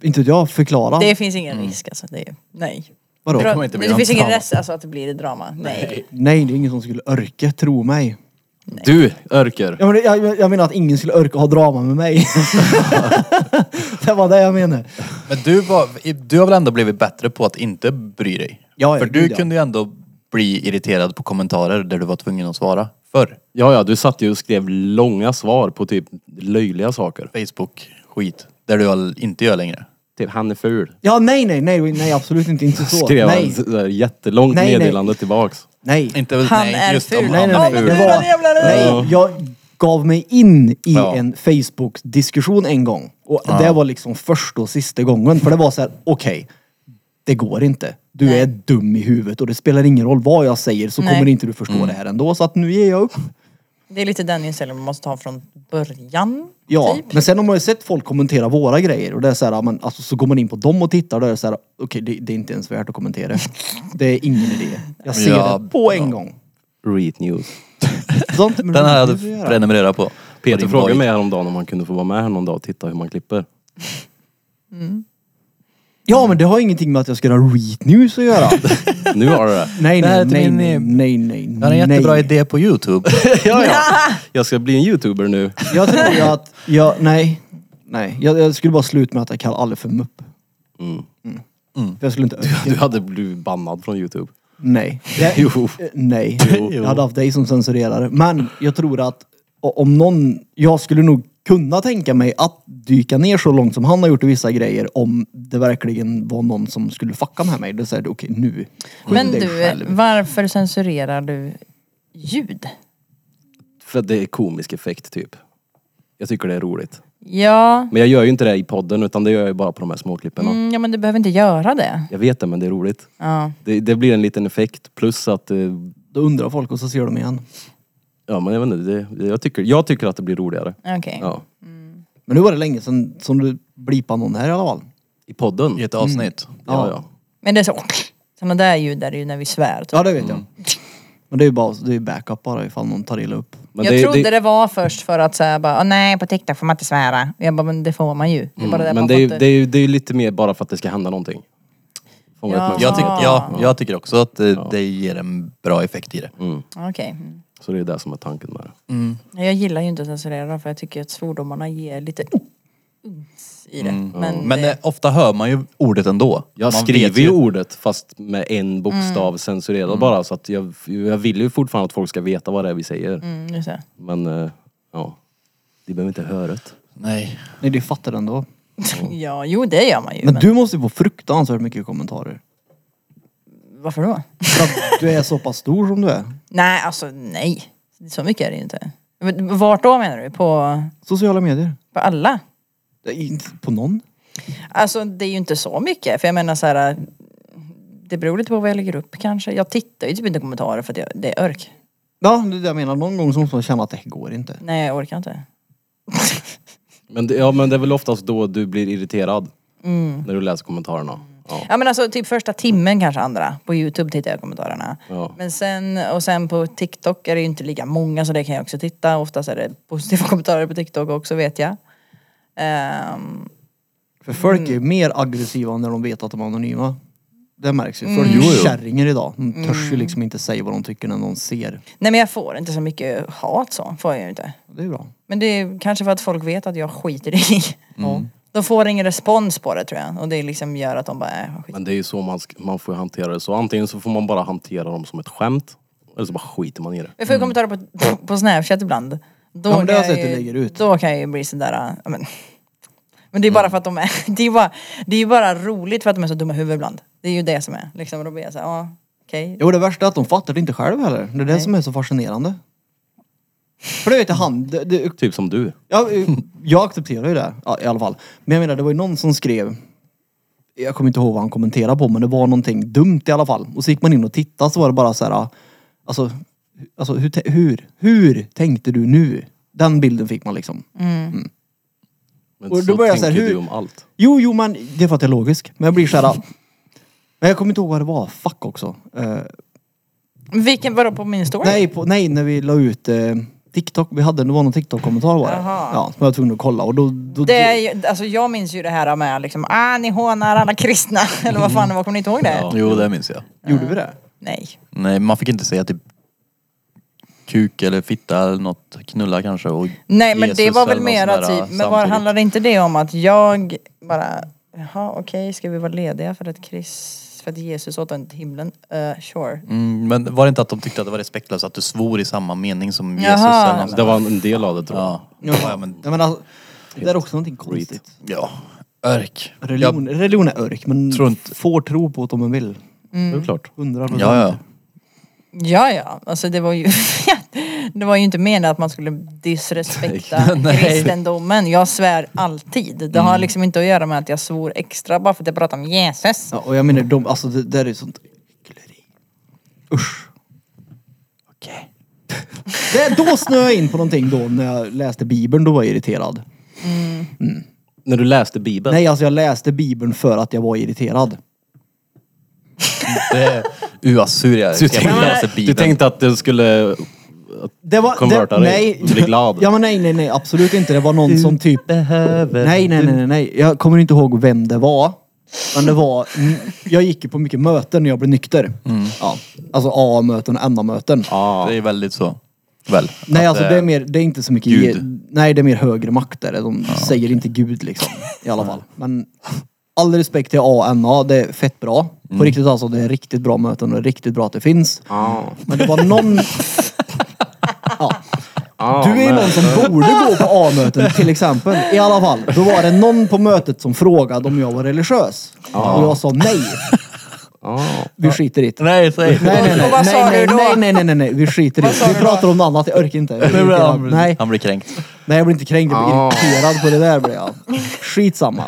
[SPEAKER 2] Inte vet jag, förklara.
[SPEAKER 4] Det finns ingen risk alltså. Det är, nej.
[SPEAKER 2] Vadå?
[SPEAKER 4] Dra-
[SPEAKER 1] inte bli
[SPEAKER 4] det
[SPEAKER 1] någon
[SPEAKER 4] finns ingen
[SPEAKER 1] drama.
[SPEAKER 4] risk alltså, att det blir ett drama. Nej.
[SPEAKER 2] Nej, det är ingen som skulle örka, tro mig.
[SPEAKER 3] Du, Örker.
[SPEAKER 2] Ja, men det- jag, jag menar att ingen skulle orka ha drama med mig. det var det jag menade.
[SPEAKER 1] Men du, var, du har väl ändå blivit bättre på att inte bry dig?
[SPEAKER 2] Ja, ja,
[SPEAKER 1] För du
[SPEAKER 2] gud, ja.
[SPEAKER 1] kunde ju ändå bli irriterad på kommentarer där du var tvungen att svara. Förr.
[SPEAKER 3] Ja, ja, du satt ju och skrev långa svar på typ löjliga saker.
[SPEAKER 1] Facebook-skit. Där du all- inte gör längre.
[SPEAKER 3] Typ, han är ful.
[SPEAKER 2] Ja, nej, nej, nej, nej, absolut inte. Inte så.
[SPEAKER 3] Skrev han
[SPEAKER 2] Nej,
[SPEAKER 3] ett sådär jättelångt
[SPEAKER 2] Nej, nej.
[SPEAKER 3] meddelande tillbaks.
[SPEAKER 2] nej,
[SPEAKER 1] Inte,
[SPEAKER 4] Han
[SPEAKER 1] nej,
[SPEAKER 4] är
[SPEAKER 1] just
[SPEAKER 4] ful.
[SPEAKER 1] om
[SPEAKER 4] Nej,
[SPEAKER 1] han är
[SPEAKER 4] nej, nej,
[SPEAKER 1] ful.
[SPEAKER 4] nej.
[SPEAKER 2] det
[SPEAKER 4] Jävlar,
[SPEAKER 2] var,
[SPEAKER 4] jävlar,
[SPEAKER 2] nej, jag gav mig in i
[SPEAKER 1] Ja.
[SPEAKER 2] en Facebook-diskussion en gång. Och det var liksom första och sista gången. För det var så här, okej, det går inte. Du
[SPEAKER 4] Nej.
[SPEAKER 2] är dum i huvudet och det spelar ingen roll vad jag säger så
[SPEAKER 4] Nej.
[SPEAKER 2] kommer inte du
[SPEAKER 3] Mm.
[SPEAKER 2] förstå det här ändå. Så att nu ger jag upp.
[SPEAKER 4] Det är lite den inställningen man måste ha från början.
[SPEAKER 2] Ja,
[SPEAKER 4] Typ.
[SPEAKER 2] men sen har man ju sett folk kommentera våra grejer och det är så här, ja, men alltså, så går man in på dem och tittar och då är det så här, okej det, det är inte ens värt att kommentera. Det är ingen idé. Jag ser
[SPEAKER 1] Ja,
[SPEAKER 2] det på en gång.
[SPEAKER 3] Read news.
[SPEAKER 2] Sånt, men
[SPEAKER 1] Den här
[SPEAKER 2] det
[SPEAKER 1] hade
[SPEAKER 2] får vi
[SPEAKER 1] du
[SPEAKER 2] göra.
[SPEAKER 1] prenumererat på. På
[SPEAKER 3] Peter
[SPEAKER 1] din
[SPEAKER 3] frågade
[SPEAKER 1] Void.
[SPEAKER 3] mig häromdagen om han kunde få vara med här någon dag och titta hur man klipper.
[SPEAKER 2] Ja, men det har ingenting med att jag ska göra read news att göra.
[SPEAKER 3] Nu har du det.
[SPEAKER 2] Nej,
[SPEAKER 1] Det här
[SPEAKER 2] nej,
[SPEAKER 1] är till
[SPEAKER 2] nej,
[SPEAKER 1] min-
[SPEAKER 2] nej, nej, nej.
[SPEAKER 1] Jag har en
[SPEAKER 2] nej.
[SPEAKER 1] jättebra idé på Youtube.
[SPEAKER 3] ja, ja. Jag ska bli en youtuber nu.
[SPEAKER 2] Jag tror ju att, jag, nej, nej. Jag, jag skulle bara sluta med att jag kallar alla för mupp. Mm. För jag skulle inte
[SPEAKER 3] Du hade blivit bannad från youtube.
[SPEAKER 2] Nej. Det,
[SPEAKER 3] Jo.
[SPEAKER 2] Eh, Nej. Jag hade haft dig som censurerare. Men jag tror att o- om någon... Jag skulle nog kunna tänka mig att dyka ner så långt som han har gjort i vissa grejer om det verkligen var någon som skulle fucka med mig. Då säger du okej nu. skyll
[SPEAKER 4] Men
[SPEAKER 2] dig
[SPEAKER 4] du, eh,
[SPEAKER 2] själv.
[SPEAKER 4] varför censurerar du ljud?
[SPEAKER 3] För att det är komisk effekt typ. Jag tycker det är roligt.
[SPEAKER 4] Ja,
[SPEAKER 3] Men jag gör ju inte det i podden utan det gör jag ju bara på de här småklipparna.
[SPEAKER 4] mm, ja men du behöver inte göra det.
[SPEAKER 3] Jag vet det men det är roligt.
[SPEAKER 4] Ja.
[SPEAKER 3] Det, det blir en liten effekt plus att, eh,
[SPEAKER 2] Då undrar folk och så ser de igen.
[SPEAKER 3] ja men jag vet inte, det, jag, tycker, jag tycker att det blir roligare.
[SPEAKER 4] Okej.
[SPEAKER 3] Ja.
[SPEAKER 2] Men nu var det länge sedan som du blipade någon här i alla fall.
[SPEAKER 3] I podden?
[SPEAKER 1] I
[SPEAKER 3] Ja,
[SPEAKER 1] ett avsnitt.
[SPEAKER 3] ja.
[SPEAKER 4] Men det är så, sådana där ljud är det ju när vi svär. typ.
[SPEAKER 2] Ja det vet jag. Men det är ju bara det är backup bara ifall någon tar illa upp.
[SPEAKER 3] Men
[SPEAKER 4] jag
[SPEAKER 3] det,
[SPEAKER 4] trodde
[SPEAKER 3] det,
[SPEAKER 4] det... var först för att säga bara, "Åh, nej på TikTok får man inte svära. Jag bara, men det får man ju. Det är bara det
[SPEAKER 3] Mm, men
[SPEAKER 4] man
[SPEAKER 3] det är, ju-
[SPEAKER 4] får
[SPEAKER 3] det, är, ju- det är ju lite mer bara för att det ska hända någonting. Fånga
[SPEAKER 4] Ja.
[SPEAKER 1] Jag, tyck,
[SPEAKER 3] uppmärksamhet.
[SPEAKER 1] ja, jag tycker också att det, det ger en bra effekt i det.
[SPEAKER 4] inte. Okej. Mm.
[SPEAKER 3] Så det är det som är tanken med det.
[SPEAKER 4] Jag gillar ju inte att censurera för jag tycker att svordomarna ger lite uns i det.
[SPEAKER 3] Mm.
[SPEAKER 4] Men,
[SPEAKER 1] Men
[SPEAKER 4] det,
[SPEAKER 1] eh, ofta hör man ju ordet ändå.
[SPEAKER 3] Jag
[SPEAKER 1] man vet Mm.
[SPEAKER 3] skriver ju ordet fast med en bokstav
[SPEAKER 4] Mm.
[SPEAKER 3] censurerad bara så att jag, jag vill ju fortfarande att folk ska veta vad det är vi säger.
[SPEAKER 4] mm, just det.
[SPEAKER 3] Men eh, ja, de behöver inte höra det.
[SPEAKER 1] Nej.
[SPEAKER 2] Nej, du fattar ändå.
[SPEAKER 4] Ja, jo det gör man ju.
[SPEAKER 2] Men
[SPEAKER 4] Men
[SPEAKER 2] du måste ju få fruktansvärt mycket kommentarer.
[SPEAKER 4] Varför då?
[SPEAKER 2] För att du är så pass stor som du är.
[SPEAKER 4] Nej, alltså nej. Så mycket är det ju inte. Men Vart då menar du? På,
[SPEAKER 2] Sociala medier.
[SPEAKER 4] på alla?
[SPEAKER 2] Det är inte På någon.
[SPEAKER 4] Alltså det är ju inte så mycket. För jag menar så här. Det beror lite på vad jag lägger upp kanske. Jag tittar ju typ inte i kommentarer för att jag, det är örk.
[SPEAKER 2] Ja, det är det jag menar. Någon gång så måste man känna att det här går inte.
[SPEAKER 4] Nej jag orkar inte.
[SPEAKER 3] Men det, ja men det är väl oftast då du blir irriterad.
[SPEAKER 4] Mm.
[SPEAKER 3] När du läser kommentarerna. Ja.
[SPEAKER 4] Ja men alltså typ första timmen kanske andra. På youtube tittar jag i kommentarerna.
[SPEAKER 3] Ja.
[SPEAKER 4] Men sen, och sen på TikTok är det ju inte lika många så det kan jag också titta. Oftast är det positiva kommentarer på TikTok också vet jag. Ehm,
[SPEAKER 2] För folk är ju
[SPEAKER 1] Mm.
[SPEAKER 2] mer aggressiva när de vet att de är anonyma. Det märks ju. Folk är
[SPEAKER 1] Mm. Jo,
[SPEAKER 2] ju
[SPEAKER 1] jo. Mm.
[SPEAKER 2] kärringar idag. De törs ju liksom inte säga vad de tycker när någon ser.
[SPEAKER 4] nej men jag får inte så mycket hat så. Får jag ju inte.
[SPEAKER 2] Det är bra.
[SPEAKER 4] Men det är kanske för att folk vet att jag skiter i. Mm. De får ingen respons på det tror jag. Och det liksom gör att de bara, äh, vad skit.
[SPEAKER 3] Men det är ju så man, sk- man får hantera det. Så antingen så får man bara hantera dem som ett skämt. Eller så bara skiter man i det.
[SPEAKER 4] Jag får ju kommentarer på, på Snapchat ibland. Då,
[SPEAKER 2] Ja, men det har
[SPEAKER 4] kan
[SPEAKER 2] jag
[SPEAKER 4] jag
[SPEAKER 2] sett
[SPEAKER 4] ju,
[SPEAKER 2] du lägger ut. Mm.
[SPEAKER 4] då kan jag ju bli sådär, ja, men. Men det är bara för att de är, det är ju bara, det är ju bara roligt för att de är så dumma i huvudet ibland. Det är ju det som är, liksom. Och då blir jag såhär, ja, okej.
[SPEAKER 2] Jo, det värsta är att de fattar det inte själv heller. Det är det som är så fascinerande. För det vet jag han, det, det,
[SPEAKER 3] Typ som du.
[SPEAKER 2] Ja, eh, jag accepterar ju det ja, i alla fall. Men jag menar, det var ju någon som skrev, jag kommer inte ihåg vad han kommenterade på, men det var någonting dumt i alla fall. Och så gick man in och tittade så var det bara så här, alltså, alltså hur, te- hur, hur tänkte du nu? Den bilden fick man liksom.
[SPEAKER 3] Men
[SPEAKER 2] Och då
[SPEAKER 3] så
[SPEAKER 2] börjar jag
[SPEAKER 3] tänker
[SPEAKER 2] så här, hur-
[SPEAKER 3] du om allt.
[SPEAKER 2] Jo, jo, men det är för att jag är logisk. Men jag blir så här, ah, men jag kommer inte ihåg vad det var, fuck också. Eh,
[SPEAKER 4] Vilken, vadå på min story?
[SPEAKER 2] nej, på, nej, när vi la ut eh, TikTok, vi hade, det var någon TikTok-kommentar var det.
[SPEAKER 4] Jaha.
[SPEAKER 2] Ja, som jag var tvungen att kolla och då... då
[SPEAKER 4] Det är ju, alltså jag minns ju det här med liksom, ah ni hånar alla kristna. Eller vad fan det var, kommer ni inte ihåg det?
[SPEAKER 3] Ja.
[SPEAKER 1] Jo, det minns jag.
[SPEAKER 2] Gjorde vi det?
[SPEAKER 4] Nej.
[SPEAKER 1] Nej, man fick inte säga typ kuk eller fitta eller något. Knulla kanske och
[SPEAKER 4] Nej men det
[SPEAKER 1] Jesus
[SPEAKER 4] var väl
[SPEAKER 1] eller något
[SPEAKER 4] mera
[SPEAKER 1] sånt där,
[SPEAKER 4] typ, men var
[SPEAKER 1] samtidigt.
[SPEAKER 4] handlade inte det om att jag bara, jaha okej ska vi vara lediga för att Chris, för att Jesus åt en till himlen? Eh, sure.
[SPEAKER 1] Mm, men var det inte att de tyckte att det var respektlöst att du svor i samma mening som Jesus?
[SPEAKER 4] Jaha.
[SPEAKER 1] Eller något
[SPEAKER 3] Så
[SPEAKER 1] sånt
[SPEAKER 3] Alltså, det
[SPEAKER 1] där?
[SPEAKER 3] var en del av det tror jag.
[SPEAKER 1] Ja.
[SPEAKER 2] Ja,
[SPEAKER 1] Ja,
[SPEAKER 2] men,
[SPEAKER 1] men-
[SPEAKER 2] alltså, det är också någonting konstigt.
[SPEAKER 1] Ja. Örk.
[SPEAKER 2] Religion, religion är örk, men
[SPEAKER 1] Tror inte- Mm.
[SPEAKER 2] får tro på att om man vill.
[SPEAKER 3] Det är klart.
[SPEAKER 2] Hundra
[SPEAKER 1] Ja,
[SPEAKER 2] procent.
[SPEAKER 1] ja. ja.
[SPEAKER 4] Ja ja, alltså det var ju, det var ju inte menat att man skulle disrespekta kristendomen. Jag svär alltid. Det
[SPEAKER 1] Mm.
[SPEAKER 4] har liksom inte att göra med att jag svor extra bara för att jag pratar om Jesus.
[SPEAKER 2] Ja, och jag menar, de, alltså det där är sånt hyckleri. Usch.
[SPEAKER 1] Okej.
[SPEAKER 2] Det, då snöade jag in på någonting då när jag läste bibeln, då var jag irriterad.
[SPEAKER 3] När du läste bibeln.
[SPEAKER 2] Nej, alltså jag läste bibeln för att jag var irriterad.
[SPEAKER 1] Det är uasurier.
[SPEAKER 3] Du tänkte, du tänkte att det skulle...
[SPEAKER 2] Det var,
[SPEAKER 3] Konverta
[SPEAKER 2] det,
[SPEAKER 3] dig.
[SPEAKER 2] nej.
[SPEAKER 3] Du blir glad.
[SPEAKER 2] Ja men nej, nej, nej, absolut inte. Det var någon som typ... Nej, nej, nej, nej, nej. Jag kommer inte ihåg vem det var. Men det var... Jag gick ju på mycket möten när jag blev nykter.
[SPEAKER 3] Mm.
[SPEAKER 2] Ja. Alltså AA-möten och NA-möten.
[SPEAKER 3] Ja.
[SPEAKER 1] Det är väldigt så. Väl?
[SPEAKER 2] Nej,
[SPEAKER 1] Att,
[SPEAKER 2] alltså
[SPEAKER 1] eh,
[SPEAKER 2] det är, mer, det är inte så mycket...
[SPEAKER 1] Gud.
[SPEAKER 2] ge- Nej, det är mer högre makter. De säger inte Gud liksom. I alla fall. Men all respekt till ANA, det är fett bra.
[SPEAKER 1] Mm.
[SPEAKER 2] På riktigt alltså, det är riktigt bra möten och det är riktigt bra att det finns. Men det var någon... Ja. Du är ju någon som borde gå på A-möten till exempel. I alla fall, då var det någon på mötet som frågade om jag var religiös. Och jag sa nej. Vi skiter i det.
[SPEAKER 1] Nej, säg.
[SPEAKER 2] Nej nej nej,
[SPEAKER 4] Och vad sa
[SPEAKER 2] nej, nej,
[SPEAKER 4] du då?
[SPEAKER 2] nej, nej, nej, nej, nej, vi skiter i
[SPEAKER 4] Vad sa
[SPEAKER 2] det. Vi
[SPEAKER 4] du då?
[SPEAKER 2] pratar om något annat, jag orkar inte. Jag blir
[SPEAKER 1] Nu blir
[SPEAKER 2] irriterad.
[SPEAKER 1] han,
[SPEAKER 2] Nej,
[SPEAKER 1] han blir kränkt.
[SPEAKER 2] nej, jag blir inte kränkt, jag blir irriterad på det där blir jag. Skitsamma.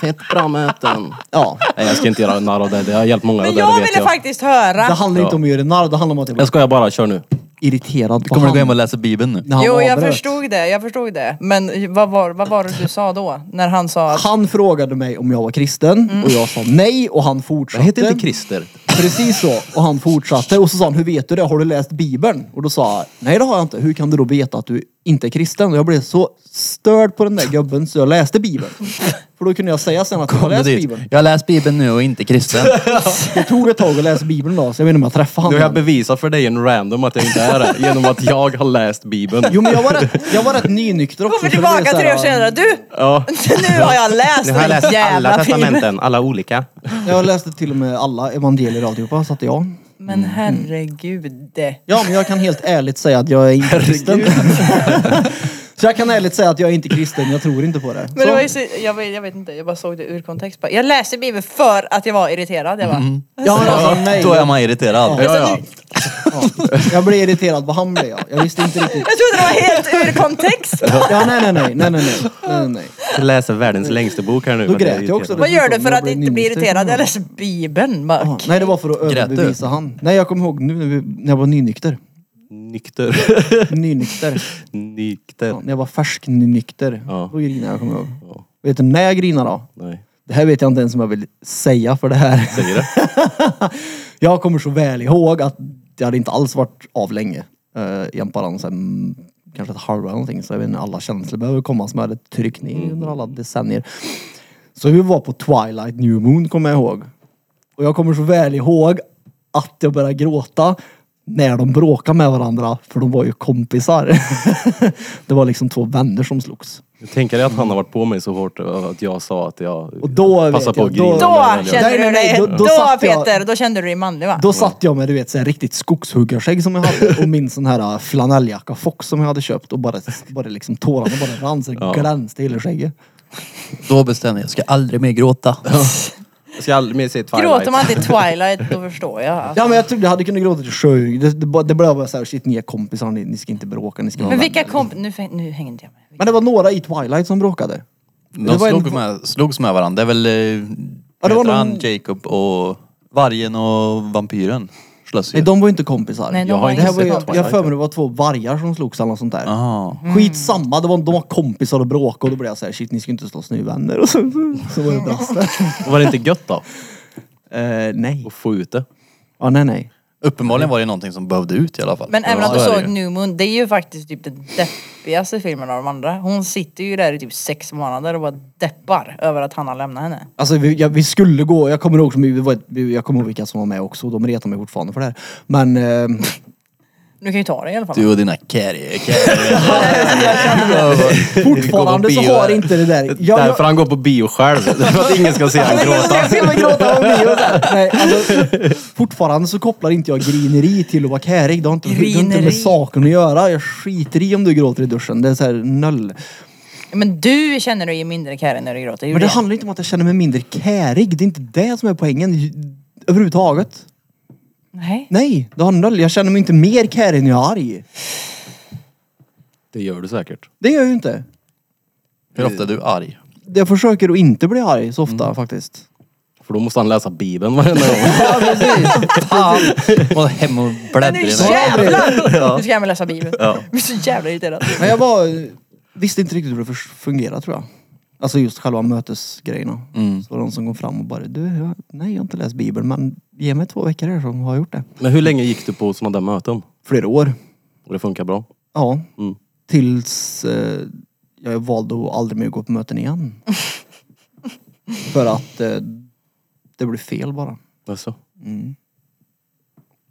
[SPEAKER 3] Fett bra möten.
[SPEAKER 2] Ja.
[SPEAKER 3] Nej jag ska inte göra narr av det. Det har hjälpt många.
[SPEAKER 4] Men
[SPEAKER 3] det
[SPEAKER 4] jag
[SPEAKER 3] vet
[SPEAKER 4] ville faktiskt höra.
[SPEAKER 2] Det handlar inte om att göra narr, det handlar om att jag
[SPEAKER 3] Jag
[SPEAKER 2] blir
[SPEAKER 3] skojar bara, kör nu.
[SPEAKER 2] irriterad på
[SPEAKER 1] Kommer du gå hem och
[SPEAKER 2] honom.
[SPEAKER 1] läsa Bibeln nu?
[SPEAKER 2] när han
[SPEAKER 4] Jo jag
[SPEAKER 2] avbröt.
[SPEAKER 4] förstod det, jag förstod det. Men vad var, vad var det du sa då? När han sa att
[SPEAKER 2] Han frågade mig om jag var kristen och jag sa nej och han fortsatte.
[SPEAKER 3] Jag heter inte Christer.
[SPEAKER 2] Precis så. Och han fortsatte och så sa han, hur vet du det? Har du läst Bibeln? Och då sa jag, nej det har jag inte. Hur kan du då veta att du inte är kristen? Och jag blev så störd på den där gubben så jag läste Bibeln. För då kunde jag säga sen att jag har läst Bibeln.
[SPEAKER 1] Jag har läst Bibeln nu och inte kristen.
[SPEAKER 2] Det tog ett tag att läsa Bibeln då, så jag vet inte om jag träffade
[SPEAKER 3] Nu har jag
[SPEAKER 2] honom.
[SPEAKER 3] bevisat för dig en random att jag inte är det. Genom att jag har läst Bibeln.
[SPEAKER 2] Jo men jag var rätt, jag var rätt nynykter också.
[SPEAKER 4] Kommer
[SPEAKER 2] så det blev
[SPEAKER 4] tillbaka
[SPEAKER 2] så här,
[SPEAKER 4] tre år senare. Du! Nu har jag läst
[SPEAKER 3] Nu har jag
[SPEAKER 4] den
[SPEAKER 3] läst
[SPEAKER 4] Alltså, jävla
[SPEAKER 3] alla
[SPEAKER 4] filmen.
[SPEAKER 3] testamenten, alla olika.
[SPEAKER 2] Jag läste till och med alla evangelier och alltihopa, så att jag...
[SPEAKER 4] Men
[SPEAKER 2] Mm.
[SPEAKER 4] herregud.
[SPEAKER 2] Ja, men jag kan helt ärligt säga att jag är inte kristen. så jag kan ärligt säga att jag är inte kristen, jag tror inte på det.
[SPEAKER 4] Men det
[SPEAKER 2] Så-
[SPEAKER 4] var ju så, jag, vet, jag vet inte, jag bara såg det ur kontext. bara. Jag läste Bibeln för att jag var irriterad. Jag bara,
[SPEAKER 2] ja, alltså, nej.
[SPEAKER 1] Då är man irriterad.
[SPEAKER 3] Ja, ja.
[SPEAKER 2] Ja. Jag blev irriterad på han blev jag. Jag visste inte riktigt.
[SPEAKER 4] Jag trodde det var helt ur kontext!
[SPEAKER 2] Ja, nej, nej, nej, nej, nej, nej, nej, nej.
[SPEAKER 3] Jag läser världens längsta bok här nu.
[SPEAKER 2] Då
[SPEAKER 3] men det är
[SPEAKER 2] grät jag också.
[SPEAKER 4] Vad gör du för
[SPEAKER 2] Jag
[SPEAKER 4] att
[SPEAKER 2] blev
[SPEAKER 4] inte bli
[SPEAKER 2] nynykter.
[SPEAKER 4] irriterad? Jag läser Bibeln. Bara,
[SPEAKER 2] Ja, Ah, Nej, det var för att
[SPEAKER 1] Grät du?
[SPEAKER 2] överbevisa han. Nej, jag kommer ihåg nu när, vi, när jag var nynykter.
[SPEAKER 3] Nykter.
[SPEAKER 2] Nynykter.
[SPEAKER 3] Nykter.
[SPEAKER 2] Ja, när jag var färsk nynykter.
[SPEAKER 3] Ja.
[SPEAKER 2] Då grinade jag, kommer jag ihåg. Vet du när jag grinade då?
[SPEAKER 3] Nej.
[SPEAKER 2] Det här vet jag inte ens om jag vill säga för det här.
[SPEAKER 3] Säger det.
[SPEAKER 2] Jag kommer så väl ihåg att det hade inte alls varit av länge. Uh, Jämtbaran sen kanske ett halvår eller någonting. Så jag vet inte, alla känslor behöver komma som jag hade tryckt ner under alla decennier. Så vi var på Twilight New Moon kommer jag ihåg. Och jag kommer så väl ihåg att jag började gråta när de bråkade med varandra. För de var ju kompisar. det var liksom två vänner som slogs.
[SPEAKER 3] Jag tänker att han har varit på mig så hårt eh, att jag sa att jag
[SPEAKER 2] Och då vet
[SPEAKER 3] passar på
[SPEAKER 2] jag,
[SPEAKER 3] att grina.
[SPEAKER 2] då-
[SPEAKER 3] när
[SPEAKER 4] Då
[SPEAKER 3] jag-
[SPEAKER 4] kände
[SPEAKER 2] Nej, nej,
[SPEAKER 4] du
[SPEAKER 2] nej,
[SPEAKER 4] dig...
[SPEAKER 2] då-
[SPEAKER 4] Då,
[SPEAKER 2] då satt jag-
[SPEAKER 4] Peter, då kände du dig manlig va?
[SPEAKER 2] Då satt jag med du vet, så här, riktigt skogshuggarskägg som jag hade och min sån här äh, flanelljacka Fox som jag hade köpt och bara, bara liksom tårarna bara rann så det
[SPEAKER 3] Ja.
[SPEAKER 2] glänste i hela skägget.
[SPEAKER 1] Då bestämde jag, jag ska aldrig mer gråta.
[SPEAKER 3] Jag ska aldrig mer se Twilight.
[SPEAKER 4] Gråter man inte i Twilight då förstår jag. alltså.
[SPEAKER 2] Ja men jag trodde jag hade kunnat gråta till sjö. Det, det, bara- det blev bara såhär, shit ni är kompisar, ni, ni ska inte bråka, ni ska vara
[SPEAKER 4] Men
[SPEAKER 2] vänner.
[SPEAKER 4] vilka komp... Nu, fäng- nu hänger inte jag med.
[SPEAKER 2] men det var några i Twilight som bråkade.
[SPEAKER 1] De
[SPEAKER 2] var en-
[SPEAKER 1] slog med, slogs med varandra. Det är väl...
[SPEAKER 2] Ja,
[SPEAKER 1] Ja,
[SPEAKER 2] det var någon-
[SPEAKER 1] han, Jacob och vargen och vampyren. Slåss
[SPEAKER 2] Nej
[SPEAKER 1] ju.
[SPEAKER 2] de var ju inte kompisar.
[SPEAKER 4] Nej, de
[SPEAKER 3] Jag har
[SPEAKER 4] var
[SPEAKER 3] inte
[SPEAKER 2] det här var ju,
[SPEAKER 3] sett
[SPEAKER 2] jag
[SPEAKER 3] Twilight.
[SPEAKER 2] har för mig det var två vargar som slogs eller något sånt där.
[SPEAKER 1] Aha.
[SPEAKER 4] Mm.
[SPEAKER 2] Skitsamma, det var, de var kompisar och bråkade och då blev jag såhär, shit ni ska inte slåss, ni är vänner. Och så, så var det brast.
[SPEAKER 3] Och Var det inte gött då?
[SPEAKER 2] Eh, nej.
[SPEAKER 3] Att få ut det?
[SPEAKER 2] Ja, nej nej.
[SPEAKER 1] Uppenbarligen var det någonting som behövde ut i alla fall.
[SPEAKER 4] Men även
[SPEAKER 1] Ja,
[SPEAKER 4] att du
[SPEAKER 1] så är det
[SPEAKER 4] såg
[SPEAKER 1] ju.
[SPEAKER 4] New Moon, det är ju faktiskt typ den deppigaste filmen av de andra. Hon sitter ju där i typ sex månader och bara deppar över att han har lämnat henne.
[SPEAKER 2] Alltså vi, ja, vi skulle gå, jag kommer ihåg, som vi var, ett- vi- jag kommer ihåg vilka som var med också, de retar mig fortfarande för det här. Men eh,
[SPEAKER 4] Du kan ju ta det i alla fall.
[SPEAKER 1] Du och dina carrier, carrier.
[SPEAKER 2] fortfarande så har inte det där... Jag, jag,
[SPEAKER 3] Därför han går på bio själv. För att ingen ska se han gråta.
[SPEAKER 2] jag filmen gråta om bio där. Nej, alltså, fortfarande så kopplar inte jag grineri till att vara kärig. Det har inte, det har inte
[SPEAKER 4] Grineri.
[SPEAKER 2] med saken att göra. Jag skiter i om du gråter i duschen. Det är såhär noll.
[SPEAKER 4] Men du känner dig ju mindre kär när du gråter.
[SPEAKER 2] Men
[SPEAKER 4] gjorde
[SPEAKER 2] det
[SPEAKER 4] jag.
[SPEAKER 2] handlar inte om att jag känner mig mindre kärig. Det är inte det som är poängen. Överhuvudtaget.
[SPEAKER 4] Nej.
[SPEAKER 2] Nej, det har noll. Jag känner mig inte mer kärig när jag är arg.
[SPEAKER 3] Det gör du säkert.
[SPEAKER 2] Det gör jag ju inte.
[SPEAKER 1] Hur ofta är du arg?
[SPEAKER 2] Jag försöker att inte bli arg så ofta faktiskt.
[SPEAKER 3] För då måste han läsa bibeln varenda gång.
[SPEAKER 2] Ja, precis.
[SPEAKER 1] Fan! Var hem och bläddra
[SPEAKER 4] Men nu
[SPEAKER 1] i den här.
[SPEAKER 4] jävlar! Nu ska jag med läsa Bibeln. Jag blir så jävla irriterad.
[SPEAKER 2] Men jag var, visste inte riktigt hur det förs- fungerar tror jag. Alltså just själva mötesgrejerna. Så var det någon som kom fram och bara, du, jag, nej jag har inte läst bibeln men ge mig två veckor här som har jag gjort det.
[SPEAKER 3] Men hur länge gick du på sådana där möten?
[SPEAKER 2] Flera år.
[SPEAKER 3] Och det funkar bra?
[SPEAKER 2] Ja.
[SPEAKER 3] Mm.
[SPEAKER 2] Tills eh, jag valde att aldrig mer gå på möten igen. För att eh, det blev fel bara.
[SPEAKER 3] Alltså.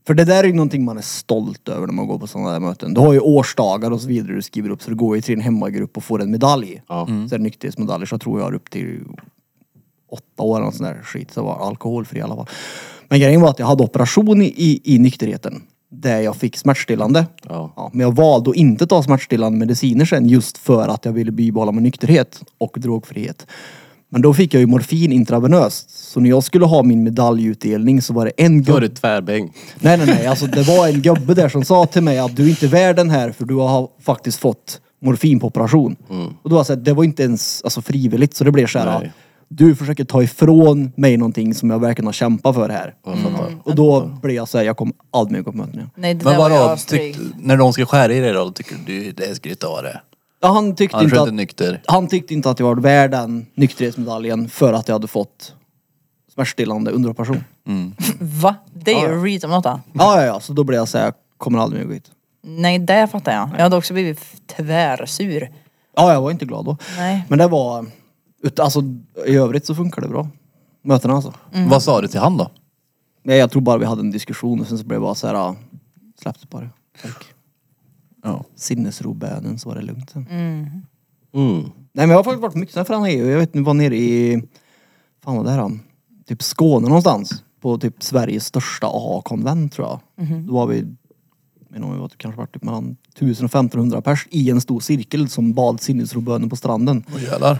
[SPEAKER 2] För det där är ju någonting man är stolt över när man går på sådana där möten. Du har ju årsdagar och så vidare du skriver upp så du går ju till din hemmagrupp och får en medalj.
[SPEAKER 3] Ja.
[SPEAKER 2] Så är det nykterhetsmedaljer så tror jag är upp till åtta år eller sån där skit. Så var alkoholfri i alla fall. Men grejen var att jag hade operation i, i, i nykterheten. Där jag fick smärtstillande.
[SPEAKER 3] Ja.
[SPEAKER 2] men jag valde att inte ta smärtstillande mediciner sen just för att jag ville bibehålla min nykterhet och drogfrihet. Men då fick jag ju morfin intravenöst. Så när jag skulle ha min medaljutdelning så var det en
[SPEAKER 3] Då
[SPEAKER 2] gubbe
[SPEAKER 3] är du tvärbäng.
[SPEAKER 2] Nej nej nej, alltså det var en gubbe där som sa till mig att du är inte värd den här för du har faktiskt fått morfin på operation. Och då var jag så här, det var inte ens alltså, frivilligt så det blev så här.
[SPEAKER 3] Nej.
[SPEAKER 2] Du försöker ta ifrån mig någonting som jag verkligen har kämpat för här. Och då blev jag så här, jag kommer aldrig mer gå på möten igen.
[SPEAKER 4] Nej det
[SPEAKER 1] Men
[SPEAKER 4] där var
[SPEAKER 1] vadå,
[SPEAKER 4] jag
[SPEAKER 1] tyck,
[SPEAKER 4] strykt.
[SPEAKER 1] när de ska skära i dig då, tycker du det är skryt av det?
[SPEAKER 2] Ja, han, tyckte
[SPEAKER 1] Annars är
[SPEAKER 2] inte
[SPEAKER 1] du
[SPEAKER 2] att,
[SPEAKER 1] inte nykter.
[SPEAKER 2] han tyckte inte att jag var värd den nykterhetsmedaljen för att jag hade fått smärtstillande under operation.
[SPEAKER 4] Va? Det är ju reach om något då.
[SPEAKER 2] Ja, ja, ja. Så då blir jag såhär, jag kommer aldrig mer gå hit.
[SPEAKER 4] Nej, det fattar jag. Jag hade också blivit f- tvärsur.
[SPEAKER 2] Ja, jag var inte glad då.
[SPEAKER 4] Nej.
[SPEAKER 2] Men det var... ut- Alltså, i övrigt så funkar det bra. Mötena alltså.
[SPEAKER 1] Vad sa du till han då?
[SPEAKER 2] Nej, jag tror bara vi hade en diskussion och sen så blev det bara så här, ah, ja, släppte på det. Tack.
[SPEAKER 1] Ja.
[SPEAKER 2] Sinnesrobönen så var det lugnt sen.
[SPEAKER 3] Mm.
[SPEAKER 2] Nej men jag har faktiskt varit mycket för han EU. Jag vet nu var nere i, fan vad det här han? Typ Skåne någonstans. På typ Sveriges största AA-konvent tror jag. Då var vi, jag vet inte om vi var, det kanske var typ mellan 1000 och 1500 pers i en stor cirkel som bad sinnesrobönen på stranden.
[SPEAKER 1] Åh jävlar.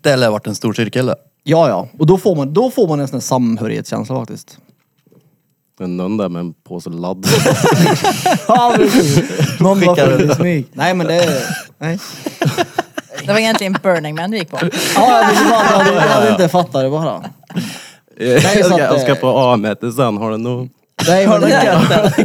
[SPEAKER 1] Det lär ha varit en stor cirkel det.
[SPEAKER 2] Ja ja, och då får man, då får man en sån här samhörighetskänsla faktiskt.
[SPEAKER 3] Men någon där med en påse ladd.
[SPEAKER 2] Ja, precis. Någon var
[SPEAKER 1] Skickar
[SPEAKER 2] full
[SPEAKER 1] du?
[SPEAKER 2] i smyg. Nej men det... Nej.
[SPEAKER 4] Det var egentligen Burning Man du gick på.
[SPEAKER 2] Ja, jag ville bara... Jag hade- jag hade inte fattat det bara.
[SPEAKER 3] jag,
[SPEAKER 2] så
[SPEAKER 3] ska,
[SPEAKER 2] att
[SPEAKER 3] jag ska
[SPEAKER 2] det-
[SPEAKER 3] på A-möte sen, har den nog...
[SPEAKER 2] Nej, men det,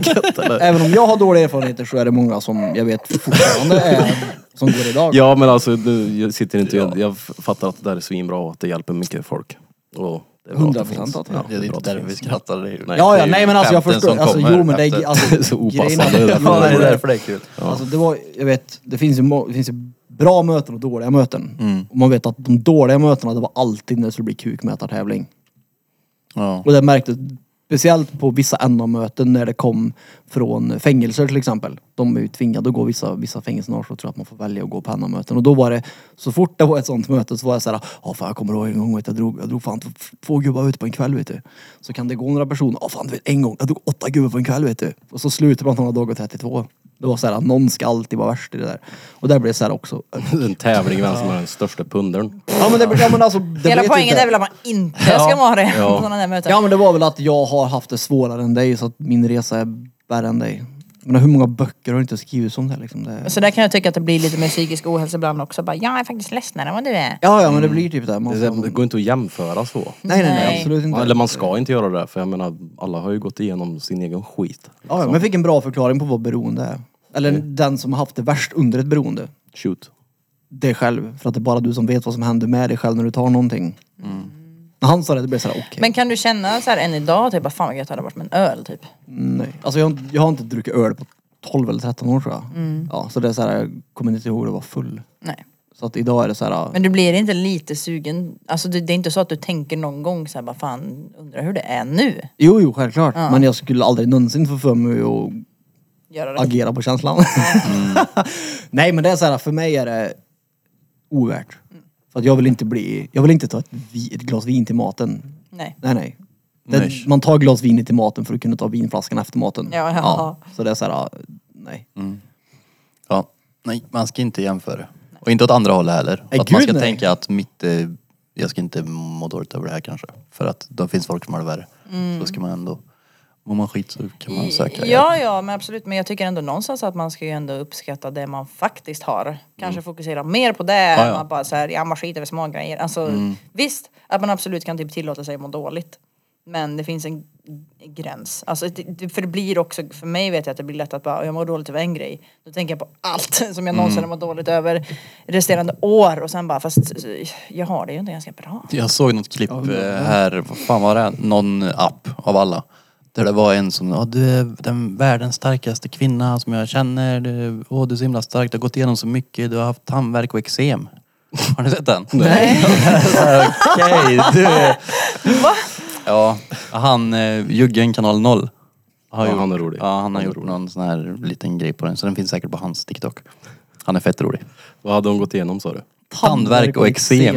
[SPEAKER 3] Gött, eller?
[SPEAKER 2] även om jag har dåliga erfarenheter så är det många som jag vet fortfarande är som går idag.
[SPEAKER 3] Ja men alltså, nu, jag sitter inte... Jag, jag fattar att det där är svinbra och att det hjälper mycket folk. Och det är bra att det
[SPEAKER 2] 100%
[SPEAKER 3] finns.
[SPEAKER 2] att det-
[SPEAKER 3] Ja,
[SPEAKER 1] Det är
[SPEAKER 3] bra
[SPEAKER 1] inte
[SPEAKER 3] att det
[SPEAKER 1] därför vi
[SPEAKER 3] finns.
[SPEAKER 1] skrattar. Det är ju-
[SPEAKER 2] Ja,
[SPEAKER 1] det
[SPEAKER 2] ja,
[SPEAKER 1] är ju
[SPEAKER 2] nej men alltså jag
[SPEAKER 1] skämten
[SPEAKER 2] förstår.
[SPEAKER 1] som
[SPEAKER 2] Alltså,
[SPEAKER 1] kommer
[SPEAKER 2] jo men det är...
[SPEAKER 1] efter.
[SPEAKER 2] Alltså,
[SPEAKER 3] Så
[SPEAKER 2] grejen
[SPEAKER 3] opassande.
[SPEAKER 2] är-
[SPEAKER 1] Ja, det är därför det är kul.
[SPEAKER 2] Alltså det var, jag vet, det finns ju, må- det finns ju bra möten och dåliga möten. Och man vet att de dåliga mötena, det var alltid när det skulle bli kukmätartävling.
[SPEAKER 1] Ja.
[SPEAKER 2] Och det märktes speciellt på vissa NA-möten när det kom från fängelser till exempel. De är ju tvingade att gå vissa, vissa fängelser och så tror jag att man får välja att gå på NA-möten. Och då var det, så fort det var ett sånt möte så var jag såhär, ja fan jag kommer ihåg en gång vet, du, jag drog, jag drog fan t- två gubbar ut på en kväll vet du. Så kan det gå några personer, ja fan du vet en gång, jag drog åtta gubbar på en kväll vet du. Och så slutar man att han har dragit 32. Det var såhär, någon ska alltid vara värst i det där. Och där blev det såhär också.
[SPEAKER 3] En tävling vem som har den största pundern.
[SPEAKER 2] Ja men det, ja, men alltså, det
[SPEAKER 4] Hela
[SPEAKER 2] vet
[SPEAKER 4] poängen
[SPEAKER 2] inte.
[SPEAKER 4] är väl att man inte ska vara det på sådana där möten.
[SPEAKER 2] Ja men det var väl att jag har haft det svårare än dig så att min resa är värre än dig. Men hur många böcker har du inte skrivit om det här, liksom? Det...
[SPEAKER 4] Så där kan jag tycka att det blir lite mer psykisk ohälsa ibland också. Bara, jag är faktiskt ledsnare än vad du är.
[SPEAKER 2] Ja ja Mm. men det blir typ det. Man...
[SPEAKER 3] Det, är- det går inte att jämföra så.
[SPEAKER 2] Nej, nej nej
[SPEAKER 4] Nej.
[SPEAKER 2] absolut inte.
[SPEAKER 3] Mm. Eller man ska inte göra det, för jag menar alla har ju gått igenom sin egen skit.
[SPEAKER 2] Ja, ja, men jag fick en bra förklaring på vad beroende är. Eller
[SPEAKER 3] Mm.
[SPEAKER 2] den som har haft det värst under ett beroende.
[SPEAKER 3] Shoot.
[SPEAKER 2] Dig själv. För att det är bara du som vet vad som händer med dig själv när du tar någonting.
[SPEAKER 3] Mm.
[SPEAKER 2] När han sa det, det blev såhär okej.
[SPEAKER 4] Men kan du känna så här än idag typ att fan vad gött det hade varit med en öl typ?
[SPEAKER 2] Nej. Alltså jag, har inte- jag har inte druckit öl på 12 eller 13 år tror jag.
[SPEAKER 4] Mm.
[SPEAKER 2] Ja, så det är såhär, jag kommer inte ihåg att jag var full.
[SPEAKER 4] Nej.
[SPEAKER 2] Så att idag är det såhär,
[SPEAKER 4] Men du blir inte lite sugen? Alltså det, det är inte så att du tänker någon gång så här, bara fan undrar hur det är nu?
[SPEAKER 2] Jo, jo, självklart. Men jag skulle aldrig någonsin få för mig att
[SPEAKER 4] Göra det.
[SPEAKER 2] agera på känslan. Nej, men det är så här, för mig är det ovärt. För att jag vill inte bli, jag vill inte ta ett, vi, ett glas vin till maten.
[SPEAKER 4] Nej.
[SPEAKER 2] Nej, nej. Det,
[SPEAKER 1] Nej.
[SPEAKER 2] Man tar glas vin till maten för att kunna ta vinflaskan efter maten.
[SPEAKER 4] Ja, ja.
[SPEAKER 2] Så det är så här, nej.
[SPEAKER 1] Ja. Nej, man ska inte jämföra. Och inte åt andra hållet heller.
[SPEAKER 2] Nej,
[SPEAKER 1] att man
[SPEAKER 2] gud,
[SPEAKER 1] ska
[SPEAKER 2] nej.
[SPEAKER 1] tänka att mitt, eh, jag ska inte må dåligt över det här kanske. För att det finns folk som har det värre.
[SPEAKER 2] Mm.
[SPEAKER 1] Så ska man ändå, mår man skit så kan man söka hjälp.
[SPEAKER 4] Ja, ja, men absolut. Men jag tycker ändå någonstans att man ska ju ändå uppskatta det man faktiskt har. Kanske fokusera mer på det
[SPEAKER 1] Mm. Ja,
[SPEAKER 4] än
[SPEAKER 1] ja. Mm.
[SPEAKER 4] att bara så här, ja man skiter över små grejer. Alltså visst, att man absolut kan typ tillåta sig att må dåligt. Men det finns en g- gräns. Alltså, det- det, för det blir också, för mig vet jag att det blir lätt att bara, jag mår dåligt över en grej. Då tänker jag på allt som
[SPEAKER 1] Mm.
[SPEAKER 4] jag någonsin har mått dåligt över resterande år och sen bara, fast jag har det ju inte ganska bra.
[SPEAKER 1] Jag såg något klipp eh, här, vad fan var det? Någon app av alla. Där det var en som, "Ja, du är den världens starkaste kvinna som jag känner. Du, åh, du är så himla stark, du har gått igenom så mycket, du har haft tandvärk och eksem. Har ni sett den? Nej. Okej, du är... Ja, han, eh, Juggen kanal 0. Har
[SPEAKER 3] Ja, han är rolig.
[SPEAKER 1] Ja, han har gjort någon sån här liten grej på den. Så den finns säkert på hans TikTok. Han är fett rolig.
[SPEAKER 3] Vad hade hon gått igenom sa du?
[SPEAKER 1] Tandvärk och eksem.
[SPEAKER 3] Nej.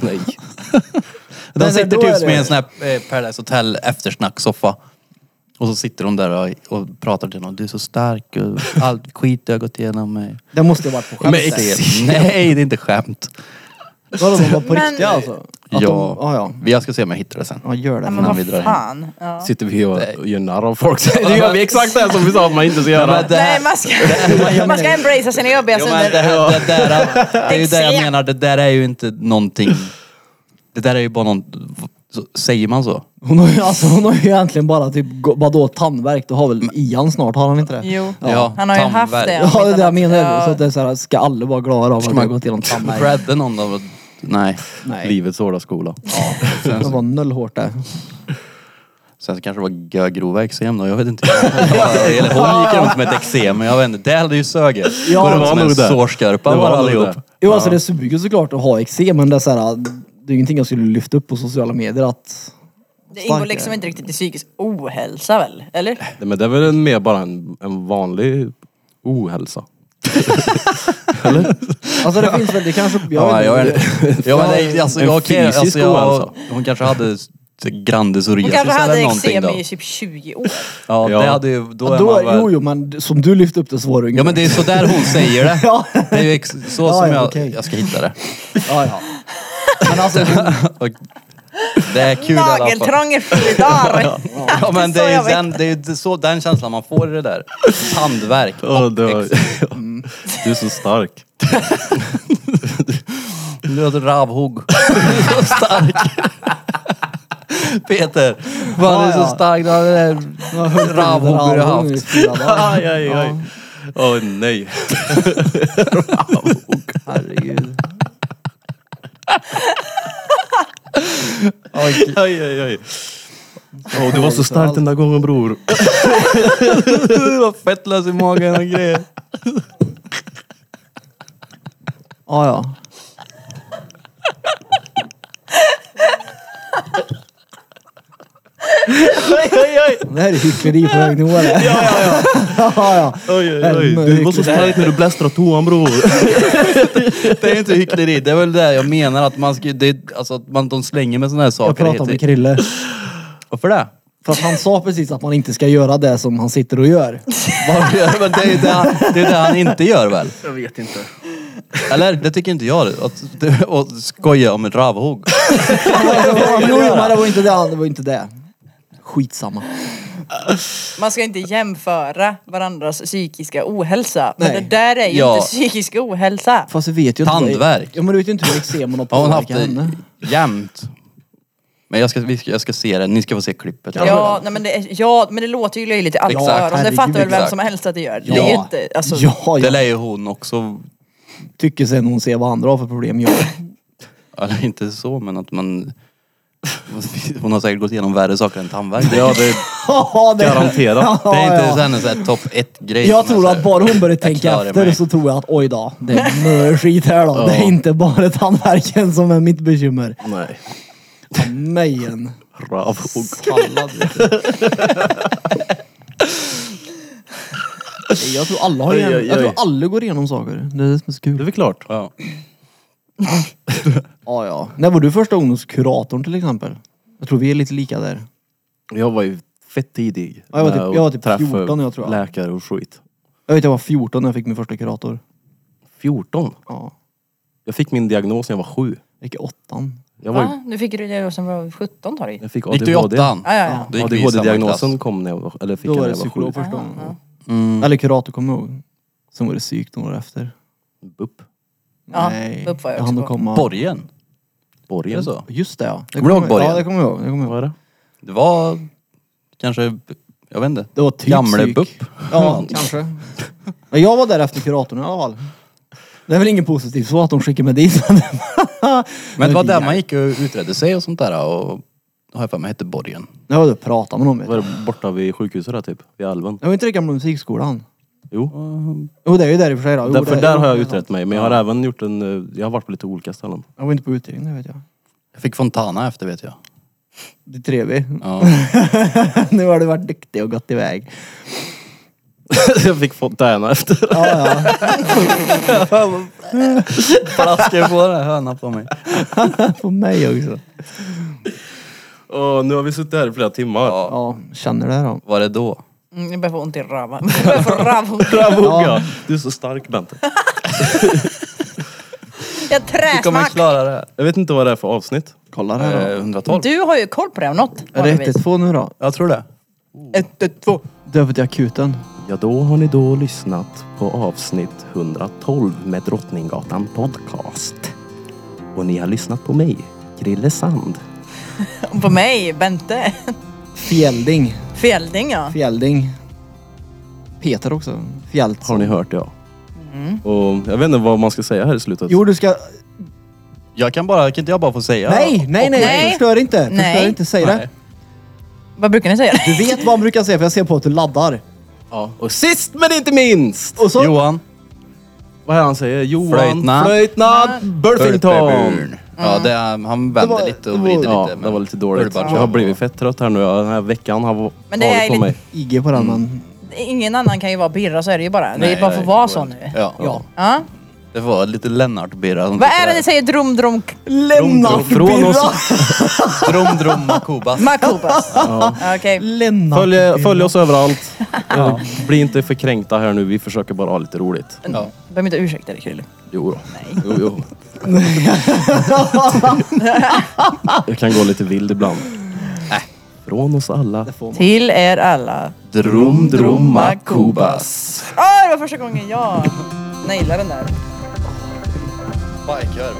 [SPEAKER 1] De
[SPEAKER 2] Nej, nej,
[SPEAKER 1] sitter
[SPEAKER 2] då är
[SPEAKER 1] typ med
[SPEAKER 2] det-
[SPEAKER 1] en sån här eh, Paradise Hotel eftersnacksoffa. Och så sitter de där och, och pratar till någon. Du är så stark och allt skit jag har gått igenom. Med.
[SPEAKER 2] Det måste ju ha varit på skämt.
[SPEAKER 1] Med exem. Nej, det är inte skämt.
[SPEAKER 2] Vadå, de var på
[SPEAKER 4] Men-
[SPEAKER 2] riktiga alltså?
[SPEAKER 1] Ja.
[SPEAKER 2] Att De, ja, ja.
[SPEAKER 1] Jag ska se om jag hittar det sen.
[SPEAKER 2] Ja, gör det.
[SPEAKER 4] Ja,
[SPEAKER 2] för
[SPEAKER 4] men
[SPEAKER 1] Innan
[SPEAKER 2] fan.
[SPEAKER 1] vi drar
[SPEAKER 4] vad
[SPEAKER 1] in.
[SPEAKER 4] fan. Ja.
[SPEAKER 3] Sitter vi och gör narr av folk? Det gör vi exakt det som vi sa att man inte ska göra.
[SPEAKER 1] Det här-
[SPEAKER 4] Nej, man ska, man ska embracea sina jobbiga
[SPEAKER 1] Jo, men det,
[SPEAKER 4] sidor.
[SPEAKER 1] här, det, där, det är ju det jag
[SPEAKER 4] Exem.
[SPEAKER 1] menar. Det där är ju inte någonting. Det där är ju bara någon... Så, säger man så?
[SPEAKER 2] Hon har ju, alltså, hon har ju egentligen bara typ, gå- vadå tandvärk? Då har väl Ian snart, har han inte det?
[SPEAKER 4] Jo,
[SPEAKER 1] Ja,
[SPEAKER 4] han har ju haft
[SPEAKER 1] tandvärk.
[SPEAKER 4] det.
[SPEAKER 2] Ja, det är det jag menar.
[SPEAKER 4] Ja.
[SPEAKER 2] Så att det är så här, ska alla vara glada av att man
[SPEAKER 1] man-
[SPEAKER 2] gått igenom tandvärk?
[SPEAKER 1] Credda någon av Nej.
[SPEAKER 2] Nej.
[SPEAKER 3] Livets hårda skola.
[SPEAKER 2] Det var noll hårt där.
[SPEAKER 1] Sen så kanske det var gö- grova eksem då, jag vet inte. Eller hon gick runt med ett eksem, men jag vet inte. Det hade ju söget.
[SPEAKER 2] Ja,
[SPEAKER 1] Går
[SPEAKER 2] det
[SPEAKER 1] runt
[SPEAKER 3] var
[SPEAKER 1] som
[SPEAKER 3] nog
[SPEAKER 1] en
[SPEAKER 3] det.
[SPEAKER 1] Sårskarpa
[SPEAKER 3] Det var
[SPEAKER 1] bara
[SPEAKER 3] nog
[SPEAKER 1] allihop.
[SPEAKER 3] det.
[SPEAKER 2] Jo alltså det suger såklart att ha eksem men det är såhär, det är ingenting jag skulle lyfta upp på sociala medier att...
[SPEAKER 4] Det ingår
[SPEAKER 2] Starkare.
[SPEAKER 4] liksom inte riktigt i psykisk ohälsa väl? Eller?
[SPEAKER 3] Nej, Men det är väl en- mer bara en, en vanlig ohälsa.
[SPEAKER 2] Alltså det finns väl, det kanske... Jag
[SPEAKER 1] Ja, jag
[SPEAKER 2] vet
[SPEAKER 1] är...
[SPEAKER 2] inte.
[SPEAKER 1] Ja, men det, alltså,
[SPEAKER 3] En
[SPEAKER 1] jag, kan-
[SPEAKER 3] fysisk
[SPEAKER 1] alltså, jag,
[SPEAKER 3] ohälsa.
[SPEAKER 1] hon kanske hade s- grande
[SPEAKER 4] Hon
[SPEAKER 1] psoriasis
[SPEAKER 4] kanske hade
[SPEAKER 1] eller någonting
[SPEAKER 4] eksem
[SPEAKER 1] då.
[SPEAKER 4] i typ 20 år.
[SPEAKER 1] Ja,
[SPEAKER 3] Ja.
[SPEAKER 1] det hade ju... Då
[SPEAKER 2] Ja,
[SPEAKER 1] är
[SPEAKER 2] då,
[SPEAKER 1] man väl...
[SPEAKER 2] jo, jo men d- som du lyfte upp det så var det ju
[SPEAKER 1] Ja men det är sådär hon säger det.
[SPEAKER 2] Ja.
[SPEAKER 1] Det är ju ex- så
[SPEAKER 2] Ja,
[SPEAKER 1] som
[SPEAKER 2] ja,
[SPEAKER 1] jag...
[SPEAKER 2] okej.
[SPEAKER 1] Jag ska hitta det.
[SPEAKER 2] Ja, ja. Men alltså,
[SPEAKER 1] Och det är kul i alla fall.
[SPEAKER 4] Nageltrång i flydar!
[SPEAKER 1] Ja men det
[SPEAKER 4] Så
[SPEAKER 1] är
[SPEAKER 4] jag
[SPEAKER 1] ju
[SPEAKER 4] vet.
[SPEAKER 1] den, det är ju så, den känslan man får i det där. Tandvärk.
[SPEAKER 3] Åh,
[SPEAKER 1] och
[SPEAKER 3] det var-
[SPEAKER 1] ex-
[SPEAKER 3] Du är så stark.
[SPEAKER 1] Du har ett ravhugg. så stark. Peter, fan du är
[SPEAKER 2] Ja,
[SPEAKER 1] så
[SPEAKER 2] ja.
[SPEAKER 1] stark. Du har det där ravhugg du har
[SPEAKER 2] Ravhugg i
[SPEAKER 1] haft.
[SPEAKER 2] fyra dagar.
[SPEAKER 3] Aj, aj, aj. Åh nej.
[SPEAKER 2] Herregud.
[SPEAKER 3] Aj, aj, aj. Åh, du var så stark den där gången bror.
[SPEAKER 1] Du har fettlös i magen och grejer.
[SPEAKER 2] Ja, ja.
[SPEAKER 3] Aj, aj, aj.
[SPEAKER 2] Det här är hyckleri på hög nivå det. Ja, ja, ja.
[SPEAKER 3] Oj, oj, oj. Du var så stark när du blästrade toan bror.
[SPEAKER 1] Det är inte hyckleri. Det är väl det jag menar att man ska, det, är- alltså att man, de slänger med sådana här
[SPEAKER 2] Jag
[SPEAKER 1] saker.
[SPEAKER 2] pratade med
[SPEAKER 1] hit.
[SPEAKER 2] Krille.
[SPEAKER 1] Varför det?
[SPEAKER 2] För att han sa precis att man inte ska göra det som han sitter och gör.
[SPEAKER 1] Varför gör- Men det är ju det, han- det, är det han inte gör väl?
[SPEAKER 6] Jag vet inte.
[SPEAKER 1] Eller det tycker inte jag. Att, det- att skoja om ett ravhugg.
[SPEAKER 2] jo, jo, men det var inte det. han- Det var inte det. Skitsamma.
[SPEAKER 4] Man ska inte jämföra varandras psykiska ohälsa. Men
[SPEAKER 2] Nej.
[SPEAKER 4] det där är ju
[SPEAKER 1] Ja.
[SPEAKER 4] inte psykisk ohälsa.
[SPEAKER 2] Fast vi vet ju inte.
[SPEAKER 1] Tandvärk.
[SPEAKER 2] Ja, men du vet ju inte hur eksemen har
[SPEAKER 1] Har hon haft
[SPEAKER 2] påverkat
[SPEAKER 1] det
[SPEAKER 2] henne.
[SPEAKER 1] jämt? Men jag ska, vi ska, jag ska se det. Ni ska få se klippet.
[SPEAKER 4] Ja, nej, men det, är- ja, men det låter ju löjligt i alla
[SPEAKER 1] Exakt.
[SPEAKER 4] öron. Det
[SPEAKER 2] Herregud,
[SPEAKER 4] fattar väl vem
[SPEAKER 1] exakt.
[SPEAKER 4] som helst att det gör. Det
[SPEAKER 2] Ja.
[SPEAKER 4] är ju inte, alltså,
[SPEAKER 2] Ja,
[SPEAKER 1] Det lär
[SPEAKER 2] jag
[SPEAKER 1] ju hon också.
[SPEAKER 2] tycker sen hon ser vad andra har för problem. Jag.
[SPEAKER 1] Eller inte så men att man... Hon har säkert gått igenom värre saker än tandvärk.
[SPEAKER 3] Ja, det är
[SPEAKER 2] Ja, det-
[SPEAKER 3] garanterat.
[SPEAKER 1] Det är inte
[SPEAKER 2] ja.
[SPEAKER 1] så hennes så här topp ett grej.
[SPEAKER 2] Jag tror att bara hon börjar
[SPEAKER 1] klarar
[SPEAKER 2] tänka
[SPEAKER 1] mig.
[SPEAKER 2] efter så tror jag att oj då, det är mycket skit här då. Det är inte bara tandvärken som är mitt bekymmer.
[SPEAKER 3] Nej.
[SPEAKER 2] Mejen.
[SPEAKER 3] Ravhugg.
[SPEAKER 2] Sallad. Jag tror alla har
[SPEAKER 3] Oj,
[SPEAKER 2] igenom,
[SPEAKER 3] oj,
[SPEAKER 2] jag tror
[SPEAKER 3] oj.
[SPEAKER 2] alla går igenom saker. Det är det som är så
[SPEAKER 3] Det är
[SPEAKER 2] kul.
[SPEAKER 3] väl klart.
[SPEAKER 1] Ja.
[SPEAKER 2] Ja, ja. När var du första ungdomskuratorn till exempel? Jag tror vi är lite lika där.
[SPEAKER 3] Jag var ju fett tidig.
[SPEAKER 2] Ja, jag var typ-
[SPEAKER 3] med att
[SPEAKER 2] jag var typ
[SPEAKER 3] träffa
[SPEAKER 2] 14 jag tror jag.
[SPEAKER 3] läkare och skit.
[SPEAKER 2] Jag vet jag var 14 när jag fick min första kurator.
[SPEAKER 3] 14?
[SPEAKER 2] Ja.
[SPEAKER 3] Jag fick min diagnos när jag var sju.
[SPEAKER 2] Jag gick i åttan.
[SPEAKER 3] Jag, var, ju-
[SPEAKER 4] Va? Nu fick du det sen var 17 tar det
[SPEAKER 3] jag fick
[SPEAKER 1] Gick du i åttan?
[SPEAKER 4] Ja, ja, ja.
[SPEAKER 1] Då gick vi i samma
[SPEAKER 3] ADHD-diagnosen kom när jag var, eller fick
[SPEAKER 2] Då
[SPEAKER 3] jag
[SPEAKER 2] var
[SPEAKER 3] när
[SPEAKER 2] det
[SPEAKER 3] jag var sju.
[SPEAKER 2] psykolog första gången.
[SPEAKER 1] Mm.
[SPEAKER 2] Eller kurator kommer jag ihåg. Sen var det psyk några år efter.
[SPEAKER 3] Bupp.
[SPEAKER 4] Ja,
[SPEAKER 2] Nej.
[SPEAKER 4] upp var jag
[SPEAKER 2] hann
[SPEAKER 4] också
[SPEAKER 2] att
[SPEAKER 4] på.
[SPEAKER 2] komma.
[SPEAKER 1] Borgen. Är
[SPEAKER 3] Borgen.
[SPEAKER 1] det så?
[SPEAKER 2] Just det ja. Det
[SPEAKER 1] Kommer du ihåg
[SPEAKER 2] jag-
[SPEAKER 1] Borgen?
[SPEAKER 2] Ja, det kommer jag ihåg. Det, kommer jag
[SPEAKER 3] Vad
[SPEAKER 2] ihåg.
[SPEAKER 3] är det?
[SPEAKER 1] Det var kanske... Jag vet inte.
[SPEAKER 2] det var typ
[SPEAKER 1] Gamle
[SPEAKER 2] psyk.
[SPEAKER 1] bupp.
[SPEAKER 2] Ja, kanske. Men jag var där efter kuratorn i alla fall. Det är väl ingen positiv så att de skickar mig dit.
[SPEAKER 1] Men det var där man gick och utredde sig och sånt där och... Har jag för mig hette Borgen.
[SPEAKER 2] Jag var där och pratade med dem. vet
[SPEAKER 3] Var
[SPEAKER 2] du.
[SPEAKER 3] det borta vid sjukhuset där typ? Vid älven?
[SPEAKER 2] Jag var inte i gamla musikskolan.
[SPEAKER 3] Jo.
[SPEAKER 2] Jo det är ju där i och för sig då. Jo,
[SPEAKER 3] Därför
[SPEAKER 2] det-
[SPEAKER 3] där har jag utrett mig. Men jag har även gjort en... eh, Jag har varit på lite olika ställen.
[SPEAKER 2] Jag var inte på utredning, det vet jag.
[SPEAKER 1] Jag fick Fontana efter vet jag.
[SPEAKER 2] Det är trevligt.
[SPEAKER 1] Ja.
[SPEAKER 2] nu har du varit duktig och gått iväg.
[SPEAKER 3] jag fick fontäna efter.
[SPEAKER 2] Ja, ja.
[SPEAKER 1] Flaskor på det, höna på mig.
[SPEAKER 2] På mig också.
[SPEAKER 3] Åh, nu har vi suttit här i flera timmar.
[SPEAKER 2] Ja, känner det då.
[SPEAKER 1] Var det då?
[SPEAKER 4] Mm, jag börjar få ont i röven. Jag börjar få rövont.
[SPEAKER 3] Ravhugga! Du är så stark Bente.
[SPEAKER 4] Jag
[SPEAKER 1] Du kommer
[SPEAKER 4] träsmack.
[SPEAKER 1] klara det.
[SPEAKER 3] Jag vet inte vad det är för avsnitt.
[SPEAKER 2] Kolla det här
[SPEAKER 1] Eh,
[SPEAKER 2] då.
[SPEAKER 1] 112.
[SPEAKER 4] Du har ju koll på det om något.
[SPEAKER 2] Är det
[SPEAKER 4] vanligtvis.
[SPEAKER 2] 112 nu då?
[SPEAKER 1] Jag tror det. Ett, ett, två.
[SPEAKER 2] Du över till akuten.
[SPEAKER 3] Ja, då har ni då lyssnat på avsnitt 112 med Drottninggatan Podcast. Och ni har lyssnat på mig, Krille Sand.
[SPEAKER 4] Och På mig, Bente.
[SPEAKER 2] Fjälding.
[SPEAKER 4] Fjelding ja.
[SPEAKER 2] Fjälding. Peter också. Fjält.
[SPEAKER 3] Mm. Har ni hört det? Ja. Och jag vet inte vad man ska säga här i slutet.
[SPEAKER 2] Jo, du ska...
[SPEAKER 1] Jag kan bara, kan inte jag bara få säga?
[SPEAKER 2] Nej, nej, nej,
[SPEAKER 4] Nej.
[SPEAKER 2] förstör inte. Förstör
[SPEAKER 4] Nej.
[SPEAKER 2] inte, säg
[SPEAKER 1] Nej.
[SPEAKER 2] det.
[SPEAKER 4] Vad brukar ni säga?
[SPEAKER 2] Du vet vad han brukar säga för jag ser på att du laddar.
[SPEAKER 3] Ja. Och sist men inte minst!
[SPEAKER 2] Och så,
[SPEAKER 1] Johan.
[SPEAKER 3] Vad är det han säger? Johan
[SPEAKER 1] Flöjtnant.
[SPEAKER 3] Flöjtnant Burfington!
[SPEAKER 1] Ja, det, är- han vänder
[SPEAKER 2] Det var-
[SPEAKER 1] lite och vrider
[SPEAKER 3] Ja,
[SPEAKER 1] lite.
[SPEAKER 3] det var lite dåligt.
[SPEAKER 1] Urban
[SPEAKER 3] Jag har
[SPEAKER 1] Show.
[SPEAKER 3] blivit fett trött här nu. Den här veckan har
[SPEAKER 4] Men det
[SPEAKER 3] varit
[SPEAKER 4] är
[SPEAKER 3] på
[SPEAKER 4] lite-
[SPEAKER 3] mig.
[SPEAKER 2] IG på den men...
[SPEAKER 4] Ingen annan kan ju vara Birra, så är det ju bara. det
[SPEAKER 1] Nej,
[SPEAKER 4] är
[SPEAKER 1] nej,
[SPEAKER 4] bara för att
[SPEAKER 1] det går
[SPEAKER 4] vara så
[SPEAKER 1] inte.
[SPEAKER 4] nu.
[SPEAKER 1] Ja.
[SPEAKER 2] Ja.
[SPEAKER 4] Ja.
[SPEAKER 1] Det var lite Lennart-birra. som
[SPEAKER 4] Vad
[SPEAKER 1] sitter
[SPEAKER 4] är det ni
[SPEAKER 1] där.
[SPEAKER 4] säger? Drom, drom,
[SPEAKER 2] Lämna
[SPEAKER 3] Från- från oss-
[SPEAKER 2] Birra!
[SPEAKER 1] Drom, drom, Makubas.
[SPEAKER 4] makobas. Okej.
[SPEAKER 2] Lämna
[SPEAKER 3] Följ,
[SPEAKER 2] Birra.
[SPEAKER 3] följ oss överallt. Eh, Bli inte för kränkta här nu. Vi försöker bara ha lite roligt.
[SPEAKER 1] Ja.
[SPEAKER 4] Du behöver inte ursäkta dig Krille.
[SPEAKER 3] Jo då. Jo, jo. Jag kan gå lite vild ibland. Äh, Från oss alla.
[SPEAKER 4] Till er alla.
[SPEAKER 1] Drom, drom,
[SPEAKER 3] Makubas.
[SPEAKER 4] Åh, det var första gången jag nailade den där.
[SPEAKER 1] Bajkorv.